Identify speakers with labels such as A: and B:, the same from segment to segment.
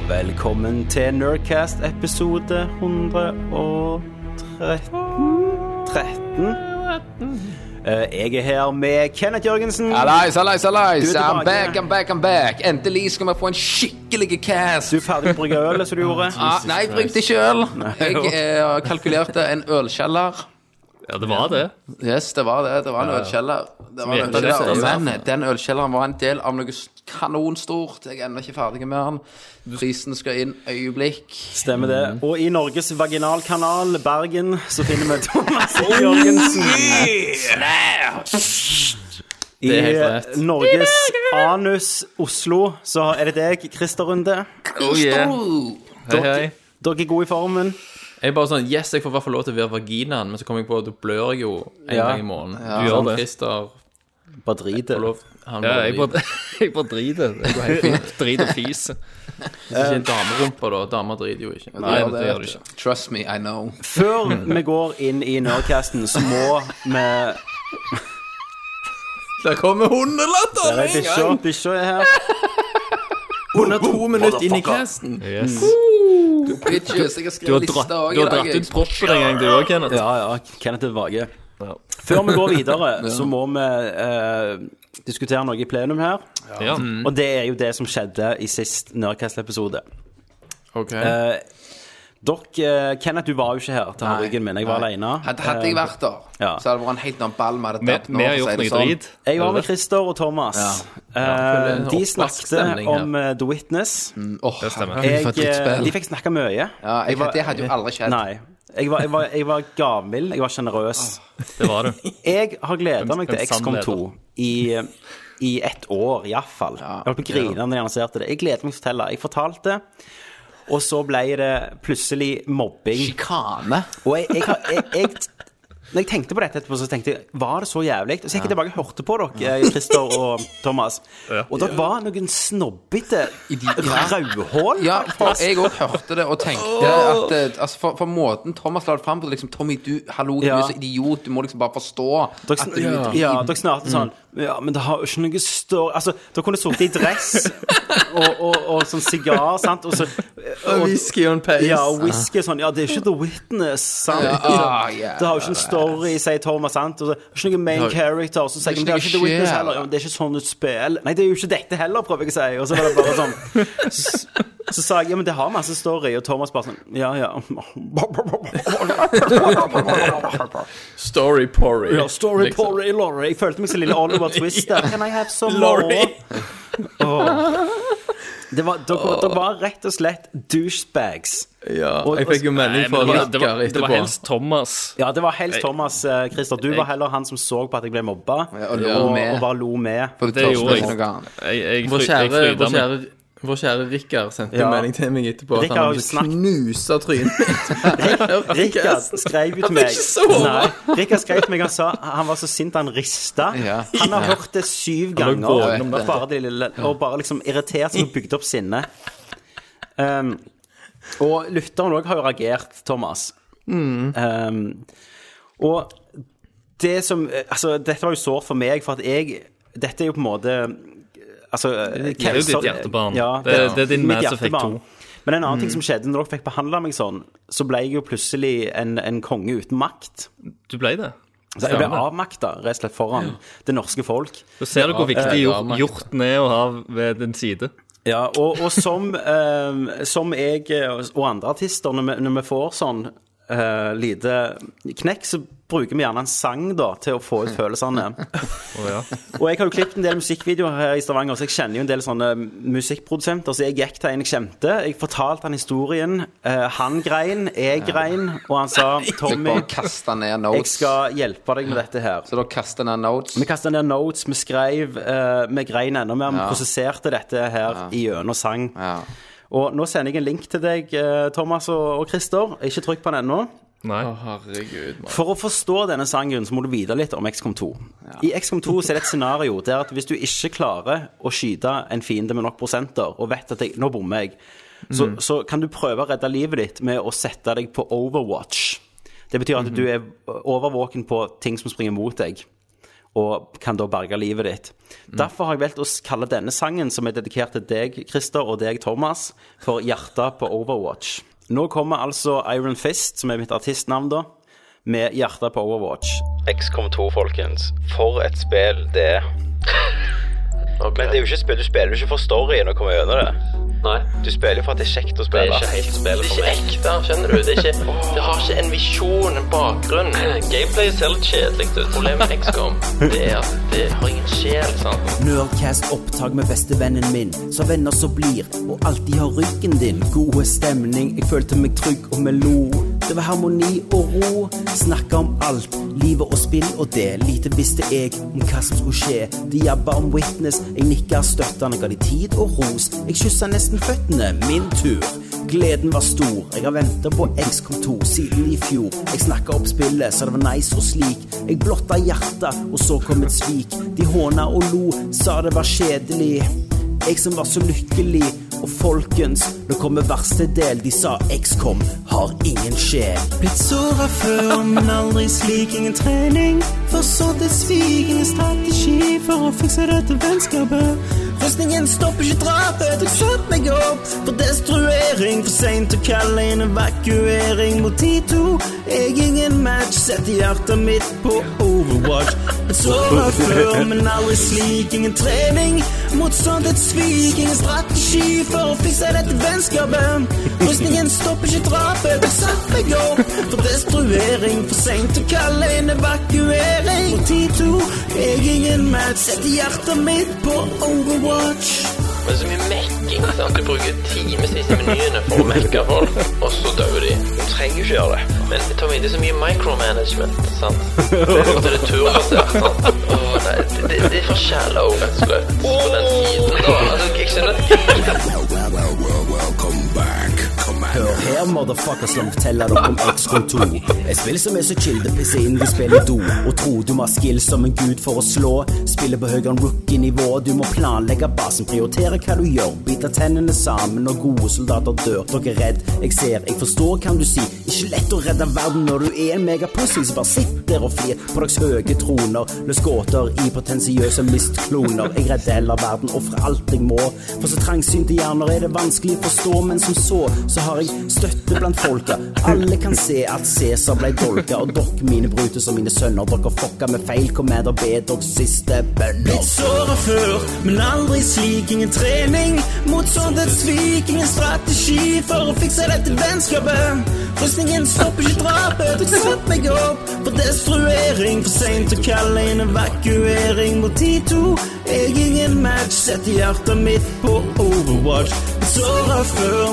A: Velkommen til Nerdcast episode 113 13. Eh, Jeg er her med Kenneth Jørgensen.
B: Alice, Alice, Alice,
A: Du er
B: I'm
A: tilbake.
B: back, I'm back, I'm back. Endelig skal vi få en skikkelig cast.
A: Du er ferdig med å brygge øl, som du gjorde?
B: Ah, nei, jeg brukte ikke øl. Jeg eh, kalkulerte en ølkjeller.
C: Ja, det var det.
B: Yes, det var det. Det var en ølkjeller. Det var en
C: Som heter
B: ølkjeller.
C: det.
B: Men den ølkjelleren var en del av noe s- kanonstort. Jeg er ennå ikke ferdig med den. Prisen skal inn øyeblikk.
A: Stemmer det.
C: Mm.
A: Og i Norges vaginalkanal, Bergen, så finner vi Thomas
C: Oh,
A: Jørgensen. I
C: Det er helt rett.
A: eh, Norges anus, Oslo, så er det deg, Christer Runde.
C: Oh, yeah. Hei, hei.
A: Dere er gode i formen.
C: Jeg er bare sånn Yes, jeg får i hvert fall lov til å være vaginaen, men så kom jeg på at du blør jo en
A: Ja.
C: gang i måneden.
B: Du
C: Sånn,
D: gjør det.
C: Christer
A: Bare drit
C: får lov han
D: Ja,
C: bare-
D: jeg bare, jeg bare driter. Jeg går helt fint. Drit og fis.
C: Det er ikke en damerumpe, da. Damer driter jo ikke.
D: Nei,
B: Ja,
D: det,
B: det
D: gjør du
B: vet
D: ikke.
B: Trust me, I know.
A: Før vi går inn i Nerdcasten, så må vi
C: Der kommer hundelatter
A: Der
C: med
A: er
C: en
A: bikkja.
C: gang!
A: Bikkja er her.
C: Under to minutter inn i casten.
D: Yes.
B: Bitches,
D: Du
B: jeg har
D: har
B: skrevet
D: dratt,
B: lista òg
D: du
B: i
D: har
B: dag.
D: dratt ut proppen en gang, du òg, Kenneth.
A: Ja, ja. Kenneth er vage.
D: Ja.
A: Før vi går videre, så må vi eh, diskutere noe i plenum her.
D: Ja.
C: Mm.
A: Og det er jo det som skjedde i sist Nerdcast-episode.
C: Ok.
A: Eh, Dere, eh, Kenneth, du var jo ikke her til
B: Nei,
A: ryggen min. Jeg var
B: nei.
A: alene.
B: Hadde, hadde jeg vært der,
A: ja.
B: så hadde det vært en helt annen ball vi hadde
D: Vi
B: tapt nå.
D: vi har
B: for å si
D: gjort
B: det
D: noe
B: sånn.
D: drit.
A: Jeg var med Christer og Thomas.
C: Ja,
A: Eh,
C: det er en
A: de
C: oppvakt
A: snakket
C: stemning her. Mm.
A: om eh, The Witness.
B: Åh,
D: Det stemmer.
B: herregud, for
A: Jeg,
B: et drittspill.
A: eh, de fikk snakka mye.
B: Ja, jeg, det hadde jo aldri skjedd.
A: Nei. Jeg var, jeg var, jeg var gavmild, jeg var sjenerøs.
D: Det var det.
A: Jeg har gleda meg til
D: Ah. En- en sann
A: XCOM 2 i, i ett år, iallfall. Jeg holdt på å grine da jeg annonserte det. Jeg gleder meg til å fortelle. Jeg fortalte, og så ble det plutselig mobbing.
B: Sjikane.
A: Og jeg, jeg, har- jeg, jeg når jeg tenkte på dette etterpå, så tenkte jeg Var det så jævlig? Så gikk jeg tilbake og hørte på dere, eh, Christer og Thomas. Og dere var noen snobbete rødhål.
B: Ja, for jeg òg hørte det og tenkte at eh, altså for, for måten Thomas la det fram på liksom, Tommy, du, hallo, du
A: Ja.
B: er så idiot, du må liksom bare forstå
A: Dere,
B: at du er
A: ja.
B: drit.
A: ja, dere snakket sånn Ja, men det har jo ikke noe større Altså, dere kunne sittet i dress og, og, og sånn sigar, sant, og så og,
C: Whisky on pace.
A: ja, og whisky og sånn. Ja, det er ikke The Witness, sant?
B: Ja, ah, ja.
A: Det har jo ikke en story, sier Thomas, sant? Og så, det er ikke noen main character. Og så sier
B: Det
A: de det
B: er ikke
A: er ikke The
B: noe
A: Witness
B: skjer.
A: heller. Ja, men det er ikke sånn et spill. Nei, det er jo ikke dette heller, prøver jeg å si. Og så var det bare sånn så, så sa jeg ja, men det har masse story, og Thomas bare sånn Ja, ja.
C: Story porry.
A: Ja, story
C: Liksom.
A: porry, Laurie. Jeg følte meg som lille Oliver Twist der. Can I have some more?
C: Laurie.
A: Åh. Det var, dere, dere var rett og slett douchebags.
C: Ja,
A: Og-
C: jeg fikk jo melding
D: Nei, men
C: fra
D: det, var, det, var,
C: Rikard
D: det var
C: etterpå.
D: helst Thomas.
A: Ja, det var helst Thomas eh, Christer. Du var
D: Jeg-
A: heller han som så på at jeg ble mobba,
B: og lo
A: og,
B: med.
A: og bare lo med.
B: For du
D: Det
B: tør
D: gjorde
B: ikke
D: jeg.
B: noe annet.
D: Jeg, jeg,
C: Vår
D: fry- jeg
C: kjære,
D: fryda
C: vår
D: meg.
C: kjære, vår kjære Rikard sendte
A: Ja.
C: en melding til meg etterpå at
A: Rikard
C: han
A: har jo
C: hadde
A: snakket-
C: knust av trynet mitt.
A: Rikard skrev jo til
C: fikk
A: meg
C: ikke sove.
A: Nei, Rikard skrev til meg Han sa han var så sint han rista.
B: Ja.
A: Han har hørt det syv ganger.
C: våken
B: om natta.
A: Bare det lille, og bare liksom irritert seg og bygd opp sinne. Um, og lytteren òg har jo reagert, Thomas. Um, og det som Altså, dette var jo sårt for meg, for at jeg Dette er jo på en måte Altså
D: Det er jo ditt hjertebarn. Det er- det er din
A: mitt
D: Mass Effect
A: hjertebarn.
D: 2.
A: Men en annen ting
D: Mm.
A: som skjedde når dere fikk behandla meg sånn, så ble jeg jo plutselig en, en konge uten makt.
D: Du ble det.
A: Så jeg ble
D: Stemmer.
A: avmakta, rett og slett, foran det norske folk.
D: Da ser du hvor viktig
C: ja,
D: hjort,
C: ja,
D: hjorten er å ha ved din side.
A: Ja, og, og som, eh, som jeg eh, og andre artister, når vi, når vi får sånn eh, lite knekk, så bruker vi gjerne en sang da, til å få ut følelsene.
D: Å, ja.
A: Og jeg har jo klippet en del musikkvideoer her i Stavanger, så jeg kjenner jo en del sånne musikkprodusenter. Så jeg gikk til en jeg kjente. Jeg fortalte han historien. eh, han grein, jeg grein, og han sa
B: Så jeg
A: Tommy,
B: bare kasta ned
A: jeg
B: notes.
A: skal hjelpe deg med dette her.
B: Så da kastet jeg ned notes.
A: Vi kasta ned notes, vi skrev, eh, vi grein enda mer. Vi
B: Ja.
A: prosesserte dette her i gjennom sang.
B: Ja.
A: Og nå sender jeg en link til deg, eh, Thomas og, og Christer. Ikke trykk på den ennå.
D: Nei.
C: Å, herregud, mann.
A: For å forstå denne sangen så må du vite litt om XCOM2. I XCOM2 så er det et scenario der at hvis du ikke klarer å skyte en fiende med nok prosenter, og vet at jeg, nå bommer jeg, så, så kan du prøve å redde livet ditt med å sette deg på overwatch. Det betyr at du er overvåken på ting som springer mot deg. og kan da berge livet ditt. Derfor har jeg valgt å s- kalle denne sangen, som er dedikert til deg, Christer, og deg, Thomas, for 'Hjertet på Overwatch'. Nå kommer altså Iron Fist, som er mitt artistnavn, da, med 'Hjertet på Overwatch'.
E: XCOM 2, folkens. For et spill det er. Men det er jo ikke et spill, du spiller jo ikke for storyen og kommer gjennom det.
F: Nei,
E: Du spiller jo for at det er kjekt å
F: det er
E: spille.
F: ikke helt spillet for meg.
G: ekte, skjønner du? Det, er ikke, det har ikke en visjon, en bakgrunn.
F: Gameplay ser litt kjedelig ut.
G: Problemet med XCOM, det er at det har ingen sjel, sant?
H: Nerdcast opptak med bestevennen min Som venner som blir, og alltid har ryggen din Gode stemning, jeg følte meg trygg og vi lo Det var harmoni og ro Snakket om alt, livet og spill og det Lite visste jeg om hva som skulle skje De jabba om witness, jeg nikket støttende Ga de tid og ros Jeg kysset nesten føttene, min tur Gleden var stor, jeg har ventet på XCOM 2 siden i fjor Jeg snakket opp spillet, så det var nice og slik Jeg blotta hjertet, og så kom et svik De håna og lo, sa det var kjedelig jeg som var så lykkelig, og folkens, nå kommer verste del. De sa XCOM har ingen sjel. Blitt såra før, men aldri slik. Ingen trening, for så til svik. Ingen strategi for å fikse dette vennskapet. Rustningen stopper ikke drapet, jeg satte meg opp for destruering. For seint å kalle inn evakuering mot de to. Jeg ingen match, setter hjertet mitt på Overwatch. Blitt såra før, men aldri slik. Ingen trening mot sånt et svik. Ingen strategi for å fikse dette vennskapet. Rustningen stopper ikke drapet. Jeg satte meg opp for destruering. For seint å kalle inn evakuering. På Tito, jeg ingen match. Setter hjertet mitt på Overwatch.
G: Men så mye mekking, sant? Du bruker timevis i menyene for å mekke folk, og så dør de. Du trenger jo ikke gjøre det. Men Tommy, det er så mye micromanagement, sant? Det er sånn at det er turbasert, sant? Åh, nei, det, det, det er for shallow, rett og slett. På den tiden, da. Altså, jeg skjønner at
H: Hør her, motherfuckers, som forteller dere om XCOM 2. Et spill som er så chill, det pisser inn du spiller do. Og tror du må ha skill som en gud for å slå. Spiller på høyere enn rookie-nivå. Du må planlegge basen, prioritere hva du gjør. Bite tennene sammen når gode soldater dør. Dere er redd, jeg ser, jeg forstår, kan du si. Ikke lett å redde verden når du er en megapussy som bare sitter og flir på deres høye troner. Løs gåter i potensiøse mistkloner. Jeg redder heller verden, ofrer alt jeg må. For så trangsynte hjerner er det vanskelig å forstå, men som så, så har jeg støtte blant folka. Alle kan se at Cæsar ble dolka, og dere mine bruter som mine sønner. Dere fucka med feil commander, be deres siste bønner. Blitt såra før, men aldri slik. Ingen trening mot sånt et svik. Ingen strategi for å fikse dette vennskapet. Rustningen stopper ikke drapet. Jeg satte meg opp for destruering. For seint å kalle inn evakuering mot de to. Jeg ingen match, setter hjertet mitt på Overwatch. Såra før,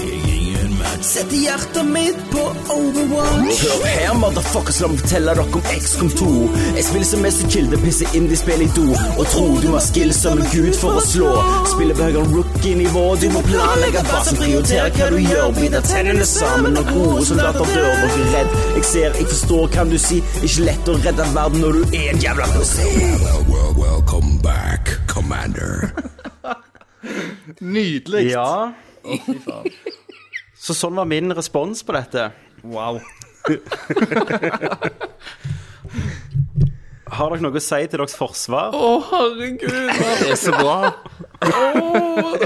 H: Setter hjertet mitt på Overwatch. Hør her, motherfuckers, la meg fortelle dere om XCOM 2. Et spill som er så chill, det pisser inn de spiller i do. Og tror du har skill som en gud for å slå. Spiller på høyere rookie-nivå. Du må planlegge basen, prioritere hva du gjør. Biter tennene sammen når gode soldater dør. Dere er redd. Jeg ser, jeg forstår, kan du si. Ikke lett å redde verden når du er en jævla pussy.
D: Nydelig.
A: Ja. Så sånn var min respons på dette.
D: Wow.
A: Har dere noe å si til deres forsvar?
C: Å, herregud.
D: Det er så bra.
C: Vet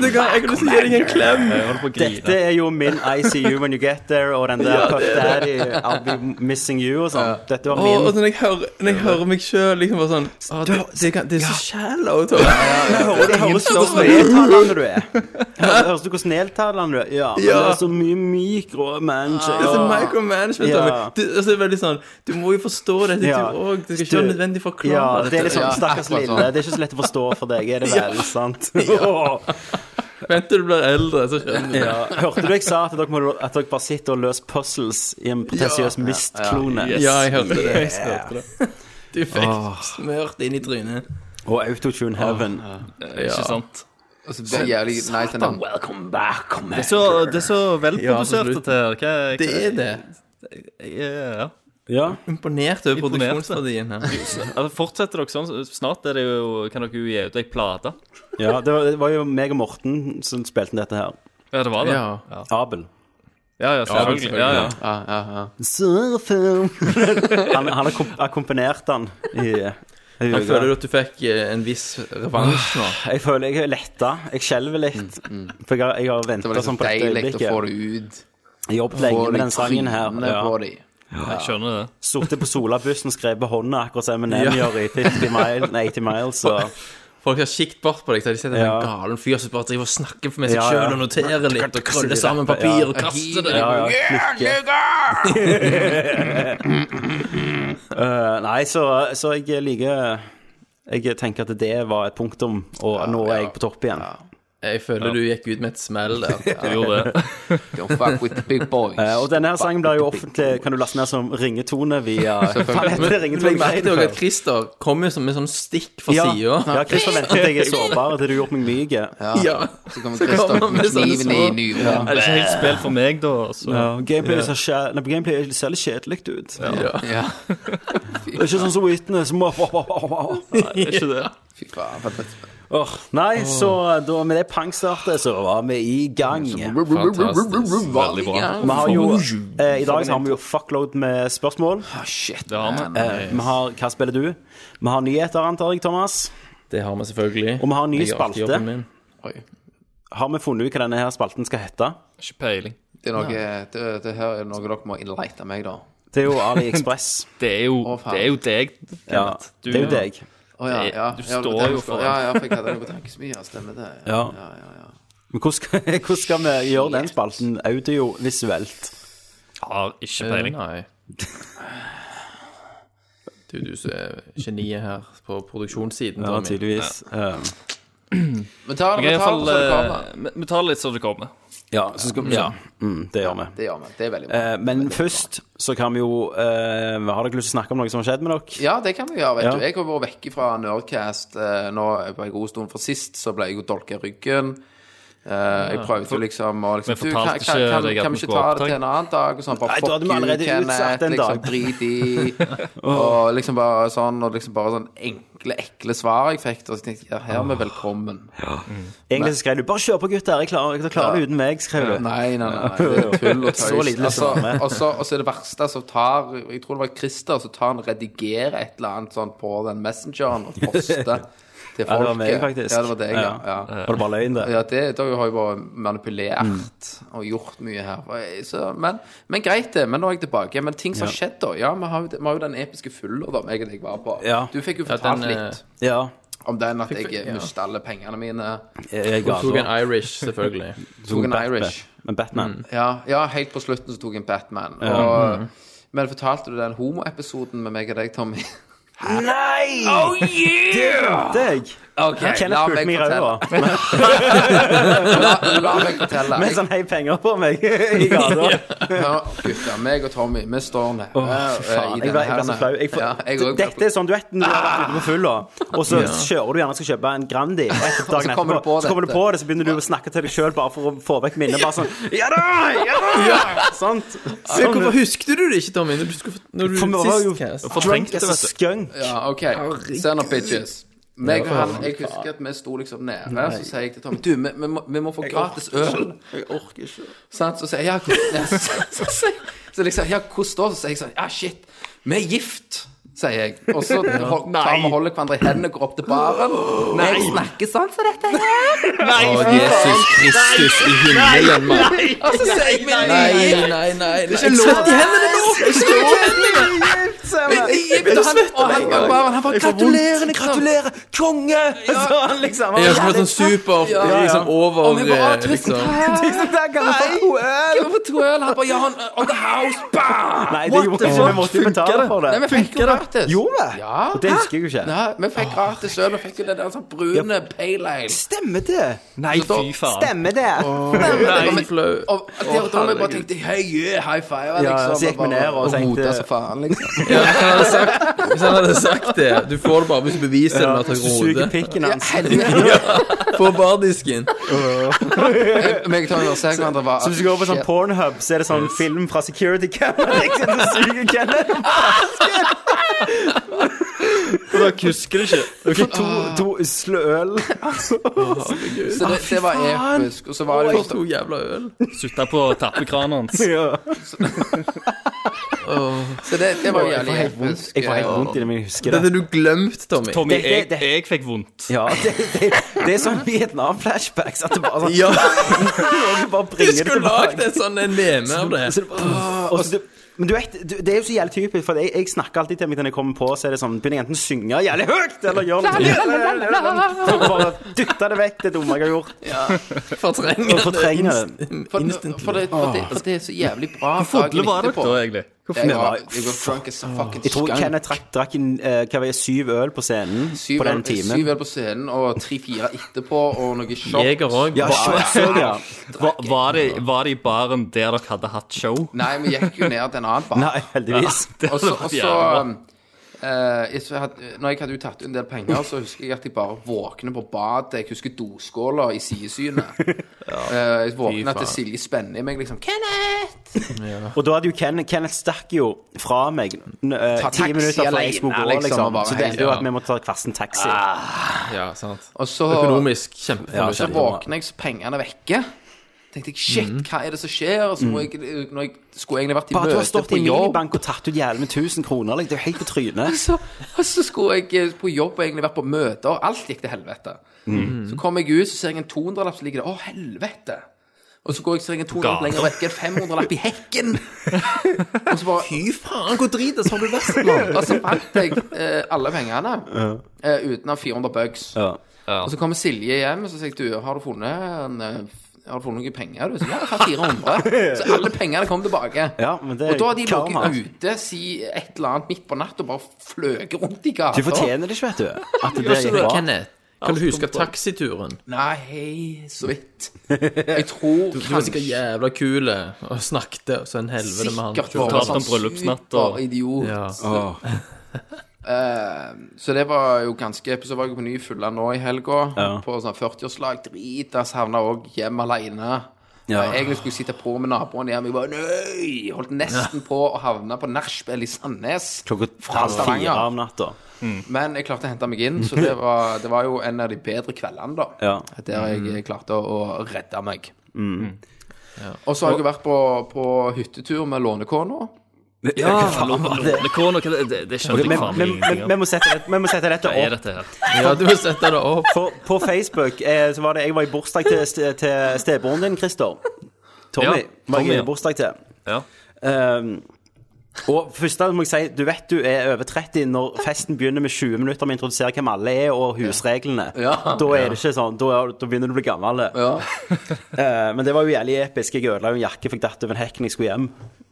C: du hva, jeg har lyst til å gi deg en klem.
D: Jeg holder på å
A: Dette
D: grine.
A: er jo min ICU when you get there, og den der Puff Daddy, I'll be missing you og sånn. Dette var
C: Å, og
A: min.
C: når jeg hører, når jeg hører meg sjøl liksom bare sånn å, det, det, kan- det er så shallow, Tom.
A: Det hører det høres ut som nedtalende du er. Det høres ut som nedtalende du er. Ja, men det
C: Ja.
A: er så mye mikro
C: Det er så
A: mennesker.
C: micromanagement.
A: Ja.
C: Tommy. Du, altså, det er veldig sånn Du må jo forstå dette,
A: Ja.
C: du òg. Det skal ikke
A: Du-
C: være nødvendig forklare
A: Ja, det er
C: dette.
A: liksom
B: Ja,
A: stakkars
B: akkurat
A: lille.
B: sånn.
A: Det er ikke så lett å forstå for deg, er det vel? Sant? Åh.
C: Vent til du blir eldre, så skjønner du.
A: Ja. Hørte du jeg sa at dere, må, at dere bare sitter og løser puzzles i en potensiøs mistklone?
C: Ja, jeg hørte det. Jeg hørte det. Du fikk smørt inn i trynet.
A: Og Autotune Heaven.
D: Ikke sant?
B: Altså, det er jævlig nice den der.
A: Welcome back, come
D: Det er så, det er så velprodusert,
C: Ja, absolutt.
D: dette her. Hva- hva-
C: Det er det.
D: Ja, ja.
A: Ja.
C: Imponert over
D: Imponert,
C: produksjonsverdien her.
I: Altså, fortsetter dere sånn, så snart er det jo, kan dere jo gi ut ei plate.
A: ja, det var, det var jo meg og Morten som spilte inn dette her.
I: Ja, det var det.
B: Ja.
I: ja,
A: Abel.
I: ja, ja selvfølgelig. Ja, ja.
B: Ja, ja, ja.
A: Surfer. han han har komp- akkompagnert den i
C: Jeg føler du at du fikk eh, en viss revansj nå?
A: Jeg føler jeg er letta. Jeg skjelver litt. For jeg har, jeg har
B: Mm, Det
A: venta
B: var liksom
A: sånn på dette
B: deilig å få
A: øyeblikket.
B: det ut.
A: Jeg har jobbet
B: Få
A: lenge med
B: det
A: den sangen her.
B: på
A: Ja.
B: de.
I: Jeg skjønner det.
A: Sittet på solabussen, skrevet på hånda, akkurat som Eminem gjør i 50 mile, nei, 80 miles. Og
C: Folk har kikt bort på deg, så de ser
A: Ja.
C: en sånn galen fyr som bare driver og snakker med seg
A: Ja, ja.
C: sjøl og noterer litt og krøller sammen papir og kaster det.
A: ja, ja, klikke. Eh, nei, så, så jeg liker Jeg tenker at det var et punktum, og nå er jeg på topp igjen.
C: Jeg føler du gikk ut med et smell der.
I: Jeg gjorde det.
B: Don't fuck with the big boys.
A: Eh, og denne her sangen blir jo offentlig Kan du laste ned som ringetone via Hva heter det?
C: Men jeg merket jo at
A: Ringetone?
C: Christer kom jo som en sånn stikk fra
A: Ja,
C: sida.
A: ja, Chris forventer at jeg er sårbar til du har gjort meg myk. Ja.
B: Så kommer Kristoff
C: kommer
B: med
C: vi sånne
B: kniven i
C: små-
B: nyren.
I: Er det ikke helt spill for meg, da? Så.
A: Gameplay ser kjæ- nei, gameplay ser litt kjedelig ut.
B: Ja.
A: Det er ikke sånn som Witness. Må- må- må- må- må.
I: Er ikke det?
B: Fy faen. for et-
A: Åh, Nei, så da med det pangstartet, så var vi i gang. Vi
C: Fantastisk. Veldig bra.
A: har jo eh, I dag så har vi jo fuckload med spørsmål.
B: Ah, shit.
I: Det har vi.
A: Eh, vi har Hva spiller du? Vi har nyheter, antar jeg, Thomas.
C: Det har vi selvfølgelig.
A: Og vi har en ny
C: Jeg gjør alltid
A: spalte.
C: jobben min.
A: Har vi funnet ut hva denne her spalten skal hete?
I: Ikke peiling.
B: Det er noe, det, det her er noe dere må innleite meg, da.
A: Det er jo AliExpress.
I: Det er jo,
B: Å, faen.
I: det er jo deg.
A: Ja,
I: Kenneth. Du-
A: det er jo deg.
B: Å ja,
I: Det-
B: ja.
I: du
B: ja,
I: står
B: det-
I: jo for det.
B: Ja, ja, for jeg hadde jo tenkt så mye. ja, Stemmer det.
A: Ja.
B: ja, ja, ja.
A: Men hvordan skal, hvordan skal vi gjøre den spalten audiovisuelt?
I: Har ikke peiling.
C: Nei. Du, du som er geniet her på produksjonssiden.
A: Ja,
C: Tommy.
A: tydeligvis. Um,
B: Men ta det,
I: Jeg er i
B: men ta det,
I: hvert fall,
B: så det kommer.
I: eh, vi- vi tar det litt så det kommer.
A: Ja, så skal vi ja. Mm, det gjør vi.
B: Det gjør vi. Det er veldig bra.
A: Eh, men først så kan vi jo eh, Har dere lyst til å snakke om noe som har skjedd med dere?
B: Ja, det kan vi gjøre, vet
A: Ja.
B: du. Jeg har vært vekk fra Nerdcast eh, nå på en god stund. For sist så ble jeg jo dolka i ryggen. Eh, jeg prøvde jo liksom å liksom,
I: Men fortalte
B: kan,
I: ikke
B: kan,
I: deg at
B: kan vi ikke
I: vi
B: ta
I: skulle ha
B: det til en annen dag? Og sånn, bare
A: Nei, da hadde vi allerede utsatt en
B: liksom,
A: dag.
B: drit i. og liksom bare sånn, og liksom bare sånn enkle, ekle svar jeg fikk. Og så tenkte jeg, ja, her er vi velkommen.
A: Egentlig så skrev du 'bare kjør på, gutter', jeg klarer, dere klarer det uten meg. skrev du
B: Nei, nei, nei, det er tull og tøys.
A: Så lite
B: altså,
A: som er med.
B: og, så, og så er det verste som tar Jeg tror det var Christer som tar han redigerer et eller annet sånn på den messengeren og poster til folket.
A: Ja, det var meg, faktisk.
B: Ja, det var deg, ja. ja.
A: Var det bare løgn, det?
B: Ja, det, da har jeg bare
A: Mm.
B: manipulert og gjort mye her. Og jeg- Så, men, men greit, det. Men nå er jeg tilbake. Men ting som har skjedd, da. Ja, vi har, jo- vi har jo den episke fylla da jeg og deg var på.
A: Ja.
B: Du fikk jo
C: Ja,
B: fortalt
C: den, eh,
B: litt
A: Ja.
B: om den at jeg mistet alle pengene mine.
A: Jeg, jeg ga
C: Tok en
A: så-
C: Irish, selvfølgelig.
B: Tok en
A: Batman.
B: Irish. Mm.
A: Men Batman.
B: Ja, ja, helt på slutten så tok jeg en Batman. Og,
A: Mhm.
B: Men fortalte du den homoepisoden med meg og deg, Tommy?
A: Nei! Oh yeah! Det glemte jeg.
B: Okay,
A: Kenneth pulte meg i ræva
B: La, la meg fortelle.
A: med sånn hei penger på meg i gata.
B: Hør, gutter, meg og Tommy, vi står nede.
A: Fy faen,
B: i
A: jeg
B: denne
A: ble, jeg ble så
B: her.
A: flau. Jeg, får-
B: Ja, jeg også ble-
A: dette er sånn du vet når du har vært ute på full, da, og så kjører du gjerne og skal kjøpe en Grandi. og etter-
B: Og så
A: dagen
B: kommer du
A: etterpå,
B: på
A: så kommer du
B: dette.
A: på det, så begynner du å snakke til deg sjøl bare for å få vekk minnet. Bare sånn Ja da! Ja da! Sant?
C: Men
A: Sånn,
C: Hvorfor husket du det ikke, Tommy? Når du, skulle, når du
A: for vi var jo
C: sist cast?
A: drunk as a skunk.
B: Ja, OK. Send opp bitches. Meg og han, Jeg husker at vi sto liksom nede, så sier jeg til Tommy Du, vi, vi, må, vi må få gratis øl. Jeg orker ikke. Sant? Så sier jeg ja, hvordan ja, så, så, sier- så liksom, ja, hvordan da? Så sier jeg sånn Ja, shit, vi er gift, sier jeg. Og så hol- tar vi og holder hverandre i hendene, går opp til baren. Nei! Jeg snakker sånn som dette her.
C: Å, Jesus Kristus i himmelen, mann.
B: Og så sier jeg
C: Nei, nei,
B: men
C: nei. nei.
B: Liksom,
C: Jeg svett i hendene nå!
B: jeg er gift, og han- og han var bare han bare Gratulerer, liksom.
A: Gratulerer, konge! Sånn, liksom.
C: Jeg har sånn sånn super liksom over
B: Og vi bare, «Å, tusen
C: liksom.
B: takk.
A: Tusen takk, han har fått OL!
B: Hva for trøl? Han bare Ja, han uh, On the house, bam!
A: Nei, det gjorde vi ikke. Vi måtte jo betale for
B: Nei, vi
A: det.
B: fikk jo gratis.
A: Gjorde vi?
B: Ja.
A: Og det husker jeg jo ikke.
B: Nei, vi fikk gratis øl, og fikk jo den der sånn brune pale ale.
A: Stemmer det? Nei,
B: Så da-
I: Fy faen.
A: stemmer det?
C: Nei, flau.
B: Og der og da jeg bare tenkte Hei, yeah, high five,
A: Ja,
B: liksom.
A: så gikk vi ned og
B: Og hodet
A: tenkte
B: så faen, liksom.
C: Ja, Hvis han hadde sagt, hvis han hadde sagt det Du får det bare hvis du beviser det med at
A: Hvis du
C: han
A: suger
C: roder.
A: pikken hans.
C: På bardisken.
B: Meg og Tommy var sikker på at det var
A: Så hvis du går på sånn
B: Shit.
A: Pornhub, så er det sånn film fra security camera. Liksom, du suger Kenneth om basken. Og dere husker det ikke? Dere fikk to, to usle øl.
B: Så det, det var episk. Og så var det jo
C: To jævla øl.
D: Sutta på tappekranen hans.
A: Ja.
B: Så det, det var jævlig episk.
A: Jeg får helt vondt i det, men jeg husker
C: Det
A: det.
C: hadde du glemt, Tommy.
D: Tommy,
A: Det-
D: jeg,
A: det- det-
D: jeg fikk vondt.
A: Ja, det, det, det er sånn Vietnam-flashbacks. At det bare sånn
C: Ja,
A: Du bare
C: du
A: bringer det Ah,
C: skulle lagd
A: tilbake.
C: en sånn en meme av det.
A: Så det bare- og så det- Men du vet, du- det er jo så jævlig typisk, for jeg, jeg snakker alltid til meg når jeg kommer på, så er det sånn Begynner jeg enten å synge jævlig høyt, eller gjøre noe For å bare dytte det vekk, det dumme jeg har gjort.
C: Fortrenger
A: Og fortrenge det.
B: For, for, det, for, det, for det er så jævlig bra. Hvor
D: Fodle var dere da, egentlig? Hvorfor
B: Jeg
A: vi
B: var,
A: var-
B: jeg var drunk as a fucking
A: Jeg tror
B: skunk.
A: Kenneth trakk, drakk en, eh, hva var det, syv øl på scenen
B: Syv
A: på den
B: øl-
A: timen.
B: Syv øl på scenen, og tre-fire etterpå, og noe shot.
D: Jeger òg.
A: Ja, shots øl, ja.
D: Var, var, det- var det i baren der dere hadde hatt show?
B: Nei, vi gikk jo ned til en annen bar.
A: Nei, heldigvis.
D: Det
B: Og så,
D: hadde
B: og
D: vært
B: så
D: jævlig bra.
B: eh, jeg så hadde- Når jeg hadde jo tatt en del penger, så husker jeg at jeg bare våkner på badet. Jeg husker doskåla i sidesynet. Eh, jeg våkner til Silje spenner i meg, liksom. Kenneth!
A: Og da hadde jo Ken, Kenneth stakk jo fra meg eh,
B: Ta
A: ti
B: taxi
A: minutter før jeg
B: alene,
A: skulle gå,
B: liksom, og
A: liksom.
B: bare
A: Så det endte jo
B: helt-
A: at vi måtte ta hver sin taxi.
C: Ja, sant.
B: Og så
C: Økonomisk
A: Ja,
B: Så
A: kjempe-
C: kjempeformue.
B: våkner jeg, så pengene er vekke. Tenkte jeg, shit, hva er det som skjer? Og så må jeg, når jeg skulle egentlig vært i
A: Bare at du har
B: møte
A: stått
B: på
A: i
B: jobb
A: minibank og tatt ut jævlig med 1000 kroner, like, det er jo helt på trynet.
B: så, Altså, Og så skulle jeg eh, på jobb og egentlig vært på møter, og alt gikk til helvete. Så kom jeg ut, så ser jeg en 200-lapp som ligger der. Å, helvete! Og så går jeg og ser jeg en 200-lapp lenger vekk, en 500-lapp i hekken! og så bare Fy faen, hvor drit har du vært nå? og så fant jeg eh, alle pengene, eh, utenom 400 bucks.
A: Ja.
B: Og så kommer Silje hjem, og så sier jeg, du, har du funnet en eh, har du funnet noen penger? Du Så, ja, jeg har 400. Så alle pengene kom tilbake.
A: Ja, men det er
B: og da har de
A: karma.
B: ligget ute si et eller annet midt på natt og bare fløket rundt i gata.
A: Du fortjener det ikke, vet du. At det
C: Så
A: gikk
C: du,
A: bra.
C: Kenneth, kan du huske taxituren?
B: Nei, så vidt. Jeg tror
C: Du var sikkert jævla kule og snakket og så en helvete med han.
D: Du
B: Sikkert var sånn
D: fortalte
A: sånn.
D: om bryllupsnatt og-
B: superidiot.
C: Ja.
B: Eh, så det var jo ganske Så var jeg på ny fulla nå i helga, på sånn 40-årslag. Dritas. Havna òg hjem aleine.
A: Ja.
B: Egentlig skulle jeg sitte på med naboen hjem. Jeg bare nøy! Holdt nesten på å havne på nachspiel i Sandnes.
A: Klokka
B: Fra
A: halv
B: Stavanger.
A: fire om natta.
B: Men jeg klarte å hente meg inn, så det var, det var jo en av de bedre kveldene, da.
A: Ja. Mm.
B: Der jeg klarte å å redde meg. Og så har jeg jo vært på, på hyttetur med lånekona.
A: Ja, faen var Ah, det.
D: Det, kona, hva- det, det, det skjønte
A: Men-
D: jeg faen
A: men- men-
D: ingenting
A: Vi må sette dette- vi må sette dette
D: Hva er
A: opp.
D: dette her?
C: ja, du må sette det opp.
A: For, på Facebook eh, så var det Jeg var i bursdag til, ste- til stebroren din, Christer. Tommy
D: Ja,
A: var
D: Tommy,
A: jeg
D: ja.
A: i bursdag til.
D: Ja.
A: Um, og først da må jeg si du vet du er over 30 når festen begynner med 20 minutter med å introdusere hvem alle er, og husreglene. Da er det ikke sånn. Da, er, da begynner du å bli gammel. Eh, men det var jo jævlig episk. Jeg ødela jo en jakke, fikk datt over en hekk når jeg skulle hjem.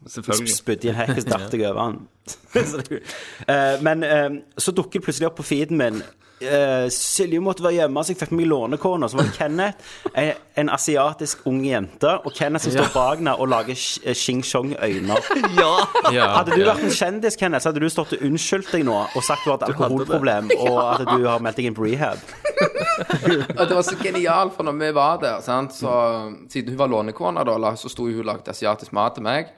D: Selvfølgelig.
A: Spydde i en hekk, så datt jeg over den. Så det er jo- Eh, men eh, så dukker det plutselig opp på feeden min eh, Silje måtte være hjemme, så jeg fikk meg lånekone. Så var det Kenneth, en, en asiatisk ung jente, og Kenneth som står bak henne og lager sh- eh, Shing Chong-øyne.
C: Ja,
A: Hadde du
C: ja.
A: vært en kjendis, Kenneth, så hadde du stått og unnskyldt deg nå og sagt du har et alkoholproblem, og at du har meldt deg inn på rehab.
B: Og det var så genialt, for når vi var der, sant? så siden hun var lånekona, da, la- så sto hun og lagde asiatisk mat til meg.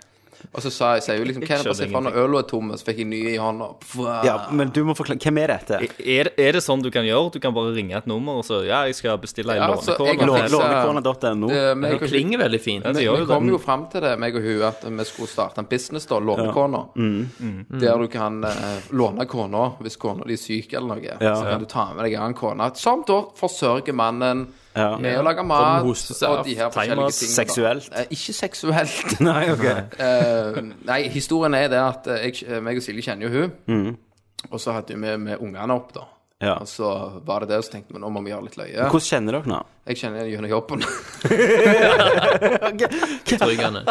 B: Og så sa jeg, sier hun liksom, kan jeg bare si fra når øla er tom, og så fikk jeg ny i hånda. Pff,
A: Ja, men du må forklare Hvem er dette?
D: Er, er det sånn du kan gjøre? Du kan bare ringe et nummer og så Ja, jeg skal bestille en
B: Ja, så jeg kan
D: lånekone.
A: Lå-
B: fikse-
A: Lånekona.no.
B: eh, meg
C: Det
B: og hun-
C: klinger veldig fint.
D: Ja, det
B: Vi
D: gjør jo
B: kom
D: det.
A: sånn-
B: jo frem til det, meg og hun, at vi skulle starte en business, da, lånekona.
A: Mm.
B: Der du kan eh, låne kona hvis kona di er syk eller noe. Så kan du ta med deg en annen kone. Som da forsørger mannen
A: Ja.
B: med å lage mat
C: hostesaft,
B: og de her forskjellige tingene. da.
A: Seksuelt?
B: Eh, ikke seksuelt.
A: Nei, ok.
B: Eh, nei, historien er det at eh, jeg, meg og Silje kjenner jo hun. Og så hadde vi med ungene opp, da.
A: Ja.
B: Og så var det det, og så tenkte vi nå må vi gjøre litt løye.
A: Hvordan kjenner dere nå?
B: Jeg kjenner henne gjennom jobben.
C: Betryggende.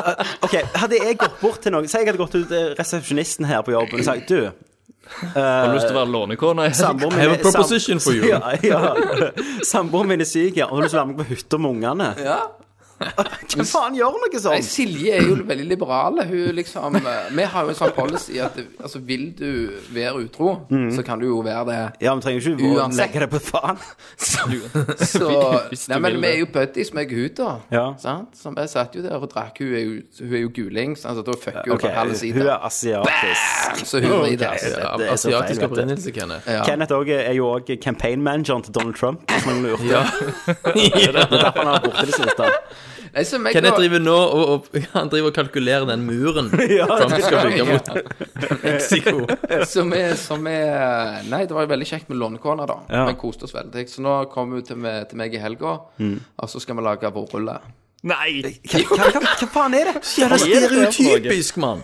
A: Ok, Hadde jeg gått bort til noen Si jeg hadde gått ut til resepsjonisten her på jobben og sagt Du,
D: Har du lyst til å være lånekone?
A: samboeren
C: I
A: min
C: have a proposition for you.
A: Ja, ja. Samboeren min er syk, ja. Og hun har lyst til å være med på hytta med ungene.
B: ja.
A: Hva faen gjør noe
B: Nei,
A: sånt?
B: Silje er jo veldig liberale. Hun liksom eh, Vi har jo en sånn policy at altså, vil du være utro, så kan du jo være det.
A: Ja, vi trenger ikke å
B: Uansett.
A: legge det på faen.
B: Så
C: Hvis du
B: Nei, men
C: vil
B: vi
C: det.
B: er jo buddies med hun, da.
A: Ja.
B: Sant? Så vi satt jo der og drakk. Hun er jo, hun er jo guling, så altså, da fucker hun
A: Ok,
B: på halv
A: hun
B: side.
A: er asiatisk.
B: Så hun driter. altså.
A: dette er
C: Av
A: så
C: asiatisk
A: feil, vet du.
C: opprinnelse, Kenneth.
B: Ja.
A: Kenneth også er jo òg campaign-manageren til Donald Trump, hvis man lurte.
C: Ja.
A: Det er derfor han har vært borte det siste.
B: Nei, så meg
C: Kenneth
B: nå-
C: driver nå og, og han driver og kalkulerer den muren som skal bygge mot Mexico.
B: som er, som er Nei, det var jo veldig kjekt med lånekåner, da.
A: Ja.
B: Vi koste oss veldig. Så nå kommer hun til, meg- til meg i helga,
A: Mm.
B: og så skal vi lage vårrulle.
I: Nei!
A: Hva, hva, hva, hva faen er det? Ja, det
I: er det for noe?
C: Typisk mann.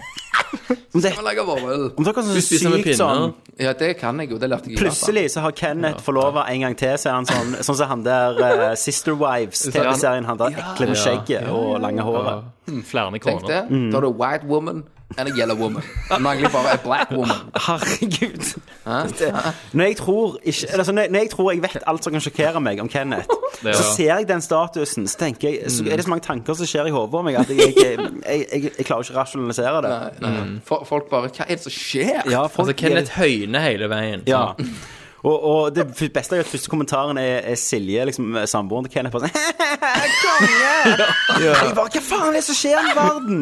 A: Om det-
B: Vi lager vårrull.
A: om dere er
C: Du
A: sånn
C: spiser med
A: sykt
C: pinner.
A: sånn
B: Ja, det kan jeg jo. Det lærte jeg i Japan.
A: Plutselig så har Kenneth forlova en gang til, så er han sånn Sånn som han der eh, Sister Wives-TV-serien, han der ekle med skjegget og lange håret.
I: Flere
B: Tenk
I: kroner.
B: det.
A: Mm.
B: Da er det white woman and a yellow woman. Det mangler bare a black woman.
A: Herregud. Det- Når jeg tror ikke altså, når, når jeg tror jeg vet alt som kan sjokkere meg om Kenneth, så ser jeg den statusen, så tenker jeg Så er det så mange tanker som skjer i hodet om meg at jeg, jeg, jeg, jeg, jeg klarer ikke å rasjonalisere det.
B: Nei, nei. Fo- Mm. Folk bare Hva er det som skjer?
A: Mm. Ja,
C: Altså,
A: folk
C: Kenneth høyner hele veien.
A: Ja. Og, og det f- beste er jo at første kommentaren er, er Silje, liksom samboeren til Kenneth, bare sånn Konge! Jeg bare Hva faen er det som skjer i verden?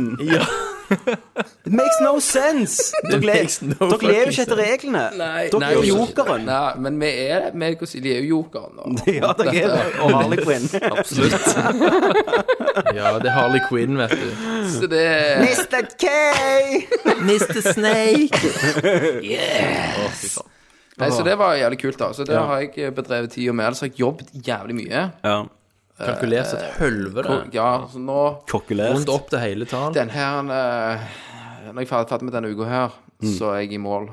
A: It makes no sense! Dere, le
C: makes no
A: dere lever
C: fucking
A: ikke etter reglene.
B: Nei,
A: dere er
B: nei,
A: jo jokeren.
B: Nei, men vi er meg og Silje er jo jokeren. nå.
A: Ja, dere er det. Og Harley Quinn.
C: Ja, det er Harley Quinn, vet du.
B: Så det er
A: Mr. K! Mr. Snake.
B: Nei, så det var jævlig kult, da. Så der har jeg bedrevet tida med. Ellers har Altså, jeg jobbet jævlig mye.
A: Ja.
C: Kalkulert som
A: Eh,
C: et helvete.
B: Ja, så nå
A: Kokkulert.
C: Rundt opp til hele tall.
B: Den her eh, Når jeg er ferdig ferdig med denne uka her,
C: Mm.
B: så er jeg i mål.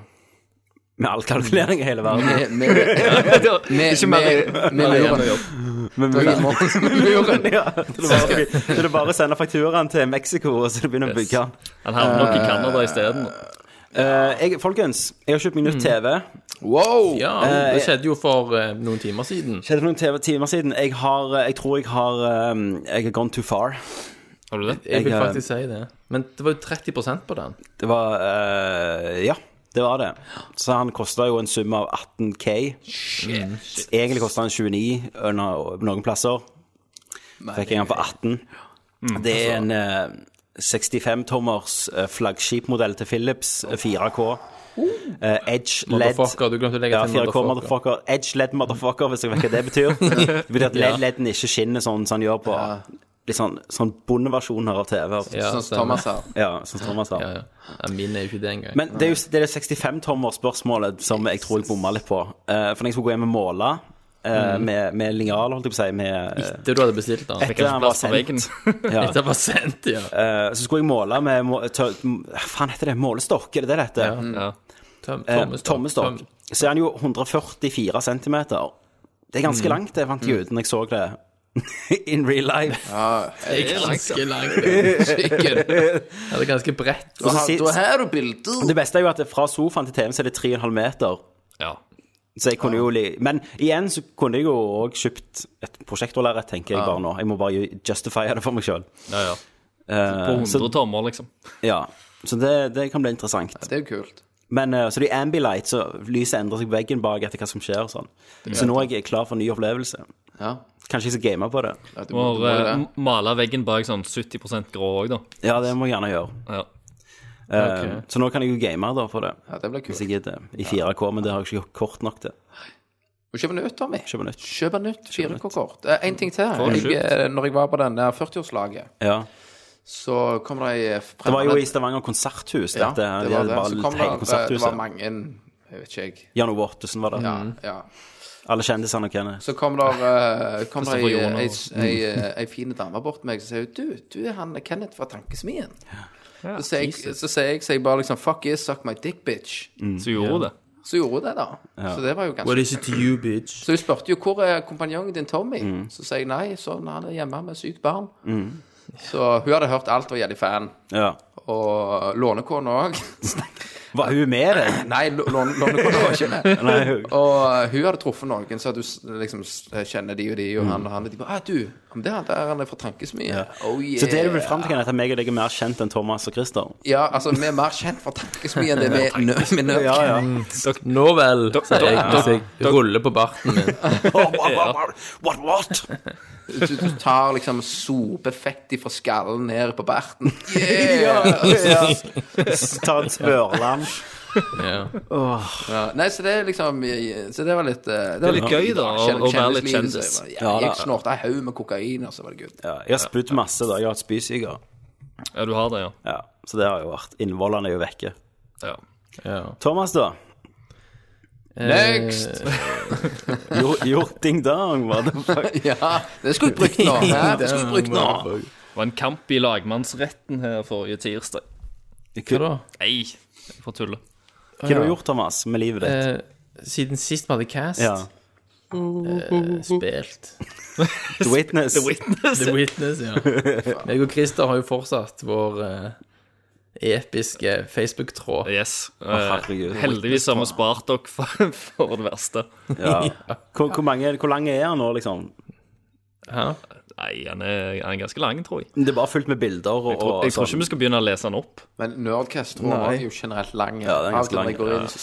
A: Med all kalkulering i hele verden.
B: Med, med, med, med, med, muren.
A: Men,
B: Jeg er
A: men,
B: i mål med muren.
A: ja, så det er bare- så det er bare å sende fakturaen til Mexico, og så begynner å bygge den.
I: Han havner nok i Canada isteden.
A: Eh, jeg, folkens, jeg har kjøpt meg nytt TV.
B: Wow!
C: Ja,
A: eh,
C: det skjedde jo for eh, noen timer siden.
A: Skjedde for noen TV timer siden. Jeg, har, jeg tror jeg har eh, Jeg har gone too far.
I: Har du det?
C: Jeg vil
A: eh,
C: faktisk si det. Men det var jo 30 på den.
A: Det var eh, Ja, det var det. Så han kosta jo en sum av 18K. Egentlig kosta han 29 under noen plasser. Fikk jeg han for 18.
C: Mm.
A: Det er en
C: Altså-
A: eh, 65-tommers eh, flaggskipmodell til Philips, eh, 4K. eh, Edge LED
C: Oh. Motherfucker, du glemte å legge
A: Ja,
C: til
A: 4K
C: motherfucker.
A: motherfucker. Edge LED motherfucker, hvis jeg vet hva det betyr. Det betyr at LED-leden ikke skinner sånn som han gjør på litt sånn, sånn bondeversjoner av TV.
C: Ja,
B: Sånn som
C: stemmer.
B: Thomas her.
A: Ja, som Thomas
C: Ja,
A: har.
C: ja. Ja, Min er jo ikke det engang.
A: Men det er jo det, er det 65-tommer-spørsmålet som jeg tror jeg bomma litt på. Eh, for når jeg skulle gå hjem og måle eh,
I: Mm.
A: med, med linjal, holdt jeg på å si, med eh,
C: Det du hadde bestilt, da.
A: Etter han var
I: Plass på
A: sendt.
I: veggen.
A: Ja.
C: Det var sendt, ja.
A: Eh, så skulle jeg måle med må, tø, m- Hva faen heter det? Målestokk? Er det det det heter?
I: Ja.
C: Tom,
A: Eh,
C: Thomas, da.
A: Tommestokk.
C: Tom-
A: Så er han jo 144 cm. Det er
I: Mm.
A: ganske langt, det fant jeg ut når jeg så det in real life.
C: Det er ganske langt. ja. Skikkelig. Ja, det er ganske bredt.
A: Og så
B: Da
A: si-
B: da har du bilder.
A: Det beste er jo at det fra sofaen til TV-en så er det 3,5 meter.
I: Ja.
A: Så jeg kunne jo li Men igjen så kunne jeg jo òg kjøpt et prosjektorlerret, tenker jeg bare nå. Jeg må bare justify det for meg sjøl.
I: ja, ja.
C: Eh,
I: På 100 tommer, liksom.
A: Eh, Ja. Så det, det kan bli interessant.
B: Det er jo kult.
A: Men eh, så det er ambilight, så lyset endrer seg på veggen bak etter hva som skjer og sånn. Så nå er jeg klar for en ny opplevelse.
B: Ja.
A: Kanskje jeg skal game på det.
B: Ja, du
I: Må
B: må, du må jo
I: eh,
B: det.
I: male veggen bak sånn 70 grå òg, da.
A: Ja, det må jeg gjerne gjøre.
I: Ja.
A: Eh, Så nå kan jeg jo game da for det.
B: Ja, det blir
A: Hvis
B: kult.
A: jeg gidder. I 4K, men det har jeg ikke kort nok til.
B: Må Kjøpe nytt, Tommy.
A: Kjøpe nytt.
B: Kjøpe nytt 4K-kort. Eh, En ting til. Jeg, eh, når jeg var på den der 40-årslaget,
A: Ja.
B: så kom det ei
A: Det var jo i Stavanger konserthus,
B: ja,
A: dette.
B: det var det.
A: Bare
B: Så kom
A: hele
B: det, det var
A: konserthuset.
B: mange Jeg vet ikke, jeg.
A: Jan Ove Ottesen var der.
B: Ja, ja.
A: Alle kjendisene og Kenneth.
B: Så kom der, eh, kom der
I: Kristoffer
B: ei,
I: Joner.
B: ei, ei, eh, ei fin dame bort til meg og sier hun, du, du er han Kenneth fra Tankesmien. Så sier jeg, så sier jeg, så jeg bare liksom Fuck you, suck my dick, bitch.
I: Så gjorde hun det.
B: Så gjorde hun det, da. Så det var jo
C: What
B: ganske
C: is it to you, bitch?
B: Så hun spurte jo hvor er kompanjongen din Tommy? Så sier jeg nei, sånn, han er hjemme med sykt barn. Så hun hadde hørt alt og var jævlig fan.
A: Ja.
B: Og lånekona òg.
A: Var hun med deg?
B: Nei, lå- låne- lånekona var ikke med.
A: Nei, hun-
B: Og eh, hun hadde truffet noen, så du liksom s- kjenner de og de og han og han. Og de bare ah, 'Du, ja, men det er han der han er fra Tankesmien.' Oh, yeah.
A: Så det du vil fram til, er at meg og deg er mer kjent enn Thomas og Christer.
B: Ja, altså, vi er mer kjent fra Tankesmien enn det vi er nø- med nød.
A: Mm.
C: Nå vel, sier jeg mens jeg ruller på barten min.
A: What, what?
B: Du, du tar liksom sopefett fra skallen ned på berten.
A: Ta en smørlam.
C: Ja.
B: Ja. Nei, så det er liksom Så det var litt eh, Det, var
C: litt gøy, da, å-
B: kjenn-
C: å være litt
B: kjendislivet,
C: kjendis.
B: så jeg-
A: Ja,
B: Jeg
A: da.
B: snorta en haug med kokain, og så var det good.
A: Ja, jeg har spydd masse, da. Jeg har hatt spysyke.
I: Ja, du har det, ja.
A: Ja, så det har jo vært. Innvollene er jo vekke.
I: ja.
A: Thomas, da?
B: Next!
A: Hjorting-dang, hva det fuck?
B: Ja, det skulle jeg brukt nå. hæ? Det skulle jeg brukt nå.
I: Det var en kamp i lagmannsretten her forrige tirsdag.
C: Hva da?
I: Nei, jeg får tulle.
A: Hva har du gjort, Thomas, med livet ditt?
C: Eh, Siden sist vi hadde cast,
A: Ja.
C: eh, spilt
A: The Witness.
C: The Witness, ja. Jeg og Christer har jo fortsatt vår eh, episke Facebook-tråd.
I: Yes.
A: herregud.
I: Eh, heldigvis har vi spart dere for, for det verste.
A: Ja. Hvor, hvor, mange, hvor lang er han nå, liksom?
C: Hæ?
I: Nei, han er, han er ganske lang, tror jeg.
A: Det er bare fullt med bilder og, sånn.
I: Jeg tror, jeg tror
C: sånn-
I: ikke vi skal begynne å lese den opp.
B: Men Nerdcast tror jeg er jo generelt lang.
A: Ja, den er ganske
B: Alt om jeg
A: lang,
B: går inn,
A: ja.
B: så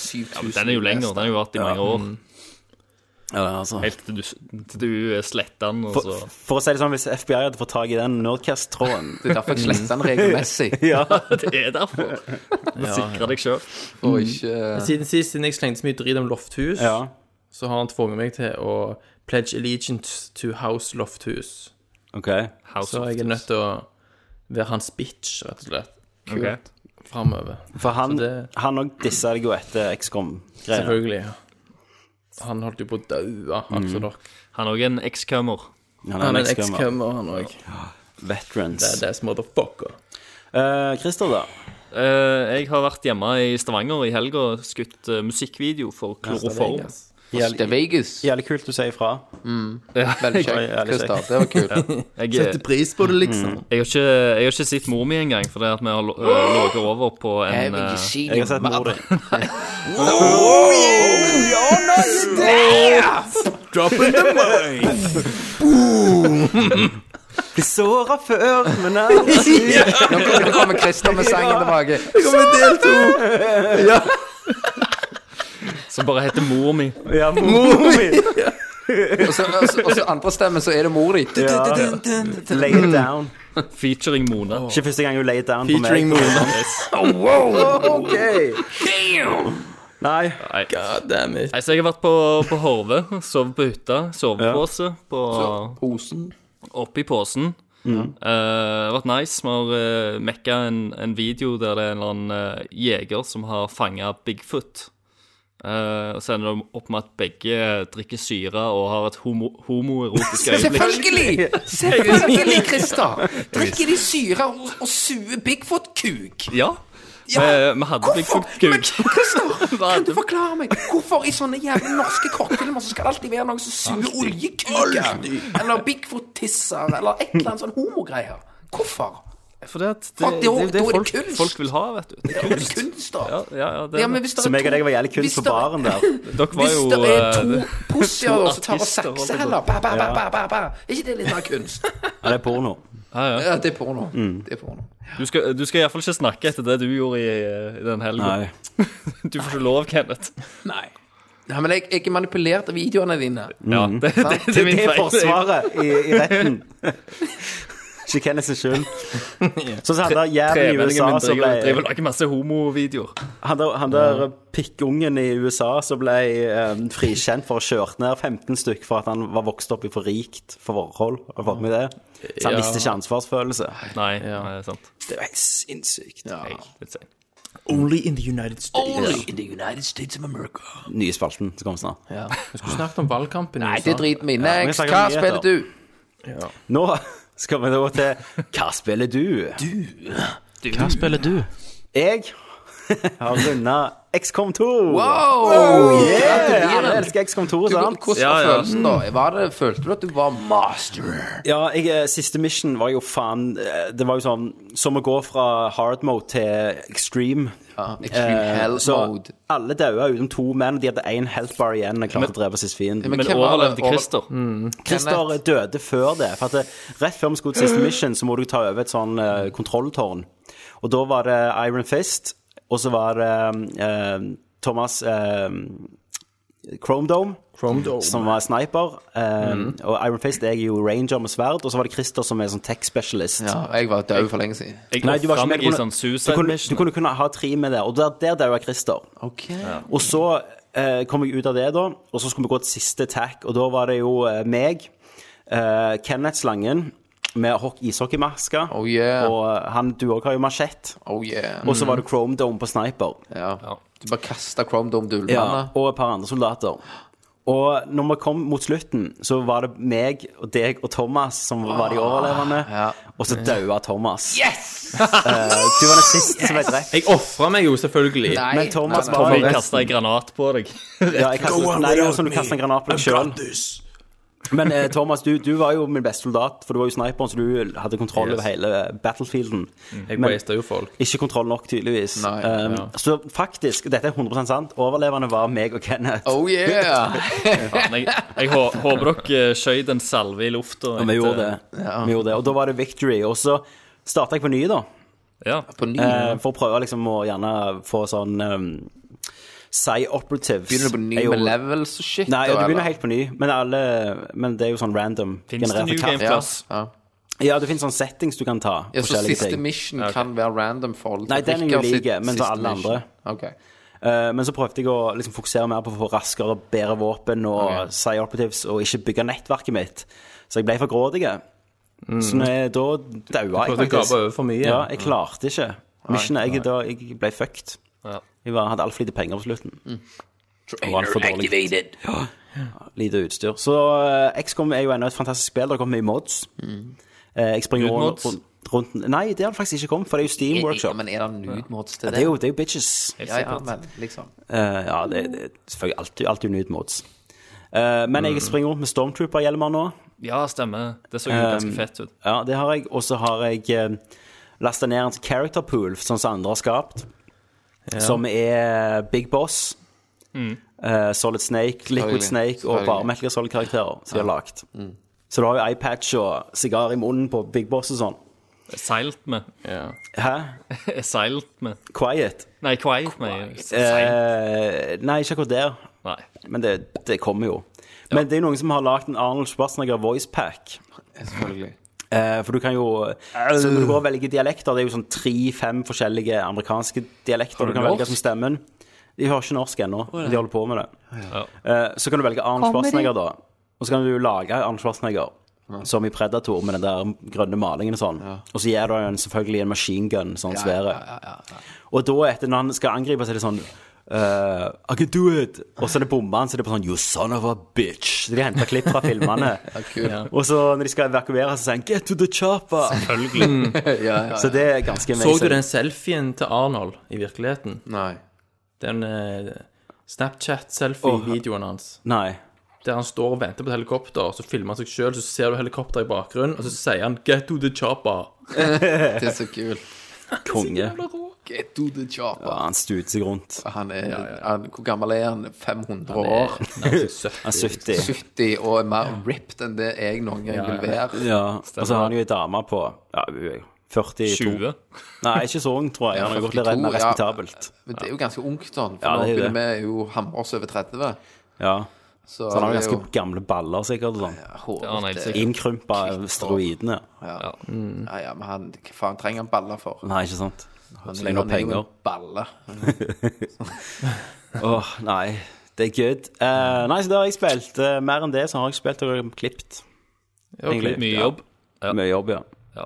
B: 7000
I: Den er jo lenger. Den har jo vært i mange
B: Mm.
I: år.
A: Ja, altså.
I: Helt til du, til du eh, sletter den, og
A: for,
I: så
A: for å si det sånn, hvis FBI hadde fått tak i den Nerdcast-tråden
B: Det er derfor jeg sletter den regelmessig.
A: Mm. Ja.
I: Det er derfor. Sikre deg sjøl.
B: Og ikke eh,
C: Siden sist, siden jeg slengte så mye drit om Lofthus,
A: ja.
C: så har han tvunget meg til å pledge allegiance to House Lofthus.
A: OK.
C: Så jeg er nødt til å være hans bitch, rett og slett, framover.
A: For han
C: Så det-
A: han òg dissa deg jo etter XCOM-greiene.
C: Selvfølgelig. ja. Han holdt jo på å daue, han som dere.
I: Han er òg en ex-cummer.
A: Han
C: Han
A: er
C: er
A: en
C: en
A: XCOM.
C: ex-cummer, han òg.
A: Veterans.
C: Det er motherfucker.
A: Eh, Christer, da?
I: Eh, jeg har vært hjemme i Stavanger i helga og skutt eh, musikkvideo for Kloroform.
B: Det er Vegas.
A: Jævlig kult du sier ifra.
B: Veldig
A: Ja,
B: kjekt,
A: jævlig
B: Christer. Det var kult.
I: Jeg, jeg, har
C: pris på det, liksom.
I: ikke, jeg har ikke sett mor mi engang, fordi at vi har lo- eh, ligget over på en eh,
A: Jeg har sett mor di. Blir såra før, men
B: Nå nå kommer Christer med sangen tilbake.
I: som bare heter Mor mi.
A: Ja, mor mi!
B: Og så, og så- og så andre stemmen, så er det mor di.
A: Lay it down.
I: Featuring Mona.
A: Ikke første gang hun lay it down
C: Featuring Oh,
A: på meg.
C: Mona.
A: Nei.
C: God damn it.
I: Nei, så jeg har vært på, på Horve, sovet på hytta, sovepose på,
B: Posen.
I: oppi posen. Eh, det har vært nice. Vi har eh, mekka en, en video der det er en eller annen eh, jeger som har fanga Bigfoot. Eh, og så ender det opp med at begge eh, drikker syre og har et homo homoerotisk øyeblikk.
B: Selvfølgelig! Selvfølgelig, Christer! Drikker de syre og, og suger Bigfoot-kuk?
I: Ja. Eh, vi hadde Bigfoot-kuk.
B: Christer,
I: Hva
B: kan
I: er
B: du
I: det?
B: forklare meg hvorfor i sånne jævla norske kortfilmer så skal det alltid være noen som suger oljekuker? Eller Bigfoot-tisser, eller et eller annet sånn homogreier? Hvorfor?
I: For det, at det,
B: Fuck, det er
I: det,
B: jo-
I: det, det
B: da er det
I: folk,
B: kunst.
I: folk vil ha, vet du. Det er
B: Det er
I: kunst.
B: kunst, da.
I: Ja, ja, ja, det,
B: Ja, men hvis det er
A: Så meg og deg var jævlig
B: hvis
A: kunst på
B: det-
A: baren der.
I: Dere var
B: Hvis
I: jo
B: det er
I: eh,
B: to pussier da, som tar og
I: artister, holdt jeg
B: sakser
I: på.
B: heller, ba, ba, ba, ba, ba, ba. er ikke det litt mer kunst? Mm.
A: Ja, det er porno.
B: Ja, det er porno. Det er porno.
I: Du skal, du skal iallfall ikke snakke etter det du gjorde i, i den helgen.
A: Nei.
I: Du får ikke lov, Kenneth.
B: Nei. Nei, men jeg, jeg manipulerte videoene dine.
I: Ja,
A: Mhm.
I: det, det, det, er min
A: Det er
I: feil.
A: forsvaret i, i retten. Ikke Kenneth sin skyld. Så sa han der jævlig i
I: Tremenningen
A: USA
I: min
A: som
I: driver driver
A: ble
I: og lager masse homovideoer.
A: Han der, han der pikkungen i USA som ble em, frikjent for å ha kjørt ned 15 stykk for at han var vokst opp i for rikt forhold. Har du fått med det? Så han
C: Ja.
A: visste ikke ansvarsfølelse.
I: Nei, eh, sant.
A: Det er jo helt sinnssykt.
I: Jeg, litt sein.
C: Only in the United States.
B: Only in the United States of America.
A: Nye spalten som kommer snart.
C: Ja. Vi skulle snakket om valgkampen. i
B: Nei,
C: USA.
B: det driter vi i.
A: vi
B: Next,
A: snakker om
B: hva
A: nyheter.
B: spiller du?
A: Nå skal vi da til Hva spiller du?
C: Hva spiller du?
A: Jeg har runda XCOM 2.
B: Wow!
A: Yeah! Alle elsker XCOM 2,
B: Du,
A: sant?
B: hvordan
I: Ja,
B: var
I: ja.
B: følelsen da? Var det, følte du at du var master?
A: Ja, jeg, eh, siste mission var jo faen eh, Det var jo sånn som å gå fra hard mode til extreme.
B: Ja, extreme
A: Eh,
B: hell
A: så
B: mode.
A: alle daua utenom to menn. De hadde én health bar igjen. Jeg klarte å drepe sist fienden.
B: Men
I: Men
B: hvem var det?
I: overlevde
B: Over- Mm.
I: Christer.
A: Christer døde før det. For at det, Rett før vi skulle til siste mission, så må du ta over et sånn eh, kontrolltårn. Og da var det Iron Fist, og så var det eh, Thomas eh, Chrome Dome,
C: Chrome Dome.
A: som var sniper. eh,
I: Mm.
A: Og Iron Fist er jo ranger med sverd, og så var det Christer som er sånn tech specialist.
B: Ja, jeg var død for lenge siden.
I: Jeg
A: Nei, du var
I: ofra
A: ikke med.
I: meg
A: Du
I: i
A: kunne-
I: sånn
A: Du
I: suicide
A: kunne, du
I: mission.
A: kunne kunne ha tre med det, og der, der daua Christer.
B: Ok.
A: Og så eh, kom jeg ut av det, da, og så skulle vi gå til siste tack, og da var det jo eh, meg, eh, Kenneth Slangen, med hock- ishockeymaske,
B: Oh yeah.
A: og eh, han, du òg har jo machett,
B: Oh yeah.
A: og så var det Chrome Dome på Sniper,
B: Ja. Du bare kasta Chrome Dome du
A: ja, og et par andre soldater. Og når vi kom mot slutten, så var det meg og deg og Thomas som var de overlevende,
B: Ah, ja.
A: og så daua Thomas. Yes! du var den siste som ble drept.
C: Jeg ofra meg jo, selvfølgelig.
B: Nei,
A: Men Thomas
B: nei, nei.
A: var
I: Og jeg kasta en granat på deg.
A: Ja, jeg kastet, nei, det var sånn du kastet en granat på deg sjøl. Men eh, Thomas, du, du var jo min beste soldat, for du var jo sniperen, så du hadde kontroll over
C: Yes.
A: hele eh, battlefielden.
C: Jeg
A: Men-
C: wasta jo folk.
A: Ikke kontroll nok, tydeligvis.
B: Mm. Nei,
A: Um,
C: ja.
A: Så faktisk, dette er 100 sant, overlevende var meg og Kenneth.
B: Oh yeah!
I: Men Jeg, jeg hå- håper dere skjøt en salve i lufta.
A: og vi
I: etter-
A: gjorde det. Vi gjorde det. Og da var det victory. Og så starta jeg på ny, da.
I: Ja.
B: På ny.
A: eh, For å prøve liksom å gjerne få sånn um, Psy-operatives.
B: Begynner du på ny
A: Jeg
B: med
A: gjorde-
B: levels og shit?
A: Nei, ja,
B: da,
A: du begynner
B: eller?
A: helt på ny, men, alle, men det er jo sånn random.
I: Fins det
A: genererte
I: New
A: kart.
I: Game
B: Ja.
I: Plus?
B: ja.
A: Ja, det finnes sånne settings du kan ta.
B: ja, så
A: forskjellige
B: siste
A: ting.
B: mission kan være random for
A: Nei, den er jo
B: Rickard sitt
A: like, men så
B: siste
A: alle
B: mission.
A: andre.
B: Ok.
A: Eh, men så prøvde jeg å liksom, fokusere mer på å få raskere, bedre våpen og
B: Ok.
A: psy-operatives, og ikke bygge nettverket mitt. Så jeg ble for grådig.
B: Mm.
A: Så når jeg, da daua jeg
C: Prøvde å gape
A: faktisk.
C: over for mye.
A: Ja, jeg klarte ikke missionet. Jeg, da, jeg ble fucked.
I: Ja.
A: Jeg var, hadde altfor lite penger på slutten.
B: Mm.
A: Og altfor dårlig lite utstyr. Så eh, XCOM er jo ennå et fantastisk spill. Det har kommet mye mods.
B: Mm.
A: Eh, jeg springer
I: Nude
A: rundt,
I: mods?
A: rundt Nei, det har det faktisk ikke kommet, for det er jo Steam
B: Ja,
A: Workshop.
B: men er det nude mods til
A: Det er jo, det er jo bitches.
B: Ja, ja, men liksom.
A: Eh, ja, det, det er selvfølgelig alltid, alltid nude mods. Eh, men
B: Mm.
A: jeg springer rundt med Stormtrooper-hjelmer nå.
I: Ja, stemmer. Det så jo
A: Ehm.
I: ganske fett ut.
A: Ja, det har jeg. Og så har jeg eh, lasta ned en character pool, sånn som andre har skapt, som er Big Boss, eh, Solid Snake, Liquid
B: Selvfølgelig. Mm.
A: Snake og bare Metal Gear Solid-karakterer som de har lagd. Så du har jo iPatch og sigar i munnen på Big Boss og sånn.
I: Seilt med.
A: Hæ?
I: Seilt med.
A: Quiet?
I: Nei, Quiet med. Seilt.
A: Eh, nei, ikke akkurat der.
I: Nei.
A: Men det, det kommer jo. Men det er noen som har lagd en Arnold Schwarzenegger voicepack.
B: Selvfølgelig.
A: Eh, for du kan jo Så når du går og velger dialekter, det er jo sånn tre-fem forskjellige amerikanske dialekter du kan velge som stemmen. De hører ikke norsk ennå, men de holder på med det. Eh, så kan du velge Arnold Schwarzenegger, da. Og så kan du lage Arnold Schwarzenegger. Som i Predator, med den der grønne malingen og sånn. Og så gir du en, selvfølgelig en machine gun, sånn svære. Og da, etter når han skal angripe, så er det sånn eh, I can do it! Og så er det bomba han, så er det på sånn You son of a bitch! Så de henter klipp fra filmene.
B: Kult.
A: Og så når de skal evakuere, så sier han 'get to the chopper'.
B: Ja, ja.
A: Så det er ganske
C: Så
A: amazing.
C: du den selfien til Arnold i virkeligheten?
B: Nei.
C: Den eh, Snapchat-selfie-videoen hans.
A: Nei.
C: Der han står og venter på et helikopter, og så filmer han seg sjøl, så ser du helikopter i bakgrunnen, og så sier han 'Get to the chopper'.
B: Det er så kult.
A: Konge.
B: Get to the job.
A: Ja, han stuter seg rundt.
B: Han er, Han, hvor gammel er han? 500 år?
C: Nei, altså, søtt.
A: Han er 70.
B: 70 og er mer ripped enn det jeg noen gang vil være.
A: Ja. Og så har han jo ei dame på ja, hun er jo 42.
I: 20.
A: Nei, ikke så ung, tror jeg. Han har gått litt redd mer
B: 42, ja.
A: respektabelt.
B: Men det er jo ganske ungt, sånn. For
A: Ja,
B: nå
A: det er jo
B: begynner vi jo hamre oss over 30.
A: Ja.
B: Så,
A: Så han har jo
B: det er
A: ganske gamle baller, sikkert. og Sånn.
B: hårete.
I: Ja, nei, sikkert.
A: Innkrympa av steroidene.
B: Ja. Ja, ja, men han, hva faen trenger han baller for?
A: Nei, ikke sant.
B: Han,
A: så lenge han har
B: er jo en
A: penger.
B: Balle.
A: Åh, nei. Det er good. Eh, nei, så det har jeg spilt. Eh, mer enn det så har jeg spilt og klippet. Egentlig.
I: Mye
A: Ja.
I: jobb. Ja.
A: Mye jobb, ja.
I: Ja.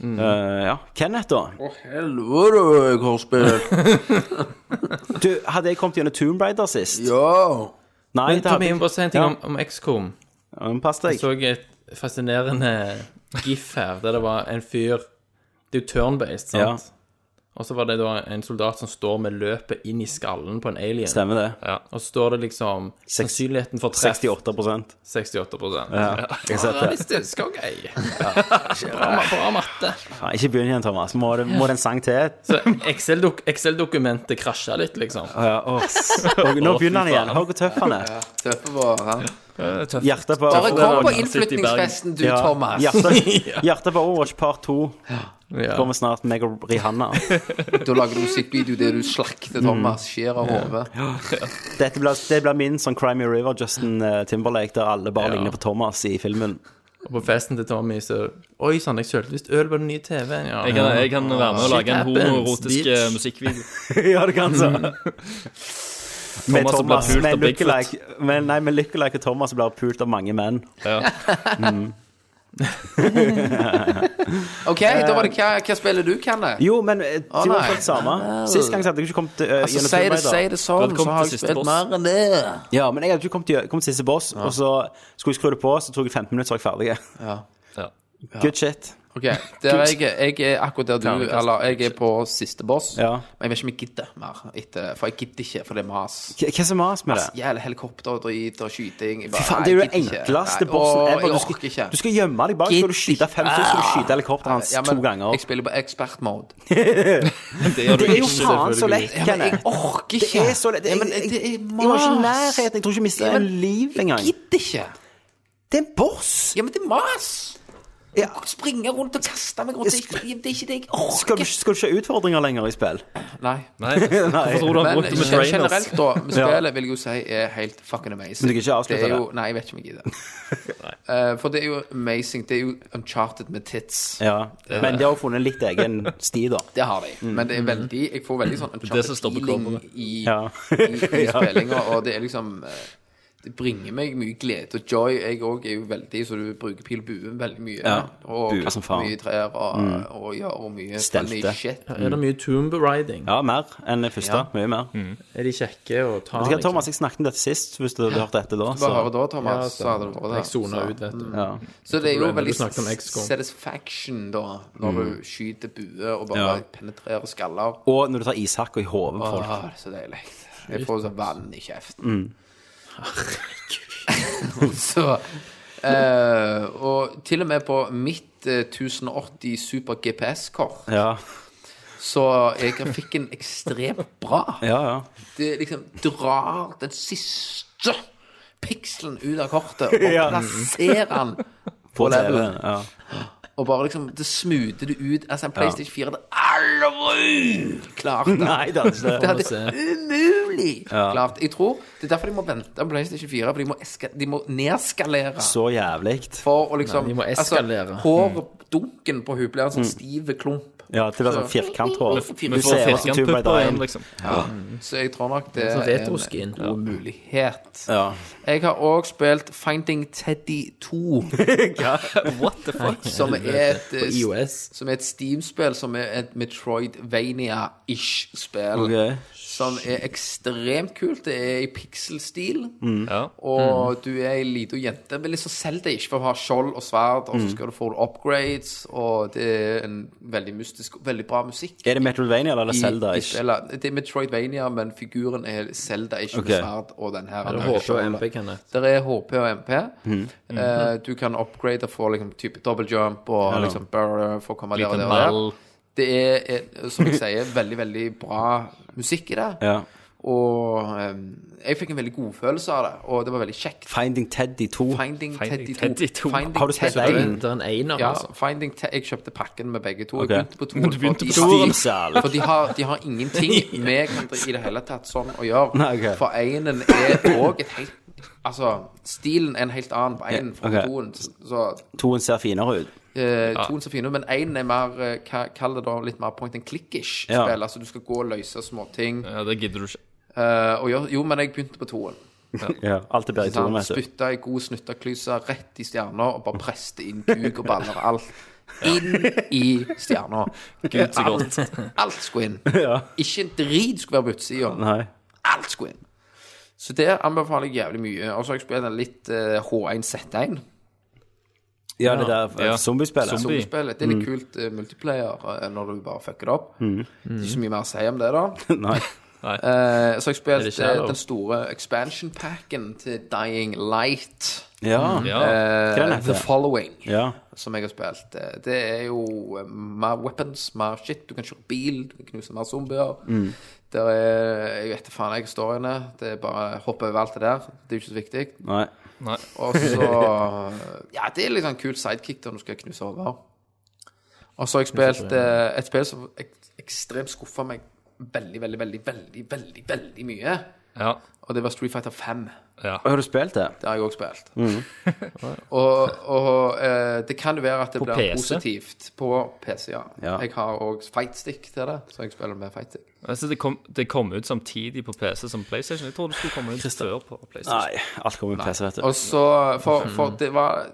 A: Eh, ja. Kenneth, da.
B: Helvete, jeg har spilt.
A: Du, hadde jeg kommet gjennom Tomb Raider sist?
B: Ja.
A: Nei,
C: Men
A: det hadde
C: Tommy, jeg
A: jeg
C: må bare si en ting
A: Ja.
C: om, om XCOM.
A: ikke. Pass
C: Jeg
A: deg.
C: så et fascinerende gif her, der det var en fyr Det er jo turn-based, sant?
A: Ja.
C: Og så var det da en soldat som står med løpet inn i skallen på en alien.
A: Stemmer det.
C: Og så står det liksom sannsynligheten for treff
A: 68
C: 68
A: ja. Jeg har sett det.
C: Realistisk, OK. Bra, bra matte.
A: Faen, Ikke begynn igjen, Thomas. Må det, må det en sang til?
C: Så Excel-dok- Excel-dokumentet krasja litt, liksom.
A: Ja, åh. Og nå begynner han igjen. Hør hvor tøff han er.
B: Tøffe var han.
A: Eh, Hjertet på
B: Bare kom på
I: sitter i
B: innflytningsfesten, du,
A: Ja,
B: Thomas.
A: Hjertet, hjertet på Overwatch part 2
C: Ja.
A: kommer snart meg og Rihanna.
B: Da lager du musikkvideo der du
A: Mm.
B: slakter Thomas, skjærer hodet.
A: Dette blir, det blir min sånn Crimey River, Justin eh, Timberlake, der alle bare ligner på Thomas i filmen.
C: Og på festen til Tommy så Oi sann, jeg kjøpte visst øl på den nye TV-en, ja.
I: Jeg kan, jeg kan være med og
C: Shit
I: lage en
C: happens,
I: homoerotisk
C: bitch.
I: eh, musikkvideo.
A: ja, det kan så. Mm. Med
I: Thomas som blir
A: Thomas,
I: pult
A: med
I: av Bigfoot.
A: lookalike men, Nei, med lookalike og Thomas som blir pult av mange menn.
B: OK, da
A: Eh.
B: var det hva, hva spiller du, Kenneth?
A: Jo, men eh, det var
B: nei.
A: helt samme. Sist gang så hadde jeg ikke kommet eh,
B: Altså,
A: gjennom
B: si det,
A: Tomb Raider.
B: si det sånn, så
I: Velkommen
B: har
I: til
B: jeg
I: siste
B: spilt
I: boss.
B: mer enn det.
A: Ja, men jeg hadde ikke kommet, til- kommet til siste boss, og så skulle jeg skru det på, så tok jeg 15 minutter, så var jeg ferdig.
I: Ja.
A: Good shit.
B: Ok, der er jeg, jeg er akkurat der du Eller jeg er på siste boss.
A: Ja.
B: Men jeg vet ikke om jeg gidder mer. Etter, for jeg gidder ikke, for det er mas.
A: Hva hva er så mas med det?
B: Jævla helikopter og drit og skyting. Jeg bare,
A: Fy faen, det er jo
B: nei,
A: den
B: jeg gidder ikke.
A: enkleste
B: Nei,
A: bossen
B: åh,
A: ever. Du
B: Jeg orker ikke.
A: skal, du skal gjemme deg bak, skal du skyte fem, så skal du skyte helikopteret hans
B: Ja, men
A: to ganger.
B: Jeg spiller på ekspert-mode.
A: Det er jo faen så lett,
B: Ja,
A: Kenneth.
B: men jeg orker
A: Det
B: ikke.
A: er så lett.
B: Ja,
A: Jeg,
B: men
A: jeg,
B: det er
A: jeg var ikke i
B: mas.
A: nærheten. Jeg tror ikke jeg mistet
B: Ja, men
A: en liv engang.
B: Gidder ikke.
A: Det er en boss!
B: Ja, men det er mas.
A: Ja.
B: Springe rundt og kaste meg rundt. Det er ikke- det er ikke det jeg orker.
A: Skal du, ikke- skal du ikke ha utfordringer lenger i spill?
B: Nei.
I: Nei, hvorfor tror du han
B: Men
I: brukte med trainers?
B: generelt, da, med spillet vil jeg jo si er helt fucking amazing.
A: Men du kan ikke avslutte
B: det? Er jo, nei, jeg vet ikke om jeg gidder. Eh, for det er jo amazing. Det er jo uncharted med tits.
A: Ja. Mm. Men de har jo funnet litt egen sti, da.
B: Det har de. Men det er veldig jeg får veldig sånn
I: er Mm. det som står på
B: uncharted-feeling i,
A: Ja.
B: i, i spillinga, og det er liksom eh, det bringer meg mye glede og joy. Jeg òg er jo veldig så du bruker pil og bue veldig mye.
A: Ja,
B: Og
A: bue som
B: kaster
A: faen. Mm.
B: mye trær og, og, ja, og mye
A: Stelte.
B: mye shit.
C: Er det mye tomb riding?
A: Ja, mer enn det første. Mye mer.
B: Mm.
C: Er de kjekke å ta?
A: Vet
C: liksom?
A: du hva, Thomas, jeg snakket om dette sist, hvis du hadde hørt dette da.
B: Bare hør
A: Så.
B: da, Thomas. så hadde det vært
C: Jeg sona ut, vet du.
A: Ja.
B: Så det er jo
C: Problemet
B: veldig
C: du snakket om XCOM.
B: satisfaction, da, når du skyter bue og bare
A: Mm. Ja.
B: penetrerer skaller.
A: Og når du tar ishakk og i hodet på folk. Mm.
B: Åh, det er så deilig. Jeg får sånn vann i kjeften. Herregud. så eh, Og til og med på mitt eh, 1080 Super GPS-kort,
A: Ja,
B: så er grafikken ekstremt bra.
A: ja. ja.
B: Det liksom drar den siste pikselen ut av kortet og
A: Ja.
B: plasserer den
A: På TV.
B: levelen.
A: Ja.
B: Og bare liksom, det smoother det ut. Altså, en PlayStation 4 hadde aldri klart det.
A: Nei, det hadde ikke det.
B: Det hadde umulig klart. Jeg tror Det er derfor de må vente på PlayStation 4, for de må, eska, de må nedskalere.
A: Så jævlig.
B: For å liksom
C: Nei, de må eskalere.
B: Altså, hårdunken på hun blir en sånn stiv klump.
A: Ja, det blir sånn firkanthår.
I: Vi
A: Du
I: får
A: ser ut som Tomb
I: firkantpupper
A: Raider 1.
I: igjen, liksom.
B: Så jeg tror nok det
C: Sånn
B: er en
C: retroskin.
B: god mulighet.
A: Ja.
B: Jeg har òg spilt Finding Teddy 2,
I: What the fuck?
B: som er et eh,
C: IOS.
B: som er et Steam-spill som er et Metroidvania-ish spill.
A: Ok.
B: Som er ekstremt kult. Det er i pixel-stil.
I: Ja.
B: Og
I: Mm.
B: du er ei lita jente. Men liksom selg det ikke, for du har skjold og sverd,
I: Mm.
B: og så skal du få upgrades, og det er en veldig mystisk Veldig bra musikk.
A: Er det Metroidvania eller er det Zelda?
B: I, i
A: ikke?
B: spillet. det er Metroidvania, men figuren er Zelda-ish
A: Ok.
B: med sverd og den her.
C: Jeg
B: han har
C: håper
B: skjold.
C: MP, Kenneth.
B: Der er HP og MP.
A: Mhm.
B: Eh, du kan upgrade og få liksom, type double jump og liksom burr, for å komme der og der.
I: Liten
B: og der.
I: ball.
B: Det er, eh, som jeg sier, veldig, veldig bra musikk i det.
A: Ja.
B: Og eh, jeg fikk en veldig god følelse av det, og det var veldig kjekt.
A: Finding Teddy 2.
B: Finding
I: Finding
B: 32.
I: Teddy 2.
B: Finding
A: Har du spilt
B: Teddy-
A: det?
C: Det er en einer,
B: Ja,
C: altså.
B: Finding Te jeg kjøpte pakken med begge to.
A: Ok.
B: Jeg begynte på to.
I: du begynte på
B: for,
I: toeren.
B: de-
A: altså,
B: for de har, de har ingenting med hverandre i det hele tatt sånn å gjøre.
A: Nei, ok.
B: For einen er òg et helt Altså, stilen er en helt annen på einen fra
A: ok.
B: toen. Så
A: Toen ser finere ut.
B: Eh, Toen ser fin ut, men én er mer eh, ka- Kall det da litt mer point and click-ish
A: Ja.
B: spill. Altså du skal gå og løse småting.
I: Ja, det gidder du ikke.
B: Eh, og gjør- jo, men jeg begynte på toen.
A: Ja. Alt er bedre i toen, vet du.
B: Spytta ei god snytterklyse rett i stjerna, og bare preste inn kuk og baller og alt. Inn i stjerna.
I: Gud, så godt.
B: Alt skulle inn. Ikke en drit skulle være på utsida.
A: Nei.
B: Alt skulle inn. Så det anbefaler jeg jævlig mye. Og så har jeg spilt en litt eh, H1Z1.
A: Ja, det der
I: Ja.
A: ja. zombiespillet.
I: Zombie.
B: Zombiespillet. Det er
A: Mm.
B: litt kult eh, multiplayer eh, når du bare fucker det opp. Det er ikke så mye mer å si om det, da.
A: Nei.
B: Eh, så har jeg
C: Er det
B: spilt
C: Shadow?
B: eh, den store expansion packen til Dying Light.
A: Ja.
I: Ja.
B: Eh,
A: Hva er den heter?
B: The Following,
A: ja.
B: som jeg har spilt. Eh, Det er jo eh, mer weapons, mer shit. Du kan kjøre bil, du kan knuse mer zombier. Der er, Jeg vet da faen jeg historiene. Det er bare å hoppe over alt det der. Det er jo ikke så viktig.
A: Nei.
B: Og så Ja, det er litt sånn kul sidekick der du skal knuse over. Og så har jeg spilt eh, et spill som ek ekstremt skuffa meg veldig, veldig, veldig, veldig, veldig, veldig mye.
I: Ja.
B: Og det var Street Fighter 5.
A: Og Har du spilt det?
B: Det har jeg òg spilt.
A: Mm.
B: og og eh, det kan jo være at det blir
I: PC?
B: positivt på PC, ja.
A: Ja.
B: Jeg har òg fightstick til det, så jeg spiller med fightstick.
I: Altså, det, kom, det kom ut samtidig på PC som PlayStation. Jeg tror det skulle komme ut før på PlayStation.
A: Nei, alt kommer i PC, vet du.
B: Og så for, for det var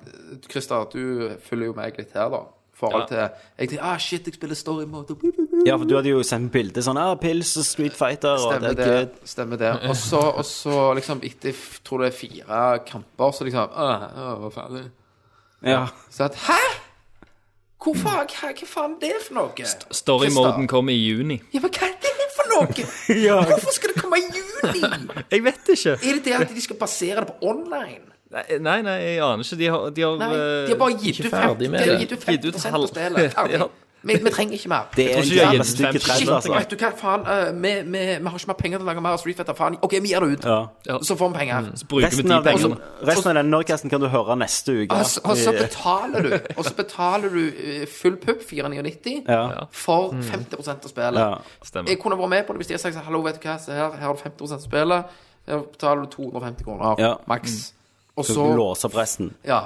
B: Christer, du følger jo meg litt her, da. I forhold til Jeg tenker ah, shit, jeg spiller story mode.
A: Ja, for du hadde jo sendt bilde sånn ah, pils og Street Fighter og
B: Stemmer
A: det er
B: det.
A: good.
B: Stemmer det. Og så, og så liksom etter f- tror det er fire kamper, så liksom «Åh, åh, Hva faen er det?
A: Ja.
B: Så at Hæ? Hvor faen, hva, hva faen er det for noe?
I: Story-moden kom i juni.
B: Ja, men hva er det for noe? Hvorfor skal det komme i juni? Er
I: Jeg vet ikke!
B: det det at de skal basere det på online?
I: Nei, nei, nei jeg aner ikke. De har, de har,
B: Nei,
I: eh,
B: de har bare gitt ut
C: ikke ferdig
B: 50
C: med
B: de har
C: det.
B: gitt ut
I: Gitt ut
B: 50 på
I: halv-
B: spillet. Ferdig.
I: Ja.
B: Vi, vi trenger ikke mer.
A: Det er
I: tror
A: en
I: ikke jeg har
A: jævla
I: gitt
A: stygg
I: fem
A: trailer,
I: shit,
A: altså.
B: Vet du hva, faen, eh, vi, vi, vi har ikke mer penger til å lage mer Street Fighter. Faen. OK, vi gir det ut.
A: Ja.
I: Ja. Mm.
B: Så får vi penger.
I: Så bruker vi
A: Resten
I: de
A: av, den,
I: pengene.
A: resten av den Nordcasten kan du høre neste uke.
B: Og så, og så betaler du Og så betaler du eh, full pupp, 499,
A: Ja.
B: for 50 av spillet.
A: Ja.
I: Stemmer.
B: Jeg kunne vært med på det hvis de hadde sagt sånn, Hallo, vet du hva, se her, her har du 50 av spillet. Her betaler du 250 kroner,
A: Ja.
B: maks. Og
A: Så
B: så
A: låse opp resten.
B: Ja.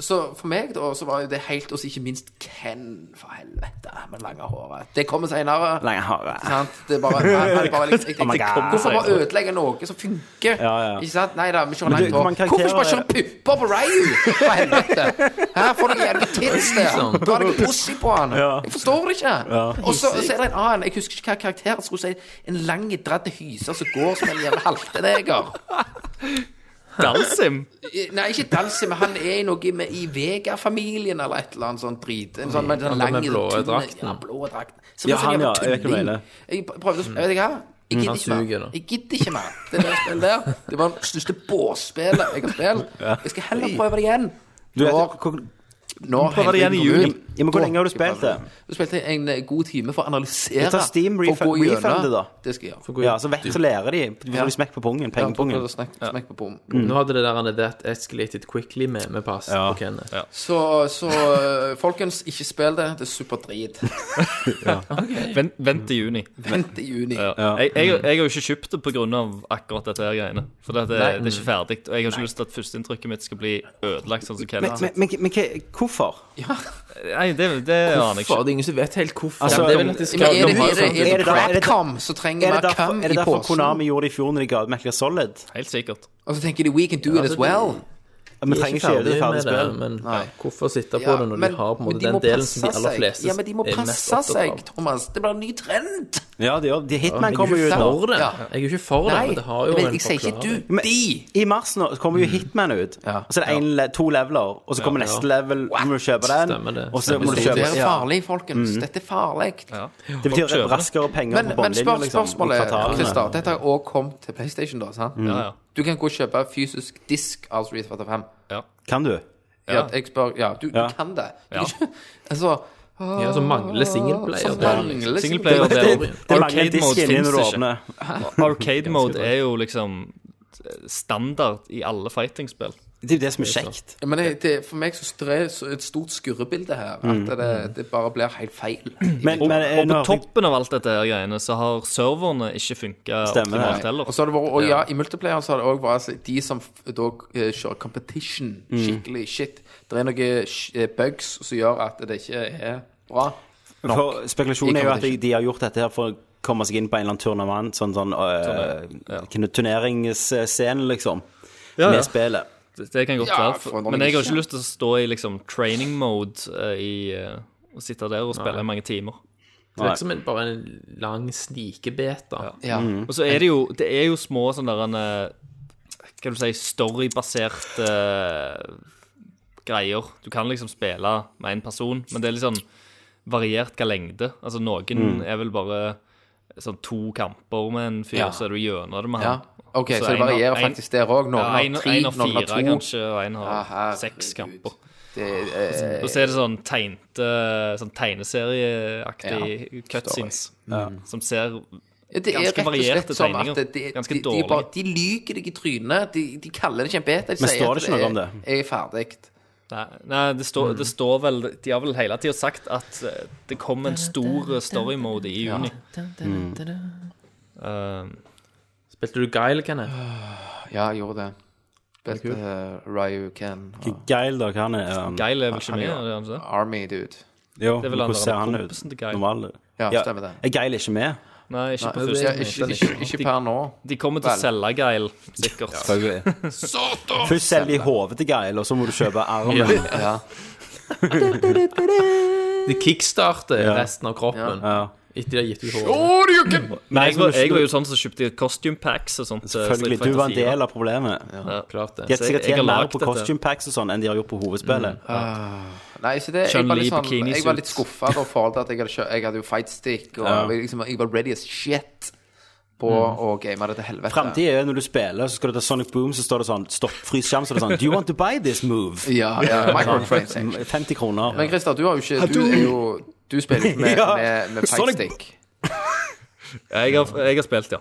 B: Så for meg, da, så var jo det helt Og så ikke minst Ken, for helvete, med lange håret. Det kommer seinere.
A: Lange håret.
B: Sant? Det er bare, han- han er bare liksom, jeg,
A: Oh my
B: jeg,
A: God.
B: hvorfor bare ødelegge noe som funker?
A: Ja, ja.
B: Ikke sant? Nei da, vi kjører
A: Men du,
B: langt hår.
A: man kan
B: Hvorfor ikke bare
A: karakterer-
B: kjøre pupper på Ryu? For helvete! Her får dere jævla tits der.
A: Liksom.
B: Du har ikke pussy på han. Jeg forstår det ikke. Og så, så er det en annen, jeg husker ikke hva karakteren skulle si, en lang, dratt hyse som går som en jævla halteneger.
I: Dalsim!
B: Nei, ikke Dalsi, men han er i noe med i Vega-familien eller et eller annet sånt drit. En sånn med den
C: Mm. Han der
B: lange
C: med blå
B: tynne-
C: drakten.
B: Ja, blå drakten. Så
A: Ja,
B: det var sånn
A: han, ja.
B: jævla
A: Jeg vet ikke hva du
B: tulling.
A: mener.
B: Jeg prøvde å sp- Vet du hva? Jeg
C: Mm. han
B: gidder ikke
C: suger,
B: mer.
C: da.
B: Jeg gidder ikke mer. Det der spillet der, det var det største båsspillet jeg har spilt. Jeg skal heller prøve det igjen.
A: Du vet,
B: Når-
A: hvor,
B: Når
I: prøver det
B: helgen
I: igjen i
B: kommer
I: juli.
B: ut,
A: Ja, men hvor
B: da
A: lenge har du
B: skal jeg
A: spilt
B: prøve
A: det?
B: Du spilte en eh, god time for å analysere.
A: Jeg tar Steam
B: og gå
A: refund-
B: gjennom.
A: refund det da.
B: Det skal jeg gjøre.
A: ja, så vet så lærer de. Så
B: Ja.
A: får de smekk på pungen.
B: Ja, for å prøve
A: Pengepungen. Mm.
B: å snakke- Smekk på bom.
C: Nå hadde det der han er that escalated quickly med, med pass
A: Ja.
C: på Kenneth.
B: Så, så eh, folkens, ikke spill det. Det er superdrit.
I: Vent, vent til juni.
B: Vent i juni.
I: Ja. Jeg, jeg,
A: Mm.
I: jeg har jo ikke kjøpt det pga. akkurat dette her greiene. For det, det, det er ikke ferdig. Og jeg har ikke lyst til at førsteinntrykket mitt skal bli ødelagt. sånn som
A: Men,
I: Kenneth
A: men, men, men hva- hvorfor?
I: Nei, det, det aner jeg
C: For
I: ikke.
C: det er ingen som vet helt hvorfor.
A: Altså,
C: Ja, men det er vel at de
B: Men er
C: skal
B: det, er det, er det,
A: Er det da- er det-
B: Capcom som trenger
A: Er det
B: mer
A: derfor,
B: cum
A: er
B: i
A: det derfor
B: posen?
A: Konami gjorde det i fjor når de ga ut Metal Gear Solid?
I: Helt sikkert.
B: Og så tenker de we can do
C: altså,
B: it as
A: Ja,
B: well.
A: Vi trenger ikke gjøre det ferdig spill.
C: men hvorfor sitte på
B: Ja,
C: det når
B: men-
C: de har på en
B: men
C: måte
B: de
C: den
B: må
C: delen
B: passe
C: som de aller
B: seg.
C: fleste
B: Ja, men de må
C: er mest
B: passe
C: opptatt
B: seg,
C: av?
B: Thomas. Det blir en ny trend.
A: Ja, det gjør de. Hitman
C: men
A: kommer
C: du
A: jo ut nå.
C: får det.
B: Ja.
C: Jeg er jo ikke for det,
B: Nei,
C: men det har jo
B: men
C: en
B: jeg sier ikke du.
C: forklaring.
A: Men-
B: De.
A: I mars nå så kommer jo Hitman ut. Og så er det en, le- to leveler, og så kommer neste level. Nå må du kjøpe den.
C: Stemmer det.
A: Og så
C: Stemmer
A: må du
B: Det
A: kjøpe
B: er
A: ja.
B: farlig, folkens.
C: Mm.
B: Dette er farlig.
A: Det betyr
I: kjøper det.
A: raskere penger
B: Men,
A: på
B: men
A: båndlinja,
B: spør,
A: liksom. i
B: spørsmålet,
A: kvartalene.
B: Christer. Dette har også kommet til PlayStation, da. sant?
A: Mm.
I: Ja, ja.
B: Du kan gå og kjøpe fysisk disk av Street Fighter 5.
A: Kan du?
B: Ja, jeg spør, ja, du,
A: Ja.
B: du kan det. Du
I: Ja.
B: kan ikke, altså,
C: Ja, så mangler singleplayer.
B: så
C: der.
B: mangler
I: Singleplayer
B: liksom. det.
I: det,
A: Det,
I: det,
A: det mangler en
I: Arcade
A: disk
I: mode
A: inni
I: finnes
A: når du
I: ikke.
A: åpner.
I: Arcade mode er jo liksom standard i alle fightingspill.
A: Det er jo det som er kjekt.
B: Ja, Men det, det, for meg så strer så et stort skurrebilde her.
A: Mm.
B: At det, det bare blir helt feil.
A: Men, men eh,
I: Og på
A: nå-
I: toppen av alt dette her greiene så har serverne ikke funka
A: Stemmer det.
I: optimalt heller.
B: Og så har det vært, og ja, I multiplayer så har det òg vært altså, de som f- da eh, kjører competition.
A: Mm.
B: Skikkelig shit. Det er noen sh- eh, bugs som gjør at det ikke er bra.
A: For spekulasjonen
B: I
A: er jo at de,
B: competition.
A: de har gjort dette her for å komme seg inn på en eller annen turnament, sånn, sånn uh, turneringsscene, liksom,
I: Ja, ja.
A: med spillet.
I: Det kan godt
B: Ja,
I: være.
B: for
I: For,
B: noen
I: men jeg har
B: ikke.
I: ikke lyst til å stå i liksom training mode eh, i eh, å sitte der og spille i mange timer.
C: Det er liksom en, bare en lang snikebeta.
B: Ja.
I: Og så er det jo Det er jo små sånn sånne der en, eh, Hva skal du si Storybaserte greier. Du kan liksom spille med én person, men det er litt sånn variert hva lengde. Altså Noen
B: Mm.
I: er vel bare sånn to kamper med en fyr,
B: Ja.
I: så er du gjennom det med
B: Ja.
I: han.
B: OK, så,
I: Så
B: det
I: en av-
B: varierer
I: en-
B: faktisk der òg. Noen
I: Ja,
B: har
I: en,
B: tre,
I: en har
B: noen
I: fire,
B: har to.
I: kanskje, og en har
B: Ja,
I: seks
B: herregud.
I: kamper.
B: Det, eh,
I: Og så er det sånn, tegnte, sånn tegneserieaktig cutscenes
B: Mm.
I: som ser
B: det er
I: ganske
B: rett og slett
I: varierte
B: som
I: tegninger.
B: at det, det,
I: Ganske
B: de, de,
I: dårlige.
B: bare, de lyker deg i trynet. De, de kaller det ikke en beta. De
A: Men
B: sier
A: står det
B: at
A: ikke noe om
B: er- Jeg er ferdig.
I: Nei, nei det, står, det står vel De har vel hele tida sagt at eh, det kom en stor eh, story mode i juni. Um,
C: Spilte du Guile, Kenneth?
B: Ja, jeg gjorde det. Spilte uh, Ryu Ken og
A: Geil, da, hva han er um,
I: Guile er vel ikke med? er det altså. han ikke det?
B: Army Dude.
A: Jo,
I: er
A: hvordan
I: vel han der
A: ser han ut?
I: kompisen til Geil.
A: Normal?
B: Ja, stemmer det.
A: Er Geil ikke med?
I: Nei, ikke på
B: Ja,
I: første.
B: ikke, ikke, ikke per nå.
I: De kommer til å selge Guile, sikkert.
A: Først selger de hodet til Geil, og så må du kjøpe armen.
B: Ja.
C: De kickstarter resten av kroppen
A: Ja.
C: etter de har gitt ut håret.
A: Nei,
I: Jeg var, jeg var jo sånn som kjøpte costume packs og sånt. eh,
A: Selvfølgelig.
I: Street
A: Du var en
I: Fighter 4.
A: del av problemet.
C: Klart
A: De
C: det.
A: har sikkert
I: jeg har
A: tjent mer
I: lagd
A: på
I: dette. Mm.
A: costume packs og sånn enn de har gjort på hovedspillet.
B: Nei, så det, jeg, var litt
I: Chun-Li
B: sånn,
I: bikini
B: jeg var litt
I: suit.
B: skuffa i forhold til at jeg hadde, kjø- jeg hadde jo fightstick, og
A: Ja.
B: jeg, liksom, jeg var ready as shit på å game det til helvete.
A: Fremtiden er jo når du spiller, så skal du ta Sonic Boom, så står det sånn Stopp, frys skjerm, så er det sånn Do you want to buy this move?
B: Ja, ja, microframes. egentlig.
A: 50 kroner.
B: Men Christer, du har jo ikke Du, er jo, du spiller jo ikke med,
A: Ja,
B: med, med
A: Sonic-
B: fightstick.
I: Ja, Jeg har, jeg har spilt, ja.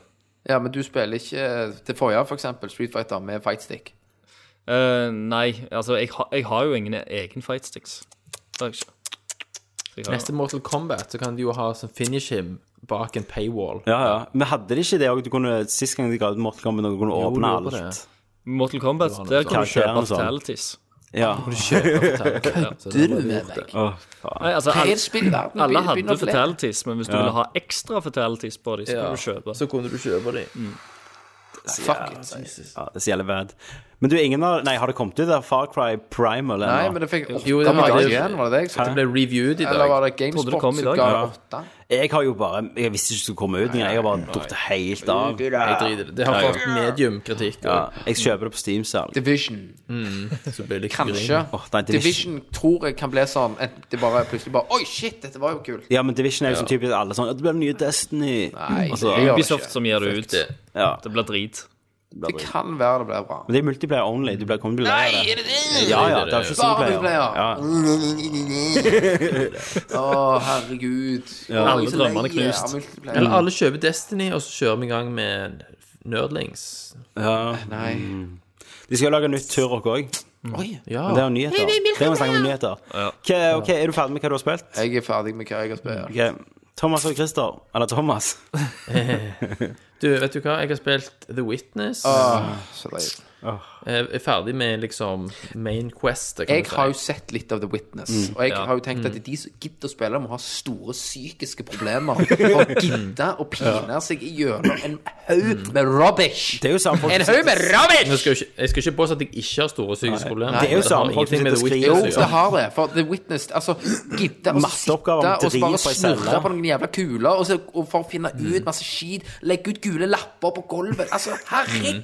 B: Ja, men du spiller ikke eh, til forrige, for eksempel, Street Fighter med fightstick.
I: Eh, nei, altså, jeg, har- jeg har jo ingen egen fightsticks. Det har jeg ikke. Så jeg har-
C: Neste Mortal Kombat så kan de jo ha sånn finish him bak en paywall.
A: Ja, ja. Men hadde de ikke det òg? Du kunne sist gang de ga ut Mortal Kombat, du kunne
C: du
A: åpne
C: gjorde
A: alt.
I: Mortal Kombat, der kan du
A: Karakteren
I: kjøpe
A: og sånn.
I: fatalities.
A: Ja.
C: Så det var gjort det.
A: Åh, faen.
I: Nei, altså,
B: Hva
I: alle,
B: er spillverden?
I: alle hadde fatalities, men hvis du ville ha ekstra fatalities på dem, så kunne
C: Ja.
I: du kjøpe.
C: Så kunne du kjøpe de.
B: Fuck it.
A: Ja, det er så jævlig bad. Men du, ingen av Nei, har det kommet ut der Far Cry Primal
B: Nei,
A: ennå?
B: men det fikk
C: Jo,
B: åtte
C: det var
B: dager
C: det-
B: igjen, var det det? jeg
C: Det
B: så?
C: ble reviewed i dag.
B: Eller var det
I: Trodde det
B: GameSpot
I: kom i
B: som
I: dag,
B: ga
I: ja.
B: åtte?
A: Jeg har jo bare Jeg visste ikke det skulle komme ut engang. Jeg har bare datt helt av.
C: Jeg driter i det. Det har fått medium-kritikk.
A: Ja,
C: og
A: jeg kjøper det på Steam-salg.
B: Division.
C: Så blir det
B: Kanskje.
A: Åh, nei, Division.
B: Division tror jeg kan bli sånn enten det bare plutselig bare Oi, shit, dette var jo kult.
A: Ja, men Division er jo sånn typisk alle sånn «Ja, Det blir den nye Destiny.
B: Nei,
A: Altså,
B: det gjør det
I: Ubisoft
B: ikke.
I: som gir det ut.
C: det.
I: Det
A: Ja,
I: blir drit.
A: det
B: Det
A: blir
B: kan være det blir bra.
A: Men det er multiplayer only. Du blir kommet til å bli lei av det. Ja, ja, det er jo ikke
B: Bare
A: singleplayer.
B: multiplayer.
A: Ja.
B: Å, herregud.
A: Ja,
I: alle drømmene knust.
C: Eller alle kjøper Destiny, og så kjører vi i gang med Nerdlings.
A: Ja.
B: Nei.
A: De skal jo lage nytt Turok òg.
B: Oi.
C: Ja.
A: Det er jo nyheter. Det må vi snakke om nyheter. Hva- ok, Er du ferdig med hva du har spilt?
B: Jeg er ferdig med hva jeg har spilt.
A: Ok, Thomas og Christer. Eller Thomas.
C: Du, vet du hva? Jeg har spilt The Witness.
B: Åh, Ah, så leit.
C: Jeg er ferdig med liksom main quest.
B: Jeg har jo sett litt av The Witness,
A: Mm.
B: og jeg har jo tenkt at de som gidder å spille, må ha store psykiske problemer for å gidde å pine seg gjennom en haug med
A: Mm.
B: rubbish.
A: Det er jo samme folk
B: En haug med rubbish!
C: Jeg skal, jo ikke, jeg skal ikke påstå at jeg ikke har store psykiske problemer.
A: Det er jo
C: har
A: samme folk som
C: ingenting med
A: sitter og
C: The
A: skriver.
B: Jo,
C: Witness å
B: det
C: gjøre.
B: har det. For The Witness Altså, gidde å sitte og
A: Matteoppgaven drit
B: bare
A: på ei celle. Mm.
B: snurre på noen jævla kuler og, så, og for å finne ut masse skit. Legge ut gule lapper på gulvet. Altså, herregud,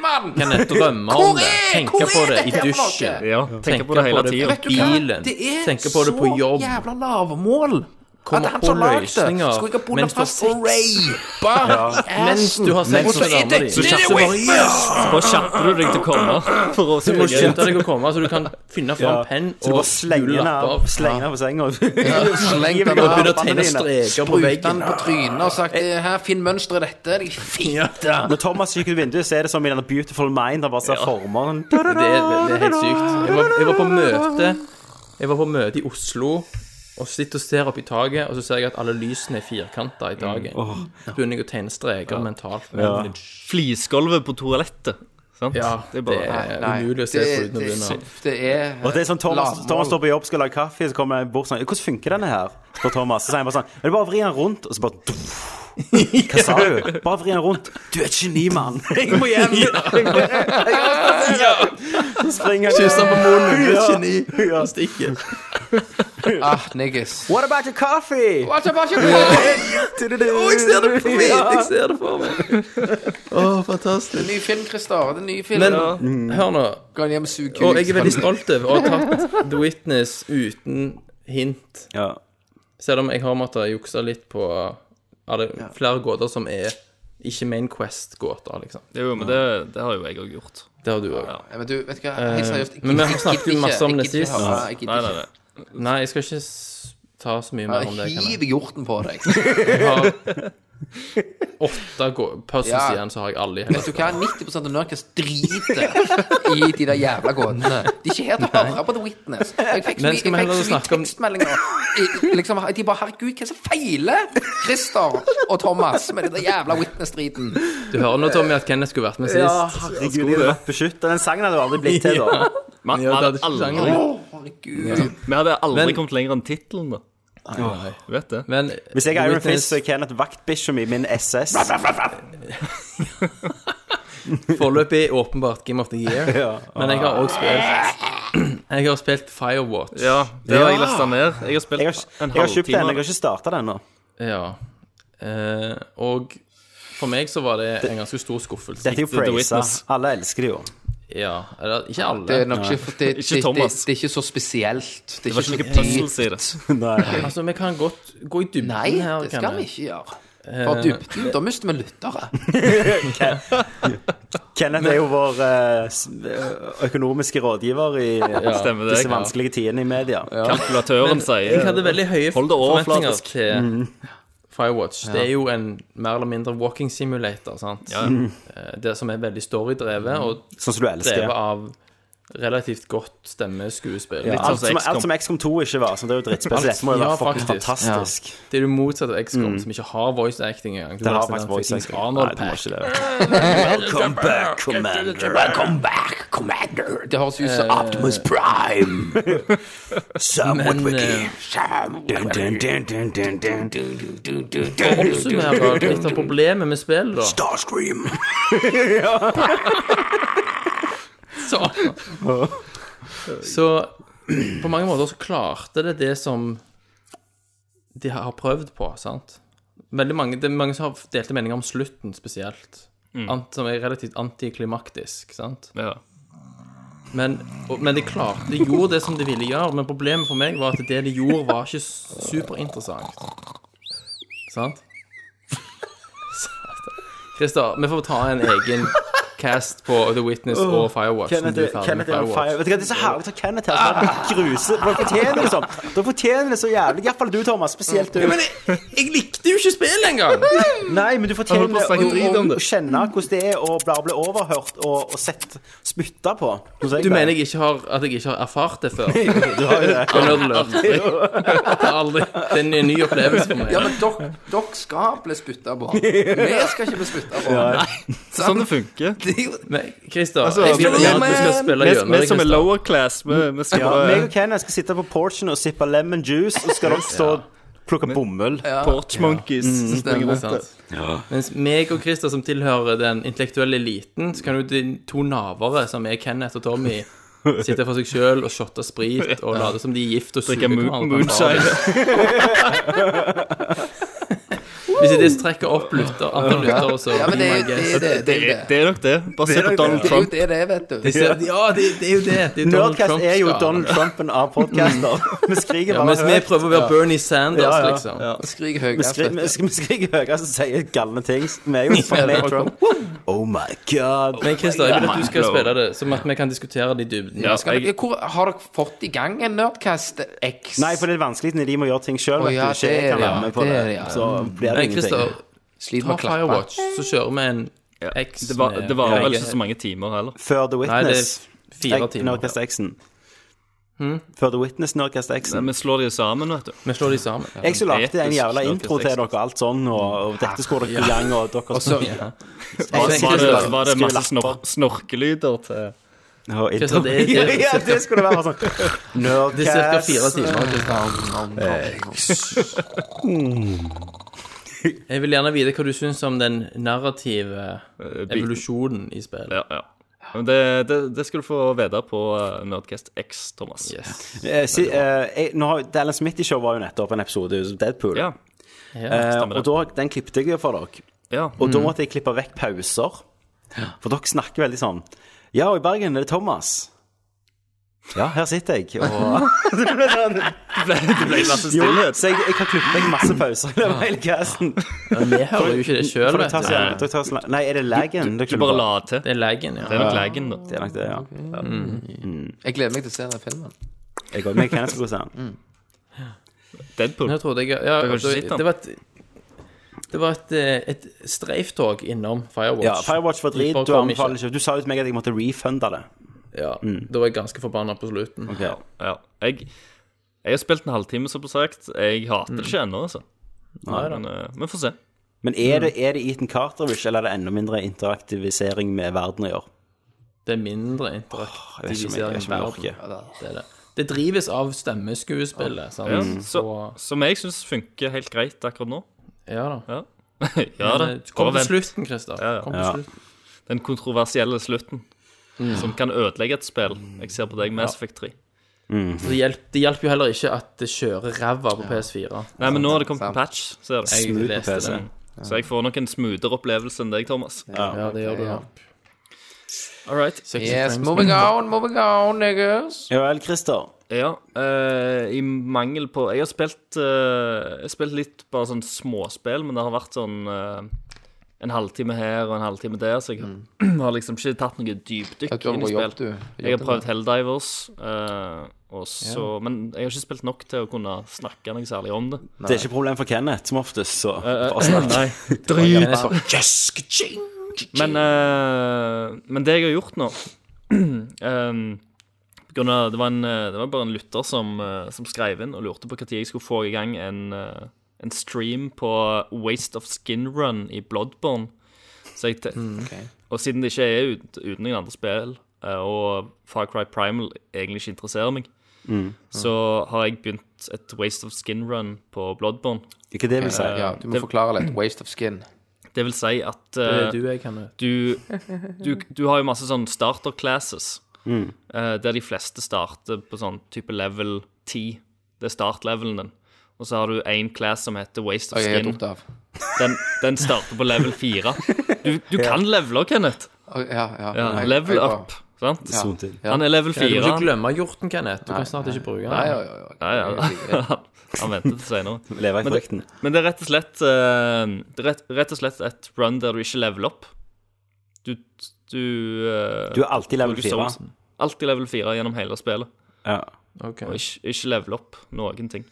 B: mann!
C: Kan jeg drømme
B: Hvor
C: om det?
B: er-
C: Tenke
B: hvor
C: på
B: er
C: det i
B: dette for noe?
C: dusjen.
I: Ja, tenker på det hele tida.
B: Vet du hva?
C: bilen.
B: Det er
C: Tenker på det på jobb.
B: så jævla lavmål.
C: Kommer
B: at han som
C: på
B: lagde det, sånn
C: løsninger
B: skulle ikke ha bundet
C: mens du har
B: fast og
C: sex.
B: rapa
C: Mens du har sex med dama di.
B: Så
C: Så
B: kjapper
C: kjapper
B: bare
I: Bare kjapper du deg til å komme for å
C: Du må
I: spille.
C: skynde deg å komme, så du kan finne fram penn
A: Så du
C: og
A: bare slenger den her-
C: gullapper.
A: slenger den her på senga.
B: Slengt den
C: Og
B: av
C: begynner å
B: armene
C: tegne
B: dine.
C: streker på
B: Sprut
C: veggen.
B: den på trynet og sagt «Eh, Her, finn mønsteret i dette. De fitte.
A: Når Thomas kikker ut vinduet, så er det som i denne Beautiful Mind. Han bare ser former.
C: Det er, det er helt sykt. Jeg var, jeg var på møte Jeg var på møte i Oslo og sitter og ser opp i taket, og så ser jeg at alle lysene er firkanta i
B: Mm.
C: taket. Så begynner jeg å tegne streker mentalt. Men,
I: Flisgulvet på toalettet. Sant?
C: ja,
I: det er bare
C: umulig å se på uten å begynne.
B: det er
A: Og det er sånn Thomas,
B: Lavmål.
A: Thomas står på jobb, skal lage kaffe, så kommer jeg bort sånn 'Hvordan funker denne her?' spør Thomas. Så sier han bare sånn «Ja, 'Du bare vrir den rundt', og så bare Hva sa du? Bare vri den rundt. Du er et geni, mann. Jeg må hjem. Jeg må hjem. Så springer jeg.
C: Kysse han på munnen. Du er et
A: Ja.
C: geni.
A: Ja.
C: Han stikker.
B: Ah, niggas.
A: What about your coffee?
B: What about your car?
C: Jeg ser det på meg. Jeg ser det på meg. Å, fantastisk.
B: Ny film, Christer. Det er en ny film.
C: Men
B: Mm.
C: hør nå.
B: Gå hjem og sug
C: Og jeg er veldig stolt over å ha tatt The Witness uten hint.
A: Ja.
C: Selv om jeg har måttet jukse litt på er det flere gåter som er ikke Main Quest-gåter, liksom.
I: Jo, men det, det har jo jeg òg gjort.
C: Det har du òg.
B: Ja, Men du, vet du hva? Helt seriøst. jeg
C: Eh, men vi
B: gidder- jeg
C: snakket jo
B: gidder
C: masse om
B: ikke.
C: det
B: Jeg gidder ikke
C: sist.
B: høre. Jeg gidder
I: Nei, nei,
B: ikke.
I: nei.
C: Nei, jeg skal ikke s- ta så mye mer om det.
B: Jeg
C: Kan jeg.
B: hiver hjorten på deg.
C: jeg har åtte gå- puzzles
B: Ja.
C: igjen, så har jeg alle i hele
B: Vet du hva? 90 av Nurkas driter i de der jævla gåtene. De er ikke her til å høre på The Witness. Jeg fikk så
C: Men
B: mye,
C: skal vi
B: jeg fikk
C: heller
B: så mye
C: snakke om-
B: tekstmeldinger. I- Liksom, de bare 'Herregud, hva er det som feiler Christer og Thomas med den der jævla Witness-driten?'
C: Du hører nå, Tommy, at Kenneth skulle vært med sist.
A: Ja, herregud, jeg hadde vært beskyttet. Den sangen hadde jo aldri blitt til, da.
I: Man,
C: Ja,
I: man
C: det hadde
I: hadde
C: ikke
I: aldri,
C: sjangeren.
B: Herregud.
I: vi hadde aldri
C: Men-
I: kommet lenger enn tittelen, da. Du vet det.
C: Men
A: Hvis jeg er Iron
C: Witness
A: Fist, så er Kenneth vaktbikkja mi min SS.
C: foreløpig åpenbart Game of the Year.
A: Ja.
C: Men jeg har òg spilt Jeg har spilt Firewatch.
I: Ja, det har jeg lasta ned. Jeg har spilt
A: Jeg har,
I: en
A: jeg har kjøpt den, jeg har
I: halvtime.
A: ikke starta den ennå.
C: Ja. Eh, og for meg så var det en ganske stor skuffelse.
A: Dette er jo
I: The
A: praisa.
I: Witness.
A: Alle elsker det jo.
C: Ja, eller ikke
B: Det er
C: alle.
B: nok ikke, det, det, det, det,
I: Thomas.
B: det er ikke så spesielt. Det
I: Det
B: er
I: var
B: ikke så
I: ikke noe
B: dypt.
I: puzzles i det.
A: Nei.
C: Altså, vi kan godt gå i dybden
B: Nei,
C: her.
B: det skal
C: Kenneth.
B: vi ikke gjøre. For dybden, da mister vi lyttere.
A: Kenneth er jo vår eh, s- eh, økonomiske rådgiver i
I: Stemmer det.
A: disse vanskelige tidene i media.
I: Kalkulatøren
C: Jeg
I: sier
C: hadde veldig høye
I: Hold det
C: forventninger
I: overflatisk. Mm.
C: til Firewatch. Det er jo en mer eller mindre walking simulator, sant?
I: Ja. Mm.
C: Eh, Det som er veldig storydrevet, og
A: Mm. Sånn som du elsker.
C: drevet av relativt godt stemmeskuespill.
A: Ja,
C: Litt
A: alt,
I: sånn som
A: som, alt
I: XCOM.
A: som XCOM 2 ikke var, så det er jo drittspesielt. Dette må jo være
C: Ja,
A: fucking
C: faktisk.
A: fantastisk.
C: Det er jo motsatt av XCOM, som ikke har voice acting engang.
A: Mm.
C: Du
A: Det har
C: nesten
A: faktisk
C: en
A: voice
C: fuckings
A: acting. Nei,
C: Arnold
A: det må
C: Pack.
A: ikke det. Welcome back, commander.
B: Welcome back, commander. Det høres ut
C: Eh,
B: som Optimus Prime.
A: Somewhat
C: Men,
A: wiki.
C: eh,
B: Sam-
A: Dun, dun, dun, dun, dun, dun.
C: Oppsummerer litt av problemet med spillet, da.
A: Starscream.
C: Så Så på mange måter så klarte det det som de har prøvd på, sant? Veldig mange, det er mange som har delte meninger om slutten spesielt, Ant, som er relativt antiklimaktisk, sant?
I: Ja.
C: Men, og, men de klarte, de gjorde det som de ville gjøre, men problemet for meg var at det de gjorde var ikke superinteressant. Sant? Satan. Christer, vi får ta en egen cast på The Witness og Firewatch. når
A: Kenneth er- Kenneth
C: du er ferdig med
A: er on
C: Firewatch.
A: fire. Vet du hva, Det er så herlig å ha Kenneth her som bare gruser. Dere fortjener det sånn. Dere fortjener det så jævlig. Iallfall du, Thomas. Spesielt du.
C: Men jeg, jeg likte jo ikke spillet engang!
A: Nei, men du fortjener
I: Jeg holdt på å
A: det
I: snakke drit
A: å- å
I: om det.
A: å kjenne hvordan det er å bare bli overhørt og, og sett spytta på.
C: Du mener jeg ikke har, at jeg ikke har erfart det før?
A: Du har jo det.
C: Jeg har aldri- jeg har aldri Det er en ny opplevelse for meg.
B: Ja, men dere dere skal bli spytta på. Vi skal ikke bli spytta på.
I: Sånn det funker.
B: Det er jo
C: Men Christer,
I: Altså,
C: jeg vil
I: vi-
C: gjerne at du skal spille
I: Vi
C: gjennom
I: vi
C: det.
I: som er
C: Christer.
I: lower class, vi vi skal
A: Ja,
C: eh,
A: meg og
I: være
A: Kenneth skal sitte på porchen og sippe lemon juice, og skal dere stå og plukke bomull.
I: porch monkeys. som springer
B: stemmer.
I: rundt.
C: Sant? Mens meg og Christer, som tilhører den intellektuelle eliten, så kan jo de to navere, som er Kenneth og Tommy, sitte for seg sjøl og shotte sprit og late som de er gift og suger
I: Drikke moon- moonshine.
C: Hvis de trekker opp lytter, antall lyttere, så
B: Ja, men det er jo det. er jo det, det, er jo
I: Det-
B: det.
I: Det er nok det. Bare se på Donald
B: Det er jo
I: Trump.
B: det, det, vet du.
C: De ser- Ja, det, det er jo det. det er Donald
A: Nerdcast er jo
C: Trump-skalaen.
A: Donald Trumpen av podcaster. Vi skriker
C: Ja,
A: bare
C: mens vi
A: høyt.
C: prøver å være Bernie Sanders,
A: Ja, ja,
C: liksom.
B: Skrik
A: Vi
B: høyest.
A: skriker, vi sk- vi skriker høyere og sier galne ting. Vi er jo for med Trump. Oh my god.
C: Men Christer, jeg vil at du skal
I: Lord.
C: spille det, sånn at vi kan diskutere det i dybden.
I: Ja,
B: Skal dere,
I: jeg,
B: hvor, har dere fått i gang en Nerdcast X?
A: Nei, for det er vanskelig når de må gjøre ting sjøl.
B: Å, ja,
A: ikke jeg
B: det er
A: kan
B: det,
A: være med på
B: det
A: det.
B: er det, ja.
A: Så blir det
C: Men
A: ingenting.
C: Christer,
B: Sliter
C: ta
B: med å klappe.
C: Firewatch, så kjører vi en X
I: det var,
C: med-
I: det var vel
C: Nei,
I: ikke så mange timer heller.
A: Før The
C: Nei, det er
A: Witness.
C: fire
A: Ek-
C: timer.
A: Nerdcast X-en. Før The Witness, Nerdcast X-en.
I: Vi slår de jo sammen, vet du.
C: Vi slår de sammen.
A: Jeg som lagde en
I: episk
A: jævla intro til
I: Nerdcast
A: dere og alt sånn, og, og dette skulle dere i gang, og dere
C: Ja.
I: Var det, var det
A: Skriv
I: masse snor snorkelyder til
A: Og intro.
C: Christer, det er- det er-
A: ja, det skulle være sånn.
C: Det er ca.
A: Nerdcast
I: Eh.
C: fire timer. Christer. Jeg vil gjerne vite hva du syns om den narrative
I: Eh,
C: evolusjonen i spillet.
I: Ja, ja. Men det, det, det skal du få vite på eh, Nerdcast X, Thomas.
C: Yes.
A: Eh, si, eh, jeg, nå har, The Alan Smitty Show var jo nettopp en episode av Deadpool.
I: Ja.
A: Eh,
I: stemmer
A: og
I: det.
A: da, den klippet jeg jo for dere.
I: ja.
A: Og da måtte jeg klippe vekk pauser. For dere snakker veldig sånn Ja, og i Bergen er det Thomas. Ja, her sitter jeg. Og... jo, så jeg, jeg har klippet vekk masse pauser i løpet av hele casten.
C: Vi hører jo ikke det sjøl,
A: For det
C: vet
A: tar
C: Eh, du.
A: så jævlig- det tar så lang- sånn- Nei, er det legen?
I: Du bare la til.
C: Det er legen, ja.
I: Det er nok legen, da.
A: Det er nok det, ja.
B: Jeg gleder meg til å se den filmen.
A: Jeg går med Kenneth skal gå og se den.
I: Deadpool.
C: Nå trodde jeg ja,
I: har ikke
C: det,
I: sett den.
C: det var et det var et, eh, et streiftog innom Firewatch.
A: Ja, Firewatch var drit.
C: Bare
A: Du
C: kom
A: anbefaler ikke. Du sa jo til meg at jeg måtte refunde det.
C: Ja, Da var jeg ganske forbanna på slutten.
I: Ja. Jeg, jeg har spilt en halvtime, som sagt. Jeg hater det ikke ennå, altså.
A: Nei da.
I: Men eh, vi får se.
A: Men er det, er det Ethan Carter-ish, eller er det enda mindre interaktivisering med verden å gjøre?
C: Det er mindre
A: Jeg vet ikke om jeg, jeg,
C: interaktivisering
A: vet
C: i
A: ikke om jeg
C: verden.
A: orker.
C: Det, er det. det drives av stemmeskuespillet, sant.
I: Ja, så,
C: Og-
I: som jeg syns funker helt greit akkurat nå.
C: ja da.
I: Ja, ja da.
C: Men, eh, Kom
I: Bare
C: til
I: vent.
C: slutten, Christer. Kom til
A: Ja.
C: slutten.
I: Den kontroversielle slutten.
C: Mm.
I: Som kan ødelegge et spill. Jeg ser på deg, Mass Effect 3.
C: Det hjelper, det hjelper jo heller ikke at det kjører ræva på PS4.
I: Nei, men nå har det kommet en patch, ser du.
C: Jeg
A: Smooth på
C: leste
A: PC.
C: det.
I: Så jeg får nok en smoothere opplevelse enn deg, Thomas.
C: Ja, det gjør du. Ja.
I: All right.
B: Yes,
C: Eh,
B: moving on, moving on, niggas.
A: Ja vel, Christer.
I: Ja, eh, i mangel på Jeg har spilt, eh, jeg har spilt litt bare sånn småspill, men det har vært sånn eh, en halvtime her og en halvtime der, så jeg
C: Mm.
I: har liksom ikke tatt noe dypdykk
B: Jeg tror
I: inn
B: du
I: i
B: jobb,
I: spill.
B: du.
I: Jeg har prøvd Helldivers, eh, og så, men jeg har ikke spilt nok til å kunne snakke noe særlig om det.
A: Det er ikke problem for Kenneth, som oftest, så
C: Eh,
A: bare snakk.
I: Eh, Nei, Men, eh, men det jeg har gjort nå eh, på grunn av, det, var en, eh, det var bare en lytter som, eh, som skrev inn og lurte på når jeg skulle få i gang en, eh, en stream på Waste of Skin Run i Bloodborne. Så jeg, te- Og siden det ikke er ut, uten noen andre spill, eh, og Far Cry Primal egentlig ikke interesserer meg, så har jeg begynt et Waste of Skin Run på Bloodborne.
A: Ikke det vil si.
I: Eh,
B: Ja, du må forklare litt. Waste of skin.
I: Det vil si at
C: Det
I: eh,
C: er du jeg kan
I: du, du, du har jo masse sånn starter classes,
B: Mm.
I: eh, der de fleste starter på sånn type level 10. Det er startlevelen din. Og så har du én class som heter Waste of
B: Jeg er helt
I: Skin.
B: opptatt av.
I: Den, den starter på level 4. Du, du kan levele, Kenneth.
B: Å, Ja, ja.
I: Ja,
B: Nei,
I: level
B: jeg-
I: up, sant?
A: Zoom til.
I: Han er level
C: Du må
I: 4.
C: ikke glemme hjorten, Kenneth. Du kan snart ikke bruke den.
B: Ja, ja, ja. ja.
I: Ja, ja. Han venter til senere.
A: Leve i
I: Men det-
A: frykten.
I: Men det er rett og slett eh, Det er rett, rett og slett et run der du ikke leveler opp. Du, du eh,
A: Du er alltid level
I: bruker
A: 4.
I: souls. Alltid level 4 gjennom hele spillet.
A: Ja.
C: Ok.
I: Og ikke, ikke level opp noen ting.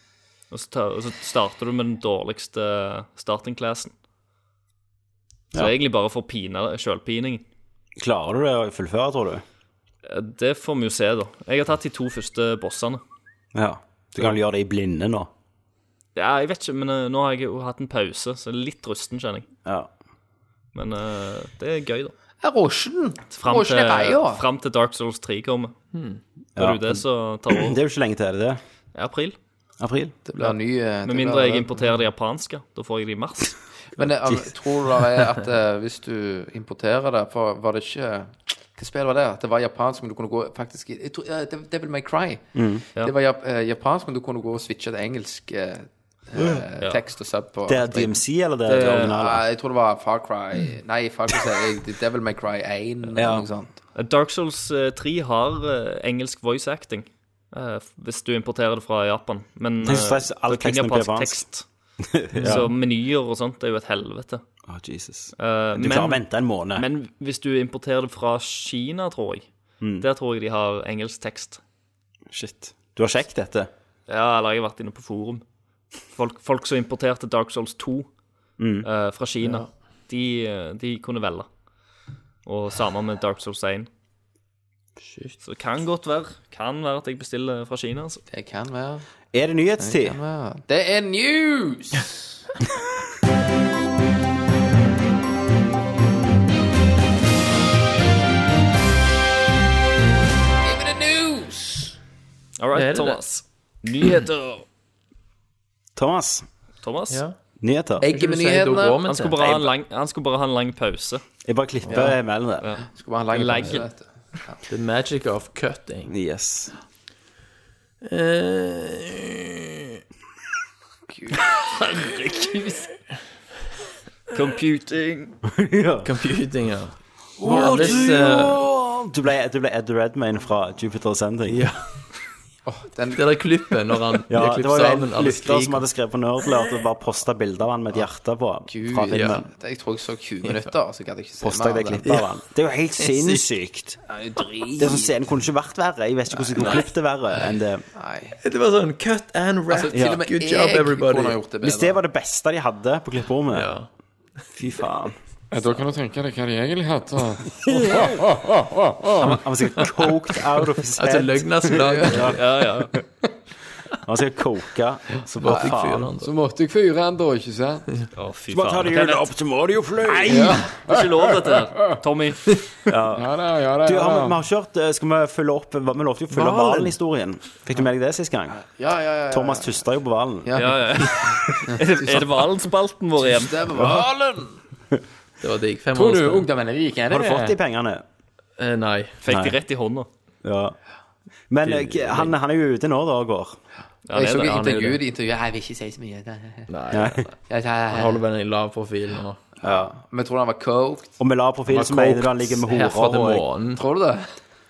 I: Og så, tar, og så starter du med den dårligste starting-classen. Så egentlig bare for pine, sjølpining.
A: Klarer du det å fullføre, tror du?
I: Eh, Det får vi jo se, da. Jeg har tatt de to første bossene.
A: Ja. Du kan vel gjøre det i blinde nå?
I: Ja, jeg vet ikke, men eh, nå har jeg jo hatt en pause, så jeg er litt rusten, kjenner jeg.
A: Ja.
I: Men eh, det er gøy, da.
B: Er Rosjen.
I: Fram
B: Rosjen
I: til,
B: er reia.
I: frem til Dark Souls 3 kommer. Da
A: Hmm. Ja.
I: er det jo det som tar
A: Det
I: over.
A: er jo ikke lenge til, er det det?
I: I april.
A: April?
B: Det blir ny eh, det
I: Med mindre
B: blir-
I: jeg importerer det japanske. Da får jeg det i mars.
B: Men jeg, jeg tror det er at eh, hvis du importerer det For var det ikke Hva spill var det? At det var japansk, men du kunne gå faktisk i- jeg tror, eh, det- Devil May Cry.
A: Mm.
B: Det var jap eh, japansk, men du kunne gå og switche til engelsk eh, eh, tekst og sub på. Eh,
A: Det er DMC, eller det er det originale?
B: Nei, jeg tror det var Far Cry Nei, Far Cry sier jeg. Det- Devil May Cry 1 eller
A: Ja.
B: noe sånt.
I: Dark Souls eh, 3 har eh, engelsk voice acting. eh, f- hvis du importerer det fra Japan. Men
A: Tenk så
I: eh,
A: stress, all
I: det er
A: teksten
I: kun
A: blir
I: japansk tekst. Så menyer og sånt det er jo et helvete.
A: Å, Jesus.
I: Eh,
A: Du klarer å
I: men,
A: vente en måned.
I: men hvis du importerer det fra Kina, tror jeg,
A: Mm.
I: der tror jeg de har engelsk tekst.
A: Shit. Du har sjekket dette?
I: Ja, eller jeg har vært inne på forum. Folk, folk som importerte Dark Souls 2 eh, fra Kina, de, eh, de kunne velge. Og sammen med Dark Souls 1. Så det kan godt være Kan være at jeg bestiller fra Kina. Altså.
B: Det kan være.
A: Er det nyhetstid?
B: Ja. Det er news! Give me the news!
I: All right,
C: Det er det.
I: Thomas. Nyheter.
A: Thomas,
I: Thomas?
C: Ja.
A: Nyheter. Jeg,
B: Egget med
C: sier da går
B: nyhetene.
C: vi
I: Han skulle
C: til.
I: bare ha en lang, han skulle bare ha en lang pause.
A: bare klipper imellom der.
B: Skal bare ha en lang
I: Legg.
B: pause, vet du.
C: The magic of cutting.
A: Yes.
C: Eh.
I: Computing.
A: ja.
C: Computing, ja. Vanligvis eh,
A: Du ble, du ble Ed Redmayne fra Jupiter Ascending.
C: Ja.
B: Den,
C: det der klippet når han
A: Ja,
C: blir
A: det
C: klippet
A: var jo
C: sammen,
A: en
C: alle
A: lytter som
C: skriker.
A: hadde skrevet på Nerdlert og bare posta bilder av han med et hjerte på.
B: Gud,
A: Fra
B: ja.
A: filmen.
B: Jeg tror jeg så 20 minutter, så jeg gadd ikke se
A: Posta jeg det
B: av den.
A: klippet av han. Det er jo helt sinnssykt. Det er sånn Scenen kunne ikke vært verre. Jeg vet ikke hvordan de kunne klippet det verre enn det.
B: Nei.
C: Det var sånn cut and wrap.
B: Altså, til
A: Ja.
B: og med
C: Good
B: jeg
C: job, everybody.
B: kunne ha gjort det bedre.
A: Hvis det var det beste de hadde på klipperommet
C: Ja.
A: Fy faen.
J: Da kan du tenke deg hva de egentlig hadde.
A: Han var- han var sikkert coked out of his
C: Altså,
A: head.
C: løgna så lang.
I: Ja, ja.
A: Han var sikkert coka. Så
C: altså, Bare
A: bare
C: fikk fyren
A: faen.
C: han, da.
J: Så måtte jeg fyre han da, ikke sant?
I: Å, fy
C: altså.
I: faen.
A: hjulet opp til Mariofløy.
I: Det er ikke lov, dette her. Tommy.
J: Ja da, nou, ja da.
A: Du,
J: ja
A: har, vi-
J: da.
A: vi har kjørt eh, Skal vi følge opp Vi lovte jo å følge opp
C: Valen.
A: Valen-historien. Fikk du med deg det sist gang?
B: Ja, ja, ja. ja.
A: Thomas tusta jo på Valen.
I: Ja, ja. Er det, er det Valen-spalten vår igjen?
B: Det var
C: Det var digg. Fem
J: Tror
C: år
J: du
C: siden.
J: ungdommen er rik? Er
A: Har du
J: det
A: fått de
J: det?
A: pengene?
C: Eh, Nei.
I: Fikk
A: Nei.
I: de rett i hånda.
A: Ja. Men eh, k- han, han er jo ute nå, da, og går.
I: Ja,
B: Jeg
I: det
B: så
I: er
B: ikke
I: det.
C: han er jo
B: intervjuet i intervjuet. Jeg vil ikke si så mye.
C: Nei.
B: Jeg
C: Han holder vel en lav profil nå.
B: Ja. Men tror du han var coked?
A: Og med lav profil så mener du han ligger med
C: Herfra til
A: horer. og-
C: månen.
B: Tror du det?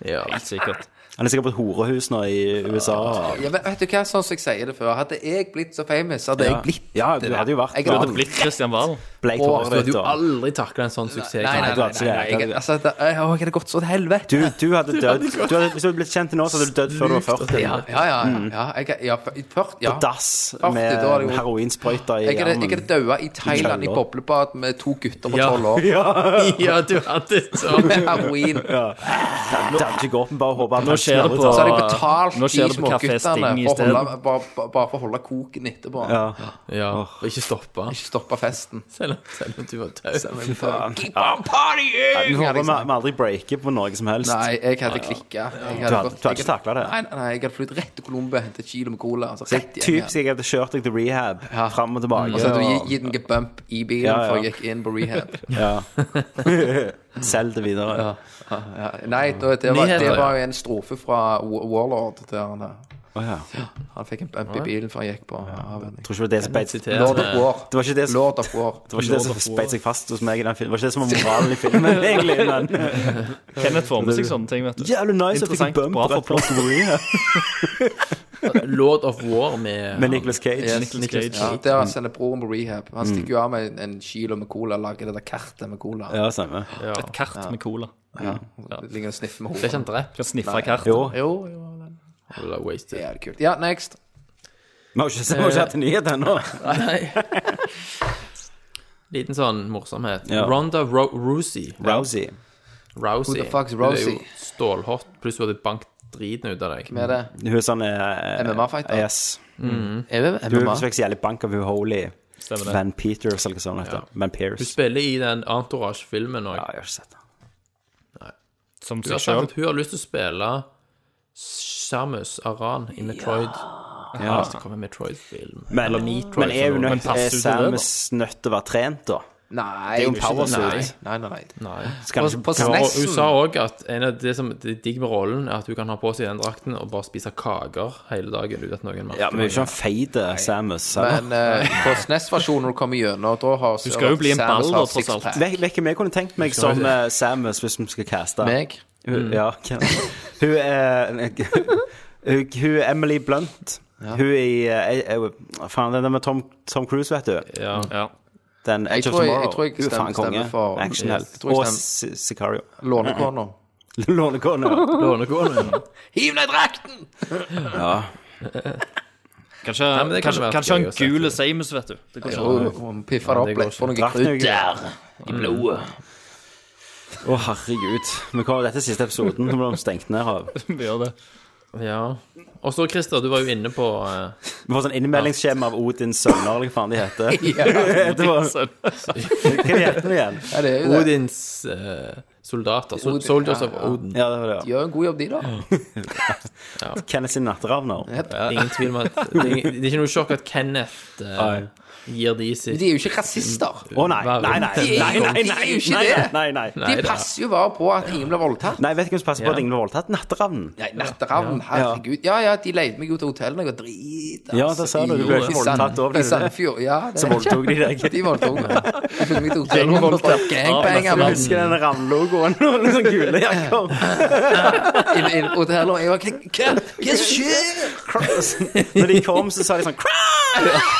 C: Ja.
I: Helt sikkert.
A: Han er sikkert på et horehus nå i USA.
B: Ja, men vet du hva, sånn som jeg sier det før, hadde jeg blitt så famous, hadde jeg blitt
A: Ja, du hadde jo vært
B: Jeg hadde
A: Valen.
I: Blitt Christian Valen.
A: Bleik
B: Åh,
A: håret
C: Du hadde
A: ditt,
C: jo
A: og-
C: aldri takla en sånn suksess.
B: Nei, nei,
A: du
B: nei,
A: hadde ikke
B: nei,
A: det.
B: nei, jeg, altså, det, jeg, jeg hadde gått så til helvete.
A: Du, du hadde dødd. Du hadde, hvis du hadde blitt kjent nå, så hadde du dødd før du var 40.
B: Ja, ja, ja. ja, jeg, ja, i 40, ja.
A: På dass
B: da hadde jeg
A: med
B: gått.
A: heroinsprøyter i
B: Jeg hadde, jeg hadde
A: armen.
B: daua i Thailand i
A: Kjeller.
B: boblebad med to gutter på
C: Ja.
B: tolv år.
C: Ja, du hadde sånn.
B: Med heroin.
A: Det hadde ikke gått, men bare håpe at han
I: skjer det
A: snarere
I: på-
A: tar det.
B: Så hadde jeg betalt
I: Nå skjer
B: de
I: det på
B: små
I: Café Sting
B: guttene for å
I: isteden.
B: holde, bare, bare bare for å holde koken etterpå.
A: Ja.
C: Ja, og ikke stoppa.
B: Ikke stoppe festen.
C: Selv om- selv om du var taus.
B: Keep on partying!
A: Vi
B: hadde
A: håper
B: jeg
A: vi
B: sagt.
A: vi aldri breaker på noe som helst.
B: Nei, jeg hadde klikka. Jeg
A: Du
B: hadde
A: hadde-
B: gått-
A: du hadde
B: jeg
A: ikke taklet det.
B: Nei, nei, nei, jeg hadde flyttet rett til Colombia, hentet et kilo med cola. Altså,
A: Det er
B: rett hjem.
A: typisk jeg hadde kjørt deg til rehab
B: Ja. Mm.
A: fram og tilbake.
B: Og så hadde du gi- gitt meg en bump i bilen
A: Ja, ja.
B: før jeg gikk inn på rehab.
A: Ja. Selg det videre.
B: Ja, nei, da- det var,
C: Nyheter,
B: det
C: ja.
B: var jo en strofe fra Wa- Warlord. Der han, der.
A: Å ja.
B: han fikk en bump i bilen før han gikk på avvenning.
A: Tror ikke det var det som beit Det
B: Lord of War.
A: var ikke det som,
B: Lord of War.
A: det var ikke det som beit seg fast hos meg i den filmen. Det var ikke det som var moralen i filmen, egentlig. Men
I: Kenneth får med seg sånne ting, vet du.
A: Eh, jævlig nice. Jeg fikk en
I: Interessant.
A: bump
I: Bra
A: rett fra
I: for plott.
A: Korea.
C: Lord of War med
A: Med Nicolas Cage.
I: Nicolas Cage.
B: Ja, der han sender broren på rehab. Han stikker jo av med en- en kilo med cola og lager det der kartet med cola.
A: Mm. Ja, stemmer.
I: Et kart med cola.
B: Det ligger og sniffer med
C: Det er
B: hodet.
C: ikke han drept?
I: Skal sniffe kart.
A: Jo.
B: Jo, jo,
C: Eller
B: det
C: wasted?
B: er kult. Ja, next.
A: Vi har jo ikke, vi har ikke hatt en nyhet ennå.
C: Nei. Liten sånn morsomhet.
A: Ja.
C: Ronda Ro Rousey.
A: Rousey.
C: Rousey.
B: Who the fuck's
C: Hun
B: Rousey?
C: er jo stålhot, pluss hun hadde bankt driten ut av deg.
B: Med det.
A: Hun er sånn eh,
B: MMA-fighter.
A: Yes.
B: Er det
A: Hun
B: MMA?
A: fikk så jævlig bank av hun Holy.
I: Stemmer det.
A: Van Peters eller hva sånt heter. Van
C: Hun
A: Pierce.
C: spiller i den Entourage-filmen òg.
A: Ja, jeg har ikke sett det.
I: Som
C: Hun har
I: seg
C: sagt
I: sjøl.
C: at hun har lyst til å spille Samus Aran i Metroid. Ja. Hvis det kommer en Metroid-film.
A: Men,
C: Eller Metroid.
A: men er hun
C: som det
A: nødt
I: passer
A: er
I: hun til det,
A: Samus nødt til å være trent, da?
B: Nei,
A: Det er jo en
B: ikke
A: power
B: det.
A: suit.
B: Nei, nei, nei.
C: heter. Nei.
A: Så kan
B: På-
A: hun ikke-
B: på
A: kan-
B: Snack-
C: Og
B: Nesten.
C: hun sa òg at en av det som det er digg med rollen, er at hun kan ha på seg den drakten og bare spise kaker hele dagen uten at noen merker
A: Ja, men hun er ikke en feite Samus. sant?
B: Men eh, på SNES-versjonen når du kommer gjennom, da har Du
I: skal jo bli en ball, da, tross alt.
A: Vet vet ikke hvem jeg kunne tenkt meg som eh, Samus, hvis vi skal caste?
B: Meg?
A: Hun, ja, hvem? hun er hun, hun er Emily Blunt. Hun i eh, eh, Faen, den der med Tom, Tom Cruise, vet du.
C: Ja.
I: Ja.
A: Den Edge of
B: tror jeg-
A: Tomorrow.
B: jeg tror jeg
A: Hun er
B: stemmer-
A: faen konge.
B: stemmer for-
A: Actionhelt.
B: Jeg tror jeg
A: Og
B: stemmer-
A: Si- Sicario.
B: Lånekona.
A: Lånekone. ja.
C: Lånekone.
B: Hiv ned drakten!
I: Kanskje,
C: men det kan
I: kanskje,
C: være
I: kanskje han
C: gøy å se.
I: gule Samus, vet du. Det går ikke.
B: Og og piffa det
C: det
B: opp
C: går
B: litt. Få noe
A: Drakten er jo
B: krutt.
A: gøy. Mm.
B: I blodet.
A: Å, herregud. Vi kommer dette er siste episoden. Nå blir de stengt ned av
I: Vi gjør det.
C: ja. Og så, Christer, du var jo inne på eh,
A: Vi får sånn innmeldingsskjema av Odins sønner, eller hva faen de heter. Det var, hva de heter de igjen?
B: Ja, det er jo det.
C: Odins eh, soldater. Sol
B: Odin,
C: Soldiers
B: ja,
C: of Odin.
A: Ja, det var det. ja.
B: Gjør en god jobb, de, da.
A: Kenneth sin natteravner.
C: Ingen tvil om at Det er ingen- det er ikke noe sjokk at Kenneth eh,
A: Nei.
C: gir de sitt
B: Men de er jo ikke rasister.
A: Å nei, nei, nei, nei,
B: De er
A: nei,
B: jo-
A: nei,
B: de er jo ikke
A: nei,
B: det.
A: nei, nei, nei.
B: De passer jo bare på at ingen blir voldtatt.
A: Nei, vet du hvem som passer på at ingen blir voldtatt? Natteravnen.
B: Nei, Natteravn, herregud. Ja ja, de leide meg jo til hotellet når jeg var drit. altså.
A: Ja, der ser du, du ble ikke voldtatt over
B: I
A: det.
B: Sandfjord. Ja, det-
A: Så voldtok de deg.
B: De voldtok meg. De fikk meg til hotellet. og bare Gangbanger.
A: Jeg
B: mann.
A: husker den ravnlogoen og liksom gule jakker.
B: Inn- inn på hotellet, og jeg var Hva hva er det som skjer?
A: Når de kom, så sa de sånn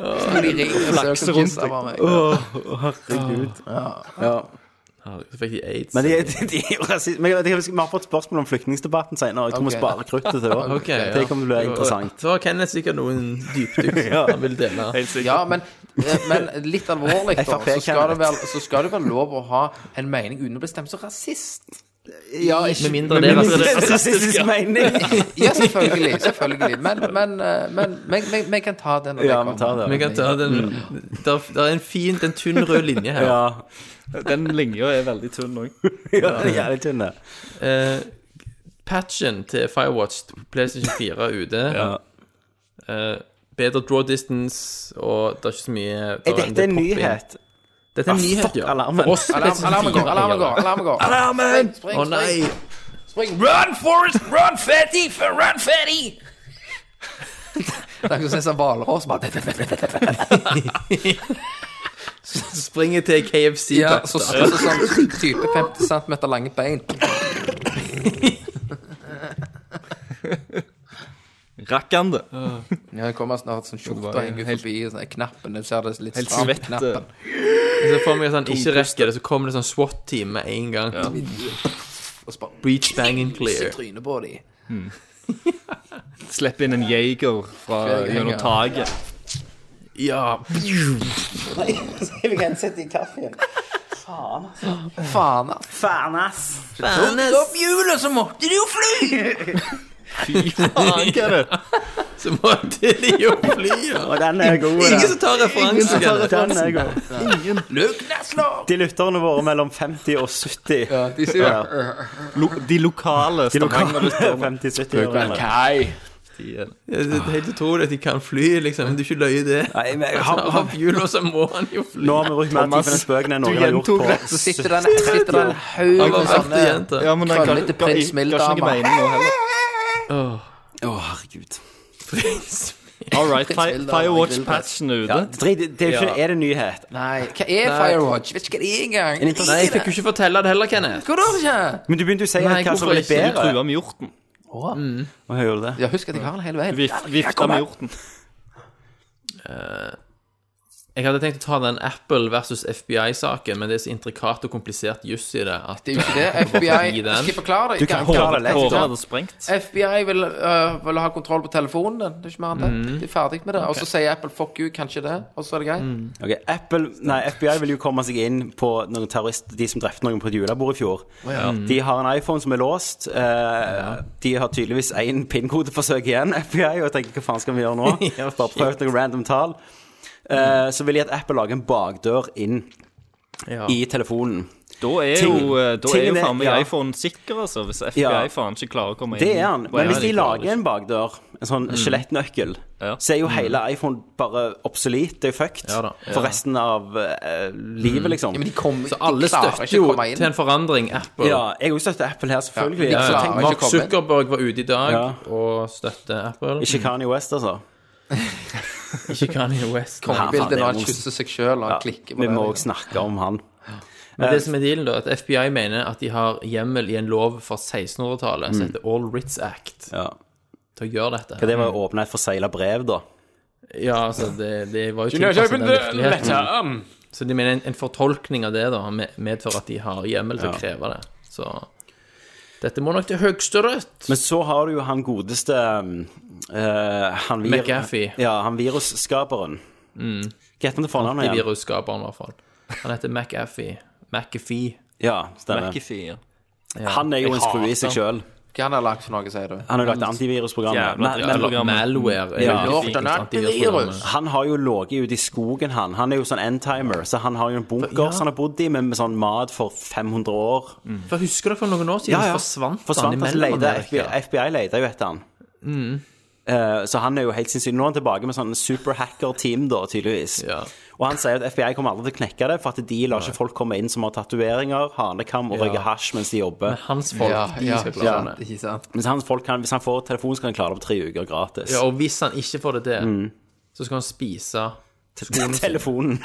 B: Og de ringte og søkte om kyss av meg.
A: Herregud. Ja.
C: Så fikk de aids.
A: Men de, de, de er jo rasist- Men jeg, jeg husker, Vi har fått spørsmål om flyktningdebatten senere. Jeg tror vi
B: Ok.
A: sparer kruttet til da.
C: Ok, ja.
A: Det kommer til å bli interessant.
C: Så har Kenneth sikkert noen dypdykk
A: Ja.
C: han vil dele.
B: Ja, men, eh, men litt alvorlig, da.
A: FrP
B: Så skal, det
A: Kenneth.
B: vel, så skal det vel lov å ha en mening uten å bli stemt som rasist.
A: Ja, ikke
C: Med mindre det er rasistisk.
A: rasistisk mening.
B: Ja, selvfølgelig. selvfølgelig. Men, men, eh, men men- men- vi kan ta den når
A: Ja,
B: det
A: vi tar
B: kommer.
A: det.
C: Vi kan ta den der, der er en fin, en tynn rød linje her.
A: Mm. Ja,
D: Den linja er veldig tynn òg.
A: ja det er jævlig tynne.
C: Eh, patchen til Firewatch på PlayStation 4 er ute.
A: Ja.
C: Eh, bedre draw distance, og det er ikke så mye
A: Er dette en nyhet?
C: Dette er
A: Ah,
C: en nyhet,
A: fuck
C: ja.
A: alarmen.
C: For oss på
B: Alarm,
C: PlayStation
B: alarmen går,
C: 4
B: alarmen
C: gjør
B: går.
C: det.
B: alarmen går. Spring, spring,
C: Å nei!
B: spring, spring. Run, Forest, run, fatty, run, fatty! Det er ikke sånn som Hvalross bare
C: Springer til KFC.
B: Ja,
C: takk,
B: så
C: da.
B: så- så sånn type 50 cm lange bein.
D: Rakk han det?
B: Ja, det kommer snart sånn skjorte henger forbi, og sånn knappen. Jeg ser det litt
D: Helt
B: stramt
D: svett,
B: knappen.
C: Så får vi sånn ikke rekker det, så kommer det sånn SWAT-team med en gang.
B: Og så bare
C: Breach, bang and
B: pisser
C: clear.
B: trynet på dem.
D: Slipp inn en jeger fra
B: Jeger, ja.
D: gjennom taket.
C: Ja.
A: Jeg vil gjerne sette i kaffen. Faen, ass.
B: Faen, altså. ass.
A: Faen, ass.
B: Opp hjulet, så måtte de jo fly!
C: Så måtte de jo fly. ja.
A: Og den er god.
C: Ingen
A: den.
C: som tar referansen.
A: Den er god.
B: Lugneslår!
A: De lytterne våre mellom 50 og 70. Ja,
B: De sier
A: Ja.
D: Lo de lokale
A: de
D: stavanger
A: lokale 50-70-årene.
C: Det er helt utrolig at de kan fly, liksom. Men du er ikke løye det.
A: Nei, men jeg
C: Han
A: har-
C: har hjul, og så må han jo fly.
A: Nå har vi brukt mer tid på den spøken enn noen har gjort på
B: Så sitter det en- sitter det en haug
C: Han var
B: med
C: verste
B: sånne
C: jente.
D: Ja, men den
B: Krøllete
D: ga- ga-
B: prins
D: ga-
B: Mild
D: ga ikke
B: dama.
D: noe mening nå heller.
A: Å, herregud.
D: All right, Fi-
B: Prins Mild dama, grill der.
D: Firewatch-patchen er ute.
A: Drit, det er jo ikke Er det nyhet?
B: Nei, hva er Firewatch? Vet ikke hva det er engang.
C: Nei, jeg fikk jo ikke fortelle det heller, Kenneth.
B: Hva da, ikke?
A: Men du begynte jo å si
C: Nei,
A: hva som
C: hvorfor
A: er
C: ikke?
D: Du
A: bedre.
D: trua med hjorten.
A: Og jeg gjorde det.
B: Ja, husk at jeg har den hele veien.
D: Vif- Vifta med hjorten.
C: Jeg hadde tenkt å ta den Apple versus FBI-saken, men det er så intrikat og komplisert juss i det at
B: Det er jo ikke det.
C: Gi
B: FBI
C: den.
B: Skal jeg forklare det?
A: Du kan forklare det lett.
D: Håret
B: Ja.
D: hadde sprengt.
B: FBI vil, øh, vil ha kontroll på telefonen din. Det er ikke mer enn det. De er ferdig med det. Og så sier Apple 'fuck you', kanskje det, og så er det greit.
A: Ok, Apple, nei, FBI vil jo komme seg inn på noen terrorister, de som drepte noen på et julebord i fjor.
C: Mm.
A: De har en iPhone som er låst. eh, De har tydeligvis én pinnkodeforsøk igjen, FBI, og jeg tenker hva faen skal vi gjøre nå? Bare prøvd noen random tall. Eh, Så vil de at Apple lager en bakdør inn
C: Ja.
A: i telefonen.
D: Da er
A: Ting-
D: jo, eh, da er jo
A: tingene-
D: faen meg
A: ja.
D: iPhone sikker, altså. Hvis
A: Ja.
D: FBI faen ikke klarer å komme inn.
A: Det er han.
D: Hva
A: Men hvis
D: det
A: de
D: klarer
A: lager en bakdør, en sånn
B: Mm.
A: skjelettnøkkel,
D: Ja.
A: så er jo hele iPhone bare obsolet. Det er jo fucked
C: Ja da.
A: for resten av eh, livet, liksom.
B: Mm. Ja, men de kommer
C: Så alle støtter jo til en forandring Apple.
A: Ja, jeg òg støtter Apple her, selvfølgelig.
B: Ja, de
A: Så
B: klarer
A: tenk-
B: ikke
C: Mark
B: komme inn.
C: Zuckerberg var ute i dag
A: Ja.
C: og støtter Apple.
A: Ikke Kanye West, altså.
C: Ikke Kanye West. nei.
B: Bildet
A: Ja,
B: når
A: faen,
B: han
A: det er
B: kysser seg sjøl og han klikker på
A: Vi
B: det.
A: må
B: liksom.
A: også snakke om han.
C: Men det som er dealen, da, at FBI mener at de har hjemmel i en lov fra 1600-tallet som heter All Writs Act,
A: Ja.
C: til å gjøre dette.
A: For det var jo åpna et forsegla brev, da.
C: Ja, altså, det, det var jo tilpasset den virkeligheten. Så de mener en, en fortolkning av det da med- medfører at de har hjemmel til å kreve det. Så dette må nok til Høyesterett.
A: Men så har du jo han godeste eh, han vir
C: McAfee.
A: Ja, han virusskaperen.
B: Mm.
A: Hva heter han til fornavn
C: I
A: igjen?
C: virusskaperen, i hvert fall. Han heter McAfee. McAfee.
A: Ja, stemmer.
D: ikke fire.
A: Han er jo en skrue i seg sjøl.
B: Hva han har lagt for noe, sier du?
A: Han har jo lagt antivirusprogrammet.
B: Jævla
A: Men- men-
B: dritt. Malware er jo
A: Ja.
B: ikke Lort and antivirusprogrammet.
A: Han har jo ligget ute i skogen, han. Han er jo sånn endtimer, så han har jo en bunkers han har bodd i med, med sånn mat for 500 år.
C: For husker dere for noen år siden så Mm. forsvant,
A: Forsvant han, så
C: imellom
A: leide,
C: Amerika?
A: FBI, FBI leide jo etter han.
C: Mm.
A: Eh, så han er jo helt sinnssyk. Nå er han tilbake med sånn superhacker-team, da, tydeligvis. Og han sier at FBI kommer aldri til å knekke det, for at de lar ikke folk komme inn som har tatoveringer, hanekam og
C: Ja.
A: røyker hasj mens de jobber.
C: Men hans folk, Ja, de ja, skal klare sant, det.
B: Ikke sant.
A: Mens hans folk kan, hvis han får telefon, skal han klare det på tre uker gratis.
C: Ja, og hvis han ikke får det til,
A: Mm.
C: så skal han spise skoene sine.
A: Telefonen.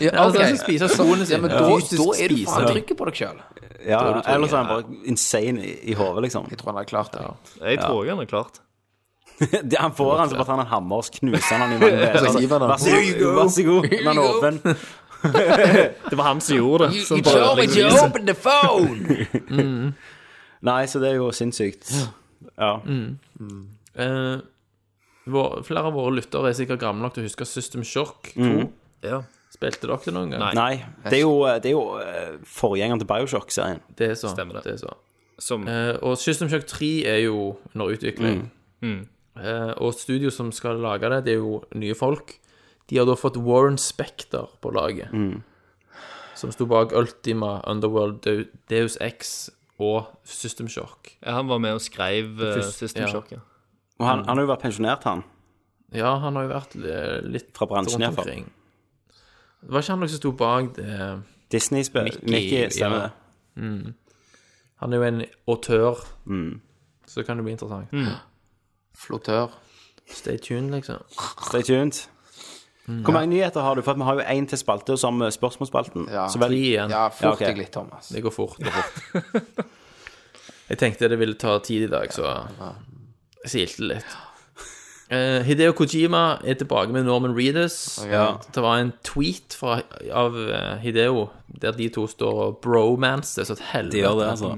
C: Ja, altså, han skal spise skoene sine.
B: Ja, men da, da er du faen trygg på deg sjøl. Da er du
A: Ja,
B: trygg.
A: eller så er han bare insane i, i hodet, liksom. Jeg
B: tror han har klart det.
I: Jeg tror han er klart.
A: det, han får han så bare tar han en hammer og så knuser han han i munnen.
I: Så
A: Altså,
I: hiver han
A: Vær
I: han.
A: så god, vær så god. Den er åpen.
I: Det var han som gjorde det. som bare-
B: the phone!
A: Nei, så det er jo sinnssykt. Ja.
C: Eh, vår, flere av våre lyttere er sikkert gamle nok til å huske System Shock 2.
A: Mm.
C: Spilte dere det noen gang?
A: Nei. Det er jo, det er jo eh, forgjengeren til Bioshock-serien.
C: Det er så. Stemmer det. er så. Eh, og System Shock 3 er jo under utvikling.
I: Mm.
C: Eh, og studio som skal lage det, det er jo nye folk. De har da fått Warren Spector på laget,
A: Mm.
C: som sto bak Ultima, Underworld, Deu- Deus X og System Shock.
I: Ja, han var med og skrev
C: Det
I: eh,
C: første-
I: System
C: ja.
I: Shock, ja.
A: Og han, han har jo vært pensjonert, han.
C: Ja, han har jo vært eh, litt
A: Fra bransjen,
C: rundt
A: i hvert fall.
C: omkring. Var ikke han noen som sto bak det?
A: Disney spør Mickey, stemmer det.
C: Mm. Han er jo en autør,
A: Mm.
C: så det kan det bli interessant.
I: Mm.
B: Flottør.
C: Stay tuned, liksom.
A: Stay tuned. Hvor mange nyheter har du? For at vi har jo én til spalte, og så har vi spørsmålsspalten.
B: Ja.
A: Så vel-
C: Tre igjen.
B: Ja, fort
A: Ja, ok.
B: deg litt, Thomas.
C: Det går fort. Det går fort. jeg tenkte det ville ta tid i dag, så jeg silte litt. Eh, Hideo Kojima er tilbake med Norman Reedus.
A: Ja.
C: Det var en tweet fra, av eh, Hideo der de to står og bromancer så et helvete.
A: De gjør det, altså.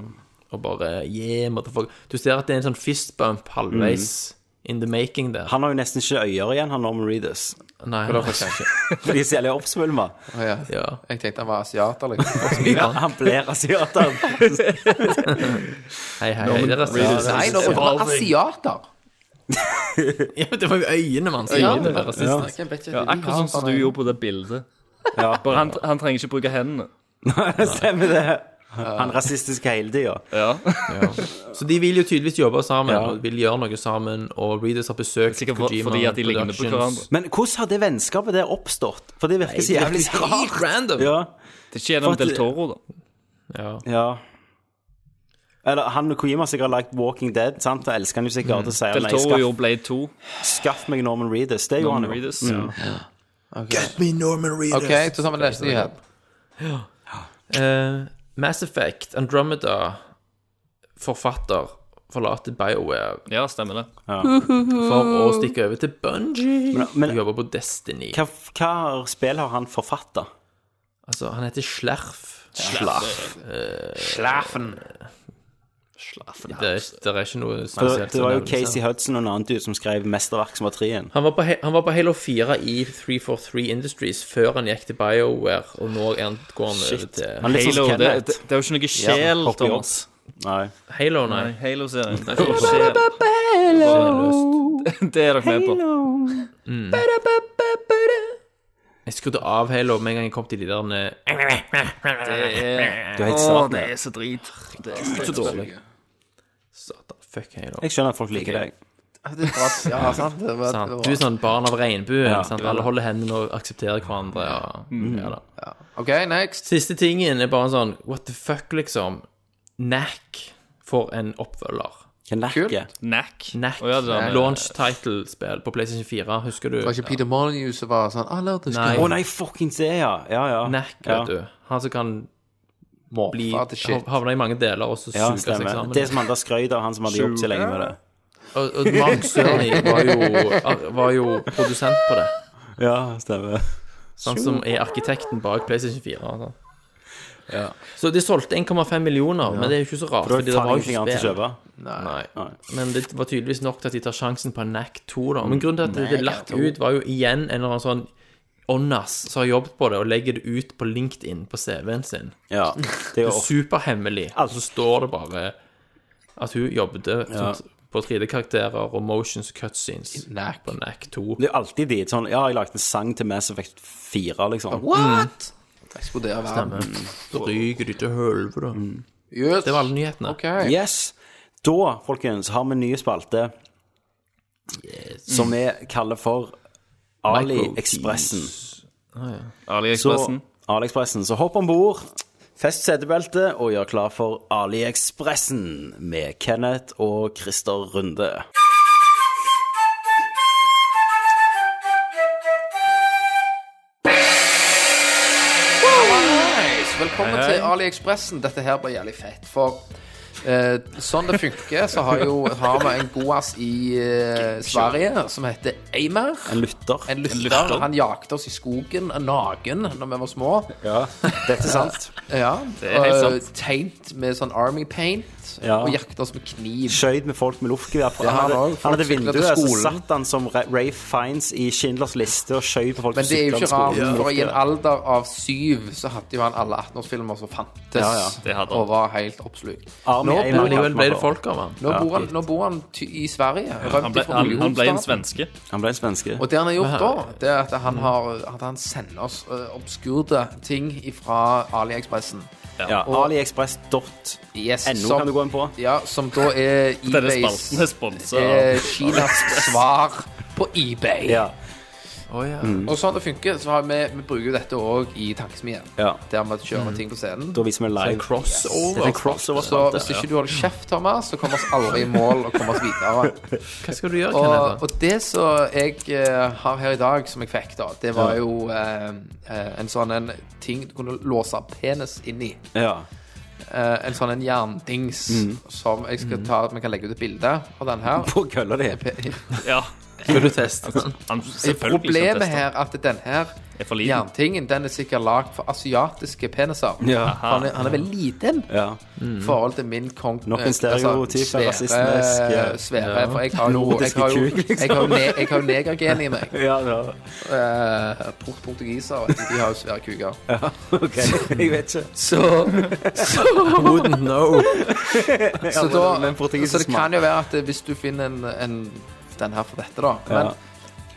C: Og bare yeah, motherfucker. Du ser at det er en sånn fist bump halvveis in the making der.
A: Han har jo nesten ikke øyer igjen, han Norman Reedus.
C: Nei,
B: Hvorfor kanskje?
A: For de er så jævlig oppsvulma.
B: Å, ja.
C: ja.
B: Jeg tenkte han var asiater, liksom.
A: Ja, han blir asiater.
C: Hei, hei, hei.
B: Norman
C: Det er rasistisk.
B: Nei, nå var han asiater.
C: Ja, men det var jo øynene mann som
B: Øynene,
C: gjorde det
B: ja.
C: rasistisk.
B: Hvem vet ikke
I: ja
B: at de har
I: akkurat sånn som
B: bare-
I: du gjorde på det bildet.
A: Ja.
I: Bare han, han trenger ikke bruke hendene.
A: Stemmer det. Han er rasistisk hele tida.
I: Ja.
C: Så de vil jo tydeligvis jobbe sammen,
A: Ja.
C: og vil gjøre noe sammen, og Readers har besøkt
I: Sikkert for-
C: Kojima
I: fordi at de ligner på
C: Productions.
I: hverandre.
A: Men hvordan har det vennskapet der oppstått? For det virker så
C: det
A: jævlig
C: virker helt
A: rart.
C: random.
A: Ja,
I: Det er ikke gjennom
A: For at-
I: Del Toro, da.
C: Ja.
A: ja. Eller han og Kojima har sikkert lagt Walking Dead, sant? Og elsker han jo sikkert. Og sier
I: Mm. Del
A: nei,
I: Toro
A: skaff,
I: gjorde Blade 2.
A: skaff meg Norman Reedus. Det gjorde
I: Norman
A: han jo.
I: Reedus.
A: Mm.
B: OK, så tar vi neste nyhet.
C: Eh, Mass Effect, Andromeda, forfatter, forlater BioWare
I: Ja, stemmer det.
C: for å stikke over til Bungie
A: Men, men
C: og jobbe på Destiny.
A: hva, hva spill har han forfatta?
C: Altså, han heter Slerf.
B: Slaffen.
C: Det, er- det er ikke noe
A: Det,
I: Altså,
C: spesielt.
A: det var jo
C: som nevnes her.
A: Casey Hudson og en annen dude som skrev mesterverk som var trien.
C: Han var, på, He- han var på Halo 4 i 343 Industries før han gikk til BioWare, og nå er han, går han over
A: Shit.
C: til
A: Han er litt sånn
I: Halo,
A: som
I: det,
A: Kenneth.
I: det, det er jo ikke noe sjel,
A: Ja, hopper i
I: Thomas.
A: Nei.
C: Halo, nei.
I: Nei, Halo-serien. Det,
C: Seriøst.
I: er ikke- det er dere med på.
C: Jeg skrudde av Halo med en gang jeg kom til de der eh,
I: Det er,
A: Du er helt
I: Åh,
A: satan.
I: det er så drit. Det er så
C: Så
I: drit.
C: dårlig. Satan, fuck Halo.
A: Jeg skjønner at folk liker deg.
B: Det er bra. Ja, sant. Det var,
C: Sant?
B: det
C: Du
B: var.
C: er sånn barn av regnbuen.
A: Ja. Mm.
C: sant? Alle holder hendene og aksepterer hverandre. Og, ja, da.
B: OK, next.
C: Siste tingen er bare sånn What the fuck, liksom. Knack får en oppfølger.
A: Knakke.
I: Knack.
C: Knack.
I: Å, ja, det der med-
C: Launch title-spill på PlayStation 4, husker du?
B: Det var ikke Peter Molyneux som var sånn ah, la oss
A: Å nei, fuckings det, ja. Ja, ja.
C: Knack, vet
A: ja.
C: du. Han som kan bli
B: Morfar til shit.
C: havne i mange deler og så
A: Ja,
C: suge seg
A: stemmer.
C: sammen.
A: Det som han da skrøt av, han som hadde jobbet så lenge med det.
C: Og, og Mark Cerny var, jo- var jo produsent på det.
A: Ja, stemmer.
C: Han Sånn som er arkitekten bak PlayStation 4. Altså. Så de solgte 1,5 millioner, men det er jo ikke så rart.
A: For det
C: fordi
A: var
C: jo
A: faen ingenting annet å
C: spill.
A: kjøpe.
C: Nei. Men det var tydeligvis nok til at de tar sjansen på NAC 2, da.
A: Mm.
C: Men grunnen til at det, det latt ut, var jo igjen en eller annen sånn Onnas som har jobbet på det, og legger det ut på LinkedIn på CV-en sin.
A: Ja, det er
C: Det
A: jo
C: er superhemmelig. Altså står det bare At hun jobbet sånt, på 3D-karakterer og motions cutscenes på NAC 2.
A: Det er alltid de sånn Ja, jeg lagde en sang til Mass Effect 4, liksom.
B: What?! Eksploderer verden.
C: Stemmer. Så ryker de til helvete, da.
A: Mm.
B: Yes.
C: Det var alle nyhetene.
B: Ok.
A: Yes. Da, folkens, har vi en ny spalte som vi kaller for AliExpressen.
B: Ah,
I: AliExpressen.
A: Så, AliExpressen. Så hopp om bord, fest setebeltet og gjør klar for AliExpressen med Kenneth og Christer Runde.
B: Nice. Velkommen til AliExpressen. Dette her blir jævlig fett. For eh, sånn det funker, så har, jo, har vi en god ass i eh, Sverige som heter Eimer.
A: En lytter.
B: En lytter. Han jakte oss i skogen naken når vi var små.
A: Ja, dette er sant.
B: Ja,
I: er helt
B: og Tegnet med sånn Army paint.
A: Ja.
B: Og jakta oss med kniv.
A: Skjøyd med folk med luftgevær. for
B: Det
A: Han,
B: har
A: hadde-
B: han også.
A: han hadde
B: Folk syklet til
A: vinduet, så
B: skolen.
A: satt han som Ra- Rafe Fiends i Schindlers liste og skjøyd på folk
B: Men det er jo ikke rart, for i en
A: Ja.
B: alder av syv så hadde jo han alle 18-årsfilmer som fantes,
A: Ja, ja,
I: det hadde han.
B: og var helt oppslukt.
A: Army
B: Nå
A: Einar
C: Men
B: bor han,
C: allikevel ble det folk av han.
B: nå bor han, nå bor han ty i Sverige.
I: Han ble, han, han ble en svenske.
A: Han ble en svenske.
B: Og det han har gjort da, det er at han, har, at han sender oss uh, obskurde ting fra AliExpressen.
A: Ja, AliExpress.no
B: Yes,
A: kan du gå inn på.
B: Ja, som da er
I: Denne
B: eBays
I: spalten er sponsa
B: eh,
I: av
B: Kinas svar på eBay.
A: Ja. Mm.
B: Og sånn det funker, så har vi, vi bruker jo dette òg i Tankesmien.
A: Ja. Mm.
B: Der vi kjører ting på scenen.
A: Da viser vi live.
C: crossover.
A: Det er en crossover
B: Så hvis ikke du holder kjeft, Thomas, så kommer vi oss aldri i mål og kommer oss videre.
C: Hva skal du gjøre,
B: Og,
C: Kenneth?
B: og det som jeg eh, har her i dag, som jeg fikk, da, det var jo eh, eh, en sånn en ting du kunne låse penis inn i.
A: Ja.
B: Eh, en sånn en jerndings
A: Mm.
B: som jeg skal ta Vi kan legge ut et bilde av den her.
A: På kølla di.
I: Ja.
C: Skal du teste den?
I: Han selvfølgelig skal
B: Problemet
I: teste.
B: her er at den her
I: Er for liten.
B: jerntingen, den er sikkert lagd for asiatiske peniser.
A: Ja.
B: For Han er, han er veldig liten
A: ja.
B: i forhold til min kong...
A: Nok en
B: eh,
A: stereotyp,
B: altså, svære-
A: rasistisk, eh, ja.
B: Svære, for jeg har jo Jeg
A: Nordiske
B: har jo,
A: kuk, liksom.
B: jeg har jo, ne, jeg har jo negergen i meg.
A: ja, ja.
B: Eh, port portugiser, vet du, de har jo svære kuker.
A: OK. Jeg vet ikke.
B: Så,
C: Wouldn't know.
B: så da
A: men portugisisk
B: Så det
A: mat.
B: kan jo være at hvis du finner en, en den her for dette, da Men
A: Ja.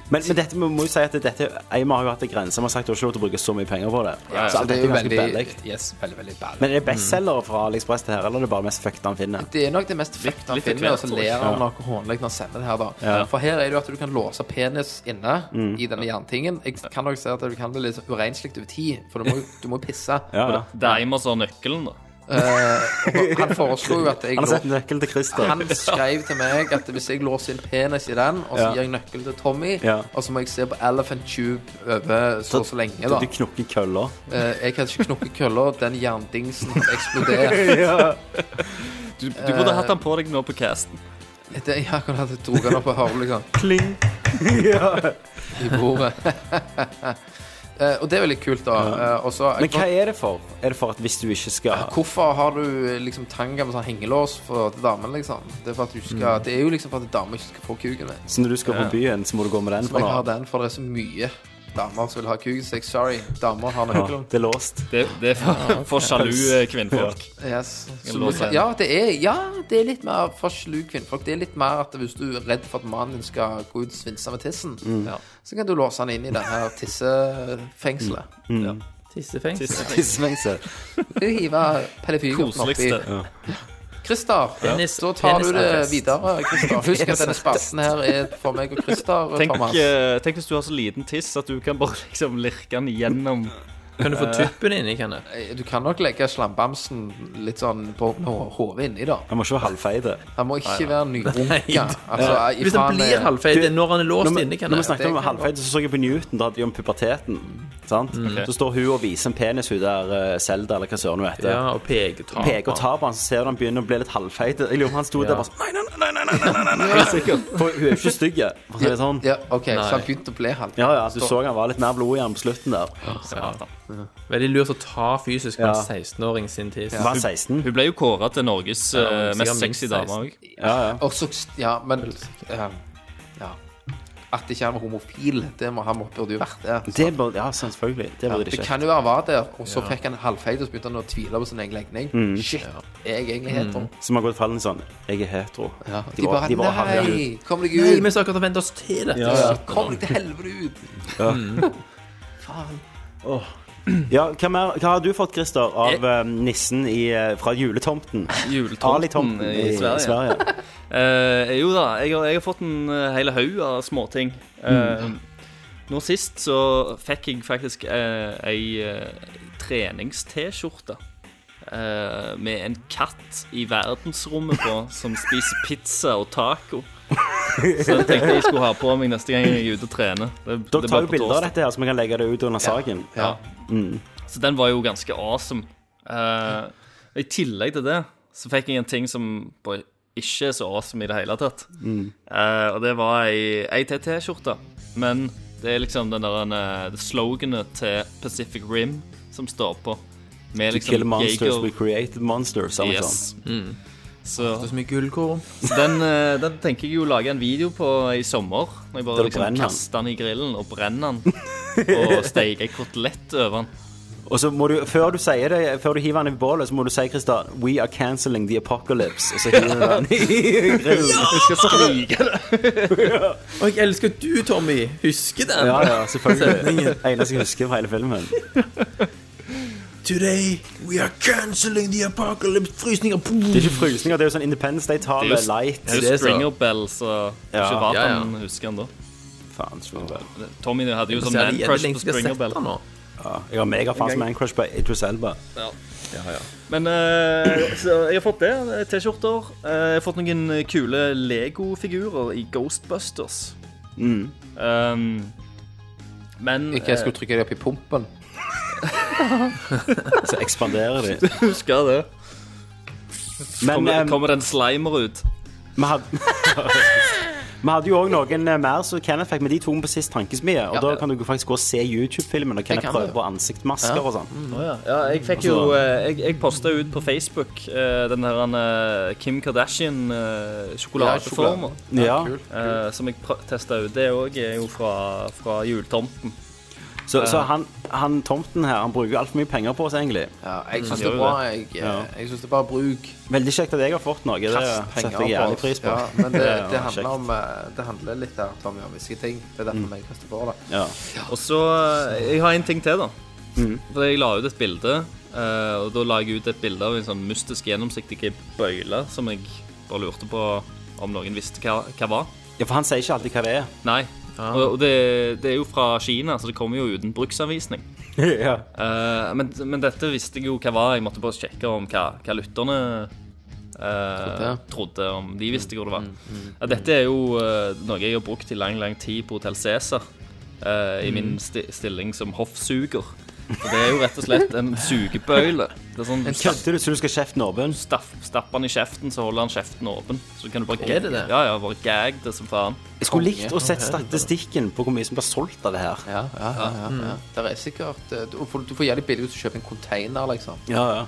A: Men, men dette, vi må jo si at dette Eimar har jo hatt en grense. Vi har sagt at det er ikke lov til å bruke så mye penger på det. Så
B: så
A: alt dette
B: det er jo
A: ganske
B: veldig
A: billig.
B: Yes, veldig, veldig billig.
A: Men er det bestselgere fra AliExpress det her, eller er det bare mest fucked han finner?
B: Det er nok det mest fucked han
I: litt
B: finner, og så
I: ekvert, tror jeg.
B: ler han noe hånlig når han sender det her, da. For her er det jo at du kan låse penis inne
A: Mm.
B: i denne jerntingen. Jeg kan nok se at du kan bli litt urenslig over tid, for du må, du må pisse.
A: Ja, ja.
I: Det er Eimers og nøkkelen, da.
B: Eh, og han foreslo jo at jeg
A: Han har
B: lå
A: sett nøkkelen til Christer.
B: han skrev til meg at hvis jeg låser inn penis i den, og så
A: Ja.
B: gir jeg nøkkel til Tommy,
A: Ja.
B: og så må jeg se på Elephant Tube over så og så lenge, da.
A: Du knokker kølla.
B: Eh, jeg kan ikke knokke kølla, den jerndingsen har eksplodert.
I: Du, du burde hatt han på deg nå på casten.
B: Det er akkurat at jeg dro den opp og hører liksom
A: Kling. ja.
B: i bordet. Eh, og det er veldig kult, da. Eh, og så-
A: Men hva er det for? Er det for at hvis du ikke skal
B: Hvorfor har du eh, liksom tanga med sånn hengelås for damen, liksom? Det er, for at du skal, det er jo liksom for at damer ikke skal få kuken min.
A: Så når du skal på byen, så må du gå med den
B: Men
A: for
B: jeg har
A: nå?
B: den, for det er så mye damer som vil ha kuken. Så jeg sorry, damer har
A: Ja,
B: nøkkelen.
A: det er låst.
I: Det, det er for, for sjalu eh, kvinnfolk.
B: Yes. Så
I: låse
B: du kan-
I: den.
B: Ja, det er, ja, det er litt mer for slu kvinnfolk. Det er litt mer at hvis du er redd for at mannen din skal gå ut og svinse med tissen, ja, så kan du låse han inn i det her tissefengselet.
C: Tissefengsel.
A: Tissefengsel.
B: Du hiver pelefyrgutten oppi.
I: Koseligste.
B: Christer,
C: Dennis-
B: da tar du det
C: Dennis-attest.
B: videre. Christer. Husk at denne spalten her er for meg og Christer.
I: Tenk,
B: Thomas.
I: eh, tenk hvis du har så liten tiss at du kan bare liksom lirke den gjennom
C: Kan du få
A: eh,
C: tuppen inni, Kenneth?
B: Eh, Du kan nok legge slambamsen litt sånn på med hå- hodet inni, da.
A: Han må ikke være halvfeit.
B: Han må ikke være nyrunka. Altså,
C: Hvis han
A: eh,
C: blir halvfeit, det er når han er
A: Når
C: låst
A: vi, når
C: inne,
A: vi
C: Kenneth.
A: snakket om
B: Det kan
A: halvfeit, så så jeg på Newton. Da hadde de om puberteten. Sant? Så står hun og viser en penis, hun der Selda, eller hva søren hun heter.
C: Ja, og peke og ta.
A: peker og tar på han, så ser du han begynner å bli litt halvfeit. Jeg lurer på om han sto der bare sånn Nei, nei, nei, nei, nei, nei, nei, nei. Sikkert. For hun er jo ikke stygg, for å si det sånn.
B: Ja, OK, så han begynte å bli halvfeit.
A: Ja, ja, du så han var litt mer blod i han på slutten der.
C: Veldig lurt å ta fysisk med
A: Ja.
C: en 16-åring sin tiss.
A: Var han 16?
I: Hun ble jo kåra til Norges eh,
C: sikkert
I: mest
C: minst
I: sexy dame òg.
B: Og så eh, Ja, men ja. ja. At ikke han var homofil. Det må, han må- burde jo vært det.
A: Det burde, ja, selvfølgelig. Det burde
B: Ja,
A: det
B: det
A: ikke.
B: kan jo være var der, og så
A: Ja.
B: fikk han halvfeit, og så begynte han å tvile på sin egen legning.
A: Mm.
B: Shit, jeg er egentlig hetero.
A: Som har gått fallen sånn Jeg er hetero.
B: De bare, nei,
A: herregud.
B: kom deg ut.
C: Nei, vi skal akkurat vente oss til dette.
A: Ja, ja.
B: Kom deg til helvete ut.
A: Ja.
B: Faen.
A: Åh. Ja, hva, mer, hva har du fått, Christer, av eh, nissen i, eh, fra juletomten?
I: Juletomten
A: Ali-tomten
I: Mm, i Sverige. Eh, jo da, jeg har, jeg har fått en eh, hele haug av småting. Eh,
A: Mm.
I: Nå sist så fikk jeg faktisk uh, ei eh, trenings-T-skjorte. eh, med en katt i verdensrommet på som spiser pizza og taco. Så jeg tenkte jeg skulle ha på meg neste gang jeg er ute og trener. Det,
A: Dere
I: det
A: tar
I: var
A: jo
I: på
A: bilder av
I: torsdag.
A: dette her, så vi kan legge det ut under saken.
I: Ja.
A: Mm.
I: Så den var jo ganske awesome. Eh, I tillegg til det så fikk jeg en ting som bare ikke er så awesome i det hele tatt.
A: Mm.
I: Eh, og det var ei, ei TT-skjorte. Men det er liksom den der eh, det sloganet til Pacific Rim som står på. Med
A: To kill monsters,
I: Jaeger-
A: we created monsters. sånn. eller noe
I: Liksom Yes.
A: sånt.
I: Så,
C: Det er så mye gullkorn.
I: så den, eh, den tenker jeg jo å lage en video på i sommer. Når
A: Der
I: jeg
A: du
I: bare liksom
A: brenner den.
I: kaster den i grillen og brenner den. Og steker ei kotelett over den.
A: Og så må du, før du sier det, før du hiver den i bålet, så må du si, Christer, we are canceling the apocalypse. Og så hiver du den i grillen.
I: Jeg skal skrike det.
C: Og jeg elsker at du, Tommy, husker den.
A: Ja, ja, selvfølgelig.
C: Setningen.
A: Eneste jeg husker fra hele filmen.
C: Today we are canceling the apocalypse. Frysninger.
A: Det er ikke frysninger, det er jo sånn Independence
I: Det er
A: Day-tale
I: jo-
A: light.
I: Det er jo Stringer Bell, så det er
A: Ja.
I: ikke rart
A: Ja, ja.
I: han husker han da.
A: Faen, Stringer Bell.
I: Tommy hadde jo
A: Jeg
I: sånn
A: ser det jævlig
I: man-crush på
A: lenge siden jeg
I: Stringer
A: har
I: Bell.
A: sett han nå. Ja, jeg har megafast
I: En gang.
A: man-crush på Idris Elba.
I: Ja.
A: Ja, ja.
I: Men eh, så jeg har fått det. T-skjorter. Eh, jeg har fått noen kule Lego-figurer i Ghostbusters.
A: Mm.
I: Um, men eh,
B: Ikke jeg skulle trykke det opp i pumpen.
A: Så ekspanderer de.
I: eh, Husker det.
A: Men, eh,
I: kommer,
A: em,
I: kommer det en slimer ut?
A: Vi hadde, vi hadde jo òg noen eh, mer, så Kenneth fikk med de to på sist tankesmie. Og
I: Ja.
A: da kan du faktisk gå og se YouTube-filmen, og Kenneth
I: kan du.
A: prøver på ansiktmasker og sånn.
I: Å ja. Mm. ja, jeg fikk jo eh, Jeg, jeg posta ut på Facebook eh, den her eh, Kim Kardashian-sjokoladeforma.
A: Ja, sjokolade. Ja, kul,
I: som jeg testa ut. Det òg er jo fra, fra juletomten.
A: Så, så
I: Eh.
A: han, han tomten her, han bruker altfor mye penger på oss, egentlig.
B: Ja, jeg
A: Han
B: syns Mm. det
A: gjør
B: er
A: jo
B: bra.
A: det.
B: Jeg,
A: Ja.
B: jeg synes det er bare bruk.
A: Veldig kjekt at jeg har fått noe. Det
B: Kast penger
A: setter jeg
B: på
A: jævlig
B: oss.
A: pris på.
B: Ja, men det,
A: Ja,
B: det,
A: kjekt.
B: handler om, eh, det handler litt her, Tommy, om visse ting. Det er derfor vi kaster på det.
A: Ja.
I: Og så eh, Jeg har en ting til, da.
A: Mhm.
I: For jeg la ut et bilde, eh, og da la jeg ut et bilde av en sånn mystisk, gjennomsiktig bøyle som jeg bare lurte på om noen visste hva, hva var.
A: Ja, for han sier ikke alltid hva det er.
I: Nei. Og, og det, det er jo fra Kina, så det kommer jo uten bruksanvisning.
A: ja.
I: Eh, men, men dette visste jeg jo hva var. Jeg måtte bare sjekke om hva, hva lytterne eh,
B: Trodde.
I: trodde. Om de visste hvor det var.
A: Mm,
I: Ja, dette er jo eh, noe jeg har brukt i lang, lang tid på Hotell Cæsar. eh, I
A: Mm.
I: min sti stilling som hoffsuger. Og det er jo rett og slett en sugebøyle. Det er sånn,
A: Men Kødder du så du skal kjeften åpen?
I: Staff, stapper han i kjeften, så holder han kjeften åpen. Så kan du bare
A: Er det det?
I: Ja, ja, bare gag det som faen.
A: Jeg skulle likt å sett statistikken på hvor mye som blir solgt av det her.
B: Ja, ja, ja, ja, ja. Der Mm. er sikkert eh, Du får, du får jævlig billig hvis du kjøper en container, liksom.
A: Ja, ja.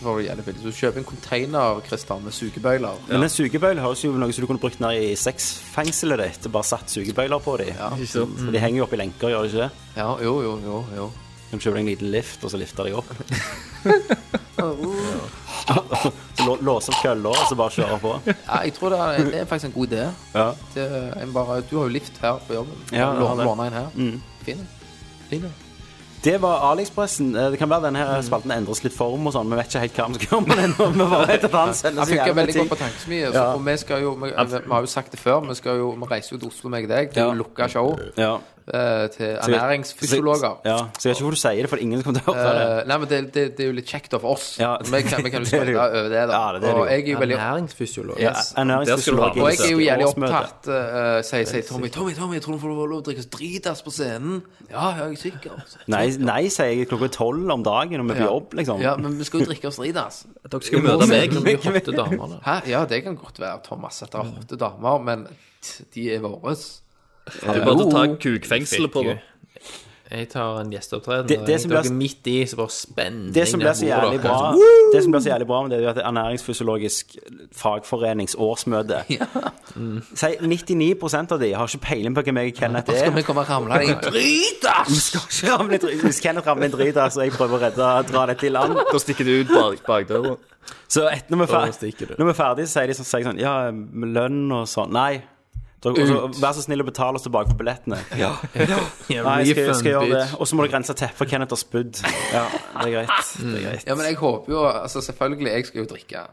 B: Du får jævlig billig. Du kjøper en container, Christer, med sugebøyler.
A: Men en sugebøyle høres jo ut som noe som du kunne brukt ned i sexfengselet ditt. Bare satt sugebøyler på dem. For de henger jo opp i lenker, gjør de ikke det?
B: Ja, jo, jo, jo, jo.
A: De kjøper deg en liten lift, og så lifter de opp.
B: Ja.
A: Så lå- låser opp kølla, og så bare kjører på.
B: Ja, jeg tror det er, det er faktisk en god idé.
A: Ja.
B: Det, en eh, bare, du har jo lift her på jobben.
A: Ja, jeg har
B: Lån-
A: det.
B: Låner en her.
A: Mm.
B: Fin. Fin.
A: Det var AliExpressen. Eh, Det kan være denne her spalten endres litt form og sånn. Vi vet ikke helt hva vi skal gjøre med den. Vi bare vet at han sender
B: Han
A: så
B: funker
A: jævlig
B: veldig
A: ting.
B: godt på tankesmien.
A: Ja.
B: Og vi skal jo vi, vi har jo sagt det før, vi, skal jo, vi reiser jo til Oslo, meg og deg, til
A: Ja.
B: å lukke show
A: Ja.
B: eh, til
A: Så jeg-
B: ernæringsfysiologer.
A: Ja, så jeg vet ikke hvor du sier det, for ingen kommer til å høre det.
B: Eh, nei, men det, det, det er jo litt kjekt da for oss.
A: Ja,
B: vi, kan, vi kan jo
A: det er det
B: sprelle
A: jo.
B: over det, da.
A: Ja, det er det jo.
B: og jeg er jo veldig
C: Ernæringsfysiolog.
A: Ja,
B: Eh,
A: ernæringsfysiolog.
B: Og jeg er jo jævlig
A: Årsmøte.
B: opptatt. eh, Sier sier Tommy Tommy, Tommy, jeg tror du får lov å drikke dritas på scenen. Ja, ja, jeg er sikker.
A: Nei, nei, sier jeg klokka tolv om dagen når vi er på jobb, liksom.
B: Ja, men vi skal jo drikke altså. oss dritas.
C: Dere
A: skal jo møte meg. Vi er hotte damer, da.
B: Hæ? Ja, det kan godt være, Thomas, at det
A: Mm.
B: er hotte damer, men de er våres.
I: Du bare tar kukfengselet på det.
C: Jeg tar en gjesteopptreden.
A: Det-
C: og
A: det
C: jeg
A: som
C: dere
A: blir-
C: er midt i, så bare spenning
A: Det som blir så
C: der bordet,
A: jævlig
C: dere.
A: bra
C: Sånn,
A: Det som blir så jævlig bra med det, er jo at det er ernæringsfysiologisk fagforenings årsmøte Si 99 av de har ikke peiling på hvem jeg og Kenneth er.
B: Skal vi komme og ramle deg i
A: Vi skal ikke ramle i drit. Hvis Kenneth ramler i en drit, altså, jeg prøver å redde dra det til land.
I: Da stikker du ut bak bakdøra.
A: Så et, når, vi er
C: Da
A: ferdig,
C: stikker du.
A: når vi er ferdige, så sier de sånn, sier jeg sånn Ja, med lønn og sånn. Nei. Da- og så, vær så snill å betale oss tilbake for billettene. Nei, jeg skal, jeg skal gjøre det. Og så må du rense teppet for Kenneth har spydd. Ja, det er greit. Det er greit.
B: Ja, men jeg håper jo Altså, selvfølgelig, jeg skal jo drikke.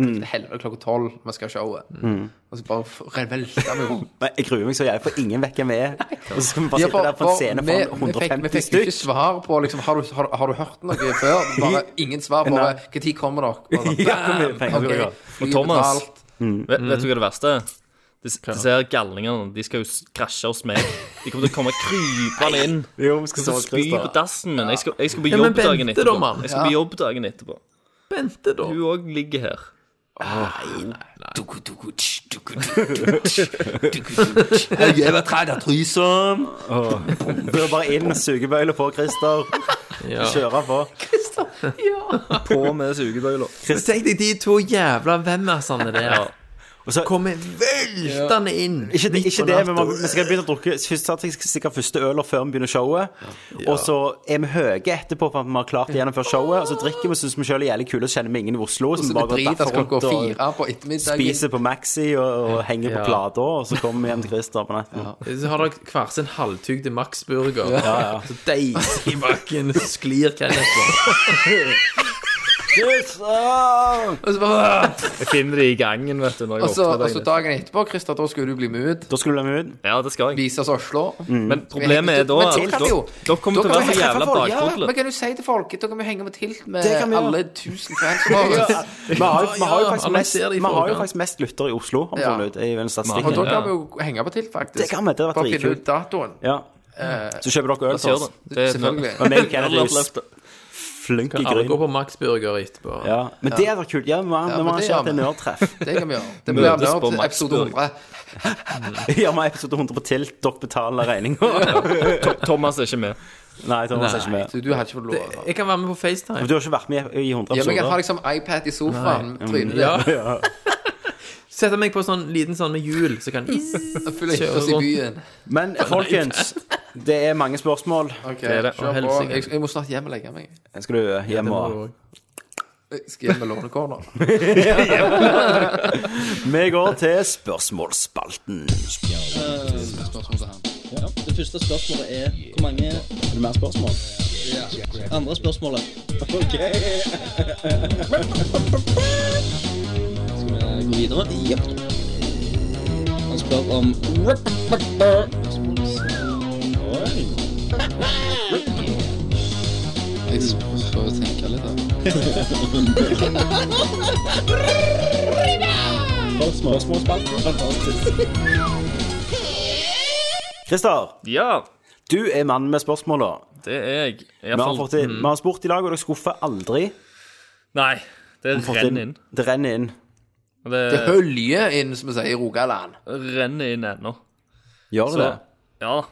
B: Til helvete klokka tolv, vi skal ha showet. Og så bare f- velter vi rundt.
A: Men jeg gruer meg så jævlig, for ingen vet hvem vi er. Og så skal vi bare
B: Ja,
A: sitte
B: Altså, for-
A: der på en
B: for
A: scene
B: vi-
A: foran
B: Vi fikk, vi
A: 150
B: fikk jo
A: stykk.
B: ikke svar på liksom, har, du, har, du- har du hørt noe før? Bare ingen svar. Bare når kommer dere? Bare, sånn,
A: Ja, hvor mye
B: bam!
A: penger skal
B: Ok,
A: vi ha?
B: fly
I: Og Thomas,
B: betalt.
C: Mm.
I: vet, vet du hva det verste er? De, de ser galningene. De skal jo s- krasje hos meg. De kommer til å komme krypende inn.
A: Jo, vi skal
I: Så spy på dassen min. Jeg skal, jeg skal på
C: Ja, men
I: jobb dagen
C: vente da,
I: etterpå.
C: mann.
I: Jeg skal på jobb dagen etterpå.
C: Vente, da.
I: Du òg ligger her.
B: Jeg var tredd av trysom.
A: Bør bare inn, sugebøyle på, Christer.
C: Ja.
A: Kjøre på.
I: På med sugebøyla.
C: Så Tenk deg de to jævla hvemmersene der.
A: Og så,
C: Kommer veltende inn.
A: Ikke det,
C: midt
A: ikke
C: på
A: det men
C: natta.
A: man, vi skal begynne å drukke Først satt jeg sikkert første øl før vi begynner showet. Og så er vi høye etterpå for at vi har klart det gjennom før showet. Og så drikker vi, syns vi sjøl er jævlig kule, så kjenner vi ingen i Oslo.
B: Og
A: Så
B: så
A: vi bare går
B: bedrites
A: derfor rundt
B: klokka
A: og
B: fire på ettermiddagen.
A: spiser på Maxi og, og henger på
C: Ja.
A: plata, og så kommer vi hjem til Christer på natten.
C: Så har dere hver sin halvtygde Max-burger. Så deiser i bakken, så sklir Kenneth på.
B: Og så bare-
I: Jeg finner de i gangen, vet du. Når jeg
B: og så-
I: våkner
B: og så
I: dagen etter.
B: dagen etterpå, Christer, da skulle du bli med ut.
A: Da skulle vi ut.
I: Ja, det skal jeg.
B: Vise oss Oslo.
I: Men problemet er da
B: Men
I: at
B: til kan vi
I: dere
B: jo.
I: dere kommer til
B: Da
I: å
B: kan
I: være
B: vi
I: så
B: treffe
I: jævla
B: folk. Ja,
I: bakfodle.
B: men kan du si til folk Da kan vi henge med tilt med
A: Det kan vi gjøre.
B: alle tusen fans som har
A: Vi har, jo- vi har jo
C: Ja,
A: faktisk
C: alle
A: mest,
C: ser de
A: vi har jo
C: folkene.
A: faktisk mest lyttere i Oslo, har vi
B: Ja.
A: funnet ut. I den
B: Og da
A: statistikken.
B: kan vi jo henge på tilt, faktisk.
A: Det kan vi, det hadde vært
B: For å finne
A: dritkult.
B: ut datoen.
A: Ja. Så kjøper dere øl til
I: Kjør
A: oss.
I: det. Det er
B: Selvfølgelig.
A: Og meg og Kenneth er jo
I: Alle
A: flink i
C: Alle
A: gryn.
C: går på Max-burger etterpå.
A: Ja. Men det hadde vært kult. Ja, vi må- vi må
B: men det
A: arrangere
B: gjør
A: et
B: vi.
A: nerdtreff.
B: Det kan vi gjøre. Det blir
I: Møtes på
B: nerd til
I: Max
B: episode
I: Burger.
B: 100.
A: Gjør meg episode 100 på tilt, dere betaler regninga.
I: To- Thomas er ikke med.
A: Nei, Thomas er ikke med.
B: Så du hadde ikke fått lov.
C: Jeg kan være med på FaceTime.
A: Men du har ikke vært med i i 100
B: Ja, men jeg kan ha
A: episoder.
B: liksom iPad i sofaen. med Trynet
C: Ja.
B: ditt.
C: Sette meg på sånn liten sånn med hjul, så kan
B: og Fylle ikke oss i
C: Kjører
B: byen.
A: Men folkens, det er mange spørsmål.
B: Ok,
I: er det.
C: Å,
B: kjør på.
C: helsike.
B: Jeg, jeg må snart hjem og legge meg.
A: Skal du eh, hjem og
B: Jeg skal hjem med lånekorner.
A: Vi går til spørsmålsspalten.
H: Det første spørsmålet er hvor mange Er det mer spørsmål? Ja. Andre spørsmålet. OK. Skal vi gå videre? Ja. Han spør om Oi.
A: Christer,
I: Ja,
A: du er mannen med spørsmåla.
I: det er jeg. I
A: Vi
I: hvert
A: har,
I: fall Mm.
A: fått i- vi har spurt i lag, og dere skuffer aldri.
I: Nei, det
A: Fått
I: renner inn.
A: Det renner inn.
I: Det
B: Det høljer inn, som vi sier i Rogaland.
I: renner inn ennå.
A: Gjør det
I: Så,
A: det?
I: ja.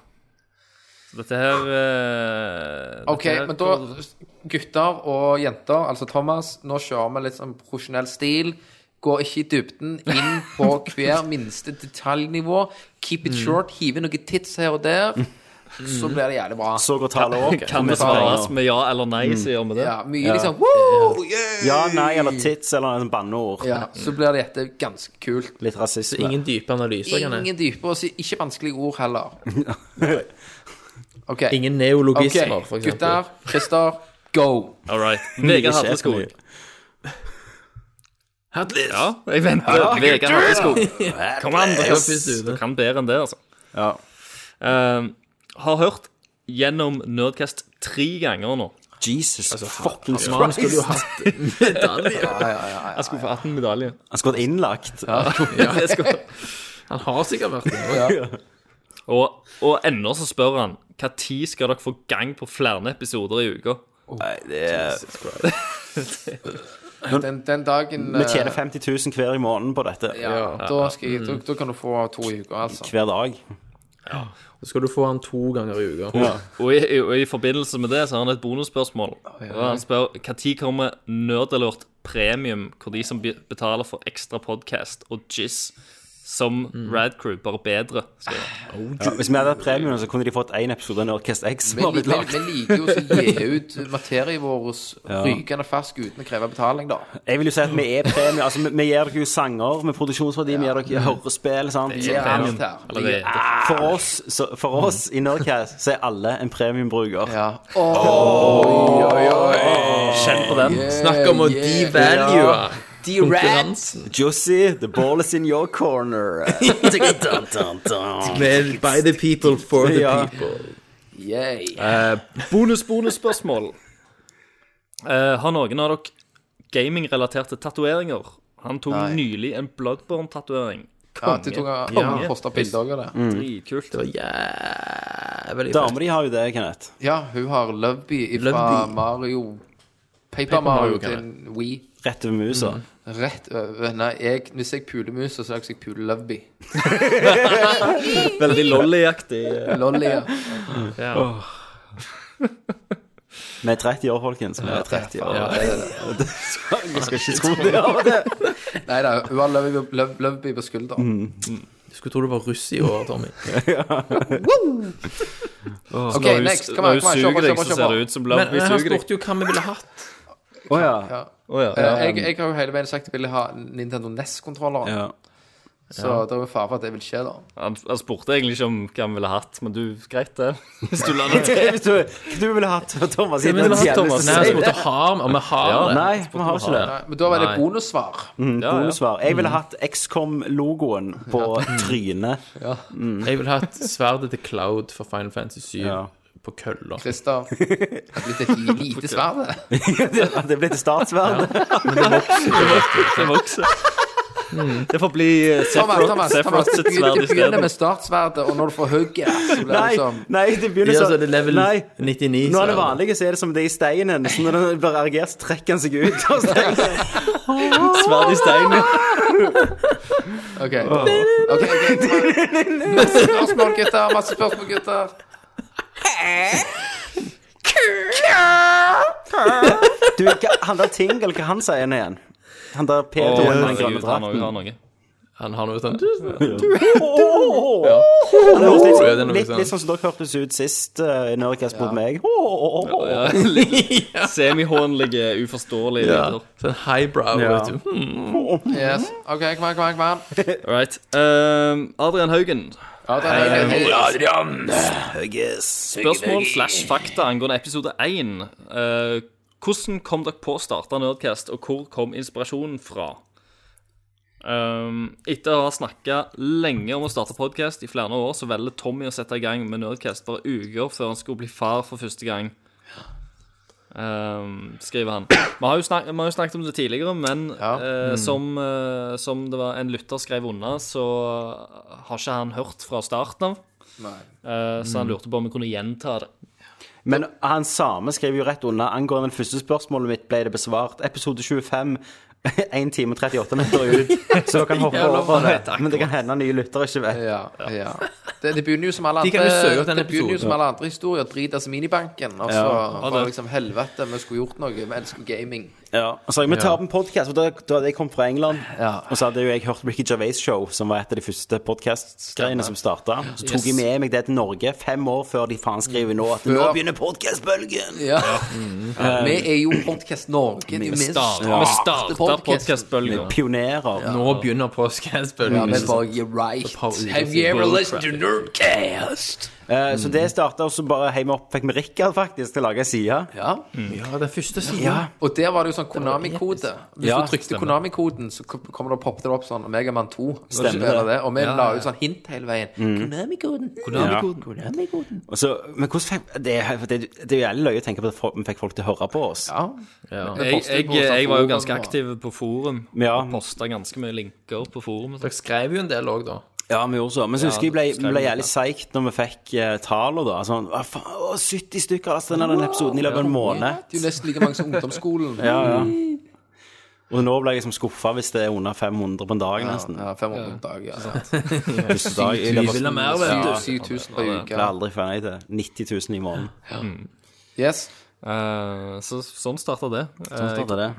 I: Så dette her eh,
B: Ok,
I: dette her
B: men da,
I: går-
B: gutter og jenter, altså Thomas, nå kjører vi litt sånn profesjonell stil. Går ikke i dybden, inn på hver minste detaljnivå. Keep it short, hive noen tits her og der. Så blir det jævlig bra.
A: Så går tallet opp.
I: Kan
A: Vi
I: vi
A: tar-
I: svares med ja eller nei, så gjør vi det.
B: Ja, mye liksom Woo! Yeah!
A: Ja, nei eller tits eller en banneord.
B: Ja, så blir dette ganske kult.
A: Litt rasisme.
C: Ingen dype analyser, kan jeg.
B: Ingen dypere, så ikke vanskelige ord heller. Ok,
C: Ingen neologismer,
B: Ok,
C: for eksempel.
B: gutter, Christer, go!
I: All right. Vegard
A: Ikke
I: Hadleskog.
A: mye.
C: Hatlis!
I: Ja, jeg venter. Vegard Hadleskog. Kom an,
C: Jeg var
I: dere
C: først ute.
I: du kan bedre enn det, altså.
A: Ja.
I: Eh, har hørt gjennom Nerdcast tre ganger nå.
A: Jesus
I: Altså,
A: fucking
C: Man
A: Christ.
C: skulle jo hatt medalje.
I: Jeg skulle få 18 medaljer.
A: Han skulle vært innlagt.
I: Jeg skulle-
C: Han har sikkert vært det. Ja.
I: Og, og ennå så spør han hva tid skal dere få gang på flere episoder i uka?
A: Nei, det er
B: Den, den dagen eh,
A: Vi tjener 50 000 hver i måneden på dette.
B: Ja, da, skal jeg, da, da kan du få to uker, altså.
A: Hver dag.
C: Så skal du få han to ganger i uka.
I: Og, og, i, og i forbindelse med det så har han et bonusspørsmål. Og han spør når kommer Nerdalert premium, hvor de som be- betaler for ekstra podcast og jizz som
B: Mm.
I: Radcrew, bare bedre. skriver han.
A: Ja, hvis vi hadde hatt premien, så kunne de fått én episode av Nordcast X. som
B: Vi
A: har blitt
B: liker,
A: lagt.
B: vi liker jo å gi ut materien vår
A: Ja.
B: rykende fersk uten å kreve betaling, da.
A: Jeg vil jo si at vi er premie. Altså, vi, vi gir dere jo sanger med produksjonsverdi, vi gir dere hørespill. sant?
B: Det er
A: Ja.
B: alt her.
I: Allerede.
A: For oss, så, for oss i Nerdcast så er alle en premiumbruker.
B: Ja.
I: Kjenn på den.
C: Snakk om å devalue konkurransen
A: Jussi, the ball is in your corner. Dun, dun, dun.
C: med By the people, for the
A: Ja.
C: people.
B: Yay.
I: Bonus, bonusspørsmål. Eh, har noen av dere gamingrelaterte tatoveringer? Han tok nylig en Bloodborne-tatovering.
B: Ja, du tok og
I: Konge.
B: posta bilder av det.
I: Dritkult.
C: Det var jævlig fett.
A: Dama di har jo det, Kenneth.
B: Ja, hun har Loveby fra
C: Loveby.
B: Mario Paper
C: Paper Mario,
B: Mario
C: kan
B: til Wii.
A: Rett over musa.
B: Rett over Nei, jeg, hvis jeg puler musa, så er det jeg puler Loveby.
I: Veldig lollyaktig.
B: Lolly, ja.
A: Vi er 30 år, folkens. Vi er 30 år.
B: Ja, det er det.
A: Jeg skal ikke tro det. Ja, det.
B: Nei da, hun har Loveby- Lov- Loveby på skuldra.
C: Du skulle tro du var russ i år, Tommy.
B: OK,
I: Altså, Når hun-
B: next. Kom
I: når
B: an,
I: hun
B: kom an.
I: suger
B: Kjør
I: deg,
B: på,
I: så
B: kjør
I: ser det
B: på.
I: ut som
C: Men,
I: Lovely
C: men han
I: suger deg.
C: spurte jo hva vi ville hatt.
A: Å ja.
B: Ja.
I: Å ja.
B: Eh, Jeg, jeg har jo hele veien sagt at jeg ville ha Nintendo NES-kontrolleren,
A: ja.
B: så det er jo fare for at det vil skje, da.
I: Han, han spurte egentlig ikke om hva han ville hatt, men du, greit det. Hvis du lar det til.
A: Hvis du, hva du ville hatt Thomas?
I: Hva ville du hatt, Thomas?
C: Nei, han spurte har vi, og vi har
I: Ja,
C: det.
A: Nei, vi har ikke det.
B: Nei, men da var det
C: Nei.
B: bonussvar.
I: Ja, ja.
A: Bonussvar. Jeg ville hatt XCOM-logoen på trynet.
C: Jeg ville hatt sverdet til Cloud for Final Fantasy 7
A: Ja.
C: på kølla.
B: Christer. Det er blitt et lite sverd, det.
A: det det ble til statsverd.
I: Det vokser. Det får bli eh,
B: Thomas, Thomas, Thomas,
I: Sefrot
B: du
I: sitt
B: begynner,
I: sverd
B: du begynner med
I: isteden.
B: startsverdet, og når du får hugget, så blir det
A: Nei,
B: liksom- som
A: nei, det begynner
C: Ja, så
A: så
C: er det level
A: Nei.
C: 99.
A: Nå er det
C: sverdet.
A: vanlige, så er det som det er i steinen. Så når den blir erigert, så trekker den seg ut. av steinen.
I: Sverd i steinen.
B: OK. ok, ok, Masse spørsmål, gutter. Masse spørsmål, gutter.
A: Du, hva, han der Tingle, hva han sier han igjen? Han der
I: Å,
A: Peter med den grønne
I: herregud, han
A: drakten.
I: også har noe.
C: Han har noe sånn
A: Han høres litt,
C: Ja, det er
A: sånn-
C: noe
A: litt,
C: sånn.
A: litt sånn som dere hørtes ut sist uh, når dere spurte meg. Åh, åh, åh, åh.
I: Semihånlige, uforståelige lyder.
C: Sånn highbrow,
A: Ja.
C: vet du.
B: Yes. OK, kom an, kom an. Kom an.
I: All right. Ehm, Adrian Haugen.
B: Adrian,
I: Spørsmål slash fakta angående episode 1. Eh, hvordan kom dere på å starte Nerdcast, og hvor kom inspirasjonen fra? Um, etter å ha snakka lenge om å starte podkast i flere år, så velger Tommy å sette i gang med Nerdcast bare uker før han skulle bli far for første gang. Um, skriver han. Vi har, jo snak vi har jo snakket om det tidligere, men eh, som, eh, som det var en lytter skrev unna, så har ikke han hørt fra starten av. Eh, Så han lurte på om vi kunne gjenta det.
A: Men han samme skrev jo rett under angående det første spørsmålet mitt ble det besvart. Episode 25. 1 time og 38 minutter ut, så dere kan hoppe over det. Men det kan hende nye lyttere ikke vet.
B: Ja, ja. Det, det begynner jo som alle
C: De kan jo søke
B: andre
C: opp den
B: Det begynner jo
C: episoden.
B: som alle andre historier. Drit oss i minibanken. Og så var det liksom helvete, vi skulle gjort noe. Vi elsker gaming.
A: Ja. Og så har jeg med tapen podcast, for da, da hadde jeg kommet fra England.
B: Ja.
A: Og så hadde jo jeg hørt Ricky Gervais show, som var et av de første podcast-greiene som starta. Så tok jeg med meg det til Norge fem år før de faen skriver nå at nå
B: Før-
A: begynner podcast-bølgen.
B: Ja. Vi er jo Podcast Norge. Vi starter
I: Vi starta
B: podcasten.
I: podkastbølga.
A: Pionerer.
C: Nå begynner
B: Ja,
C: påskehetsbølgen.
B: men bare you're right.
C: par uker
B: Have you
C: siden
B: ever
C: Bull
B: listened to Nerdcast?
A: Eh, Så det starta, og så bare heiv vi opp Fikk vi Rikard faktisk til å lage ei side.
B: Ja.
C: Ja, den første siden.
B: Og der var det jo sånn Konami-kode. Hvis
A: Ja,
B: du trykte Konami-koden, så kom- kommer det og poppet det opp sånn Megaman 2. når du
A: Stemmer
B: spiller
A: det.
B: det. Og vi la ut sånn hint hele veien. Konami-koden.
A: Konami-koden. Og så- men hvordan fikk det, er- det, det er jo jævlig løye å tenke på at folk- vi fikk folk til å høre på oss.
B: Ja.
I: Jeg, jeg,
A: sånn
I: jeg var jo ganske aktiv på forum.
A: Ja.
I: og Posta ganske mye linker på forum. sånn.
C: Dere skrev jo en del òg, da.
A: Ja, vi gjorde så. Men så husker jeg ble,
I: det skrev
A: ble
I: jeg
A: jævlig seigt når vi fikk eh, tallene, da. Sånn hva faen, å, Altså, 70 stykker av den episoden i løpet av en måned.
B: Det er jo nesten like mange som ungdomsskolen.
A: Ja, ja. Og nå ble jeg liksom skuffa hvis det er under 500 på en dag,
B: Ja,
A: nesten.
B: ja, 500 på en dag, ja.
A: Sant. Første dag i
B: 7000
A: løpet av-
B: vil ha mer, vet du.
A: Ja,
B: 7000 på uka.
A: Blir aldri ferdig til. 90 000 i måneden.
B: Yes.
I: så sånn starta det.
A: Sånn startet det.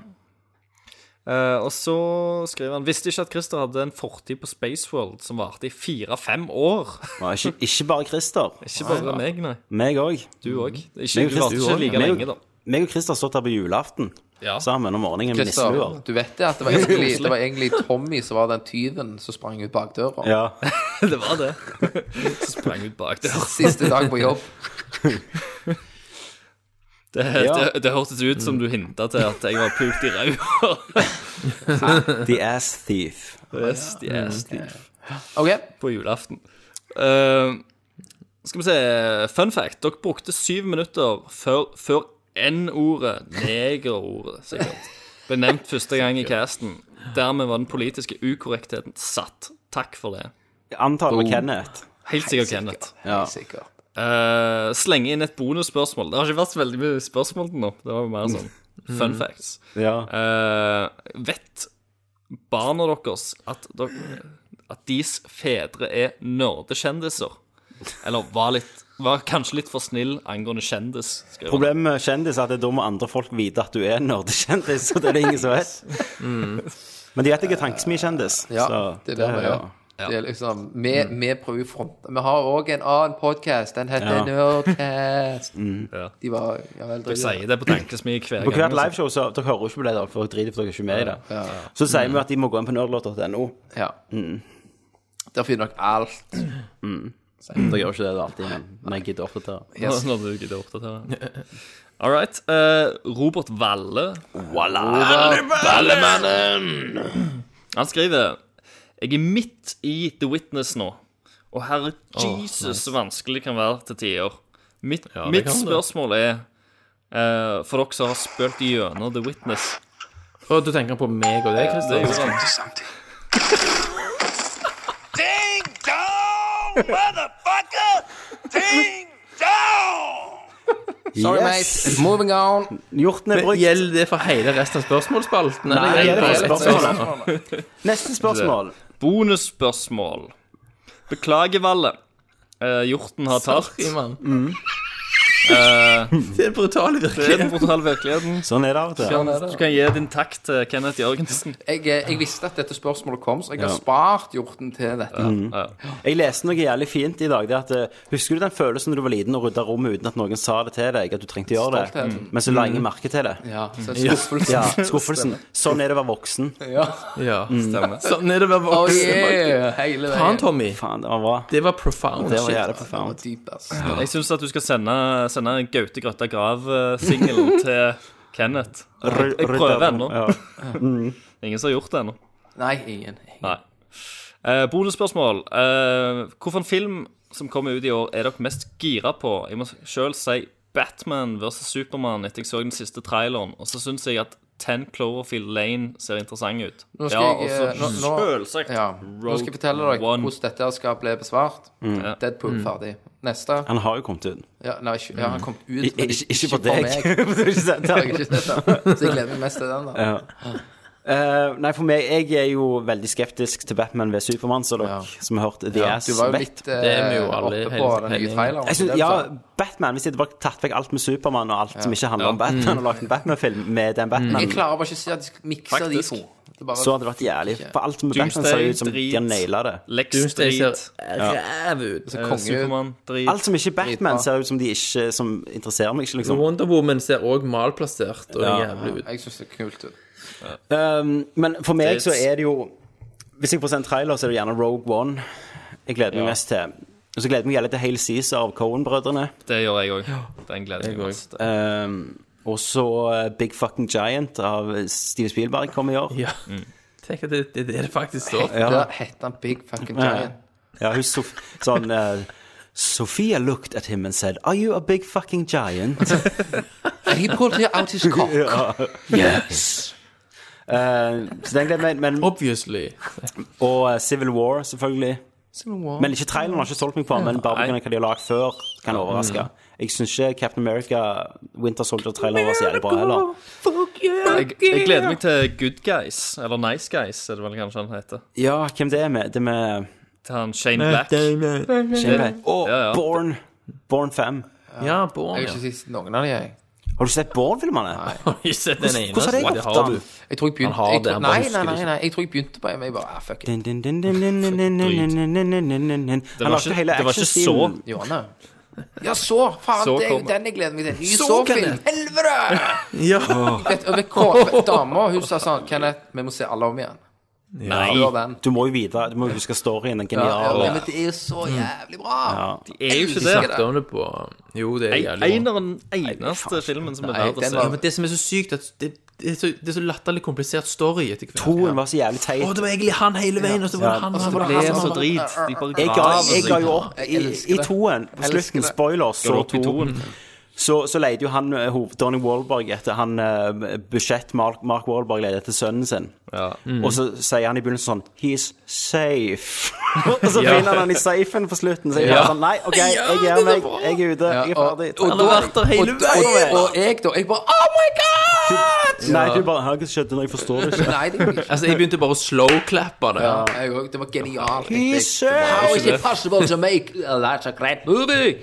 I: Eh, og så skriver han Visste ikke at Christer hadde en fortid på Spaceworld som varte i fire-fem år.
A: Ja, ikke, ikke bare Christer.
I: Ikke bare meg, nei.
A: Meg òg.
I: Du òg. Ikke- du varte ikke like lenge, da.
A: Meg og Christer har stått her på julaften
I: Ja.
A: sammen om morgenen med
B: Christer,
A: nisseluer.
B: du vet det at det var, egentlig, det var egentlig Tommy som var den tyven som sprang ut bakdøra.
A: Ja.
I: det var det. Så sprang ut bak der.
B: Siste dag på jobb.
I: Det,
A: Ja.
I: det, det hørtes ut som du hinta til at jeg var pult i ræva.
A: The Ass Thief.
I: Yes, the ass thief.
B: OK.
I: På julaften. Eh, skal vi se Fun fact. Dere brukte syv minutter før, før N-ordet, negerordet, sikkert, ble nevnt første gang i casten. Dermed var den politiske ukorrektheten satt. Takk for det.
A: Jeg Antar det var Kenneth.
I: Helt sikkert, Kenneth.
A: Ja.
B: Sikkert.
I: Eh, slenge inn et bonusspørsmål. Det har ikke vært så veldig mye spørsmål til nå. Det var jo mer sånn fun facts.
A: Ja.
I: Eh, vet barna deres at, dere, at deres fedre er nerdekjendiser? Eller var, litt, var kanskje litt for snill angående kjendis? skriver han.
A: Problemet med kjendis er at det er da må andre folk vite at du er en nerdekjendis, og det er det ingen som vet. Men de vet ikke tankesmikjendis.
B: Mm. Ja,
A: så
B: det er det vi gjør. Det er liksom, vi,
A: Mm.
B: vi prøver å fronte Vi har òg en annen podkast. Den
A: Ja.
B: heter
A: Mm.
B: Nerdcast.
I: Ja.
B: De var ja, vel,
I: Dere sier det på tankesmie hver
A: På hvert
I: gang. altså.
A: liveshow så Dere hører jo ikke på det, da, for dere driter for dere er ikke med i det. Så sier vi at de må gå inn på nerdlåt.no.
B: Ja.
A: Mm.
B: Der finner dere alt.
A: Dere gjør ikke det da alltid, men- men jeg gidder å oppdatere.
I: Yes. Når du gidder å oppdatere. All right. eh, Robert Valle. Han skriver Jeg er midt i The Witness nå. Og herre Jesus, så vanskelig det kan være til tider. Mitt,
C: det
I: mitt
C: kan det.
I: spørsmål er eh, For dere som har spilt gjennom The Witness
C: Og du tenker på meg og deg,
I: Det gjorde
C: Christer?
I: han.
B: Sorry,
A: Yes.
B: mate. Moving on.
A: Hjorten er brukt.
C: Gjelder det for hele resten av spørsmålsspalten? eller
A: Nei,
C: gjelder
A: det er
C: det
A: bare
C: bare-
A: Neste spørsmål.
I: Bonusspørsmål. Beklager, Valle. Eh, hjorten har talt.
C: Sorry, mann.
I: Eh,
C: Det er brutal
I: det er
C: virkelighet.
I: den brutale virkeligheten.
A: Sånn er det av og til.
I: Du kan gi din takk til Kenneth Jørgensen.
B: Jeg, eh, jeg visste at dette spørsmålet kom, så jeg har spart hjorten til Mm. dette.
A: Jeg leste noe jævlig fint i dag. Det at, eh, husker du den følelsen da du var liten og rydda rommet uten at noen sa det til deg? At du trengte å gjøre det, Mm.
B: Stoltheten.
A: men så la ingen merke til det.
B: Ja, så en skuffelse.
A: Ja, skuffelsen. Sånn er det å være voksen.
C: Ja, stemmer. Sånn er det bare
B: Oh
C: voksen.
B: yeah, hele veien.
C: Faen, Tommy.
A: Faen, det var bra.
C: Det var profound.
A: Det var jævlig
B: Det var
A: profound.
B: dyp, ass.
I: Jeg syns at du skal sende, sende Gaute Grøtta Grav-singelen til Kenneth. Jeg, jeg prøver ennå.
A: Ja.
I: Ingen som har gjort det ennå.
B: Nei, ingen.
I: Nei. Eh, bonusspørsmål. Eh, Hvilken film som kommer ut i år, er dere mest gira på? Jeg må sjøl si Batman vs. Supermann etter jeg så den siste traileren. Og så syns jeg at 10 Cloverfield Lane ser interessant ut.
B: Nå
I: Ja,
B: skal
I: og
B: jeg, eh,
I: så
B: nå- nå-
I: selvsagt
B: Ja. Nå skal jeg fortelle dere
I: Rogue One. Mm.
B: hvordan dette her skal bli besvart. Deadpool ferdig. Neste.
A: Mm. Han har jo kommet ut.
B: Ja, nei, ikke, ja, han kom ut, men
A: Ikke, ikke, ikke for
B: for
A: deg.
B: meg.
A: Du har ikke sett
B: Jeg har
A: det.
B: ikke sett den. Så jeg gleder meg mest til den, da.
A: Eh, nei, for meg Jeg er jo veldig skeptisk til Batman ved Supermann, så dere
B: Ja.
A: som har hørt The Ass,
B: Du var jo
A: vet.
B: litt eh,
C: Det er vi jo alle
B: oppe på
C: hele-
B: den nye
C: hele-
B: traileren.
A: Jeg synes,
B: Det er
A: ja,
B: sant.
A: Batman, Hvis de hadde bare tatt vekk alt med Supermann og alt som ikke handler om Batman, og lagd en Batman-film med den Batman,
B: Mm. Jeg klarer bare ikke å si at de skal mikse de
I: Faktisk.
B: to. Det er bare,
A: så hadde det vært jævlig. For alt med Batman ser jo ut som de har naila det.
I: Lex
C: Doomsday ser
I: Street,
C: ræv ut.
B: konge ut.
I: Supermann-drit
A: Alt som ikke er Batman,
B: Dritbra.
A: ser ut som de ikke Som interesserer meg ikke, liksom.
C: Wonder Woman ser òg malplassert og jævlig ut.
B: jeg syns det er kult ut.
A: Um, men for meg
I: Det-
A: så er det jo Hvis jeg får se en trailer, så er det gjerne Rogue One jeg gleder meg mest til. Og så gleder jeg meg jævlig til Hale Cæsar av Cohen-brødrene.
I: Det gjør jeg òg. Den gleder jeg meg masse til.
A: Um, og så eh, Big Fucking Giant av Steve Spielberg kommer i år.
C: Ja. Tenk at det det er det det faktisk står for.
A: Ja.
B: Da heter han Big Fucking Giant.
A: Ja, hun Sof sånn eh, Sophia looked at him and said, Are you a big fucking giant?
B: And he pulled her out his cock.
A: yes. Eh, så den gleder jeg meg. Men,
C: Obviously.
A: og eh, Civil War, selvfølgelig. Men ikke traileren har ikke solgt meg på, men bare pga. hva de har lagd før, kan overraske. Jeg syns ikke Captain America Winter Soldier-traileren var så jævlig bra heller.
I: Jeg, jeg gleder meg til Good Guys, eller Nice Guys, er det vel kanskje han heter.
A: Ja, hvem det er med? Det er med
I: Til han Shane Black.
A: Shane Black. Å,
I: Ja, ja.
A: Born. Born 5.
C: Ja, Born,
B: Jeg har
C: ja.
B: ikke sett noen av de, jeg.
A: Har du sett Born-filmene?
C: Har du sett den ene?
A: Hvordan har det
C: så
A: gått,
C: har
A: da?
C: du.
B: Jeg tror jeg
C: Han
B: begynte
C: har
B: jeg
C: det,
B: tror,
C: han bare
B: Nei,
C: husker
B: nei,
C: det
B: nei,
C: ikke.
B: nei. Jeg tror jeg begynte på en, men jeg bare ah, fuck it.
A: Dun, dun, dun, dun, dun, dun, dun, dun, dun, dun, dun, dun, dun, dun. Han
I: var
A: lagde
I: ikke-
A: hele
I: det var ikke
A: actionstilen.
I: så-
B: Jo, nei. Ja, så! Faen,
I: Så
B: det er jo
I: kommer-
B: den jeg gleder meg til. Ny såfilm! Helvete! Vet, og vet hva? Dama hun sa sånn Kenneth, vi må se alle om igjen.
I: Nei,
B: Før den.
A: Du må jo vite, du må jo huske storyen. Den
B: Ja,
A: geniale.
B: men det er jo så jævlig bra!
I: det er jo ikke
C: Vi
I: det.
C: snakket om det på Jo, det er jævlig bra.
I: Eineren, eneste filmen som er
B: Nei,
I: verdt å
B: den
I: se. Altså,
B: var-
C: Ja, men det som er så sykt, at det, det, er, så, det er så latterlig komplisert story etter hvert.
A: Toen var så jævlig teit.
C: Å, det var egentlig han hele veien, og så var det han, og så var det
I: Det
C: han.
I: er så drit. De bare
A: Jeg ga,
I: graver
A: jeg
I: seg.
A: ga jo opp i,
B: elsker
A: i
B: det.
A: toen. På
B: Elsker
A: slutten,
B: det.
A: spoilers,
I: Går
A: så
I: opp i
A: toen.
I: toen.
A: Så, så leide jo han eh, hoved, Donny Wahlberg etter han eh, budsjett Mark, Mark Wahlberg leide etter sønnen sin. Og så sier han i begynnelsen sånn He's safe. og så finner han han i safen på slutten. Så jeg bare sånn Nei, OK, jeg gir meg. Jeg er ute. Jeg er ferdig.
B: og,
A: Takk.
B: da-
C: vært der hele
B: og, og, og, jeg, da. Jeg bare Oh my God!
A: Nei, du bare Hva skjedde nå? Jeg forstår det ikke.
B: Nei, det gjorde jeg ikke.
C: Altså, jeg begynte bare å slow-clappe det.
B: Ja, jeg òg. Det var genialt.
A: He's safe.
B: How is it possible to make that's a great movie?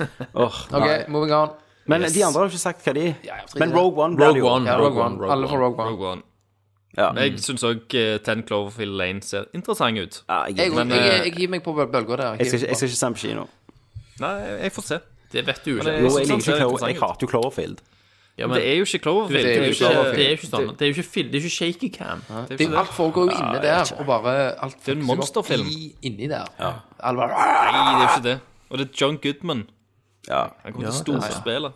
A: Åh,
B: Ok,
A: nei.
B: moving on.
A: Men de andre har jo ikke sagt hva de
B: Ja, jeg tror
A: Men
B: ikke det.
A: Rogue One ble det jo.
C: Rogue One.
B: Ja, Rogue One. Alle
C: Rogue
B: for
C: One.
B: Rogue One.
I: Rogue One.
A: Ja.
I: Jeg syns òg Ten Cloverfield Lane ser interessant ut.
A: Ja, jeg,
B: Jeg,
A: jeg,
I: Men,
B: jeg, jeg,
I: eh,
B: jeg gir meg på bølga der.
A: skal ikke, jeg skal ikke se den på kino.
I: Nei, jeg får se.
C: Det vet du jo ikke.
I: Men det-
A: Jo,
I: synes
A: jeg
I: den
A: liker
I: ser
A: jo Clover,
I: interessant
A: jeg
I: ut.
A: hater jo Cloverfield.
C: Ja, men
I: Det er jo ikke
B: Det er
I: Cloverfield.
B: jo
C: det er jo ikke,
B: Cloverfield.
C: det er jo ikke sånn. Det er jo ikke, fil, det er jo ikke shaky cam.
I: Det er
B: Det,
I: jo ikke
B: alt foregår jo inne der, og bare alt
I: er en
B: fokuserer
I: monsterfilm.
B: i- Inni der. Alle bare
I: det. Nei, det er jo ikke det. Og det er John Goodman.
A: Ja.
I: Han kommer til å storspille.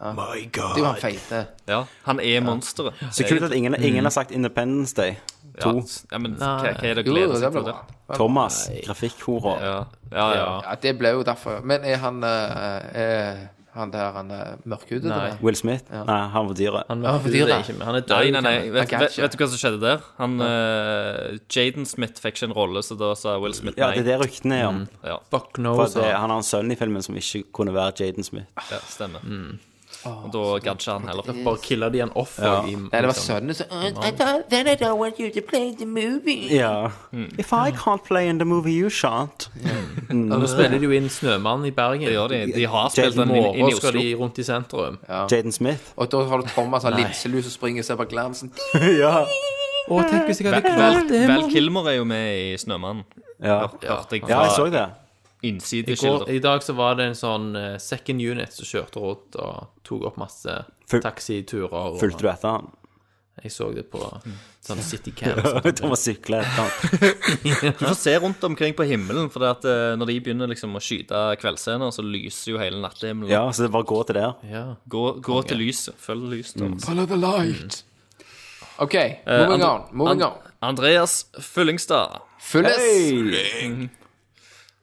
A: Oh
B: Det er jo han feite.
I: Ja, han er monsteret.
A: Så kult at ingen, ingen har sagt Independence Day.
I: Ja, ja, men hva, hva er det å
B: Jo,
I: glede
B: det
I: seg
B: ble
I: til?
B: bra.
I: det?
A: Thomas, grafikkhora.
I: Ja, ja. ja.
B: Ja, det ble jo derfor. Men er han eh, eh, han der han eh, mørkhudet? Nei.
A: Will Smith. Nei, han var dyret.
C: Han,
B: Ja, for dyr,
C: det
B: da.
C: er ikke, men han er
I: Nei,
C: død.
I: nei, nei. Vet,
B: Jeg
I: vet,
B: catcher.
I: vet du hva som skjedde der? Han, eh, Jaden Smith fikk ikke en rolle, så da sa Will Smith
A: Ja,
I: nei.
A: det er det ryktene er om.
I: Ja,
C: Fuck no,
A: For at
C: sa
A: det,
C: han.
A: han har en sønn i filmen som ikke kunne være Jaden Smith.
I: ja, stemmer. Og da gadd ikke han heller.
C: Bare killer de han off og i liksom.
B: Nei, det var sønnen som I don't- Then I don't want you to play the movie.
A: Ja. If I can't play in the movie you shan't.
C: Nå spiller de jo inn Snømannen i Bergen.
I: Det gjør de. De har
A: Jaden
I: spilt den inn,
C: Og
I: inn i
C: skal
I: Oslo.
C: de rundt i sentrum.
A: Jaden Smith.
B: Og da har du Thomas han linselus som springer og ser på glansen.
A: Ja.
C: Å, tenk hvis jeg hadde klart det!
I: Vel
C: mann.
I: Kilmer er jo med i Snømannen.
A: Ja.
I: Hørte jeg
A: ja, jeg så
I: fra
A: det.
C: I går-
I: innsideskilder.
C: I dag så var det en sånn eh, second unit som kjørte rundt og tok opp masse
A: Ful-
C: taxiturer. Og,
A: Fulgte du etter han?
C: Jeg så det på
I: Mm.
C: sånn City Cam. og sånt.
A: Thomas sykla etter han.
I: Du får se rundt omkring på himmelen, for det at, eh, når de begynner liksom å skyte kveldsscener, så lyser jo hele nattehimmelen.
A: Ja, så det er bare å gå til der.
C: Ja.
I: Gå, gå til lyset. Følg lyset. Thomas.
B: Follow the light. OK, moving
I: Andre-
B: on. Moving on.
I: Andreas Fyllingstad.
B: Fylles.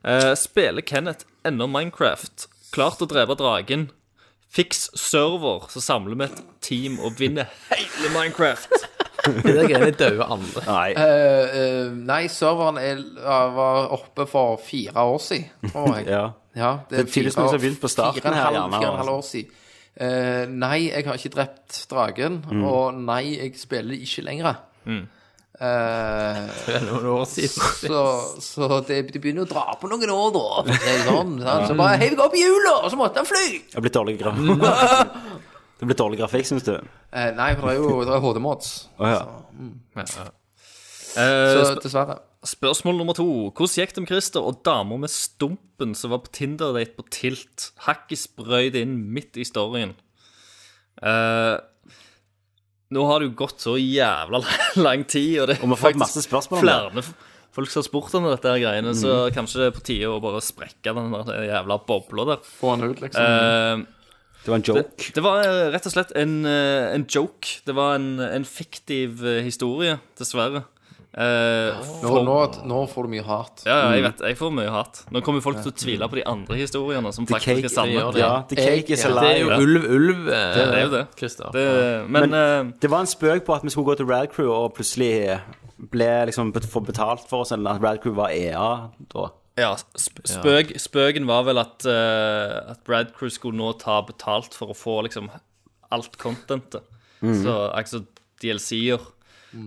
I: Eh, spiller Kenneth ennå Minecraft? Klart å drepe dragen? Fiks server, så samler vi et team og vinner hele Minecraft.
C: Det der greiene dauer andre.
A: Nei.
B: Eh, eh, nei, serveren er, ja, var oppe for fire år siden, tror jeg.
A: Ja.
B: ja, det er
A: tydeligvis noen som har begynt på starten
B: fire og en
A: her,
B: halv-
A: gjerne,
B: Fire og en halv
A: altså.
B: år siden. Eh, nei, jeg har ikke drept dragen, og nei, jeg spiller ikke lenger. Eh,
C: Det er noen år siden.
B: så så det, det begynner å dra på noen år, da. Det er sånn, sant? Så bare heiv jeg opp i hjula, og så måtte han fly!
A: Det er blitt dårlig grafikk. Det er blitt dårlig grafikk, syns du?
B: Eh, nei, for det er jo det er HD-mods.
A: Å ja.
I: Eh,
B: Så
I: sp
B: dessverre.
I: spørsmål nummer to. Hvordan gikk det med Christer og dama med stumpen som var på Tinder-date på Tilt? Hakket sprøyt inn midt i storyen. Eh, nå har det jo gått så jævla lang tid, og det
A: Og vi har fått masse spørsmål om det.
I: flere f- folk som har spurt om dette her greiene, så kanskje det er på tide å bare sprekke den der jævla bobla der.
B: Få han ut, liksom.
I: Eh,
A: Det var en joke.
I: det var eh, rett og slett en, eh, en joke. Det var en, en fiktiv eh, historie, dessverre. Eh,
A: Ah.
B: nå,
I: for-
B: nå, nå får du mye hat.
I: Ja, ja, jeg vet, jeg får mye hat. Nå kommer folk til å tvile på de andre historiene som
A: The
I: faktisk
A: cake,
I: er sanne.
C: gjør det.
A: ja, the cake is
B: Ja, det
C: Det er jo
A: alive.
C: ulv, ulv, eh,
I: Det er jo det.
C: Christer.
I: Det, men, eh,
A: Det var en spøk på at vi skulle gå til Rad Crew, og plutselig eh, ble liksom bet- for betalt for oss, eller at Radcrew var EA da.
I: Ja, sp spøk, spøken var vel at, eh, at Brad Crew skulle nå ta betalt for å få liksom alt contentet.
A: Mhm.
I: Så altså DLC-er.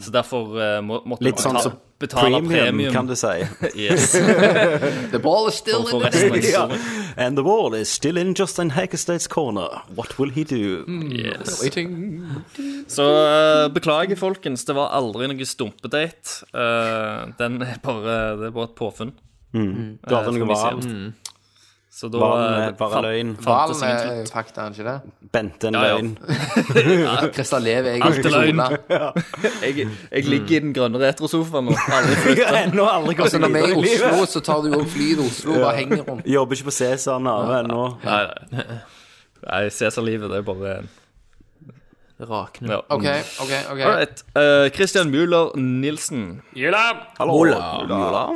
I: Så derfor eh, må, måtte
A: Mm. Litt
I: vi
A: sånn
I: beta-
A: som
I: betale
A: premium,
I: premium.
A: kan du si.
I: yes.
B: The ball is still
I: For- for
B: in the
I: resten av
A: Ja.
I: historien.
A: And the wall is still in Justin Hackerstate's corner. What will he do?
I: Yes. Så eh, beklager, folkens. Det var aldri noe stumpedate. Eh, den er bare, det er bare et påfunn.
A: Mm. Du hadde noe
I: Eh, fra min
A: val.
I: side.
A: Mm.
I: Så da
A: Valen
I: eh,
A: er bare
I: fant-
A: løgn.
I: fantes
B: Valen
I: ingen
B: er
I: slutt.
B: eh, fakta, er han ikke det?
A: Bente en
I: Ja, ja.
A: løgn.
I: Ja.
B: Christer Lev er
I: Alt er
B: egentlig
I: løgn.
B: kona.
I: Jeg, jeg ligger i den grønne retrosofaen og aldri
A: Jeg har
I: flytter.
A: ennå aldri
B: Altså,
A: kommet
B: når vi
A: videre
B: er
A: i
B: i Oslo,
A: livet.
B: så tar du òg fly til Oslo og bare henger rundt.
A: Jobber ikke på Cæsar Nave ennå.
I: Nei, nei. nei Cæsar-livet, det er bare
C: Rakne.
I: ja.
B: OK, OK. ok
I: All right. Eh, Christian Müller Nilsen.
A: Hola.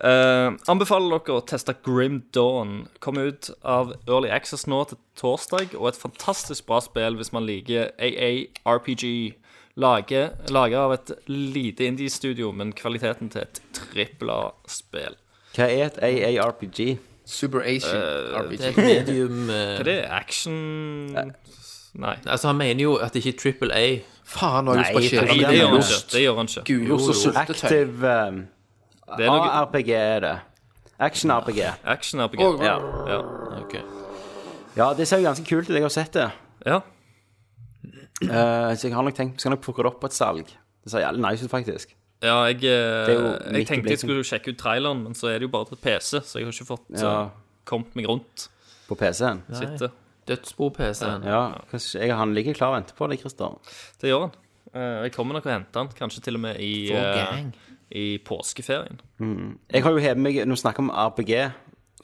I: Eh, anbefaler dere å teste Grim Dawn. Kommer ut av Early Access nå til torsdag, og et fantastisk bra spill hvis man liker AARPG. Laget laget av et lite indie-studio, men kvaliteten til et trippel A-spill.
A: Hva er et AARPG?
B: Super Asian
A: Eh,
C: Eh, Det er
B: RPG.
C: et medium eh,
I: Hva er det? Action Nei.
C: Altså, han mener jo at det ikke er Triple A.
B: Faen, nå er jeg på
A: Nei,
I: Nei,
B: kjelen.
I: det gjør han ikke. Det gjør han ikke.
B: Gulost og sultetøy.
A: Aktiv um,
I: Det er noe
A: ARPG er det. Action-RPG.
I: action-RPG.
B: Og-
I: Ja. Ja.
C: Ok.
A: Ja, det ser jo ganske kult ut. Jeg har sett det.
I: ja.
A: Eh, så jeg har nok tenkt, skal nok plukke det opp på et salg. Det ser jævlig nice ut, faktisk.
I: Ja, jeg, eh,
A: er jo midt
I: jeg
A: i
I: tenkte jeg
A: blinken.
I: skulle sjekke ut traileren, men så er det jo bare til PC, så jeg har ikke fått
A: Ja.
I: eh, kommet meg rundt.
A: På PC-en.
I: Sitte.
C: Dødsbo-PC-en.
A: Ja, kanskje- jeg, han ligger klar og venter på deg, Christer.
I: Det gjør han. Eh, Jeg kommer nok og henter han, kanskje til og med i,
C: For
I: eh,
C: gang.
I: i påskeferien.
A: Jeg har jo hevet meg Når vi snakker om RPG,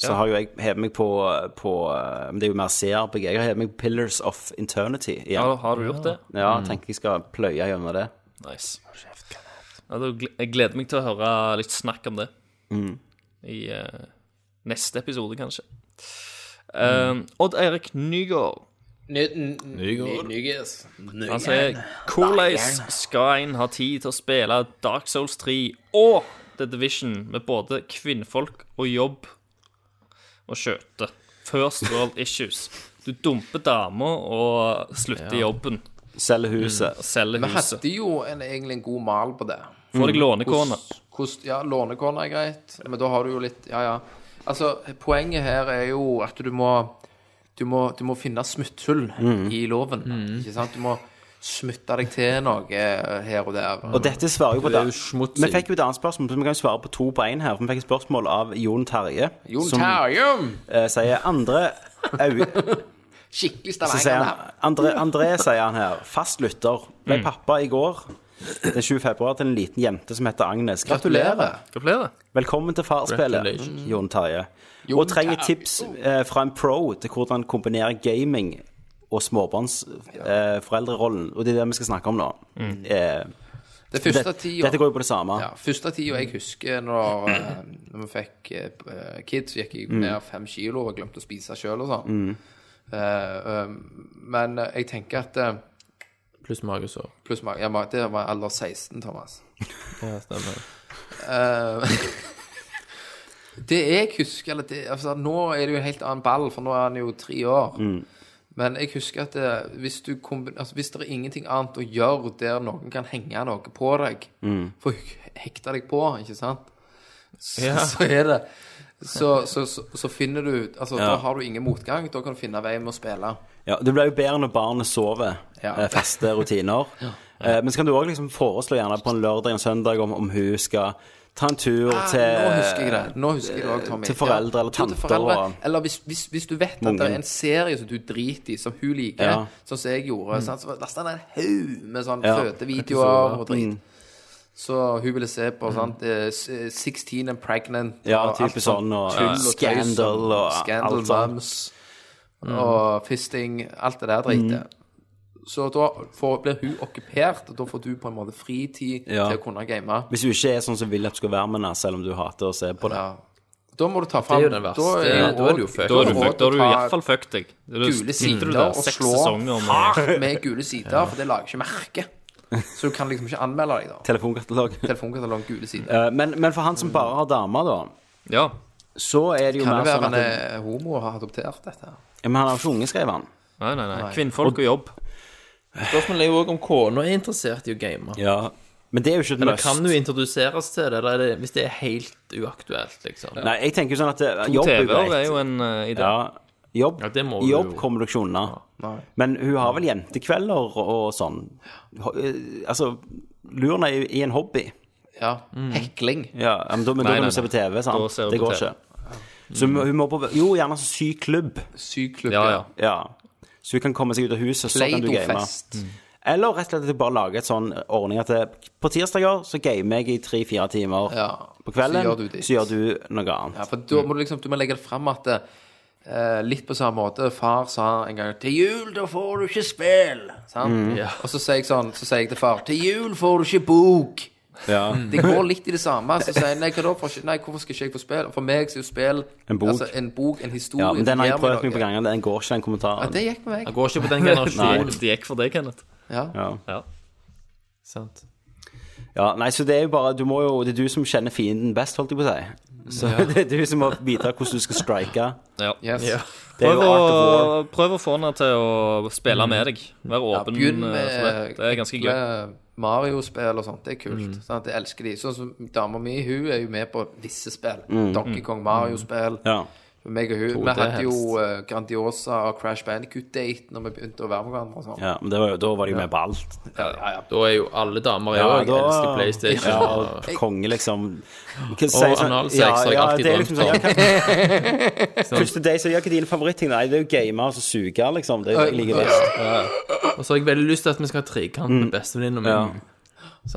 A: så har jo jeg hevet meg på, på eh, Men det er jo mer CRPG. Jeg har hevet meg på Pillars of Internity
I: Ja,
A: igjen.
I: har du gjort det?
A: Ja, jeg tenker jeg skal pløye gjennom det.
I: Nice. Ja, da gle- jeg gleder meg til å høre litt snakk om det Mm. i eh, neste episode, kanskje. Eh, Odd Eirik Nygaard
G: Nyges.
I: Han sier Hvordan skal en ha tid til å spille Dark Souls 3 og The Division med både kvinnfolk og jobb og skjøte? First world issues. Du dumper dama og slutter i jobben.
A: Selge huset.
I: Selger
B: Vi
I: huset.
B: hadde jo en, egentlig en god mal på det.
I: Får deg lånekone.
B: Hvordan- hvordan- Ja, lånekone er greit, men da har du jo litt Ja, ja. Altså, poenget her er jo at du må Du må, du må finne smutthull
A: Mm.
B: i loven. Ikke sant? Du må smutte deg til noe her og der.
A: Og dette svarer jo på
C: Det er
A: det.
C: jo smutsig.
A: Vi fikk jo et annet spørsmål, så vi kan jo svare på to på én her. For vi fikk et spørsmål av Jon Terje,
B: Jon
A: som
B: Terjum!
A: eh, sier andre au,
B: Skikkelig
A: Så sier
B: Stavanger.
A: han, André, André sier han her, fast lytter, ble pappa i går, den 20. februar, til en liten jente som heter Agnes. Gratulerer.
B: Gratulerer.
I: Gratulerer.
A: Velkommen til farspillet,
C: Congratulations.
A: Jon Terje.
B: Jon
A: Og trenger
B: Terje.
A: tips eh, fra en pro til hvordan kombinere gaming og småbarnsforeldrerollen. og det er det vi skal snakke om nå. Eh,
B: Det
A: det,
B: første tida
A: dette går jo på det samme.
B: Ja, første tida jeg husker når, eh, når vi fikk eh, kids, så gikk jeg ned fem kilo og glemte å spise sjøl og sånn. Eh, eh, men eh, jeg tenker at eh,
C: Pluss magesår.
B: Pluss meg, jeg var, det var alder 16, Thomas.
C: Ja, stemmer.
B: Eh, det jeg husker eller det, altså, Nå er det jo en helt annen ball, for nå er han jo tre år. Men jeg husker at det, hvis, du kombi- altså, hvis det er ingenting annet å gjøre der noen kan henge noe på deg, få hekta deg på, ikke sant, så,
C: Ja.
B: så er det så, så, så, så finner du Altså, da har du ingen motgang. Da kan du finne vei med å spille.
A: Ja, det blir jo bedre når barnet sover.
B: Ja.
A: eh, Faste rutiner. Eh, Men så kan du òg liksom foreslå gjerne på en lørdag og en søndag om, om hun skal ta en tur til
B: Ah, Nå husker jeg det. Nå husker jeg det også, Tommy.
A: til foreldre
B: Ja,
A: eller
B: tur til
A: tanter
B: foreldre.
A: og-
B: Eller hvis, hvis, hvis du vet at det er en serie som du driter i, som hun liker,
A: Ja. Mm.
B: sånn som jeg gjorde, sant? så lasta han en haug med sånne
A: Ja. Mm.
B: fødevideoer og drit. Så hun ville se på sant? eh, s- eh, 16 and pregnant
A: Ja,
B: og
A: type
B: alt
A: sånn,
B: sånt
A: og,
B: tull
A: ja,
B: tøys og
A: Scandal og
B: Scandal
A: alt sånn. Mm. sånt.
B: Mums og fisting, alt
A: Mm.
B: det der dritet. Så da får, blir hun okkupert, og da får du på en måte fritid
A: Ja.
B: til å kunne game.
A: Hvis du ikke er sånn som Wilhelm skal være med henne, selv om du hater å se på det.
B: Ja. Da må du ta fram
C: Det er jo den verste.
B: Da
C: Ja, da er du jo
B: også-
C: fucked.
I: Da har du
B: også
I: fucked. Da har du
B: ta
I: iallfall fucked deg. Da
B: gule
I: sitter du
B: sider
I: der
B: og
I: seks
B: slå
I: sesonger med
B: hardt med gule sider, for det lager ikke merke. Så du kan liksom ikke anmelde deg, da.
A: Telefonkatalog.
B: Telefonkatalog, gule sider.
A: Eh, men, men for han som bare har damer, da, så er det jo
B: Kan
A: mer
B: det være
A: sånn
B: han
A: at
B: er homo og har adoptert dette?
A: Ja, Men han har jo ikke unge, skrev han.
I: Nei, nei, nei.
B: Nei.
I: Kvinnfolk og jobb.
C: Spørsmålet er jo òg om kona er interessert i å game.
A: Ja. Men det er jo ikke et
C: Eller
A: must.
C: kan du introduseres til det, eller er det hvis det er helt uaktuelt, liksom?
A: Nei, jeg tenker jo sånn at eh,
I: To
A: jobb er jo
I: TV-er
A: greit.
I: er jo en eh, idé.
A: Ja, jobb,
C: Ja, det må du
A: jobb
C: jo.
A: kommer du ikke unna.
B: Nei.
A: Men hun har vel jentekvelder og sånn. Ho- eh, Altså, lur henne i- i en hobby.
B: Ja. Hekling.
A: Ja, men da, men
I: Nei,
A: da kan
I: nei,
A: du se
I: nei.
A: på TV,
I: Da
A: sant?
I: ser du
A: Det
I: på
A: går
I: TV.
A: ikke. Så hun hun må på Jo, gjerne sånn syklubb.
B: Syklubb.
I: Ja, ja.
A: Ja. Så hun kan komme seg ut av huset, så kan du game.
B: Play-doh-fest.
A: Eller rett og slett at du bare lager et sånn ordning at det- på tirsdager så gamer jeg i tre-fire timer
B: Ja.
A: på kvelden,
B: Så gjør du ditt.
A: så gjør du noe annet.
B: Ja, for da må du liksom Du må legge det fram at eh, Litt på samme måte. Far sa en gang 'Til jul, da får du ikke spill'. Sant?
A: Mm.
B: Og så sier jeg sånn Så sier jeg til far 'Til jul får du ikke bok'.
A: Ja.
B: Det går litt i det samme. Så sier jeg nei, hva da? For, nei, hvorfor skal ikke jeg få spill? For meg så er jo spill
A: En bok.
B: altså, en, bok, en historie.
A: Ja, men den har jeg
B: det gir
A: prøvd meg på
B: noe.
A: ganger, den går ikke, den
B: Ja,
A: kommentaren.
B: det gikk med meg.
C: Det går ikke på den generasjonen.
I: Det gikk for deg, Kenneth.
B: Ja.
A: Ja.
C: sant?
A: Ja, nei, så det er jo bare du må jo, Det er du som kjenner fienden best, holdt jeg på å si. Så det er du som må vite hvordan du skal strike.
I: Ja.
B: Yes.
A: Det er
I: Prøv
A: jo art of war. Mm.
I: å, prøv å få henne til å spille med deg. Vær
B: Ja,
I: åpen.
B: begynn
I: eh,
B: med
I: for det. det er ganske gøy. Mm.
B: ekle Mario-spill og sånt. Det er kult. sant? Jeg elsker de. Sånn som dama mi, hun er jo med på visse spill. Donkey Kong Mario-spill.
A: Mm. Ja.
B: Meg og hun.
C: det
B: Vi hadde jo
C: helst.
B: eh, Grandiosa og Crash Bandicoot-date når vi begynte å være med hverandre. og sånn. sånt.
A: ja, men det var, jo- da var de jo med på alt.
C: Da er jo alle damer jeg
A: Ja,
C: òg
A: da-
C: elsker PlayStation.
A: Ja, og konge, liksom. Hva sier
C: Og
A: sånn-
C: analsex
A: ja,
C: har jeg
A: ja,
C: alltid
A: det er liksom sånn,
C: drømt
A: ja, hva- Første day, så gjør ikke din favoritting. Nei, det er jo gamer og så suger, liksom. Det er jo det jeg liker best.
C: Og så har jeg veldig lyst til at vi skal ha trekant
A: Mm.
C: med bestevenninna mi.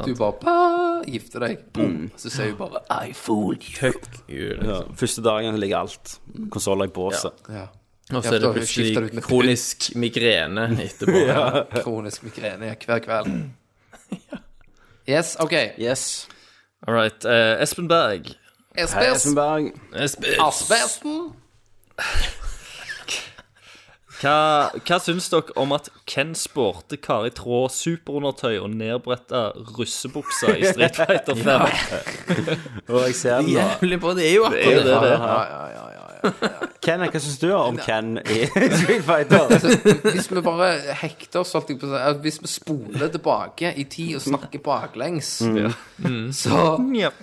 B: Du bare bah, gifter deg. Boom. Så sier hun bare I fooled you.
C: Fuck you, liksom.
A: Ja. Første dagen ligger alt. Konsoller i båset.
B: Ja.
C: Og så er
B: Ja,
C: det
B: for da skifter det ut
C: plutselig
B: med
C: kronisk migrene etterpå.
B: Kronisk migrene hver kveld. Yes, OK.
A: Yes.
I: All right. eh, Espen Berg.
B: Espers.
A: Espenberg.
I: Espen,
B: Asbesten.
I: hva, hva syns dere om at Ken sporte Kari Trå superundertøy og nedbretta russebukser i Street Fighter 5?
A: Og jeg ser den nå.
C: Jævlig bra. Det er jo akkurat det.
B: Ja, ja, ja, ja, ja.
A: Ken, hva syns du om Ken i Street Fighter?
B: Hvis vi bare hekter oss, holdt jeg på å si, at hvis vi spoler tilbake i tid og snakker baklengs,
C: Mm.
B: så
C: Snakker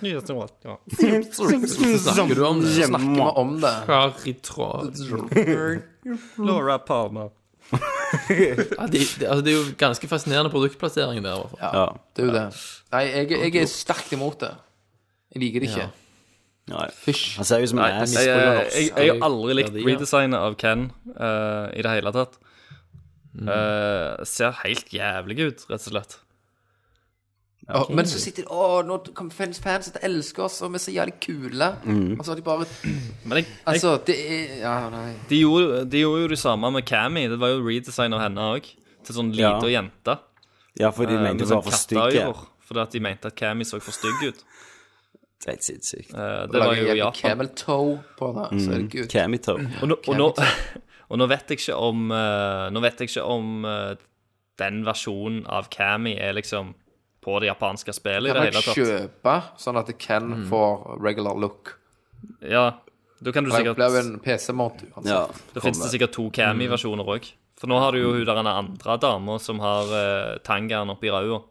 C: du om det?
B: snakker vi om det.
C: Karitråd.
I: Laura Palmer.
C: Ja, det, det, altså, det er jo ganske fascinerende produktplassering der. i hvert fall.
B: Ja,
A: Ja.
B: det er jo det. Nei, jeg, jeg er sterkt imot det. Jeg liker det ikke.
A: Nei.
B: Fysj.
A: Han ser jo som en
I: Nei, jeg,
A: ass.
I: eh, jeg, jeg, jeg har aldri likt
C: verdier.
I: redesignet av Ken eh, i det hele tatt.
A: Mm.
I: Eh, ser helt jævlig ut, rett og slett.
B: Å, Men så sitter de Å, nå kommer fans, fans til å elske oss, og vi er så jævlig kule. Og så har de bare
I: Men jeg, jeg,
B: Altså, det er Ja, nei.
I: de, gjorde, de gjorde jo det samme med Cammy. Det var jo redesign av henne òg, til sånn
A: Ja.
I: lita jente.
A: Ja, for de
I: eh,
A: mente
I: med
A: hun var
I: sånn
A: for stygge.
I: katteøyne, Fordi at de mente at Cammy så for stygg ut.
A: Det er helt sinnssykt.
I: Eh, det
B: Lager
I: var jo i
B: jævlig
I: Japan.
B: camel toe på det, så
A: Mm.
B: er det good.
A: Camito.
I: Og nå, og nå, og nå vet jeg ikke om eh, Nå vet jeg ikke om eh, den versjonen av Cammy er liksom på det japanske spillet i
B: Kan
I: det
B: jeg
I: hele tatt.
B: kjøpe sånn at Ken får regular look?
I: Ja, da kan du
B: For jeg
I: sikkert
B: ble jo en PC-mont uansett.
A: Ja.
I: Da finnes det sikkert to Cammy-versjoner òg. For nå har du jo
A: Mm.
I: hun der andre dama som har eh, tangaen oppi ræva.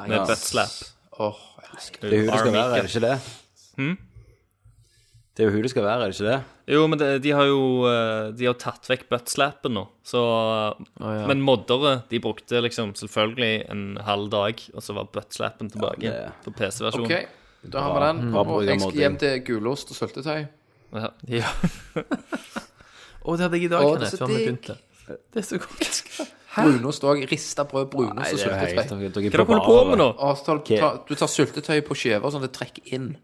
I: Med butt slap.
B: Åh, jeg elsker det.
A: Det er jo hun det skal
I: Army
A: være, er det ikke det?
I: Hm?
A: Det er jo hun det skal være, er det ikke det?
I: Jo, men det, de har jo eh, De har tatt vekk buttslappen nå, så Men moddere, de brukte liksom selvfølgelig en halv dag, og så var buttslappen tilbake
A: det-
I: på PC-versjonen.
B: OK, da har vi den.
A: Bra
B: Og jeg skal
A: programmodding.
B: hjem til gulost og syltetøy.
I: Ja.
C: Ja. Å, det hadde jeg i dag,
B: Å, det
C: Kenneth,
B: er så
C: før vi
B: digg.
C: begynte. Det er så godt.
B: Brunost òg. Rista brød, brunost og
A: Nei, det er jo helt-
B: syltetøy.
A: dere- dere
I: Hva holder dere
A: barber.
I: på med nå?
B: Og så tar, tar, du tar syltetøy på skiver sånn at det trekker inn.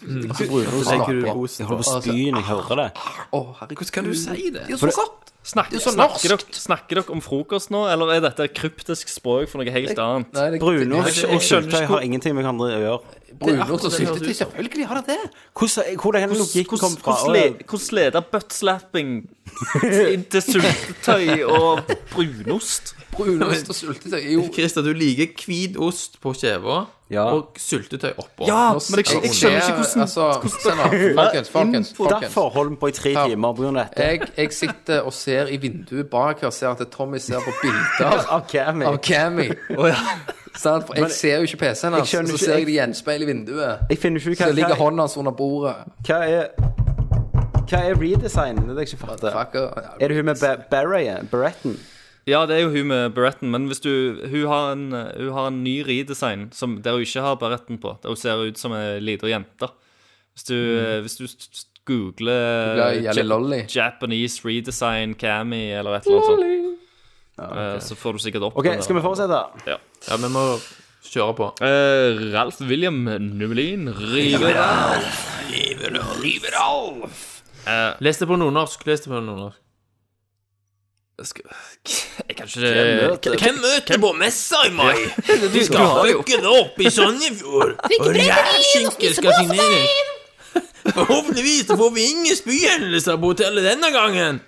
A: Så legger du osten på. Jeg holder på å spy når jeg Ah, hører det.
B: sånn? Å, herregud, hvordan kan du si det?
I: For det- Snakker,
B: Det er så norskt.
I: snakker, dere, snakker dere om frokost nå, eller er dette kryptisk språk for noe helt annet?
B: Nei, det-
A: Brunost og kjøltøy har
I: ikke
A: ingenting med hverandre å gjøre.
B: Brunost og syltetøy, selvfølgelig har det det.
A: Hvordan, hvor er den logikken kom fra?
I: Hvordan le- hvordan leder buttslapping til til syltetøy og brunost?
B: Brunost og syltetøy er jo
C: Christer, du liker hvit ost på kjeva
A: Ja.
C: og syltetøy oppå.
I: Ja, men jeg, jeg skjønner ikke hvordan
B: Altså, se nå, folkens, folkens, folkens.
A: Derfor holder vi på i tre timer på grunn av dette.
B: Jeg, jeg sitter og ser i vinduet bak her, ser at Tommy ser på bilder
A: Av Cammy.
B: av Cammy. Sant? For jeg ser jo ikke PC-en hans,
A: skjønner
B: så
A: ikke-
B: ser jeg det gjenspeil i vinduet.
A: Jeg finner ikke ut
B: Så
A: hva,
B: ligger
A: hva,
B: hånden hans under bordet.
A: hva er Hva er redesignen? Det er det jeg ikke fatter.
B: Fucker.
A: Er det hun med ba- barret- Barretten?
I: Ja, det er jo hun med beretten, men hvis du Hun har en, hun har en ny ridesign som, der hun ikke har beretten på, der hun ser ut som ei lita jente. Hvis du,
A: Mm.
I: hvis du s- s- googler
B: Googler Jelly Lolly.
I: Japanese redesign Cammy eller et eller annet sånt, eh, så får du sikkert opp
A: OK, skal vi fortsette?
I: Ja.
C: Ja, vi må kjøre på.
I: Eh, Ralf William Numelin river av.
C: Les det på nordnorsk. Les det på nordnorsk.
I: Skal- Jeg kan ikke
G: Hvem møter på messa i mai?
I: Du skal ha jo
G: Dukker det opp i Sandefjord? Og rævskinke skal signeres. Forhåpentligvis så får vi ingen spyhendelser på hotellet denne gangen.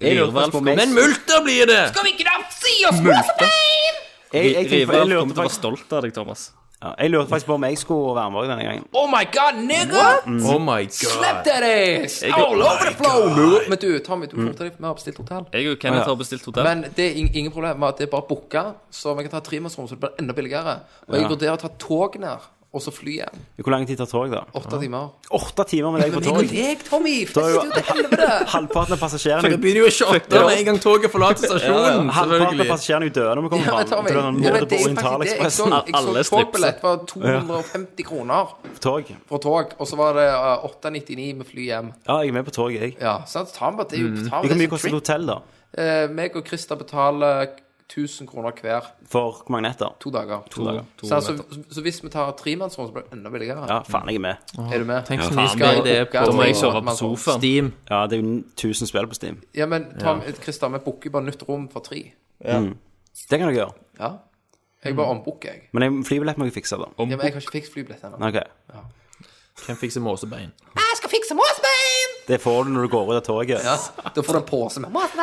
I: Irvalf på meg.
G: Men multer blir det.
A: Jeg, jeg, tenkte- jeg, lurte
I: Riveralf kommer til å være
A: faktisk,
I: stolt av deg, Thomas.
A: ja, jeg lurte faktisk på om jeg skulle være med denne gangen.
B: Oh my god, nigga!
C: Oh my god.
B: Slap that ass! All over the flow! Men du, Tommy, du må fortelle deg, vi har bestilt hotell.
I: Jeg og Kenneth har bestilt hotell.
B: Men det er ing- ingen problem med at det er bare booka, så vi kan ta tremannsrom, så det blir enda billigere. Og jeg vurderer å ta tog ned, og så fly igjen.
A: Hvor lang tid tar tog, da?
B: Åtte timer.
A: Åtte timer med deg på
B: Men jeg og
A: tog?
B: deg,
A: Da
B: Tommy!
A: er
B: Fest
A: jo-
B: jo til helvete!
A: Halvparten av passasjerene
C: begynner jo å shotte med en gang toget forlater stasjonen.
A: Halvparten av passasjerene er jo døde når vi
B: Ja,
A: kommer
B: men
A: fram.
B: Tommy,
A: Det er
B: ja,
A: en
B: men det er
A: mord på
B: faktisk det. Jeg så,
A: Orientalekspressen.
B: jeg
I: Alle
B: så togbillett
I: stripser.
B: var 250 kroner
A: Av Tog.
B: for tog, og så var det eh, 899 med fly hjem.
A: Ja, jeg er med på tog, jeg.
B: Ja, sant? Ta med det er jo ta
A: Hvor
B: med det
A: mye
B: som
A: koster et
B: trip.
A: hotell, da?
B: Eh, meg og Krista betaler 1000 kroner hver.
A: For hvor mange netter?
B: To dager.
A: dager.
B: Så, altså, så, så hvis vi tar tremannsrom, så blir det enda billigere.
A: Ja, faen, jeg er med.
B: Er du med?
C: Tenk så
I: Ja,
C: mye skal
I: faen,
C: det
B: da
C: på
I: Da må jeg
B: og-
I: sove
B: man-
I: på sofaen.
C: Steam.
A: Ja, det er jo 1000 spill på Steam.
B: Ja, men Tom, Krista, vi booker bare nytt rom for tre.
A: Det kan du gjøre.
B: Ja. Jeg bare ombooker, jeg.
A: Men jeg- flybillett må jeg fikse, da.
B: Ja, men jeg har ikke fikset flybillett ennå.
A: Ok.
C: Hvem fikser måsebein?
A: Det får du når du går ut av toget.
B: Ja, da får du en pose med mat.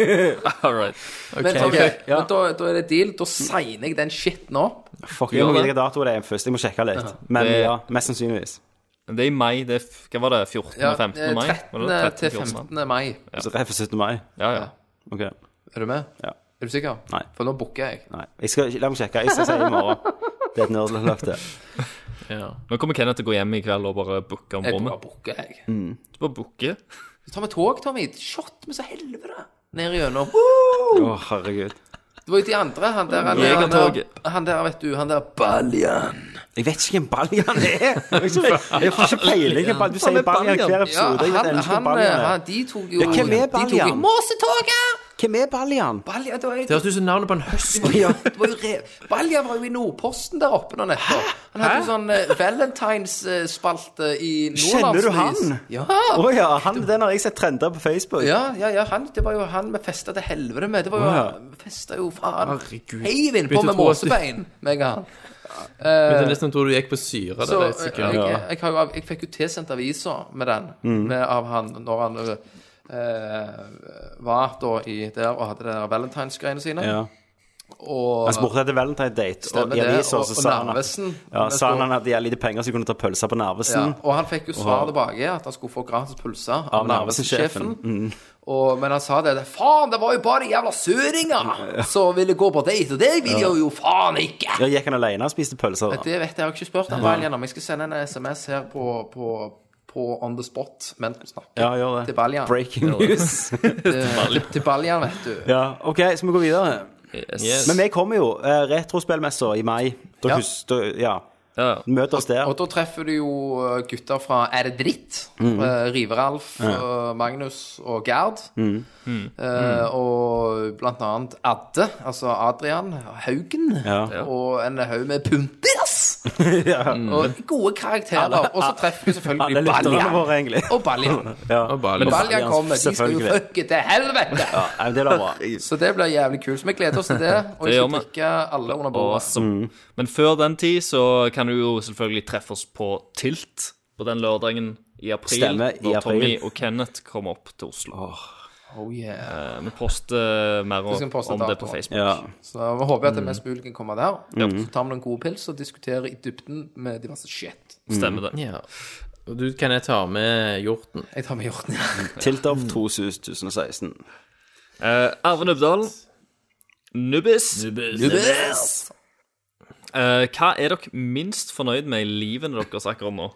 I: All right.
B: Men, ok, men da, da er det deal. Da signer jeg den shitten opp.
A: Fuck, jeg må vite hvilken dato det er først. Jeg må sjekke litt. Men
I: Det-
A: ja, mest sannsynligvis.
I: Det er i mai. Det er, f- hva var det? 14.
B: Ja,
I: 15.
B: eh,
I: mai?
B: 13. til 15. mai.
A: Så rett for 17. mai.
I: Ja, ja.
A: Ok.
B: Er du med?
A: Ja.
B: Er du sikker?
A: Nei.
B: For nå booker jeg.
A: Nei. Jeg skal, la meg sjekke. Jeg skal si i morgen. Det er et nerdeløp, det.
I: Nå kommer Kenneth til å gå hjem i kveld og bare booke om
B: Jeg bare
I: rommet.
B: booker, jeg.
I: Du bare booker.
B: Så tar vi tog, Tommy. Shot med så helvete. Ned igjennom.
A: Å, herregud.
B: Det var jo de andre. Han der, han,
I: Jeg
B: der,
I: har
B: han, der,
I: toget.
B: han der vet du. Han der Baljan.
A: Jeg vet ikke hvem Baljan er! Jeg har ikke peiling. hvem Baljan- Du sier Baljan hver
B: Ja,
A: episode. Jeg vet
B: han,
A: ennå ikke hvem
B: han, eh,
A: Baljan er.
B: han, de tok jo
A: Ja, hvem er
B: De tok jo
A: Baljan?
B: Måsetoget!
A: Hvem er Baljan?
B: Balja, det var jo
C: Det høres ut som navnet på en høst.
B: ja, det var jo rev. Balja var jo i Nordposten der oppe nå nettopp. Han hadde jo sånn eh, Valentines-spalte i
A: Kjenner
B: Nordlandsvis.
A: du han?
B: Ja.
A: Å ja, han, den har jeg sett trender på Facebook.
B: Ja, ja, ja, han, det var jo han vi festa til helvete med. Det var jo, Vi festa jo faen heiven
C: Begynte
B: på
C: å
B: med
C: tro at du-
B: måsebein, meg og han.
C: Det er nesten tror du gikk på syre.
B: Så
C: det
B: eh,
C: er
B: jeg, jeg, har jo, av- jeg fikk jo tilsendt avisa med den,
A: Mm.
B: med, av han, når han eh, eh, var da i der og hadde de der valentinsgreiene sine.
A: Ja.
B: Og
A: Han spurte etter Valentine Date, og
B: Stemmer
A: i
B: det,
A: aviser
B: og-
A: så
B: og
A: sa han at,
B: Narvesen.
A: ja, sa han at de hadde lite penger, så de kunne ta pølser på
B: Ja,
A: Narvesen.
B: og han fikk jo svar tilbake at han skulle få gratis pulser av
A: Av
B: Narvesen-sjefen.
A: Narvesen-sjefen. Mm.
B: Og- Men han sa det. det, Faen, det var jo bare de jævla søringer som ville gå på date, og det vil jeg jo faen ikke!
A: Ja, gikk han alene og spiste pølser? da?
B: Det vet jeg, jeg har ikke spurt han vel gjennom. Jeg skal sende en SMS her på, på, på on the spot mens vi snakker.
A: Ja, gjør det.
B: Til Baljan.
A: Breaking news.
B: Til, til Baljan, vet du.
A: Ja, OK, skal vi gå videre?
I: Yes.
A: Men vi kommer jo. Eh, Retrospillmessa i mai. Da
B: Ja.
A: hus- da- ja.
I: Ja.
A: Møt oss der.
B: Og da treffer du jo eh, gutter fra Er det dritt?
A: Mm.
B: Eh, Riveralf, eh, Magnus og Gerd.
A: Mm.
B: Eh, og blant annet Adde, altså Adrian Haugen.
A: Ja.
B: Og en haug med pumpers
A: Ja.
B: Og gode karakterer. Og så treffer vi
A: Alle
B: selvfølgelig
A: lytterne
B: Balja.
A: våre, egentlig.
B: Og Balja.
A: Ja.
B: Balja kommer. De skal jo
A: selvfølgelig.
B: fucke til helvete!
A: Ja, nei, men det blir bra.
B: Så det blir jævlig kult. Så vi gleder oss til det. Og
I: Det
B: vi
I: gjør
B: skal
I: vi.
B: drikke alle under bordet.
I: Awesome. Men før den tid så kan du jo selvfølgelig treffe oss på Tilt på den lørdagen i april.
A: Stemmer, i
I: når Tommy
A: april.
I: og Kenneth kommer opp til Oslo.
B: Oh yeah.
I: Eh, Vi poster mer
B: Vi skal
I: om,
B: poste
I: om det
B: datoer.
I: på Facebook.
A: Ja.
B: Så vi håper
I: Mm.
B: at det mest mulig kan komme der. Så tar vi noen gode pils og diskuterer i dybden med diverse shit.
I: Stemmer det.
C: Ja. Og du kan jeg ta med hjorten.
B: Jeg tar med hjorten.
A: Tiltov 2016.
I: Eh, Arve Nubdal. Nubbis.
B: Yes!
I: Eh, hva er dere minst fornøyd med i livene deres akkurat nå?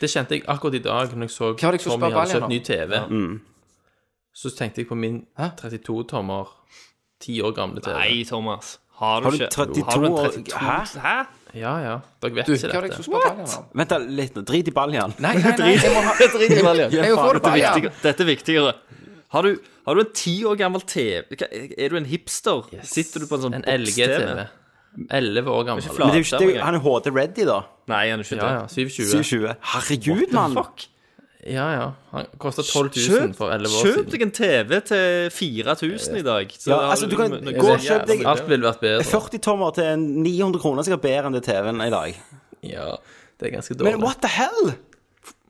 C: Det kjente jeg akkurat i dag når jeg så
B: var det jeg skulle
C: Tommy
B: spørre
C: hadde
B: Valja
C: kjøpt
B: nå?
C: ny TV.
I: Mm.
C: Så tenkte jeg på min 32-tommer, 10 år gamle TV.
I: Nei, Thomas. Har du,
A: Har du
I: ikke
A: 32
I: har du en
A: år-
I: 32?
A: Hæ?
I: Hæ?
C: Ja, ja. Dere vet
B: Du, hva
C: ikke
B: var det jeg
C: dette.
B: skulle spørre Balja om?
A: Vent da litt nå. Drit i baljen.
B: Nei, nei, nei, jeg må ha Drit i Balja. Jeg får det
I: Dette er
B: Balja.
I: viktigere. Dette er viktigere. Har du, har du en ti år gammel TV? Hva- Er du en hipster? Sitter du på en sånn
C: En LG-TV. 11 år gammel.
A: Men det er jo ikke, det, er jo- han er HD-ready, da.
I: Nei, er du ikke
C: Ja,
I: det?
C: ja. 720.
A: 720. Herregud, mann.
C: Ja, ja. Han kosta 12 000
I: Kjøp,
C: for 11 år
I: kjøp
C: siden.
I: deg en TV til 4000 i dag. Så
A: Ja,
I: har
A: altså, du kan
I: noe-
A: gå og kjøpe deg
C: Alt ville vært bedre.
A: 40 tommer til en 900 kroner sikkert bedre enn det TV-en er i dag.
C: Ja, det er ganske
A: Men
C: dårlig.
A: what the hell?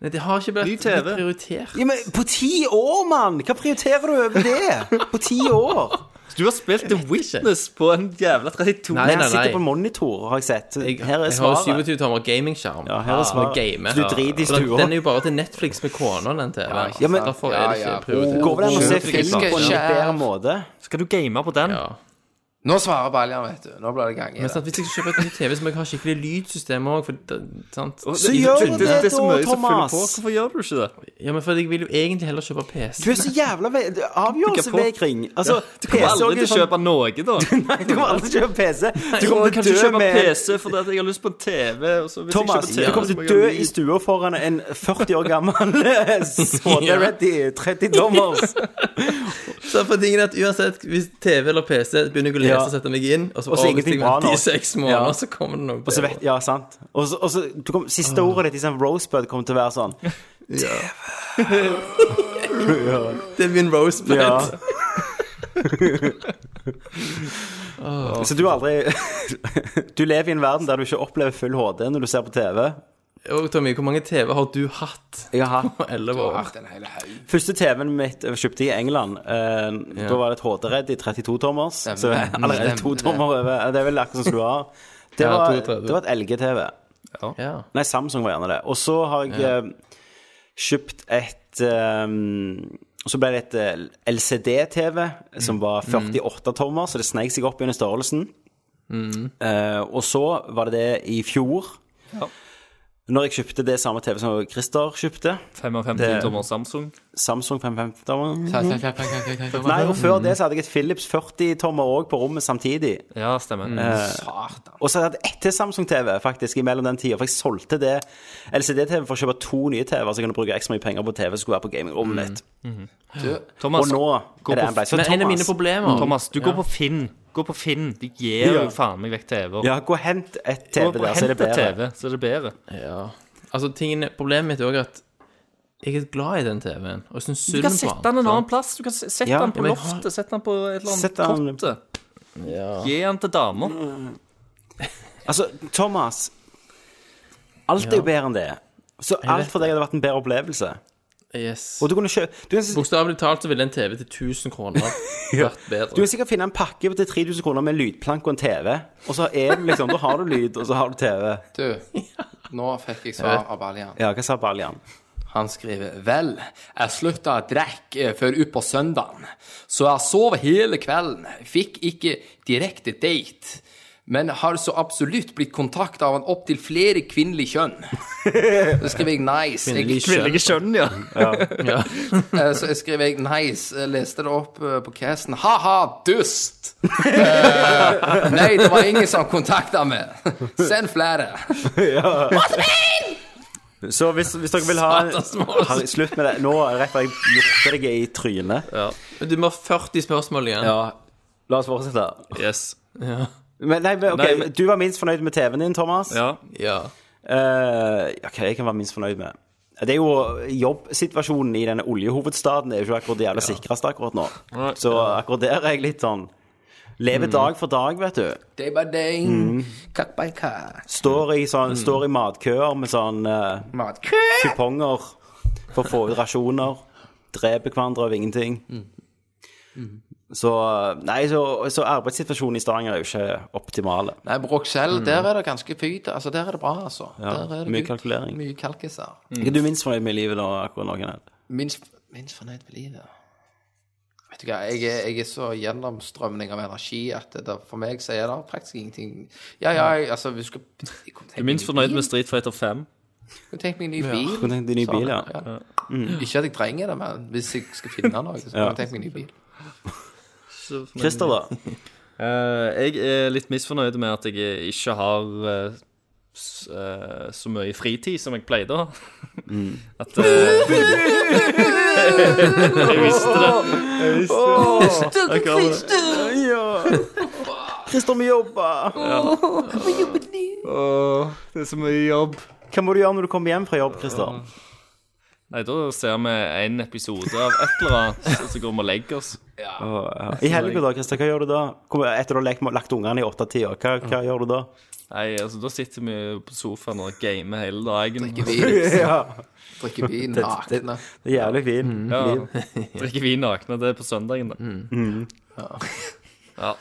C: Nei, det har ikke
I: Ny
C: blitt
I: TV.
C: prioritert.
A: Ja, men på ti år, mann! Hva prioriterer du over det? På ti år?
I: Du har spilt The Witness på en jævla 32.
A: Nei,
C: Nei, nei,
A: han sitter på en
C: nei.
A: monitor, har jeg sett.
C: Jeg, jeg
A: Her er
C: har
A: svaret.
C: 27 tommer gamingskjerm. Ah,
A: Ja, her er svaret.
C: gamer.
A: Så du driter i
C: Og den-
A: stua.
C: Den er jo bare til Netflix med kona, den TV-en.
A: Ja, men-
C: Derfor er det
B: Ja, ja.
C: ikke prioritert.
A: Går vel an å se
B: Kjøp
A: film
B: fisk,
A: på en litt
B: kjøp.
A: bedre måte?
I: Skal du game på den?
C: Ja.
B: Nå svarer Balja, vet du. Nå blir det gang i
C: Men
B: det.
C: sant, hvis jeg skal kjøpe et nytt TV, så må jeg ha skikkelig lydsystem òg.
A: Så gjør du det
I: er
A: da,
I: så mye som fyller
A: Thomas.
I: på. Hvorfor gjør du ikke det?
C: Ja, men for jeg vil jo egentlig heller kjøpe PC.
A: Du er så jævla ve- du- avgjørelsevegring. Altså,
I: Du kommer aldri til å
A: sånn-
I: kjøpe noe, da.
A: Nei, sånn- du kommer aldri til å kjøpe PC. Du kommer til å
I: kan ikke
A: dø
I: kjøpe
A: med
I: PC fordi at jeg har lyst på en TV. Og så hvis
A: Thomas,
I: jeg
A: du
I: kjøper TV,
A: kommer
I: så
A: til
I: må
A: å
I: jeg
A: dø
I: ha
A: i
I: lyd.
A: stua foran en 40 år gammel eh, HD-ready 30-dommers.
C: Så for tingen er at uansett, hvis TV eller PC begynner jeg å lese
A: Ja.
C: og sette meg inn, og
A: Og så
C: så overstiger
A: ingenting
C: jeg
A: bra
C: meg
A: nok.
C: i seks måneder,
A: Ja.
C: så kommer det noe
A: Og så
C: bedre.
A: vet, ja, sant. Og så, og så du kom, siste
I: Ah.
A: ordet ditt i sånn Rosebud kommer til å være sånn.
C: Det er min rosebud.
A: Ja.
I: Ah.
A: Så du har aldri Du lever i en verden der du ikke opplever full HD når du ser på TV.
C: Og Tommy, hvor mange TV har du hatt
A: Jeg har hatt
C: på 11 år?
B: Den hele haug.
A: Første TV-en mitt jeg kjøpte i England. Eh, Da var det et HD-redd i 32-tommers. Så
B: Stemmer.
A: allerede
B: Stemmer
A: to
B: det.
A: tommer over. Det er vel akkurat som du har. Det
C: Ja,
A: var,
C: 32.
A: det var et LG-TV.
C: Ja.
A: Nei, Samsung var gjerne det. Og så har jeg eh, kjøpt et eh, Så ble det et eh, LCD-TV som
B: Mm.
A: var 48 tommer, så det sneik seg opp under størrelsen.
B: Mm.
A: Eh, og så var det det i fjor. Når jeg kjøpte det samme TV som Christer kjøpte,
I: 55 tommer Samsung.
A: Samsung 550 Nei, og før det så hadde jeg et Philips 40-tommer òg på rommet samtidig.
I: Ja, stemmer.
A: Mm. Og så hadde jeg ett til Samsung-TV faktisk imellom den tida, for jeg solgte det LCD-TV for å kjøpe to nye TV-er, så jeg kunne bruke ekstra mye penger på TV som skulle være på gamingrommet mitt.
I: Thomas,
A: Og nå er
I: gå
A: det
I: på
A: en blei. Så
C: Men en av mine
A: Thomas,
C: problemer
I: Thomas, du går på Finn. Gå på Finn. De gir
A: Ja.
I: jo faen meg vekk TV-er.
A: ja, gå og hent et
I: Gå
A: TV
I: på-
A: der, så
I: hent
A: er det bedre.
I: TV, så er det bedre.
C: Ja. Altså, tingene, problemet mitt er også at jeg er glad i den TV-en, og jeg syns
I: Du
C: synd på
I: kan
C: den.
I: sette den en annen plass. Du kan s- Sette
A: Ja,
I: den på
C: men jeg har-
I: loftet. Sette den på et eller
A: Sett den-
I: annet kotte. Gi den til damer.
A: Altså, Thomas Alt er jo bedre enn det. Så alt for deg hadde vært en bedre opplevelse.
C: Yes.
A: Og du kunne kjøpe du, kan-
C: Bokstavelig talt så ville en TV til 1000 kroner vært
A: du
C: bedre.
A: kan sikkert finne en pakke til 3000 kroner med lydplank og en TV, og så er det liksom Da har du lyd, og så har du TV.
B: Du, nå fikk jeg svar av Balja.
A: Ja, hva sa Baljan?
B: Han skriver Vel, jeg slutta å drikke eh, før utpå søndagen, så jeg sov hele kvelden. Fikk ikke direkte date, men har så absolutt blitt kontakta av en opptil flere kvinnelig kjønn. Så skriver jeg nice. Jeg,
I: Kvinnelige kjønn, ja.
B: eh, så jeg skriver jeg nice. Jeg leste det opp eh, på casten. Ha-ha, dust! Eh, nei, det var ingen som kontakta meg. Send flere.
A: Så hvis, hvis dere vil ha Harry, Slutt med det. Nå rett før jeg gjorde deg i trynet.
C: Men du må ha 40 spørsmål igjen.
A: La oss fortsette.
I: Yes.
C: Ja.
A: Men, nei, men, ok,
I: Nei, men-
A: Du var minst fornøyd med TV-en din, Thomas.
I: Ja.
A: Eh, ja, hva jeg kan være minst fornøyd med? Det er jo jobbsituasjonen i denne oljehovedstaden. Det er jo ikke akkurat det aller sikreste akkurat nå.
B: Nei,
A: Så
B: ja.
A: akkurat der er jeg litt sånn Lever dag for dag, vet du.
B: Day by day,
A: Mm.
B: cup by cup.
A: Står i,
I: Mm.
A: sånn, står i matkøer med sånn eh, kuponger for å få ut rasjoner. Dreper hverandre av ingenting.
I: Mm.
A: Så eh, Nei, så, så arbeidssituasjonen i Stavanger er jo ikke optimale.
B: Nei, Broxell,
A: Mm.
B: der er det ganske pyt. Altså, der er det bra, altså.
A: Ja,
B: der er det
A: mye
B: good.
A: kalkulering.
B: Mye kalkiser.
I: Mm.
A: Hva er du minst fornøyd med i livet da, akkurat noen her?
B: Minst, minst fornøyd med livet. Vet du hva, jeg er, jeg er så gjennomstrømning av energi at det, for meg så er det praktisk ingenting Ja, ja, jeg, altså, vi skal jeg kunne
I: Du
B: tenkt
I: er
B: meg
I: minst
B: en
I: fornøyd
B: bil.
I: med Street Fighter 5?
B: Jeg kunne tenkt meg en ny
I: Ja.
B: bil. sånn,
I: Kunne tenkt deg en ny bil, ja. Ja. Mm.
B: Ikke at jeg trenger det, men hvis jeg skal finne noe, så kunne
I: Ja.
B: jeg tenkt meg en ny bil.
A: Christer, da?
I: Eh, jeg er litt misfornøyd med at jeg ikke har eh, s- eh, så mye fritid som jeg pleide å ha. At eh, Jeg visste det. Jeg visste det. Jeg kommer det.
A: Christer må jobbe!
I: Åh, det er så mye jobb.
A: Hva må du gjøre når du kommer hjem fra jobb, Christer?
I: Nei, da ser vi en episode av et eller annet, og så går vi og legger oss.
A: Åh, ja. I helga, da, Christer, hva gjør du da? Hvor- Etter du har lekt, lagt ungene i åttetida, hva, hva gjør du da?
I: Nei, altså, da sitter vi på sofaen og gamer hele dagen.
B: Drikker vin.
A: Ja.
B: Drikker vin
I: Det-
B: liksom. nakne.
A: Det er jævlig fint.
I: Ja.
A: liv.
I: Drikker vin nakne. Det er på søndagen, da.
A: Mm.
I: Ja.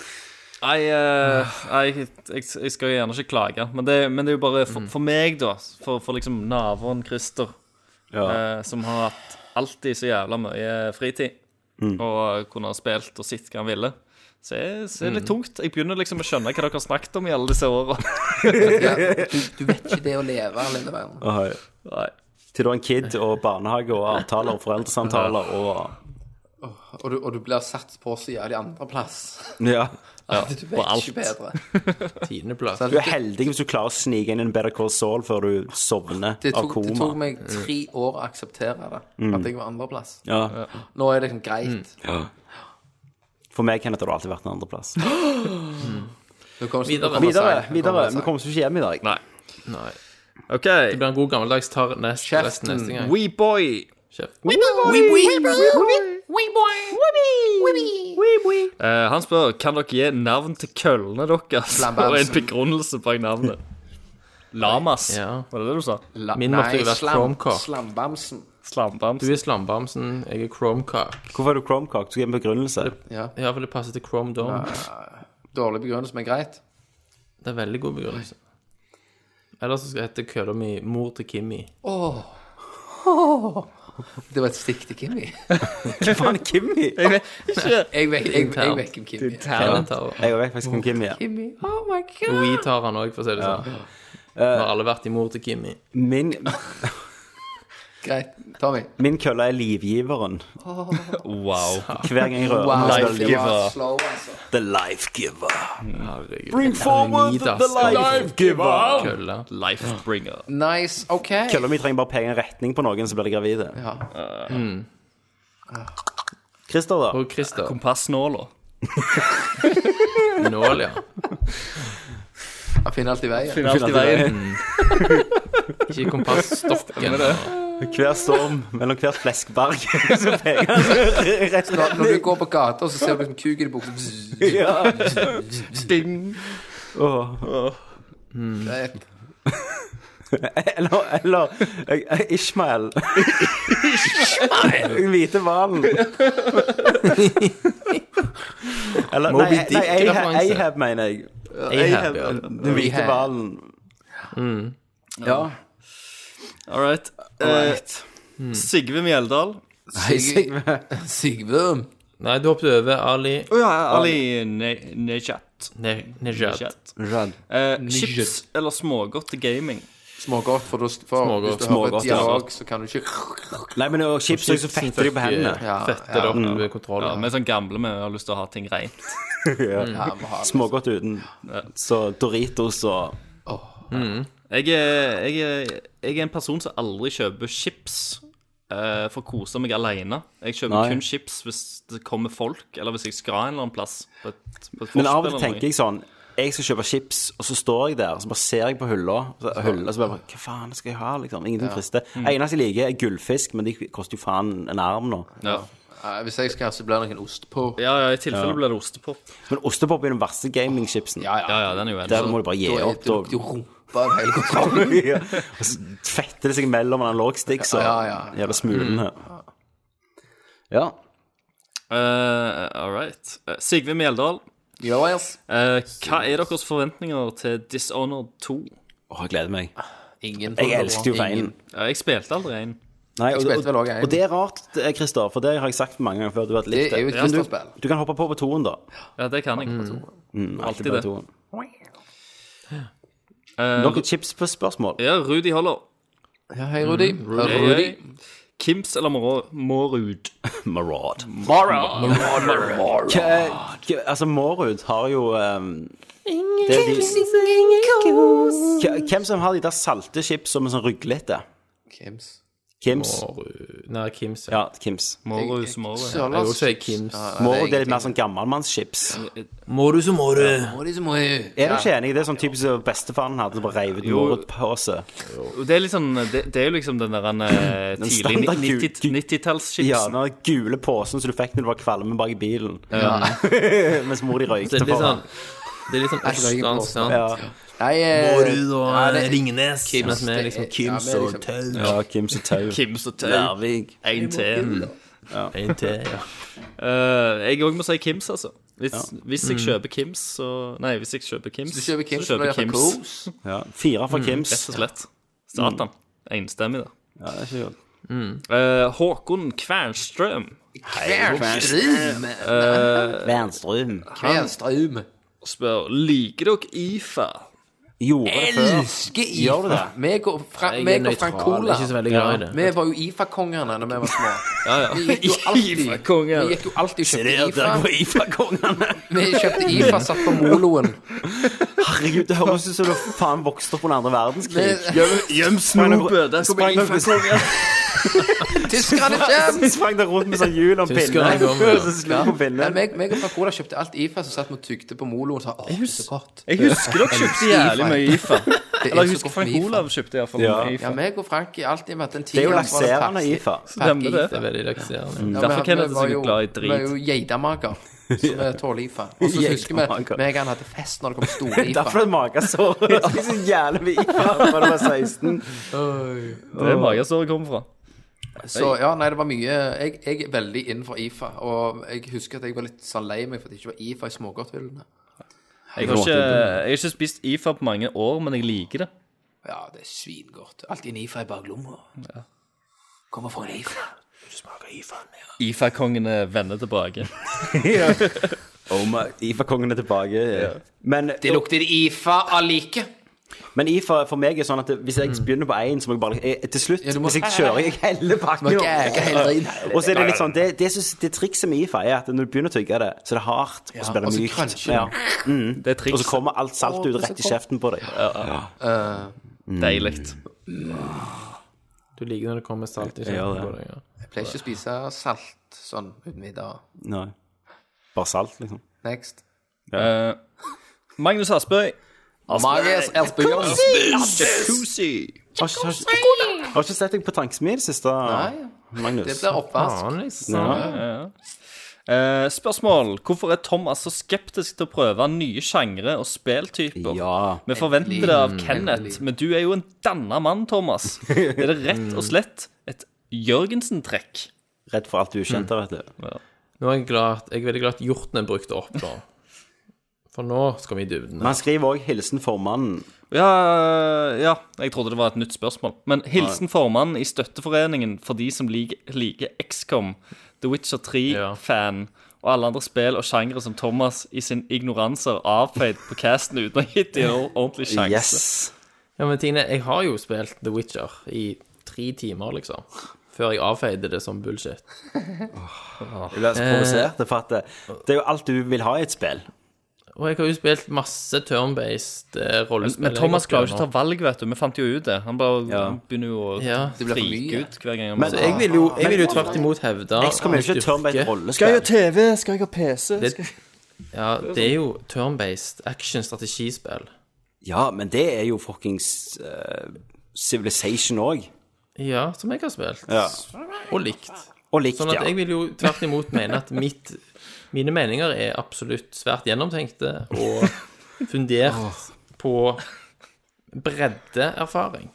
I: Nei, eh, nei, jeg, jeg, jeg skal jo gjerne ikke klage, men det, men det er jo bare for, for meg, da. For, for liksom naboen Christer,
A: Ja.
I: eh, som har hatt alltid så jævla mye fritid,
A: Mm.
I: og kunne ha spilt og sett hva han ville. Så jeg- så er det litt
B: Mm.
I: tungt. Jeg begynner liksom å skjønne hva dere har snakket om i alle disse åra.
B: Ja, du, du vet ikke det å leve, lille venn.
A: Åh,
I: ja.
A: Til du har en kid og barnehage og avtaler og foreldresamtaler og
B: Og du, og du blir satt på så jævlig andreplass.
A: Ja.
B: Ja, Du vet ikke bedre.
C: Tiendeplass.
A: Du er heldig hvis du klarer å snike inn en Better Call Saul før du sovner
B: Det
A: av
B: tok,
A: koma.
B: det tok meg tre år å akseptere det.
A: Mm.
B: At jeg var andreplass.
A: Ja.
B: Nå er det liksom greit.
A: Ja. For meg, Kenneth, har du alltid vært en andreplass.
B: Nå kommer- nå
A: Videre,
B: kommer
A: videre.
B: sang. Nå
A: videre.
B: kommer sang.
A: Vi kommer oss ikke hjem i dag.
I: Nei. OK. Det
C: blir en god gammeldags tar nest, resten neste gang.
I: Weeboy.
C: Kjeft.
I: Eh, han spør kan dere gi navn til køllene deres
C: Lambamsen.
I: og en begrunnelse bak navnet. Lamas, var det det du sa?
C: Min måtte jo være Chromecart.
B: Slambamsen.
I: Slambamsen.
C: Du er slambamsen, jeg er Chromecart.
A: Hvorfor er du Chromecart? Du skal gi en begrunnelse.
B: Ja.
C: ja, for det passer til Chrome Dome.
B: Dårlig begrunnelse, men greit.
C: Det er veldig god begrunnelse. Ellers så skal jeg hete kølla mi Mor til Kimmi.
B: Åh. Det var et stikk til Kimmi.
A: Hva faen er Kimmi?
B: Jeg vet ikke. Jeg vet- jeg- jeg
C: Internt.
B: vet hvem Kimmi er.
C: Internt, ja.
A: Jeg vet faktisk hvem Kimmi er.
B: Kimmi. Oh my
C: Og
B: god.
C: vi tar han òg, for å si det sånn. Vi har alle vært i Mor til Kimmi.
A: Min,
B: Greit. Tommy.
A: min kølle er livgiveren.
I: Wow.
A: Hver gang jeg rører
B: Wow,
A: meg, så er det
B: det
A: liv.
B: var slow, altså.
A: The life giver.
C: Bring forward
A: the life giver.
C: Kølla.
I: Lifebringer.
B: Nice. OK.
A: Kølla mi trenger bare peke en retning på noen, så blir de gravide.
C: Mm.
A: Christer, da?
C: Og Christer.
I: Kompassnåla.
C: Nål, ja.
B: Han finner alltid veien.
I: Finner alltid veien.
C: Ikke kompassstokken.
A: Hver storm mellom hvert fleskberg så peker han rett
B: Så Når, når du går på gata, så ser du liksom kuken i buksa.
A: Ja.
I: Ding.
A: Åh.
B: Greit.
A: Eller, eller eh, Ishmael. Den hvite hvalen. Eller nei,
C: Moby
A: nei Ahab,
C: Dick-referanse.
A: Ahab, mener jeg.
C: Ahab,
A: Ahab, eh,
C: ja. Mm.
A: Den hvite
B: Ahab.
A: hvalen. Ja.
I: All right. Eh, Sigve Mjeldal.
B: Sigve. Sigve.
C: Nei, du hoppet over Ali
I: Å ja, Ali Ne- Nejat.
C: Ne- Nejat.
I: Nejat. Eh, chips eller smågodt til gaming?
B: Smågodt, for, da- for
C: Smågodt.
B: hvis du har
A: Smågodt,
B: et
A: ja.
B: dialog, så kan du ikke
A: Nei, men og chips er jo så
C: Chipsen
A: fette deg på
C: fucker-
A: hendene.
B: Ja,
C: Fetter
B: ja.
C: det opp ved kontroll.
I: Ja, Vi er sånn gamle, vi har lyst til å ha ting rent.
B: ja, må ha det.
A: Smågodt uten. Så Doritos og
I: Jeg er, jeg, er, jeg er en person som aldri kjøper chips eh, for å kose meg alene. Jeg kjøper
A: Nei.
I: kun chips hvis det kommer folk, eller hvis jeg skal en eller annen plass. På et, på et
A: Men av og til
I: forspill eller noe.
A: tenker jeg sånn jeg skal kjøpe chips, og så står jeg der, og så bare ser jeg på hylla, og så, hylla, og så bare Hva faen skal jeg ha, liksom? Ingenting
B: Ja.
A: frister.
B: Mm.
A: Eneste jeg liker, er gullfisk, men de koster jo faen en arm nå.
B: Ja. Nei, Hvis jeg skal ha, så blir det noen ost på.
I: Ja, ja, i tilfelle
A: Ja.
I: blir det ostepop.
A: Men ostepop er den verste gamingchipsen. Ja,
I: ja, den er jo
A: Der må du bare gi
B: Da er
A: opp.
B: det
A: og-
B: jo rumpa av hele kontrollen.
A: ja. Og så fetter det seg mellom analogsticks og
B: Ja, ja, ja. Mm.
A: gjelder smulene. Ja.
I: Uh, All right. Eh, Sigve Mjeldal. Eh, hva er deres forventninger til Dishonored 2?
A: Åh, jeg gleder meg.
B: Ingen
A: Jeg elsket jo veien.
I: Ja, jeg spilte aldri en.
A: Nei,
I: Jeg
A: og,
I: spilte vel
A: og,
I: også en.
A: og det er rart, det, Christer, for det har jeg sagt mange ganger før. Du vet litt
I: Det er jo et
A: Men du-
I: Christer-spill.
A: Du kan hoppe på på toen, da.
I: Ja, det kan jeg. Mm.
A: Mm,
I: Alltid
A: alltid på
I: det.
A: toen.
I: Eh,
A: Noen chips på spørsmål?
I: Ja, Rudi Holler.
B: Ja, hei, Rudi.
I: Mm,
B: Hei,
I: Hei,
B: Rudi.
I: hei. Kims eller Mora- Morud?
A: Marad.
I: Marad.
A: Hva- hva- Altså, Mårud har jo ehm, det er de, Hva- Hvem som har de der salte chips som er sånn ryglete?
B: Kims.
A: Kims?
C: Nei, Kims.
A: Ja, Kims.
I: Morus Morud.
C: Ja, jeg også er Kims.
A: Mårud det er litt mer sånn gammelmannschips.
C: Morus og Moru.
A: Er du ikke enig? i Det er sånn typisk som bestefaren hadde, bare reiv ut
I: Jo.
A: Mårud-pose.
I: Og Det er liksom Det, det er jo liksom den der eh,
A: Den
I: tidlig
A: standard
I: 90- 90-tallschipsen.
A: Ja, den der gule posen som du fikk når du var kvalm bak i bilen.
I: Ja.
A: Mens mor di
C: Det
A: røykte
C: er litt
A: foran.
C: sånn Det er litt sånn østlandsk, sant?
A: Ja.
B: Nei, eh,
C: Morud og
B: ja, det-
C: Ringnes.
B: Kims,
C: Kims, med
B: det
C: liksom
B: er-
C: Kims
B: ja, men
C: og
B: liksom-
C: Tau.
A: Ja, Kims og Tau.
I: Kims og Tau.
A: Lærvig.
I: En til. mm.
C: En til, ja.
I: Eh, jeg òg må si Kims, altså. Hvis,
A: Ja.
I: hvis jeg
A: Mm.
I: kjøper Kims, så Nei, hvis jeg kjøper Kims,
B: Hvis du kjøper Kims,
I: så kjøper
B: så blir det
I: Kims.
B: kos.
A: Ja. Fire fra
I: Mm,
A: Kims.
I: Rett og slett. Satan.
C: Mm.
I: Enstemmig, da.
A: Ja, det er ikke godt.
I: Eh, Håkon Kvernstrøm.
B: Kvernstrøm.
I: Eh,
A: Vernstrøm.
B: Kvernstrøm.
I: Spør Liker dere IFA?
A: Gjorde det før.
B: Elsker
A: Gjør du
B: IFA.
A: det?
B: Meg og, Fra,
C: Jeg er
B: meg og
C: nøytral,
B: Frank Cola.
C: jeg er ikke så veldig glad i det.
B: Vi var jo IFA-kongene da vi var små.
I: Ja, ja.
B: Vi gikk jo alltid,
I: IFA-kongen.
B: vi gikk jo alltid og kjøpte
A: Der,
B: IFA.
A: der går IFA-kongene.
B: Vi kjøpte IFA, satt på moloen.
A: Herregud, det høres ut som du faen vokste opp under andre verdenskrig.
B: Vi-
I: Gjem snopet! Der sprang IFA-kongen.
B: Tyskerne kommer!
A: Vi sprang der rundt med sånn hjul og en pinne.
C: Tyskerne kommer, ja.
A: Og så slo på
B: Nei,
A: pinnen.
B: meg, meg og Frank Cola kjøpte alt IFA som satt vi og tygde på moloen og sa åh, det er så godt.
I: Jeg husker dere kjøpte jævlig mye IFA.
B: Det er
I: Eller jeg
B: så
I: husker
B: godt med
I: Frank
B: IFA.
I: Olav kjøpte iallfall
A: Ja.
I: mye
B: Ja,
I: IFA.
B: meg og Frank har alltid vært en
A: Det er jo
B: tiger.
A: lakserende IFA.
I: Stemmer det.
C: Det er veldig lakserende.
B: Ja,
I: Derfor
B: vi-
I: kan
B: vi
I: jeg være
B: var
I: så
B: jo-
I: glad i
B: Vi var jo
I: drit.
B: geitamaker, så vi tåler IFA. Og så husker vi
A: Geitamaker.
B: meg og han hadde fest når det kom store IFA.
A: Derfor er det magesår. Jeg spiste jævlig mye IFA da jeg var 16.
I: Det er magesåret kommer fra.
B: Så ja, nei, det var mye Jeg, jeg er veldig innenfor IFA, og jeg husker at jeg var litt sånn lei meg for at det ikke var IFA i smågodthyllene.
I: Jeg har, ikke, jeg har ikke spist IFA på mange år, men jeg liker det.
B: Ja, det er svingodt. Alltid en IFA i baklomma. Kommer fra en IFA. Du smaker IFA-en mer.
I: IFA-kongene vender tilbake.
A: Oh my, IFA-kongen er tilbake. Men,
B: Det lukter IFA allike.
A: men IFA for meg er sånn at hvis jeg begynner på én, så må jeg bare jeg, Til slutt,
B: Mm. Ja, du må-
A: hvis jeg kjører, jeg heller
B: Du må
A: pakken
B: gæke hele tiden.
A: Og så er det litt sånn Det, det, synes, det trikset med IFA er at når du begynner å tygge det, så er det hardt, og så blir
B: og
A: det
B: så
A: mykt.
B: cruncher
A: Ja.
I: Det er
A: Og så
I: triks.
A: kommer alt saltet ut rett i kjeften på deg. Eh,
I: Deilig.
C: Du liker når det kommer salt i
A: gjør
C: kjeften
A: det.
C: på deg. ja.
B: Jeg pleier ikke å spise salt sånn uten middag.
A: Nei. Bare salt, liksom.
B: Next.
I: Eh, Magnus Aspøy.
B: Marius Elsbjørn.
I: Jacuzzi.
A: Har ikke, har, ikke- har ikke sett deg på tankesmi i det siste,
B: Nei. Det
A: Magnus.
B: blir oppvask.
C: Faen, liksom.
A: Ja.
I: Eh, spørsmål. Hvorfor er Thomas så skeptisk til å prøve nye sjangre og spilltyper?
A: Ja.
I: Vi forventer det av Kenneth, men du er jo en danna mann, Thomas. Er det rett og slett et Jørgensen-trekk?
A: Redd for alt du ukjente, vet du.
C: Nå er jeg glad at- Jeg er veldig glad at hjorten er brukt opp, da. For nå skal vi i dybden.
A: Men han skriver òg 'Hilsen formannen'.
I: Ja, ja, jeg trodde det var et nytt spørsmål. Men hilsen formannen i støtteforeningen for de som liker, liker XCOM, The Witcher 3-fan og alle andre spill og sjangre som Thomas i sin ignoranser avfeid på casten uten å ha gitt dem en ordentlig sjanse.
A: Yes.
C: Ja, men Tine, jeg har jo spilt The Witcher i tre timer, liksom. Før jeg avfeide det som bullshit.
A: Jeg ble så provosert. For at det, det er jo alt du vil ha i et spill.
C: Og jeg har jo spilt masse turn-based eh,
I: Men,
C: rollespill.
I: men Thomas klarer jo ikke å ta valg, vet du. Vi fant jo ut det. Han bare
A: Ja.
I: han begynner jo å
C: Ja.
B: Det blir for
I: frike
B: mye.
I: ut hver gang
A: Men
I: han må
C: Altså, Jeg vil jo, jeg vil jo tvert imot hevde
A: X kommer jo ikke
C: at
A: til å
C: styrke-
A: et rollespill.
I: TV? Skal jeg ha PC?
C: Det, Ja, det er jo turn-based action-strategispill.
A: Ja, men det er jo fuckings eh, Civilization òg.
C: Ja, som jeg har spilt.
A: Ja.
C: Og likt.
A: Og likt,
C: sånn at
A: ja.
C: jeg vil jo tvert imot mene at mitt, mine meninger er absolutt svært gjennomtenkte og fundert på breddeerfaring.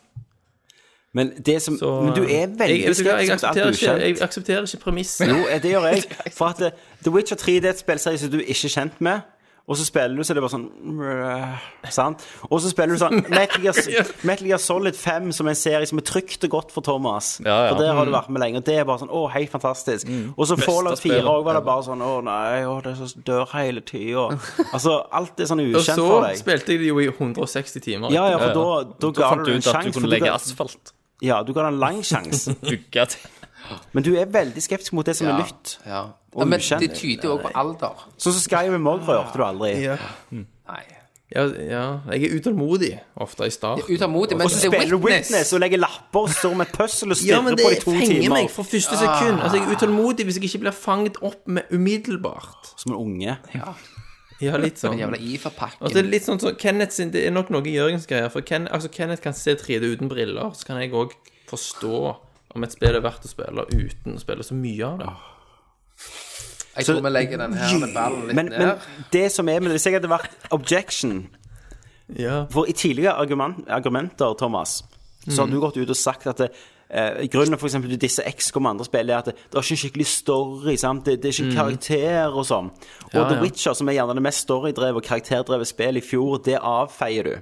A: Men det som Men du er veldig
C: jeg, vet du hva, jeg
A: skeptisk til alt
C: aksepterer ikke,
A: ukjent.
C: jeg aksepterer ikke premisset.
A: Jo, eh, det gjør jeg. For at eh, The Witcher 3 det er et spillserie som du ikke er kjent med. Og så spiller du, så det er bare sånn mrøh, Sant? Og så spiller du sånn Metal Gear, Metal Gear Solid 5, som er en serie som er trygt og godt for Thomas.
I: Ja, ja.
A: For der har du vært med lenge. Og det er bare sånn Å, hei, fantastisk. Og så
I: Beste
A: Fallout 4
I: spillet.
A: òg var det bare sånn Å nei, å, det er så dør hele tida. Altså, alt er sånn
C: Og
A: ukjent
C: så
A: for deg.
C: spilte jeg det jo i 160 timer.
A: Ja, ja, for da, da ga
I: fant
A: du
I: du
A: en
I: ut at du
A: sjanse. for
I: kunne legge
A: ga-
I: asfalt.
A: Ja, du ga det en lang sjanse.
I: Bygge ting.
A: Men du er veldig skeptisk mot det som er nytt.
B: Ja.
A: Og
B: men
A: ukjent.
B: det tyder jo også på alder.
A: Sånn som Skyrim òg rørte du aldri. i.
B: Nei.
C: Ja, ja, jeg er utålmodig ofte i starten.
B: Utålmodig. Men
A: Og så
B: det er
A: spiller du
B: Witness.
A: Witness og legger lapper og står med et puzzle og
C: Ja,
A: stirrer
C: men det
A: på det i to
C: fenger
A: timer.
C: meg fra første sekund. Altså, Jeg er utålmodig hvis jeg ikke blir fanget opp med umiddelbart.
A: Som en unge.
C: Ja, litt sånn.
B: Jævla
C: Altså, det
B: IFA-pakken.
C: er litt sånn som Kenneth sin Det er nok noe Jørgens greier. For Ken, altså, Kenneth kan se 3D uten briller, så kan jeg òg forstå om et spill er verdt å spille uten å spille så mye av det.
B: Jeg tror vi legger den her med ballen litt
A: Men, men
B: ned.
A: det som er med det, hvis jeg hadde vært objection
C: Ja.
A: For i tidligere argument, argumenter, Thomas, så har du gått ut og sagt at det, eh, grunnen for eksempel til disse XCOM og andre spill er at det, det er ikke en skikkelig story, sant? Det, det er ikke en karakter og sånn. Og The
C: Mm. ja.
A: Witcher, som er gjerne det mest storydrevet og karakterdrevet spillet i fjor, det avfeier du.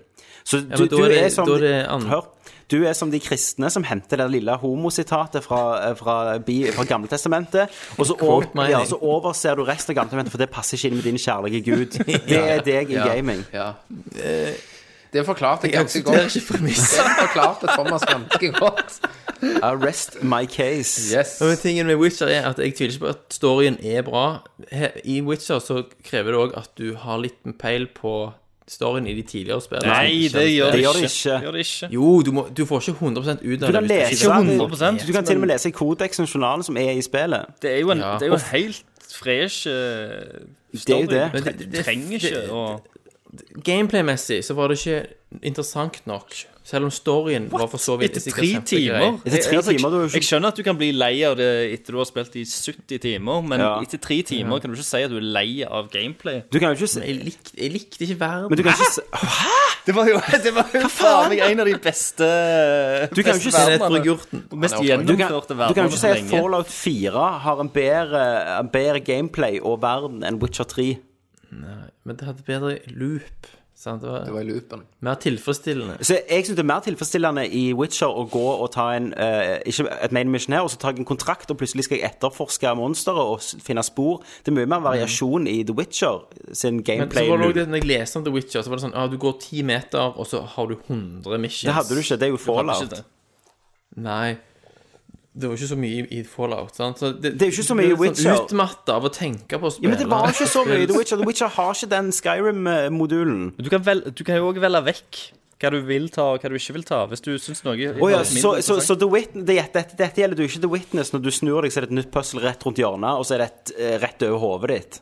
A: Så du,
C: men da
A: du
C: er
A: er,
C: det-
A: som
C: da er
A: de-
C: det an-
A: Hør. Du er som de kristne som henter det lille homositatet fra, eh, fra, bi- fra Gamletestamentet, og så,
C: Quote
A: over, ja,
C: mining.
A: så overser du resten av Gamletestamentet, for det passer ikke inn med din kjærlige Gud. Det er deg i gaming.
B: Ja. Det forklarte jeg ganske
C: Det er
B: godt.
C: ikke premisset.
B: Det forklarte Thomas ganske godt.
A: Arrest my case.
B: Yes.
C: Men tingen med Witcher er at jeg tviler ikke på at storyen er bra. He- I Witcher så krever det òg at du har litt peil på storyen i de tidligere spillene.
I: Nei, det
A: Det
I: gjør det
A: gjør det
I: ikke.
A: ikke.
I: Gjør det ikke.
C: Jo, du, må, du får ikke 100 ut av
A: Du
C: det.
A: kan
C: hvis du
A: lese
C: ikke-
I: 100%.
A: Du kan til og med lese i kodeksen journalen som er i spillet.
I: Det er jo en,
C: Ja.
I: det er jo en helt fresh eh,
A: Det er
I: story.
A: jo det.
I: Du tre-
C: Men det-
I: Du
C: det-
I: trenger ikke å
C: Gameplay-messig så var det ikke interessant nok, selv om storyen var for så vidt
I: Etter
C: sikkert
I: tre
C: kjempegrei.
I: timer
A: Etter tre
I: Altså, jeg-
A: timer, du er jo ikke-
I: Jeg skjønner at du kan bli lei av det etter du har spilt i 70 timer, men
A: Ja.
I: etter tre timer kan du ikke si at du er lei av gameplay.
A: Du kan jo ikke se
C: Jeg, lik, jeg likte ikke verden.
A: Men du kan ikke se
I: Det var jo, det var jo faen meg en av de beste
A: Du kan jo ikke
I: beste
A: si-
I: verdenene.
C: Brugurten.
I: Mest
A: du kan,
I: gjennomførte
A: du kan jo
I: verdenene
A: ikke
I: så
A: si at
I: lenge.
A: Fallout 4 har en bedre, en bedre gameplay og verden enn Witcher 3.
C: Men det hadde bedre loop. Sant? Det var
B: Det var i loopen.
C: mer tilfredsstillende.
A: Så jeg syns det er mer tilfredsstillende i Witcher å gå og ta en eh, Ikke et main mission her, og så ta en kontrakt, og plutselig skal jeg etterforske monsteret og s- finne spor. Det er mye mer variasjon i The Witcher sin
C: Men så var det også
A: gameplay.
C: det, når jeg leste om The Witcher, så var det sånn ah, Du går ti meter, og så har du 100 missions.
A: Det hadde du ikke. Det er jo
I: Ikke
A: Fallout.
I: det.
C: Nei. Det var ikke så mye i, i Fallout. Sant? Så det,
A: er jo ikke så mye i
C: du blir
A: Witcher.
C: Sånn Utmatta av å tenke på å
A: Ja,
C: spille.
A: men det var ikke så mye i The Witcher. The Witcher har ikke den Skyrim-modulen.
I: Men Du kan, vel, du kan jo òg velge vekk hva du vil ta, og hva du ikke vil ta, hvis du syns noe er
A: Å ja, så,
I: mindre
A: så, så
I: interessant.
A: The Witness, det, dette, dette gjelder jo ikke The Witness. Når du snur deg, så er det et nytt puzzle rett rundt hjørnet, og så er det et eh, rett over hodet ditt.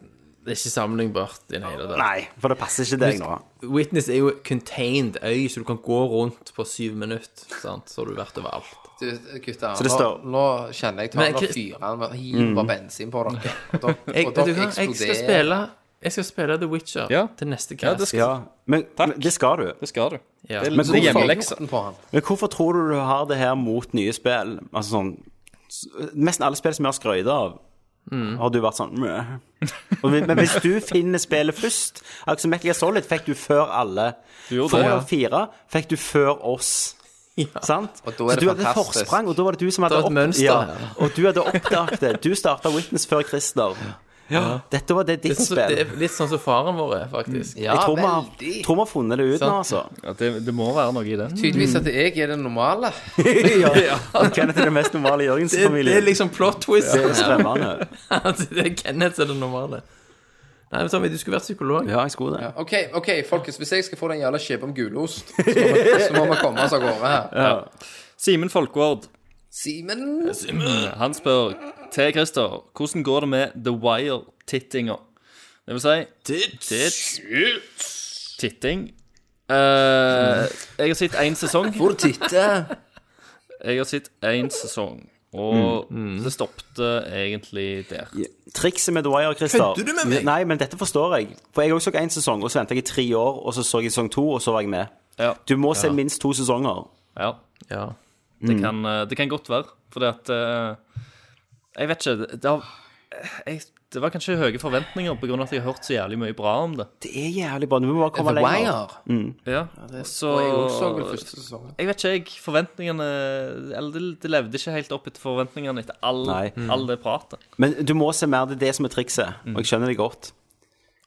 C: Det er ikke sammenlignbart i det hele tatt.
A: Nei, for det passer ikke deg nå.
C: Witness er jo contained øy, så du kan gå rundt på syv minutter. Sant? Så har du vært overalt.
B: Du, gutter,
A: det
B: nå,
A: står- Mm.
B: nå kjenner jeg
C: Men
B: talen og
C: Chris-
B: fyren og hiver bensin på dere. Og dere,
C: Jeg,
B: og
C: vet du
B: dere
C: hva? jeg skal
B: eksploderer.
C: spille Jeg skal spille The Witcher
I: Ja.
C: til neste
I: ja,
C: cast.
I: det, skal,
A: Ja, men, men det skal du.
I: det skal du.
C: Ja.
I: Det
A: Men
I: er, det er
B: Hvorfor har jeg
I: hjemmeleksa.
B: gjort den på han?
A: Men hvorfor tror du du har det her mot nye spill? Altså sånn s- Nesten alle spill som jeg har skrøyta av, har du vært sånn meh. Og vi- Men hvis du finner spillet først altså Metal Gear Solid fikk du før alle.
I: gjorde det,
A: Fallout 4 fikk du før oss. Sant?
B: Og da er
A: Så
B: det
A: du hadde
B: fantastisk.
A: forsprang, og da var det du som hadde
C: Det var et mønster
A: ja,
C: her.
A: Og du hadde oppdaget det. Du starta Witness før Christer. Dette var det ditt
C: Litt sånn, som-
A: spill.
C: det er litt sånn som faren vår er, faktisk.
B: Ja,
A: jeg tror vi, har,
B: veldig.
A: tror vi har funnet det ut nå, altså.
I: Ja, det, det må være noe i det.
B: Tydeligvis at jeg er den normale.
A: ja. Kenneth er den mest normale
C: Det, det
A: Jørgensen-familien.
C: er liksom plot twist.
A: Det er skremmende.
C: At det er Kenneth som er det normale. Nei, men Tommy, du skulle vært psykolog.
A: Ja, jeg skulle det.
B: OK, ok, folkens, hvis jeg skal få den jævla skipa om gulost, så må vi- så må vi komme oss av gårde her.
I: Simen Folkvord
B: Simen
I: Eh, han spør til Christer hvordan går det med The Wire-tittinga. Det vil si Tits. Titting. Eh, jeg har sett én sesong.
B: Får du titte?
I: Jeg har sett én sesong, og det stoppet egentlig der.
A: Trikset med The Wire, Christer
I: Kødder du med meg?
A: Nei, men dette forstår jeg. For jeg også så én sesong, og så venta jeg i tre år, og så så jeg sesong to, og så var jeg med.
I: Ja.
A: Du må se minst to sesonger.
I: Ja.
B: Mm.
I: Det, kan, eh, det kan godt være, fordi at eh, Jeg vet ikke. Det, det, har, jeg, det var kanskje høye forventninger pga. at jeg har hørt så jævlig mye bra om det.
A: Det er jævlig bra. Du må bare komme
I: The
A: lenger.
I: Wire?
A: Mm.
I: Ja, så
B: og jeg også så vel første sesongen.
I: Jeg vet ikke, jeg. Forventningene Eller det, det levde ikke helt opp etter forventningene etter all,
A: Nei.
B: Mm.
I: all det pratet.
A: Men du må se mer. Det er det som er trikset. Og jeg skjønner det godt.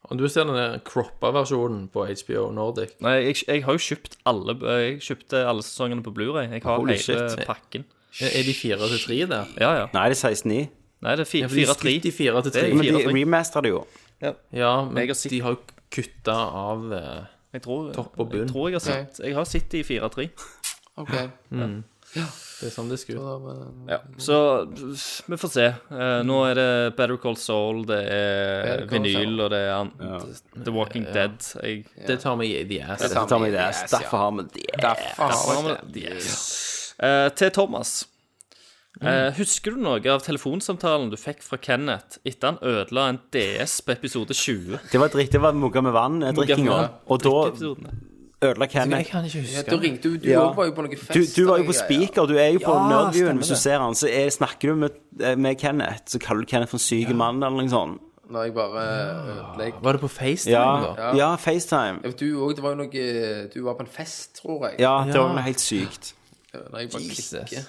C: Om du ser den der croppa versjonen på HBO Nordic
I: Nei, jeg, jeg har jo kjøpt alle Jeg kjøpte alle sesongene på Blu-ray Jeg har
A: Holy
I: hele
A: shit.
I: pakken.
C: Er de fire til tre der?
I: Ja, ja.
A: Nei, det er 16-9.
I: Nei, det er fi-
C: Ja, for de
I: 4-3.
C: skutt i 4 til 3.
I: Det er
A: Men de
I: 4-3.
A: remastera det jo.
C: Ja, men
I: Jeg har sett-
C: de har jo kutta av eh,
I: Jeg tror,
C: topp og bunn.
I: jeg, tror jeg, har sett, jeg har sett de i 4-3.
B: OK.
C: Det er sånn det skulle.
I: Ja, så vi får se. Eh, nå er det Better Call Saul, det er
B: Call
I: vinyl,
B: Saul.
I: og det er an, The Walking Dead. Jeg,
C: Det tar meg i the ass.
A: Så tar vi det. Derfor har vi det.
I: Eh, til Thomas. Eh, husker du noe av telefonsamtalen du fikk fra Kenneth etter han ødela en DS på episode 20?
A: Det var dritt. Det var mugga med vann, eh, drikkinga.
I: vann.
A: Og da
I: Episodene.
A: ødela Kenneth.
C: kan ikke
B: Ja, da ringte du Du
A: Ja.
B: også var jo på noe fest.
A: Du, du var jo
B: eller
A: på
B: greier.
A: speaker, du er jo på
I: Ja,
A: Nerdviewen
I: stemmer
A: hvis du
I: det.
A: ser han, så er, snakker du med, eh, med Kenneth, så kaller du Kenneth for en syk mann eller noe sånt.
B: Når jeg bare ødelegger
C: Var det på FaceTime,
A: Ja,
C: da?
A: ja. FaceTime.
B: Du òg, det var jo noe Du var på en fest, tror jeg.
A: Ja, det var noe helt sykt.
B: Når jeg bare klikker.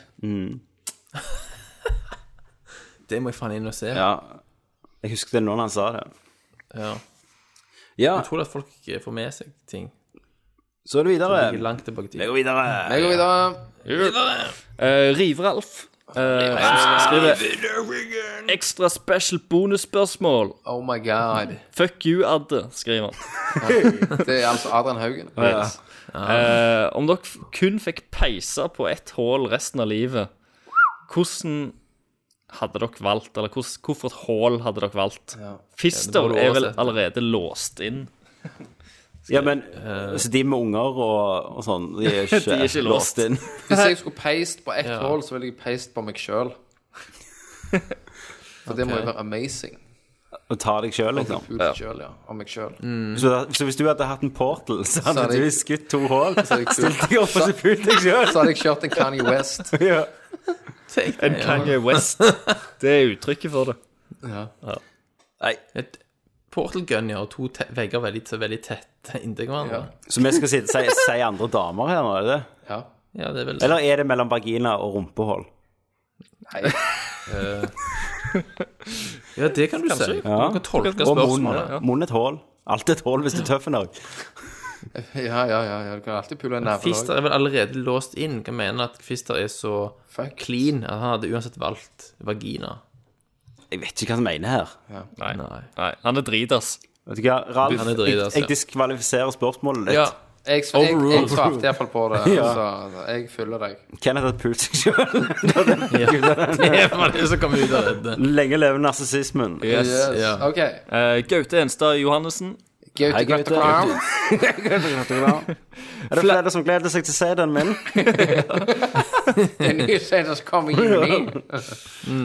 C: Det må jeg faen inn og se.
A: Ja. Jeg husker det når han sa det.
C: Ja.
A: Ja,
C: Jeg tror at folk eh, får med seg ting.
A: så er det videre.
C: Ligger langt tilbake i tid.
A: Vi går videre.
B: Jeg går videre.
I: Eh, Riveralf eh, skriver Ekstra special bonusspørsmål.
B: Oh my god.
I: Fuck you, Adde, skriver han.
B: Det er altså Adrian Haugen.
I: Eh, om dere f- kun fikk peise på ett hull resten av livet, hvordan hadde dere valgt? Eller hvordan, hvorfor et hull hadde dere valgt? Fister
C: Ja, det må du
I: er vel
C: oversette.
I: allerede låst inn.
A: Ja, men så de med unger og, og sånn, de er ikke,
I: De er ikke låst.
A: inn.
B: Hvis jeg skulle peist på ett hull, så ville jeg peist på meg sjøl. For det må jo være amazing.
A: Og tar deg sjøl, liksom.
B: Ut selv, ja. Av meg sjøl.
A: Så, da- så hvis du hadde hatt en portal, så hadde
B: hadde jeg-
A: du skutt to hull,
B: hadde jeg kult.
A: stilt deg opp og så pult deg
B: Så
A: sjøl.
B: hadde jeg kjørt en Kanye West.
A: Ja.
I: En Kanye West. Det er uttrykket for det.
C: Et portal gun, ja, og to te vegger veldig, veldig tett inntil hverandre.
A: Så vi skal sitte- si, si andre damer her nå, er det det?
B: Ja.
C: Ja. det er vel
A: Eller er det mellom vagina og rumpehull?
C: Ja, det kan du si. Du kan tolke
A: Og munn.
C: spørsmålet.
A: Munn et hull. Alt et hull hvis du er tøff nok.
B: Ja, ja, ja, ja. Du kan alltid pule en neve òg.
C: Fister er vel allerede låst inn. Hva mener at Fister er så
B: Fuck.
C: clean at han hadde uansett valgt vagina?
A: Jeg vet ikke hva som mener her.
I: Nei.
C: Nei.
I: Nei. Han er dritas.
A: Vet du hva, Ralf,
C: Han er drit, altså.
A: jeg, jeg diskvalifiserer spørsmålet ditt.
C: Ja.
B: Jeg, jeg, jeg, jeg
C: Overruled.
B: svarte iallfall på det.
A: Ja.
B: Så jeg følger deg.
A: Kenneth har pult seg sjøl.
C: Det var det som kom ut av dette.
A: Lenge leve narsissismen.
B: Yes.
C: ja.
B: OK.
I: Eh, Gaute Enstad Johannessen.
B: Gaute
A: Hei, Gaute.
B: Grøtterkram.
A: Er det flere som gleder seg til serien min?
B: En ny serie som kommer i juni.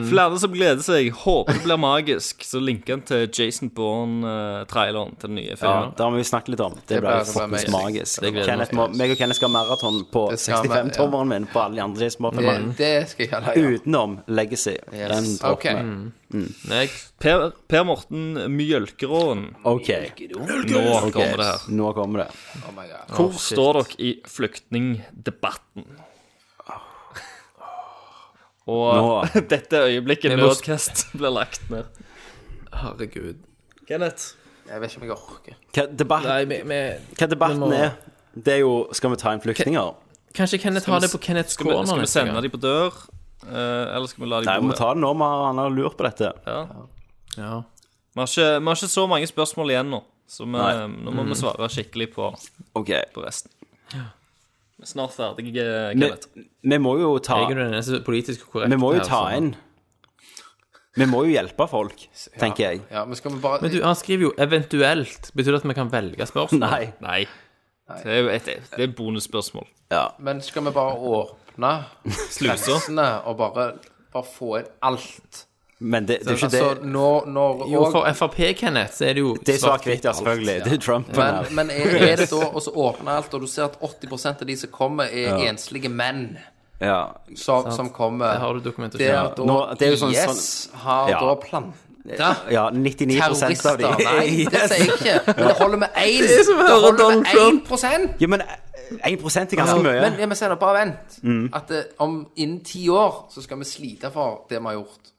I: Flere som gleder seg. Håper det blir magisk. Så linker han til Jason Bourne-traileren til den nye
A: Ja,
I: filmen.
A: det har vi jo snakket litt om. Det ble
B: ble-
A: jo fuckings
B: det ble-
A: magisk.
I: det gleder
A: Kenneth må, meg og Kenneth skal ha maraton på
B: Det skal vi, ja.
A: 65-tommeren min på alle de andre
B: Det,
A: småfilmene.
B: det skal jeg gjøre. Ja.
A: Utenom Legacy. Den
B: Yes.
A: dropper
B: OK.
A: vi.
C: Next.
I: Per, per Morten Mjølkeråen.
A: OK.
I: Nå kommer det her.
A: Nå kommer det.
B: Oh my God.
I: Hvor står dere i flyktningdebatten? Og
A: Nå.
I: dette øyeblikket
C: Vi må-
I: Nerdcast blir lagt ned.
C: Herregud.
I: Kenneth.
B: Jeg vet ikke om jeg orker.
A: Hva, debatt,
C: Nei, vi, vi
A: hva debatten
C: vi må-
A: er, det er jo Skal vi ta inn flyktninger?
C: Kanskje Kenneth har det på Kenneths
I: Skal vi,
C: corner
I: skal vi
C: neste
I: sende
C: gang?
I: dem på dør, eh, eller skal vi la
A: Nei, vi
I: dem bo
A: må
I: her?
A: ta det nå. Vi har- han har lurt på dette.
I: Ja.
C: Ja.
I: Vi, har ikke, vi har ikke så mange spørsmål igjen nå, så vi, eh,
A: Nei.
I: nå
C: Mm.
I: må vi svare skikkelig på,
A: OK.
I: på resten. Vi er snart ferdige, Kenneth.
A: Vi, vi må jo ta
C: Altså, Jeg er jo den eneste politisk korrekte
A: Vi må jo
C: her,
A: ta
C: så-
A: inn Vi må jo hjelpe folk, tenker jeg.
B: Ja, men skal vi bare
C: Men du, han skriver jo 'eventuelt'. Betyr det at vi kan velge spørsmål?
A: Nei.
I: Nei. Det er jo et, det er et bonusspørsmål.
B: Men skal vi bare åpne
I: Sluser.
B: grensene og bare, bare få inn alt?
A: Men det, det er jo ikke
B: altså,
A: det
B: når, når
C: Jo,
B: og,
C: for Frp, Kenneth, så er det jo
A: Det er
C: svart-hvitt
A: svart-hvitt, ja,
C: alt.
A: selvfølgelig. Det er Trump.
B: Men, men er, er det da å så åpne alt, og du ser at 80 av de som kommer, er enslige menn
A: ja.
B: som, som
C: Der
B: kommer?
C: har du dokumentasjon.
B: Der da
A: Nå, det er jo sånn-
B: IS har
A: Ja.
B: da planta
A: ja, 99 av de
B: Ah. terrorister. Nei, det sier
A: Yes.
B: jeg ikke. Men det holder med én.
C: er som å høre
B: holder
C: Donald
B: med
C: Trump.
B: 1
A: Ja, men eh, 1 er ganske mye. Mm.
B: Men jeg må si det, bare vent. At eh, om innen ti år så skal vi slite for det vi har gjort.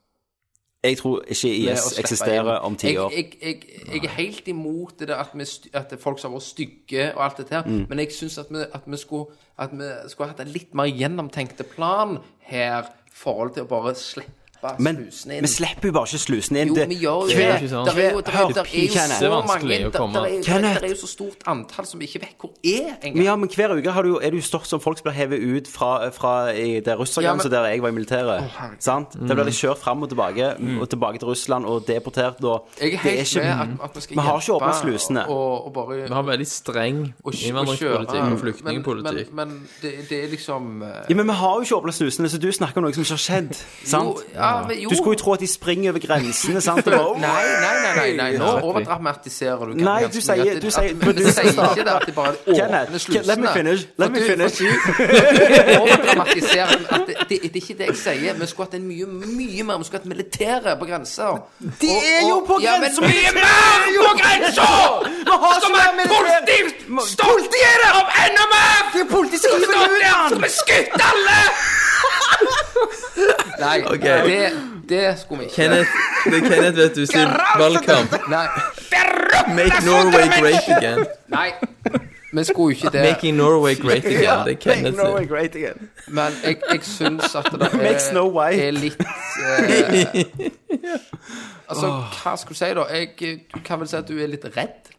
A: Jeg tror ikke
B: med å
A: IS
B: slippe
A: eksisterer
B: inn.
A: om ti år.
B: Jeg, jeg, jeg, jeg er helt imot det der at, vi, sty- at folk som har vært stygge og alt dette her,
A: Mm.
B: men jeg syns at, vi- at vi skulle At vi skulle hatt en litt mer gjennomtenkte plan her i forhold til å bare slippe
A: Men
B: slusene inn.
A: vi slipper jo bare ikke slusene inn.
B: jo,
A: Det-
B: vi gjør jo
A: hver-
B: det.
C: ikke sant?
B: Der er jo, der er jo, der er jo
A: Kenneth.
B: så
C: Det er
B: mange
C: vanskelig å
B: der, der, er,
C: komme.
B: jo- der,
A: Kenneth.
B: er jo så stort antall som vi ikke vet hvor er
A: Men
B: engang.
A: Ja, men hver uke har du, jo- er det jo stoff som folk blir hevet ut fra, fra i det russergrenset
B: Ja,
A: der jeg var i militæret. sant? Der blir de
B: Mm.
A: kjørt fram og tilbake, og tilbake til Russland og deportert og
B: Jeg er
A: det
B: helt med at, at vi skal
A: Vi har ikke
B: hjelpe
A: åpnet slusene.
B: og, og bare
C: Vi har veldig streng innvandringspolitikk og flyktningpolitikk.
B: Mm. Men, men, men det, det er liksom eh,
A: Ja, men vi har jo ikke åpnet slusene, så du snakker om noe som ikke har skjedd. sant?
B: Jo, ja, men jo.
A: Du skulle jo tro at de springer over grensene, sant? Og bare,
B: Nei, nei, nei, nei, nei. nå overdramatiserer du. Kenneth,
A: Nei, du
B: så mye
A: sier-
B: at det-
A: du sier-
B: at-
A: men
B: Men
A: du
B: du sier
A: sier-
B: ikke det at de bare
A: Kenneth,
B: åpner slusene.
A: let me finish, let
B: For
A: me
B: du-
A: finish.
B: for du Overdramatiserer at det, det, det er ikke det jeg sier. Vi skulle hatt en mye, mye mer Vi skulle hatt militære på grenser.
A: De
B: Og-
A: er jo
B: og-
A: på
B: Ja, men
A: grenser!
B: mye mer på grenser! Som er politi! Stolt er det om enda mer! Det er politi som hiver ut han! Skal vi skutte alle? Nei, det, det skulle vi ikke.
C: Kenneth, det er Kenneth, vet du, sin valgkamp.
B: Nei.
C: Make Norway great again.
B: Nei, vi skulle jo ikke det.
C: Making Norway great again. Det er Kenneth sin.
B: Men jeg, jeg syns at det
A: Make Snow
B: er,
A: White.
B: er litt eh, Altså, hva skulle du si, da? Jeg du kan vel si at du er litt redd?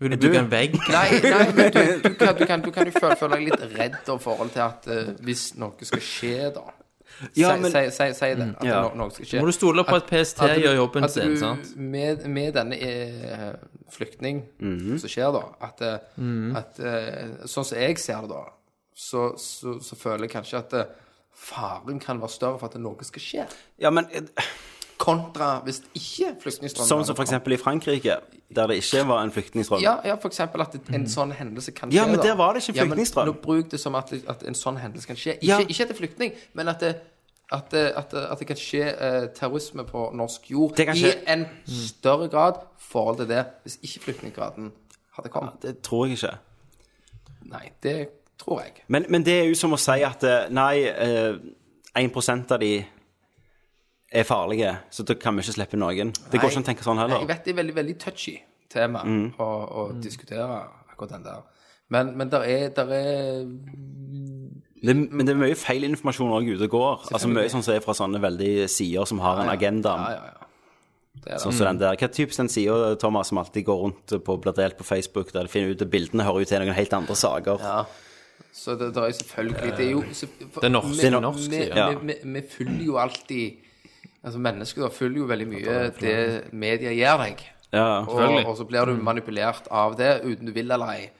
C: Vil du bygge en vegg?
B: Nei, nei men du, du, kan, du, kan, du kan jo føle, føle deg litt redd i forhold til at eh, hvis noe skal skje, da
A: Ja,
B: Si-
A: men-
B: Si si- si det. At
A: Ja.
B: no, noe skal skje.
C: Mm, Må du stole på at PST
B: At du-
C: gjør jobben
B: at
C: sin,
B: du-
C: sant?
B: Med, med denne eh, flyktning
A: Mhm.
B: som skjer, da At, eh,
C: Mhm.
B: at eh, Sånn som jeg ser det, da, så, så, så føler jeg kanskje at eh, faren kan være større for at noe skal skje.
A: Ja, men eh,
B: Kontra hvis ikke flyktningstrømmen
A: Sånn som for eksempel i Frankrike, der det ikke var en flyktningstrøm.
B: ja, ja, for eksempel at en sånn hendelse kan skje.
A: Mhm. Ja, men
B: da.
A: der var det ikke
B: Ja, men
A: flyktningstrøm.
B: Nå bruk det som at, at en sånn hendelse kan skje. Ikke,
A: Ja.
B: ikke til flyktning, men at det, at, det, at, det, at det kan skje eh, terrorisme på norsk jord
A: Det kan
B: i
A: skje. Mm.
B: en større grad i forhold til det hvis ikke flyktninggraden hadde kommet.
A: Det tror jeg ikke.
B: Nei, det tror jeg.
A: Men, men det er jo som å si at eh, nei, eh, 1 av de er farlige, så da kan vi ikke slippe noen. Det går ikke an å tenke sånn
B: Jeg
A: heller.
B: vet det er veldig, veldig touchy tema
A: Mm.
B: å, å diskutere akkurat den der. Men, men der er, der er
A: Det, men det er mye feil informasjon òg ute og går. Altså Mye sånn som er fra sånne veldig sider som har en agenda.
B: Ja, ja, ja. Det er det.
A: Sånn som den der. Hva er typisk den sida, Thomas, som alltid går rundt på, blir delt på Facebook, der de finner ut at bildene hører jo til noen helt andre saker?
B: Så det, det er jo selvfølgelig Det er jo så- for-
C: Det er norsk-
B: vi-
C: det er norsk,
B: vi-
A: ja.
B: vi- vi- Vi følger jo alltid Altså Mennesker da følger jo veldig mye det media gir deg.
A: Ja.
B: Og, og så blir du manipulert av det uten du vil eller ei.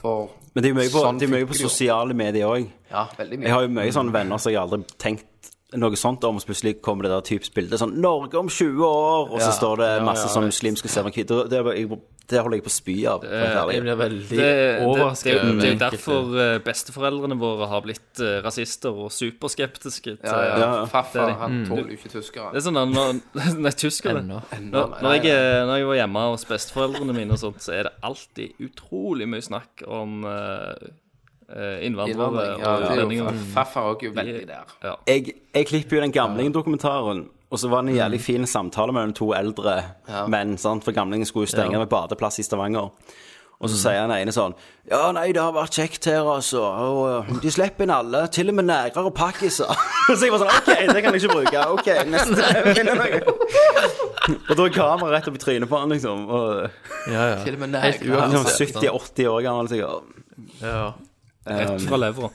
B: For
A: Men det er jo mye på,
B: sånn
A: det er mye
B: funker
A: på
B: det jo.
A: sosiale medier òg.
B: Ja, veldig mye.
A: Jeg har jo mye sånne venner som jeg aldri tenkt noe sånt om, og så plutselig kommer det der typisk bilde sånn 'Norge om 20 år', og så står det masse sånn muslimske serverkvitter. Det, er bare- jeg- det holder jeg på å spy av. for å
B: Eh,
A: være
C: Jeg
A: ærlig.
C: blir veldig
I: Det, det, det,
C: overrasket.
I: er jo- det er jo
C: over enkelte.
I: derfor eh, besteforeldrene våre har blitt eh, rasister og superskeptiske. Til,
B: ja, ja.
A: Ja.
B: Farfar, han tåler jo ikke tyskere.
I: Mm. Det er sånn at når, Nei, tyskere.
C: Ennå.
I: Når, når, jeg, er- når jeg var hjemme hos besteforeldrene mine, og sånt, så er det alltid utrolig mye snakk om eh, eh, innvandrere
B: Innvandring. Ja,
I: og
B: det er jo,
I: utlendinger.
B: farfar er jo veldig der.
I: Ja.
A: Jeg, jeg klipper jo den gamlingen dokumentaren, og så var det en jævlig fin samtale mellom to eldre menn, sant? for gamlingen skulle jo stenge med badeplass i Stavanger. Og så sier han ene sånn Ja, nei, det har vært kjekt her, altså. Og uh, de slipper inn alle. Til og med negrer og pakkiser. så jeg var sånn OK, det kan jeg ikke bruke. OK, neste. Finner noe. og da er kameraet rett opp i trynet på han, liksom. Og,
C: Ja, ja.
B: Til og med nei.
C: Helt
A: han er sånn
C: uansett.
A: 70-80 år gammel sikkert.
C: Ja.
I: Rett fra levra.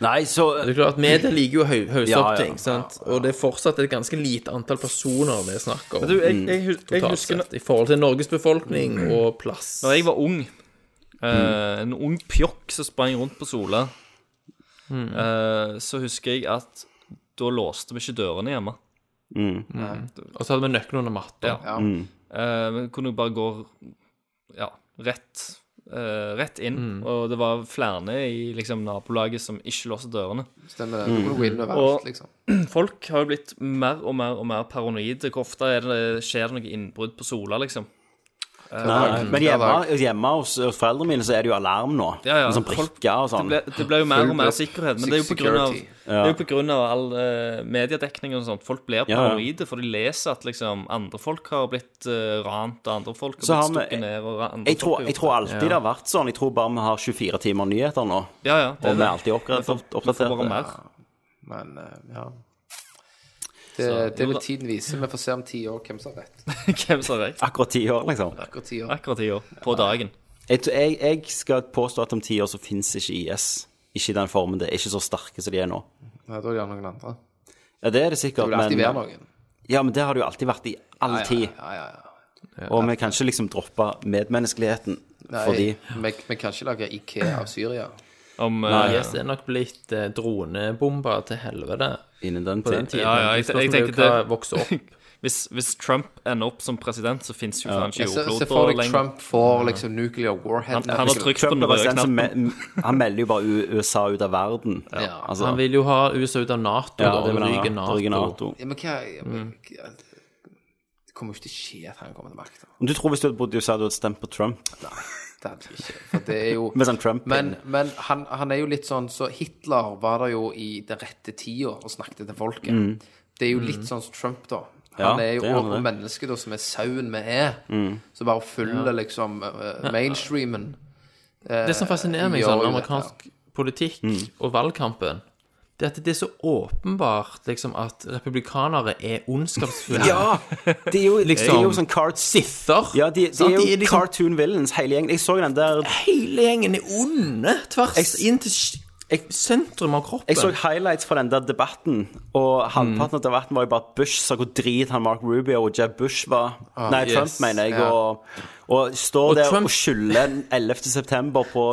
A: Nei, så
C: Det er klart, Media liker jo å hø- hausse
A: Ja,
C: opp
A: ja,
C: ting, sant? og det er fortsatt et ganske lite antall personer vi snakker om.
I: Men du,
B: Mm.
I: jeg- jeg hus- jeg
C: totalt
I: husker
C: sett, I forhold til Norges befolkning
A: Mm.
C: og plass.
I: Når jeg var ung,
B: Mm.
I: eh, en ung pjokk som sprang rundt på Sola,
C: Mm.
I: eh, så husker jeg at da låste vi ikke dørene hjemme.
C: Og så hadde vi nøkkelen under matta.
I: Ja. Eh, men kunne jo bare gå ja, rett, eh, rett inn. Og det var flere i liksom, nabolaget som ikke låste dørene.
B: Stemmer det. Du kunne gå inn overalt,
I: Og
B: liksom.
I: folk har jo blitt mer og mer og mer paranoide. Hvor ofte er det, skjer det noe innbrudd på Sola, liksom? Eh,
A: Nei, men hjemme, hjemme hos, hos foreldrene mine så er det jo alarm nå.
I: Ja, ja.
A: Med sånn brikker og
I: Det
A: sånn.
I: ble, det ble jo mer og mer
B: Full
I: sikkerhet, men det er jo på grunn av,
B: security.
I: det er jo på grunn av all eh, mediedekning og sånt. Folk blir
A: ja.
I: paranoide, for de leser at liksom andre folk har blitt uh, rant, og andre folk har
A: Så har
I: blitt
A: vi-
I: stukket ned og ra- andre
A: Jeg tror, jeg tror alltid det har vært sånn. Jeg tror bare vi har 24 timer nyheter nå.
I: Ja, ja.
A: Og vi er alltid oppgradert-
I: Vi får bare
A: oppdatert.
I: mer.
B: Men eh, ja. Det, det vil tiden vise. Vi får se om ti år hvem som har rett.
I: Hvem som har rett?
A: Akkurat ti år, liksom.
B: Akkurat ti år.
I: Akkurat i år. På dagen.
A: Jeg, tror- jeg, jeg skal påstå at om ti år så fins ikke IS. Ikke i den formen. Det er ikke så sterke som de er nå.
B: Nei, da gjør noen andre.
A: Ja, det er det
B: Det
A: sikkert,
B: vil alltid være
A: men
B: noen.
A: Ja, men det har det jo alltid vært i all tid.
B: Ja, ja, ja.
A: Og vi kan ikke liksom droppe medmenneskeligheten fordi
B: Nei, vi, vi kan ikke lage IKEA av Syria.
I: Om, eh,
C: Nei, yes, det er nok blitt eh, dronebomber til helvete
A: innen den
C: på den
A: tid
C: tiden.
I: Ja, ja, jeg-
C: Spørsmålet
I: jeg
C: er jo
I: tenker
C: hva
I: det-
C: vokser opp.
I: hvis, hvis Trump ender opp som president, så fins jo faen ikke
B: Jeg ser,
I: jordkloden
B: ser for deg
I: lenger.
B: Trump
A: Mm.
B: får liksom nuclear warhead.
I: Han- han har trykt-
A: Trump er
I: på den røde
A: president, så me- Han melder jo bare U- USA ut av verden.
B: Ja.
A: Altså,
C: Han vil jo ha USA ut av Nato,
A: ja,
C: da,
A: det
C: og
A: vil han
C: ryke
A: ha.
C: NATO.
A: Ryker NATO.
B: Ja, men hva ja, men,
I: Mm.
B: hva- Det kommer jo ikke til å skje at han kommer til makta.
A: Men Du tror hvis du hadde bodd i USA, du hadde stemt på Trump?
B: Det hadde ikke. For det er jo
A: Med sånn Trump
B: Men, men han, han er jo litt sånn Så Hitler var der jo i den rette tida og snakket til folket. Det er jo
I: Mm.
B: litt sånn som Trump, da. Han
A: Mm. Ja,
B: er jo
A: det Mm. er han,
B: og, og mennesket da, som er sauen vi er, som bare følger liksom eh, mainstreamen.
C: Det som fascinerer meg
B: Ja,
C: sånn, med
B: jo,
C: amerikansk politikk
A: Mm.
C: og valgkampen, det er at det er så åpenbart liksom, at republikanere er ondskapsfulle.
A: Ja! Det er jo, det
C: Liksom.
A: er jo sånn cart
C: Sither.
A: Ja, de, de er
C: sant?
A: jo
C: liksom,
A: cartoon villains, hele gjengen. Jeg så jo den der
C: Hele gjengen er onde, tvers
A: Jeg-
C: inn til s- sentrum av kroppen.
A: Jeg så highlights fra den der debatten, og halvparten av debatten var jo bare at Bush sa hvor drit han Mark Rubio og Jeb Bush var. Nei,
C: Ah, yes.
A: Trump, mener jeg. Og, og står
C: Og
A: der
C: Trump-
A: og skylder 11. september på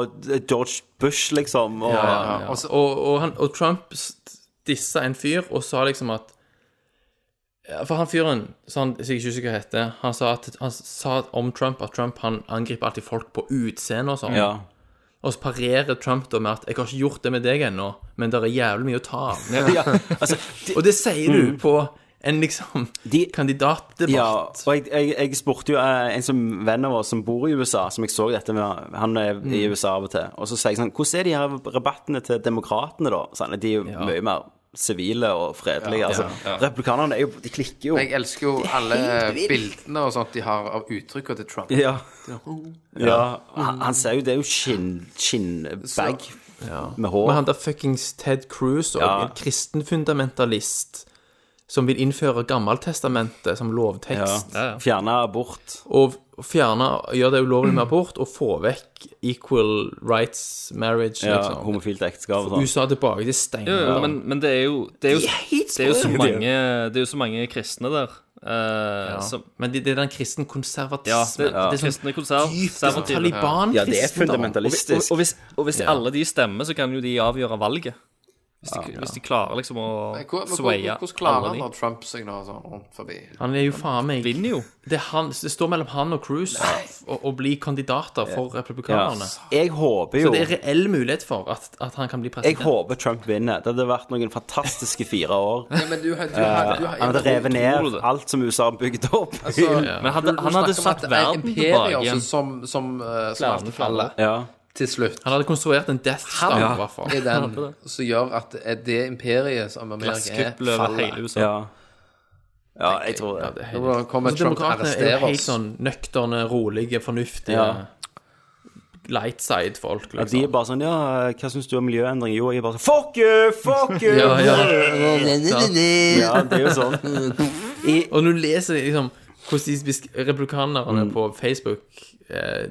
A: George Bush, liksom. Og,
C: Ja, ja. Og, og, han, og Trump s- dissa en fyr og sa liksom at Ja, For han fyren, så han, som jeg ikke husker hva heter, han sa, at, han sa om Trump at Trump han angriper alltid folk på utseende og sånn.
A: Ja.
C: Og så parerer Trump da med at 'jeg har ikke gjort det med deg ennå, men det er jævlig mye å ta av'.
A: Ja, altså, de,
C: Og det sier du på en liksom
A: De- ja,
C: kandidatdebatt.
A: og jeg, jeg, jeg spurte jo eh, en som venn av oss som bor i USA, som jeg så dette med, han er i USA av og til, og så sier jeg sånn, hvordan er de her rabattene til demokratene da? Sånn, de er jo mye mer sivile og fredelige, altså. Republikanerne er jo, de klikker jo.
B: Jeg elsker jo alle bildene og sånt de har av uttrykket til Trump.
A: Ja. ja. Han, han ser jo det er jo skinn- skinnbag med hår.
C: Men han der fuckings Ted Cruz og
A: Ja.
C: en kristen fundamentalist som vil innføre Gammeltestamentet som lovtekst,
A: ja. Fjerne abort.
C: og fjerne, gjøre det ulovlig med abort, og få vekk equal rights marriage,
A: Ja,
C: liksom.
A: homofilt ekteskap og sånn.
C: USA tilbake til
I: Jo, jo,
C: steinalderen.
I: men, men det er jo Det er jo, det er jo, så, mange, det er jo så mange kristne der. eh,
C: Ja.
I: som,
C: Men det, det er den kristen konservatismen.
I: ja, det,
C: det er sånn
I: kristne konserv-
C: dypt det er sånn
I: konservative.
C: Taliban-kristendom.
A: Ja, det er
I: Og,
A: fundamentalistisk.
I: og hvis, og hvis alle de stemmer, så kan jo de avgjøre valget. Hvis de, hvis de klarer liksom å
B: Men hvor- men hvor-
I: swaye
B: Hvordan klarer han
I: alle
B: når
I: de.
B: Trump seg nå sånn rundt forbi?
C: Han er jo faen meg
I: Vinner jo.
C: det, er han, det står mellom han og Cruz å å bli kandidater for
A: Ja.
C: republikanerne.
A: Jeg håper
C: Så
A: jo
C: det er reell mulighet for at, at han kan bli
A: jeg
C: president.
A: håper Trump vinner. Det hadde vært noen fantastiske fire år.
B: Ja, men du, du, du, du, du,
A: Han hadde revet ned alt som USA har bygd opp.
I: Men hadde, han hadde satt verden tilbake
B: tilbake.
I: igjen.
B: Som, som, eh, som alltid faller
A: Ja.
B: til slutt.
C: Han hadde konstruert en Death Star, i hvert fall.
B: er den som gjør at det er det imperiet som Amerika er,
I: Glasskuppel over hele
B: faller.
I: USA.
A: ja. Ja, jeg tror det.
B: Nå kommer
C: Altså,
B: Trump og
C: Demokratene er
B: arresterer
C: jo helt
B: oss.
C: sånn nøkterne, rolige, fornuftige
A: Ja.
C: light side-folk,
A: Ja, de
C: liksom.
A: er bare sånn Ja, hva syns du om miljøendring? Jo, jeg er bare sånn Fuck you! Fuck you!
C: Ja, ja.
A: ja, det er jo sånn. Mm.
C: Og når du leser liksom hvordan de besk- republikanerne på Facebook eh,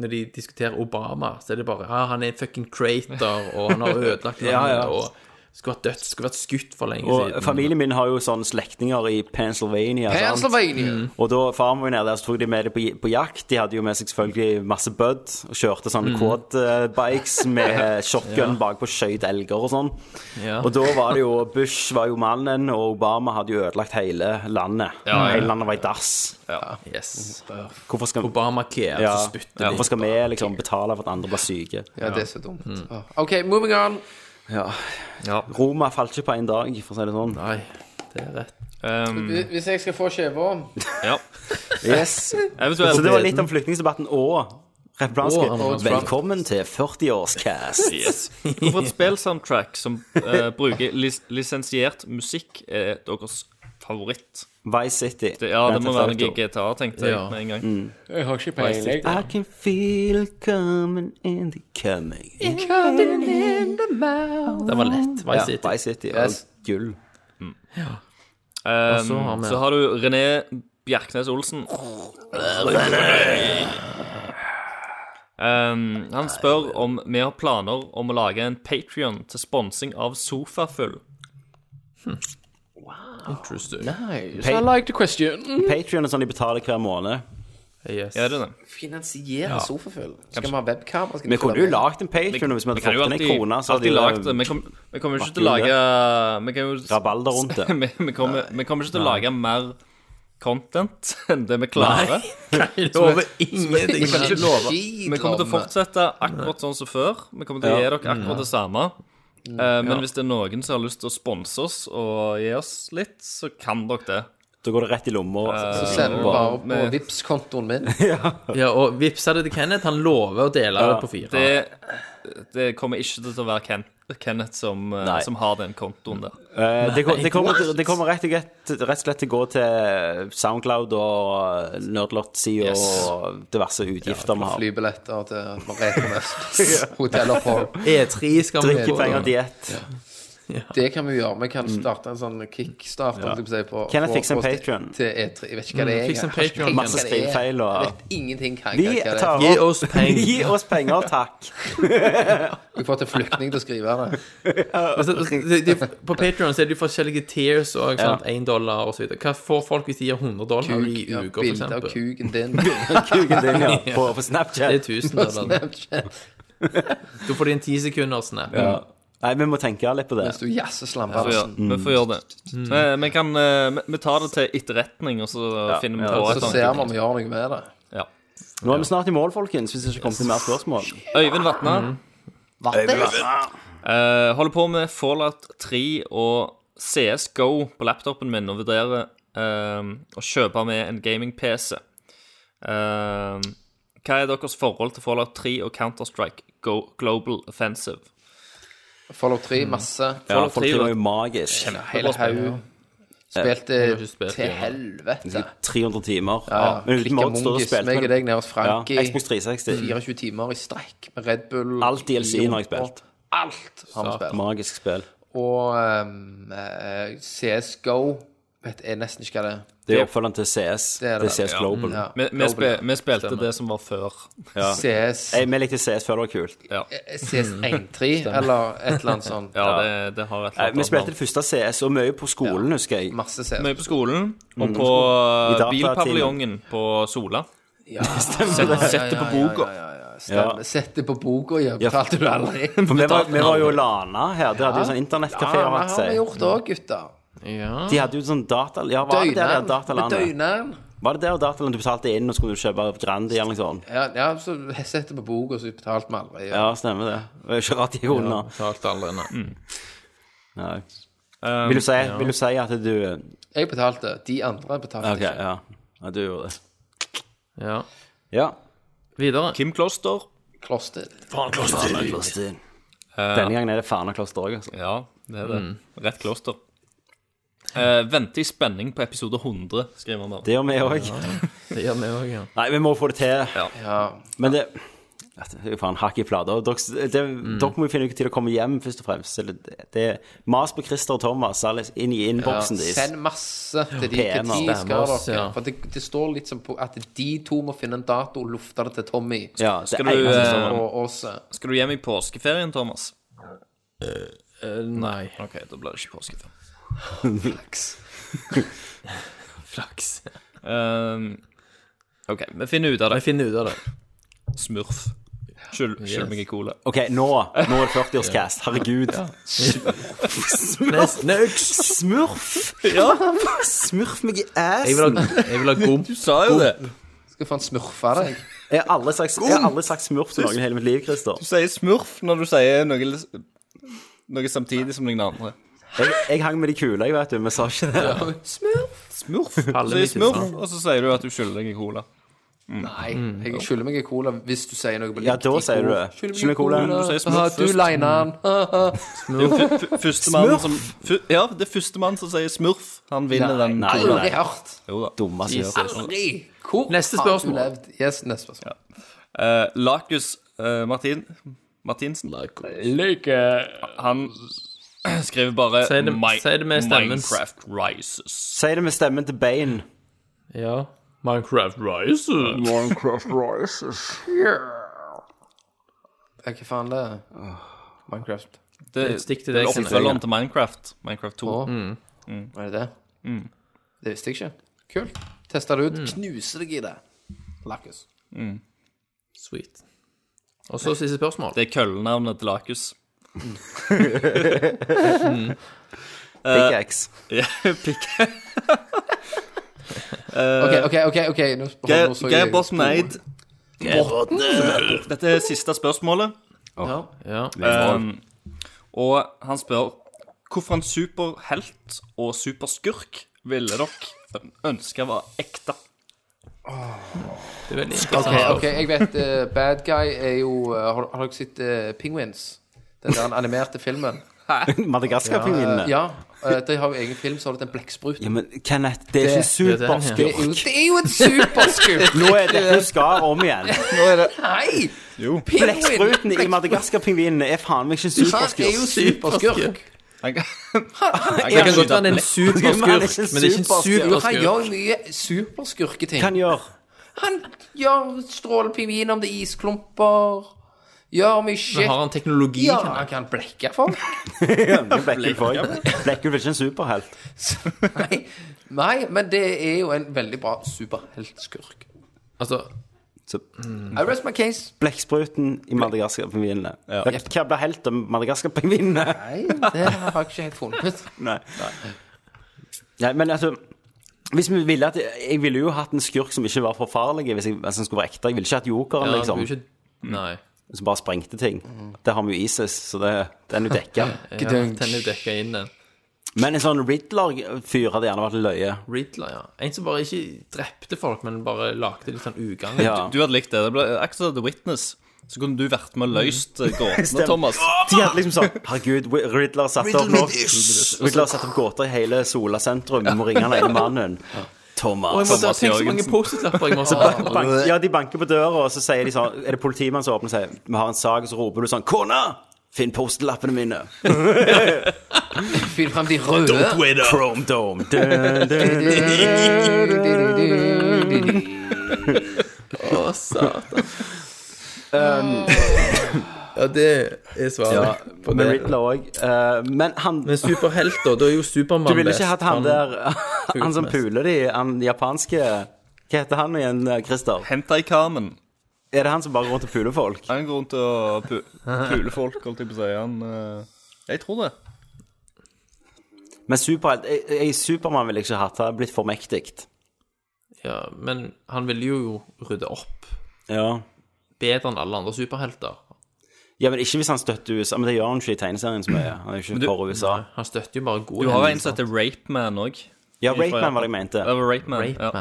C: når de diskuterer Obama, så er det bare ah, 'Han er en fucking crater, og han har ødelagt landet,
A: Ja, ja.
C: og skulle vært dødt, skulle vært skutt for lenge
A: Og
C: siden'.
A: familien min har jo sånne slektninger i Pennsylvania. sant?
B: Sånn. Pennsylvania.
A: Mm. Og da faren min er der, så tok de med det på, på jakt. De hadde jo med seg selvfølgelig masse bud og kjørte sånne
C: Mm.
A: quad-bikes med shotgun
C: Ja.
A: bakpå skøyt elger og sånn.
C: Ja.
A: Og da var det jo Bush var jo mannen, og Obama hadde jo ødelagt hele landet.
C: Ja, ja.
A: Hele landet var i dass.
C: Yes.
A: Hvorfor skal
C: Obamacare,
A: ja.
C: så
A: ja,
C: spytter de.
A: Hvorfor skal vi liksom betale for at andre blir syke?
B: Ja, det er så dumt. Ah. OK, moving on.
A: Ja. Roma falt ikke på én dag, for å si det sånn.
C: Nei, det er rett.
I: Um,
B: Hvis- Hvis jeg skal få skjeva
I: Ja.
A: Yes.
I: Eventuelt.
A: Så det var litt om flyktningsdebatten og republikanske.
I: Og Donald Trump.
A: Velkommen til 40-årscast.
I: Yes. Hvorfor et spillsoundtrack som eh, bruker lis lisensiert musikk, er deres favoritt?
A: Vice City.
I: Det, ja, det må være noe
A: Grand Theft
I: GTA, tenkte jeg
A: Ja.
I: med en gang.
A: Mm.
J: Jeg har ikke
I: Vice City.
J: peiling.
A: I can feel it coming in the coming.
C: Den var lett. Vice
A: Ja,
C: City.
A: Vice City var
C: Yes.
A: gull.
I: Um,
C: Og så har vi-
I: så har du René Bjerknes Olsen. Um, han spør om vi har planer om å lage en Patrion til sponsing av Sofafull.
C: Interesting.
B: Nice.
A: Pa-
B: I like the question.
A: Patreon er sånn de betaler hver måned.
I: Er det det?
B: Finansiere
A: Ja.
B: sofafull. Skal vi ha webkamera? Skal
A: Vi
B: vi
A: kunne
B: følge
A: jo
B: med?
A: lagd en Patreon hvis vi hadde
I: kan jo
A: fått inn en
I: alltid-
A: krone. så hadde
I: alltid
A: jo-
I: lagt det. Vi kom- vi kommer jo ikke til å
A: Martin
I: lage eh,
A: gjorde
I: Vi kan jo
A: Rabalder rundt det.
I: vi, vi, kommer, vi kommer ikke til å
A: Nei.
I: lage mer content enn det vi klarer.
C: Nei, jeg lover ingenting.
I: Vi kan ikke love.
C: Skit
I: Vi kommer til å
C: lover.
I: fortsette akkurat sånn som før. Vi kommer til
C: Ja.
I: å gi dere akkurat det samme.
C: Mm.
I: Eh, men
C: Ja.
I: hvis det er noen som har lyst til å sponse oss og gi oss litt, så kan dere det.
A: Da går det rett i lomma.
B: Så sender vi bare på vips kontoen min.
C: Ja, og vipsa det til Kenneth. Han lover å dele det på fire.
I: Det, det kommer ikke til å være Ken, Kenneth som, eh,
A: Nei.
I: som har den kontoen der.
A: Eh, det, kom-
I: Nei,
A: det, kommer,
I: what?
A: det kommer rett og slett, rett og slett til å gå til Soundcloud og eh, Nerdlot-sida
B: Yes.
A: og diverse utgifter vi har.
B: Flybilletter til Marete Mest. Hotell og par.
C: E3 skal vi
A: Drikkepenger, diett.
B: Det kan vi gjøre. Vi kan starte en sånn kickstart.
A: Ja.
B: holdt jeg på å Si, på,
A: Kan jeg
B: for-
A: fikse en
B: for oss til-
A: Patreon?
B: Til E3. Jeg vet ikke hva det
A: Mm,
B: er.
A: fikse en
B: jeg har ikke
A: Patreon,
B: peiling
A: masse
B: hva det er.
A: skrivefeil og-
B: Jeg vet ingenting hva, hva
A: Vi
B: det er.
A: tar opp Gi oss penger, takk.
B: Vi får til flyktning til å skrive det.
C: Altså, de, de, på Patreon er det jo forskjellige tiers og
B: Ja.
C: sant, 1 dollar og så videre. Hva får folk hvis de gir 100 dollar i
B: ja,
C: uka, for
B: bilde av
C: eksempel?
B: kuken din.
A: Kuken din, ja. På, på Snapchat.
C: Det er 1000
B: På
C: dollar.
B: Snapchat.
C: Da får de en 10 sekunder snap.
A: Ja. Nei, vi må tenke litt på det.
B: Hvis du jazzer
I: Vi får gjøre-
A: Mm.
I: Vi får gjøre det.
B: Mm.
I: Eh, Vi, kan, eh, vi- vi tar det til etterretning, og så
A: Ja.
I: finner vi
A: Ja.
I: på et
B: Så
I: annet
B: ser vi
I: tidspunkt.
B: om vi gjør noe med det.
I: Ja.
A: Nå er vi snart i mål, folkens, hvis det ikke kommer til mer spørsmål.
I: Øyvind Vatna.
A: Mm. Øyvind
I: Eh, holder på med Fallout 3 og CSGO på laptopen min og vurderer eh, å kjøpe med en gaming-PC. Eh, hva er deres forhold til Fallout 3 og Counter-Strike Go Global Offensive?
B: Fallout 3,
A: Mm.
B: masse.
A: Fallout 3 var jo magisk.
B: Hele haug. Spilte
A: Jeg har ikke spilt
B: til
A: det.
B: helvete.
A: 300 timer.
B: Ja,
A: Men uten Mod står det og
B: Klikkamongis,
A: spilte
B: meg
A: med-
B: og deg Mm. nede hos Frankie.
A: Ja, Xbox 360.
B: 24 timer i strekk med Red Bull.
A: Alt DLC-en har jeg spilt.
B: Alt har vi spilt.
A: Magisk spill.
B: Og ehm, eh, CSGO vet jeg nesten ikke hva det er.
A: Det er oppfølgeren til CS. Det er, CS Global.
B: Ja.
I: Vi, vi, spe, vi spilte det som var før.
A: Ja.
B: CS
A: Jeg, vi likte CS før det var kult.
B: CS 1.3 eller et eller annet sånt.
I: Ja, det, det har et eller
A: Nei,
I: annet
A: vi spilte det første CS, og mye på skolen, husker jeg.
B: Masse CS.
I: Mye på skolen og
A: Mm.
I: på
A: I datatimen.
I: bilpaviljongen på Sola.
B: Ja,
I: Sett, sett det på boka.
B: Ja, ja, ja, ja. Stemmer. Sett det på boka, ja. Betalte du aldri?
A: For vi var, vi var jo Lana her. De hadde jo sånn internettkafé.
B: Ja,
A: har
B: det
A: vært
B: har vi
A: seg.
B: gjort òg, gutter.
A: De hadde jo sånn data... Ja, var det der, der
B: Med
A: datalandet?
B: døgneren.
A: Var det der datalandet du betalte inn, og så kunne du kjøpe Grandi eller noe sånt?
B: Ja, ja, så sett det på boka, så betalte vi aldri.
A: Ja, stemmer det. Det er jo ikke rart de gjorde det.
C: Betalt aldri, nei.
A: Nei. Vil du si,
B: ja.
A: vil du si at du eh,
B: Jeg betalte. De andre betalte
A: OK, ja. ja du gjorde det.
C: Ja.
A: Ja.
C: Videre.
I: Kim Kloster.
B: ikke. Kloster.
C: Faen,
A: Kloster. Denne gangen er det Fana kloster òg, altså.
I: Ja, det er det.
A: Mm.
I: Rett kloster. Eh, vente i spenning på episode 100, skriver han da.
A: Det gjør vi òg.
C: Det gjør vi òg, ja.
A: Nei, vi må få det til. Men det at det er faen hakk i plata. Dere, det- dere må jo finne ut til å komme hjem, først og fremst. Så Det, det er mas på Christer og Thomas Alice, inn i innboksen deres.
B: Send masse til de
A: Ja,
B: hva de
A: PM-er.
B: skal
A: Stemmer oss,
B: dere.
A: ja.
B: For det, det står litt som på at de to må finne en dato og lufte det til Tommy.
A: Ja, det altså,
I: Skal du, eh,
B: og oss.
I: skal du hjem i påskeferien, Thomas?
C: Eh, nei.
I: OK, da blir det ikke påskeferie.
A: Flaks.
I: Flaks. Ehm, OK, vi finner ut av det.
C: Vi finner ut av det.
I: Smurf. Skyld, skyld meg i cola.
A: OK, nå nå er det 40-årscast. Herregud. Smurf. Smurf. Smurf meg i ass.
C: Jeg vil ha, jeg vil ha gomp.
I: Du sa jo det.
B: Skal faen smurfe deg.
A: Jeg har aldri sagt, jeg har aldri sagt smurf til noen i hele mitt liv, Christer.
I: Du sier smurf når du sier noe, noe samtidig som noen andre.
A: Jeg, jeg hang med de kule, jeg vet du, men sa ikke det.
I: Smurf. Du sier smurf, og så sier du at du skylder deg i cola.
B: Nei, jeg skylder meg en cola hvis du sier noe på
A: Ja, da sier du det. Skylder meg cola.
I: Du sier smurf
B: Ah, du
I: først.
B: lina den.
I: Det er jo fu- fu- første mann som fu- Ja, det er første mann som sier smurf, han vinner den
A: nei,
I: colaen.
B: Aldri hørt.
I: Jo da.
A: Dumme smurf.
B: Aldri. Hvor
C: Neste
B: har du
C: spørsmål.
B: levd? Yes, neste spørsmål.
I: Eh, Lakus eh, Martin, Martinsen Han skriver bare
C: Si det-
I: Mi-
C: si det med stemmen.
I: Minecraft Rises.
A: Si det med stemmen til Bane.
C: Ja. Minecraft Rises.
B: Ja, Hva faen det er? Minecraft.
I: Det,
C: Et stikk til
I: det Mm. er
C: deg, Sindre.
I: oppfølgeren til Minecraft. Minecraft 2.
B: Å, er det det?
A: Mm.
B: Det visste jeg ikke. Kult. Teste det ut. Knuse deg i det. Lakkus.
A: Mm.
C: Sweet. Og så siste spørsmål.
I: Det er køllenavnet til Lakus.
A: Pickaxe.
I: Ja, pikk.
B: OK, OK, OK. ok Nå
I: Geir
B: nå så jeg-
I: Geir Botn Eid. Dette er siste spørsmålet.
C: Ja.
I: Um, og han spør hvorfor en superhelt og superskurk ville dere ønske var ekte?
C: Det er veldig
B: OK,
C: interessant.
B: ok, jeg vet eh, Bad Guy er jo eh, Har, har dere sett eh, Penguins? Den der animerte filmen?
A: Madagaskar-pingvinene.
B: Ja. eh, de har jo egen film som har litt en blekksprut.
A: Ja, men Kenneth, det er ikke en
C: det er den, ja.
B: Det
A: superskurk.
B: er jo, det er jo en superskurk!
A: Nå er det hun skal om igjen.
B: Nei!
A: Blekkspruten i Madagaskar-pingvinene er faen meg ikke en
B: Han er jo
A: superskurk.
B: superskurk.
I: Han kan,
C: Det kan godt være han er en superskurk,
A: Men han
C: men
A: er
C: det
A: ikke en superskurk.
C: er ikke en superskurk.
B: Han gjør mye superskurketing.
A: Kan gjøre.
B: Han gjør strålepingvin om det er isklumper. Gjør mye
C: Men
B: shit.
C: har han teknologi?
B: ja,
C: kan han-
B: han kan blekke folk.
A: Blekkulf er ikke en superhelt.
B: Nei. Nei, men det er jo en veldig bra superheltskurk.
C: Altså,
B: I rest my case.
A: Blekkspruten i Madagaskar-pingvinene. Hva blir helt om Madagaskar-pingvinene?
B: Nei, det har jeg ikke helt funnet ut.
A: Nei. Nei, men altså hvis vi ville at, Jeg ville jo hatt en skurk som ikke var for farlig. Hvis jeg, hvis han skulle være ekte Jeg ville ikke hatt jokeren,
C: ja, du
A: liksom.
C: er ikke Nei.
A: Som bare sprengte ting. Det har vi jo ISIS, så det, den er jo dekka.
C: Ja, Tenner dekka inn den.
A: Men en sånn Riddler-fyr hadde gjerne vært en løye.
C: Riddler, ja. En som bare ikke drepte folk, men bare lagde litt sånn ugagn.
A: Ja.
I: Du hadde likt det. Det ble akkurat som The Witness. Så kunne du vært med og løst eh, gåtene,
A: Stemmer.
I: Thomas.
A: De hadde liksom sånn Herregud, Riddler satte opp nå Riddler satte opp gåter i hele Sola sentrum. Vi må ringe han ene mannen.
C: Og jeg
A: Thomas.
C: måtte tenke så mange Post-It-lapper jeg må ha.
A: Bank, ja, de banker på døra, og så sier de sånn Er det politimannen som åpner og sier Vi har en sak, og så roper du sånn Kona! Finn post-lappene mine.
B: Fyr frem de røde.
A: Chrome Dome. Dun, dun.
C: Å, satan. ja, det er svaret på
A: Med Um,
C: det.
A: Riddler òg. men han
C: Men superhelt, da? Da er jo Supermann
A: Du ville ikke hatt han der Han som
C: mest.
A: puler de, han japanske Hva heter han igjen, eh, Christer?
I: Hentai Carmen.
A: Er det han som bare går rundt og puler folk?
I: Han går rundt og pu puler folk, holdt jeg på å si. Han eh, Jeg tror det.
A: Men superhelt jeg- jeg- Supermann ville jeg ikke hatt. Det hadde blitt for mektig.
C: Ja, men han ville jo rydde opp
A: Ja.
C: bedre enn alle andre superhelter.
A: ja, men ikke hvis han støtter USA. Men det gjør han ikke i tegneserien så mye. Han er jo ikke for USA.
C: Han støtter jo bare gode
I: Du har en som
C: hendelser.
I: heter Rapeman òg.
A: Ja, Rakeman var det jeg mente.
I: Det var Rapeman.
C: Rape
I: Ja.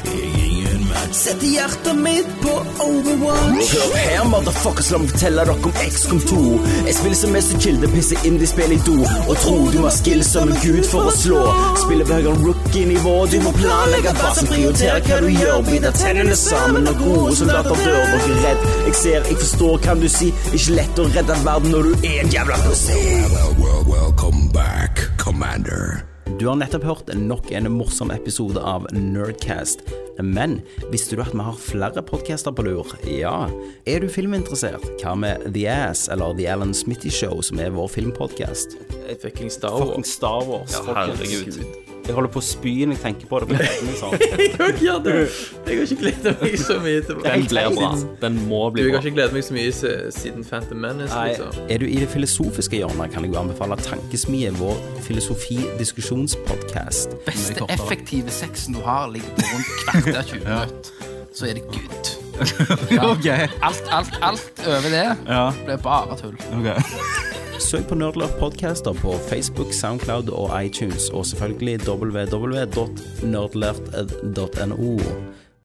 H: Setter hjertet mitt på Overwatch. Hør her, motherfuckers, la meg fortelle dere om XCOM 2. Et spill som er så chill, det pisser inn de spiller i do. Og tror du har skill som en gud for å slå. Spiller på høyere rookie-nivå. Du må planlegge basen, prioritere hva du gjør. Biter tennene sammen når gode soldater dør. Dere er redd. Jeg ser, jeg forstår, kan du si. Ikke lett å redde verden når du er en jævla pussy. Du har nettopp hørt nok en morsom episode av Nerdcast. Men visste du at vi har flere podcaster på lur? Ja. Er du filminteressert? Hva med The Ass eller The Alan Smitty Show, som er vår filmpodcast?
C: Et fucking Star Wars.
A: Fucking Star Wars.
I: Ja,
A: folkens.
I: herregud.
A: Jeg holder på å spy når jeg tenker på det. på nettene, sånn.
C: Jeg har ikke gjort det. Jeg har ikke gledet meg så mye til
I: Den blir bra. Den må
C: Du,
I: bli
C: jeg
I: bra.
C: har ikke gledet meg så mye se- siden Phantom Menace, liksom.
A: Er du i det filosofiske hjørnet, kan jeg jo anbefale Tankesmie, vår filosofidiskusjonspodkast.
B: Beste effektive sexen du har, ligger på rundt kvarter 20 minutter. Så er det good.
D: OK.
B: Alt, alt, alt over det
D: Ja,
B: blir bare tull.
D: ok.
A: Søk på Nerdlurp Podcaster på Facebook, Soundcloud og iTunes, og selvfølgelig www.nerdlert.no.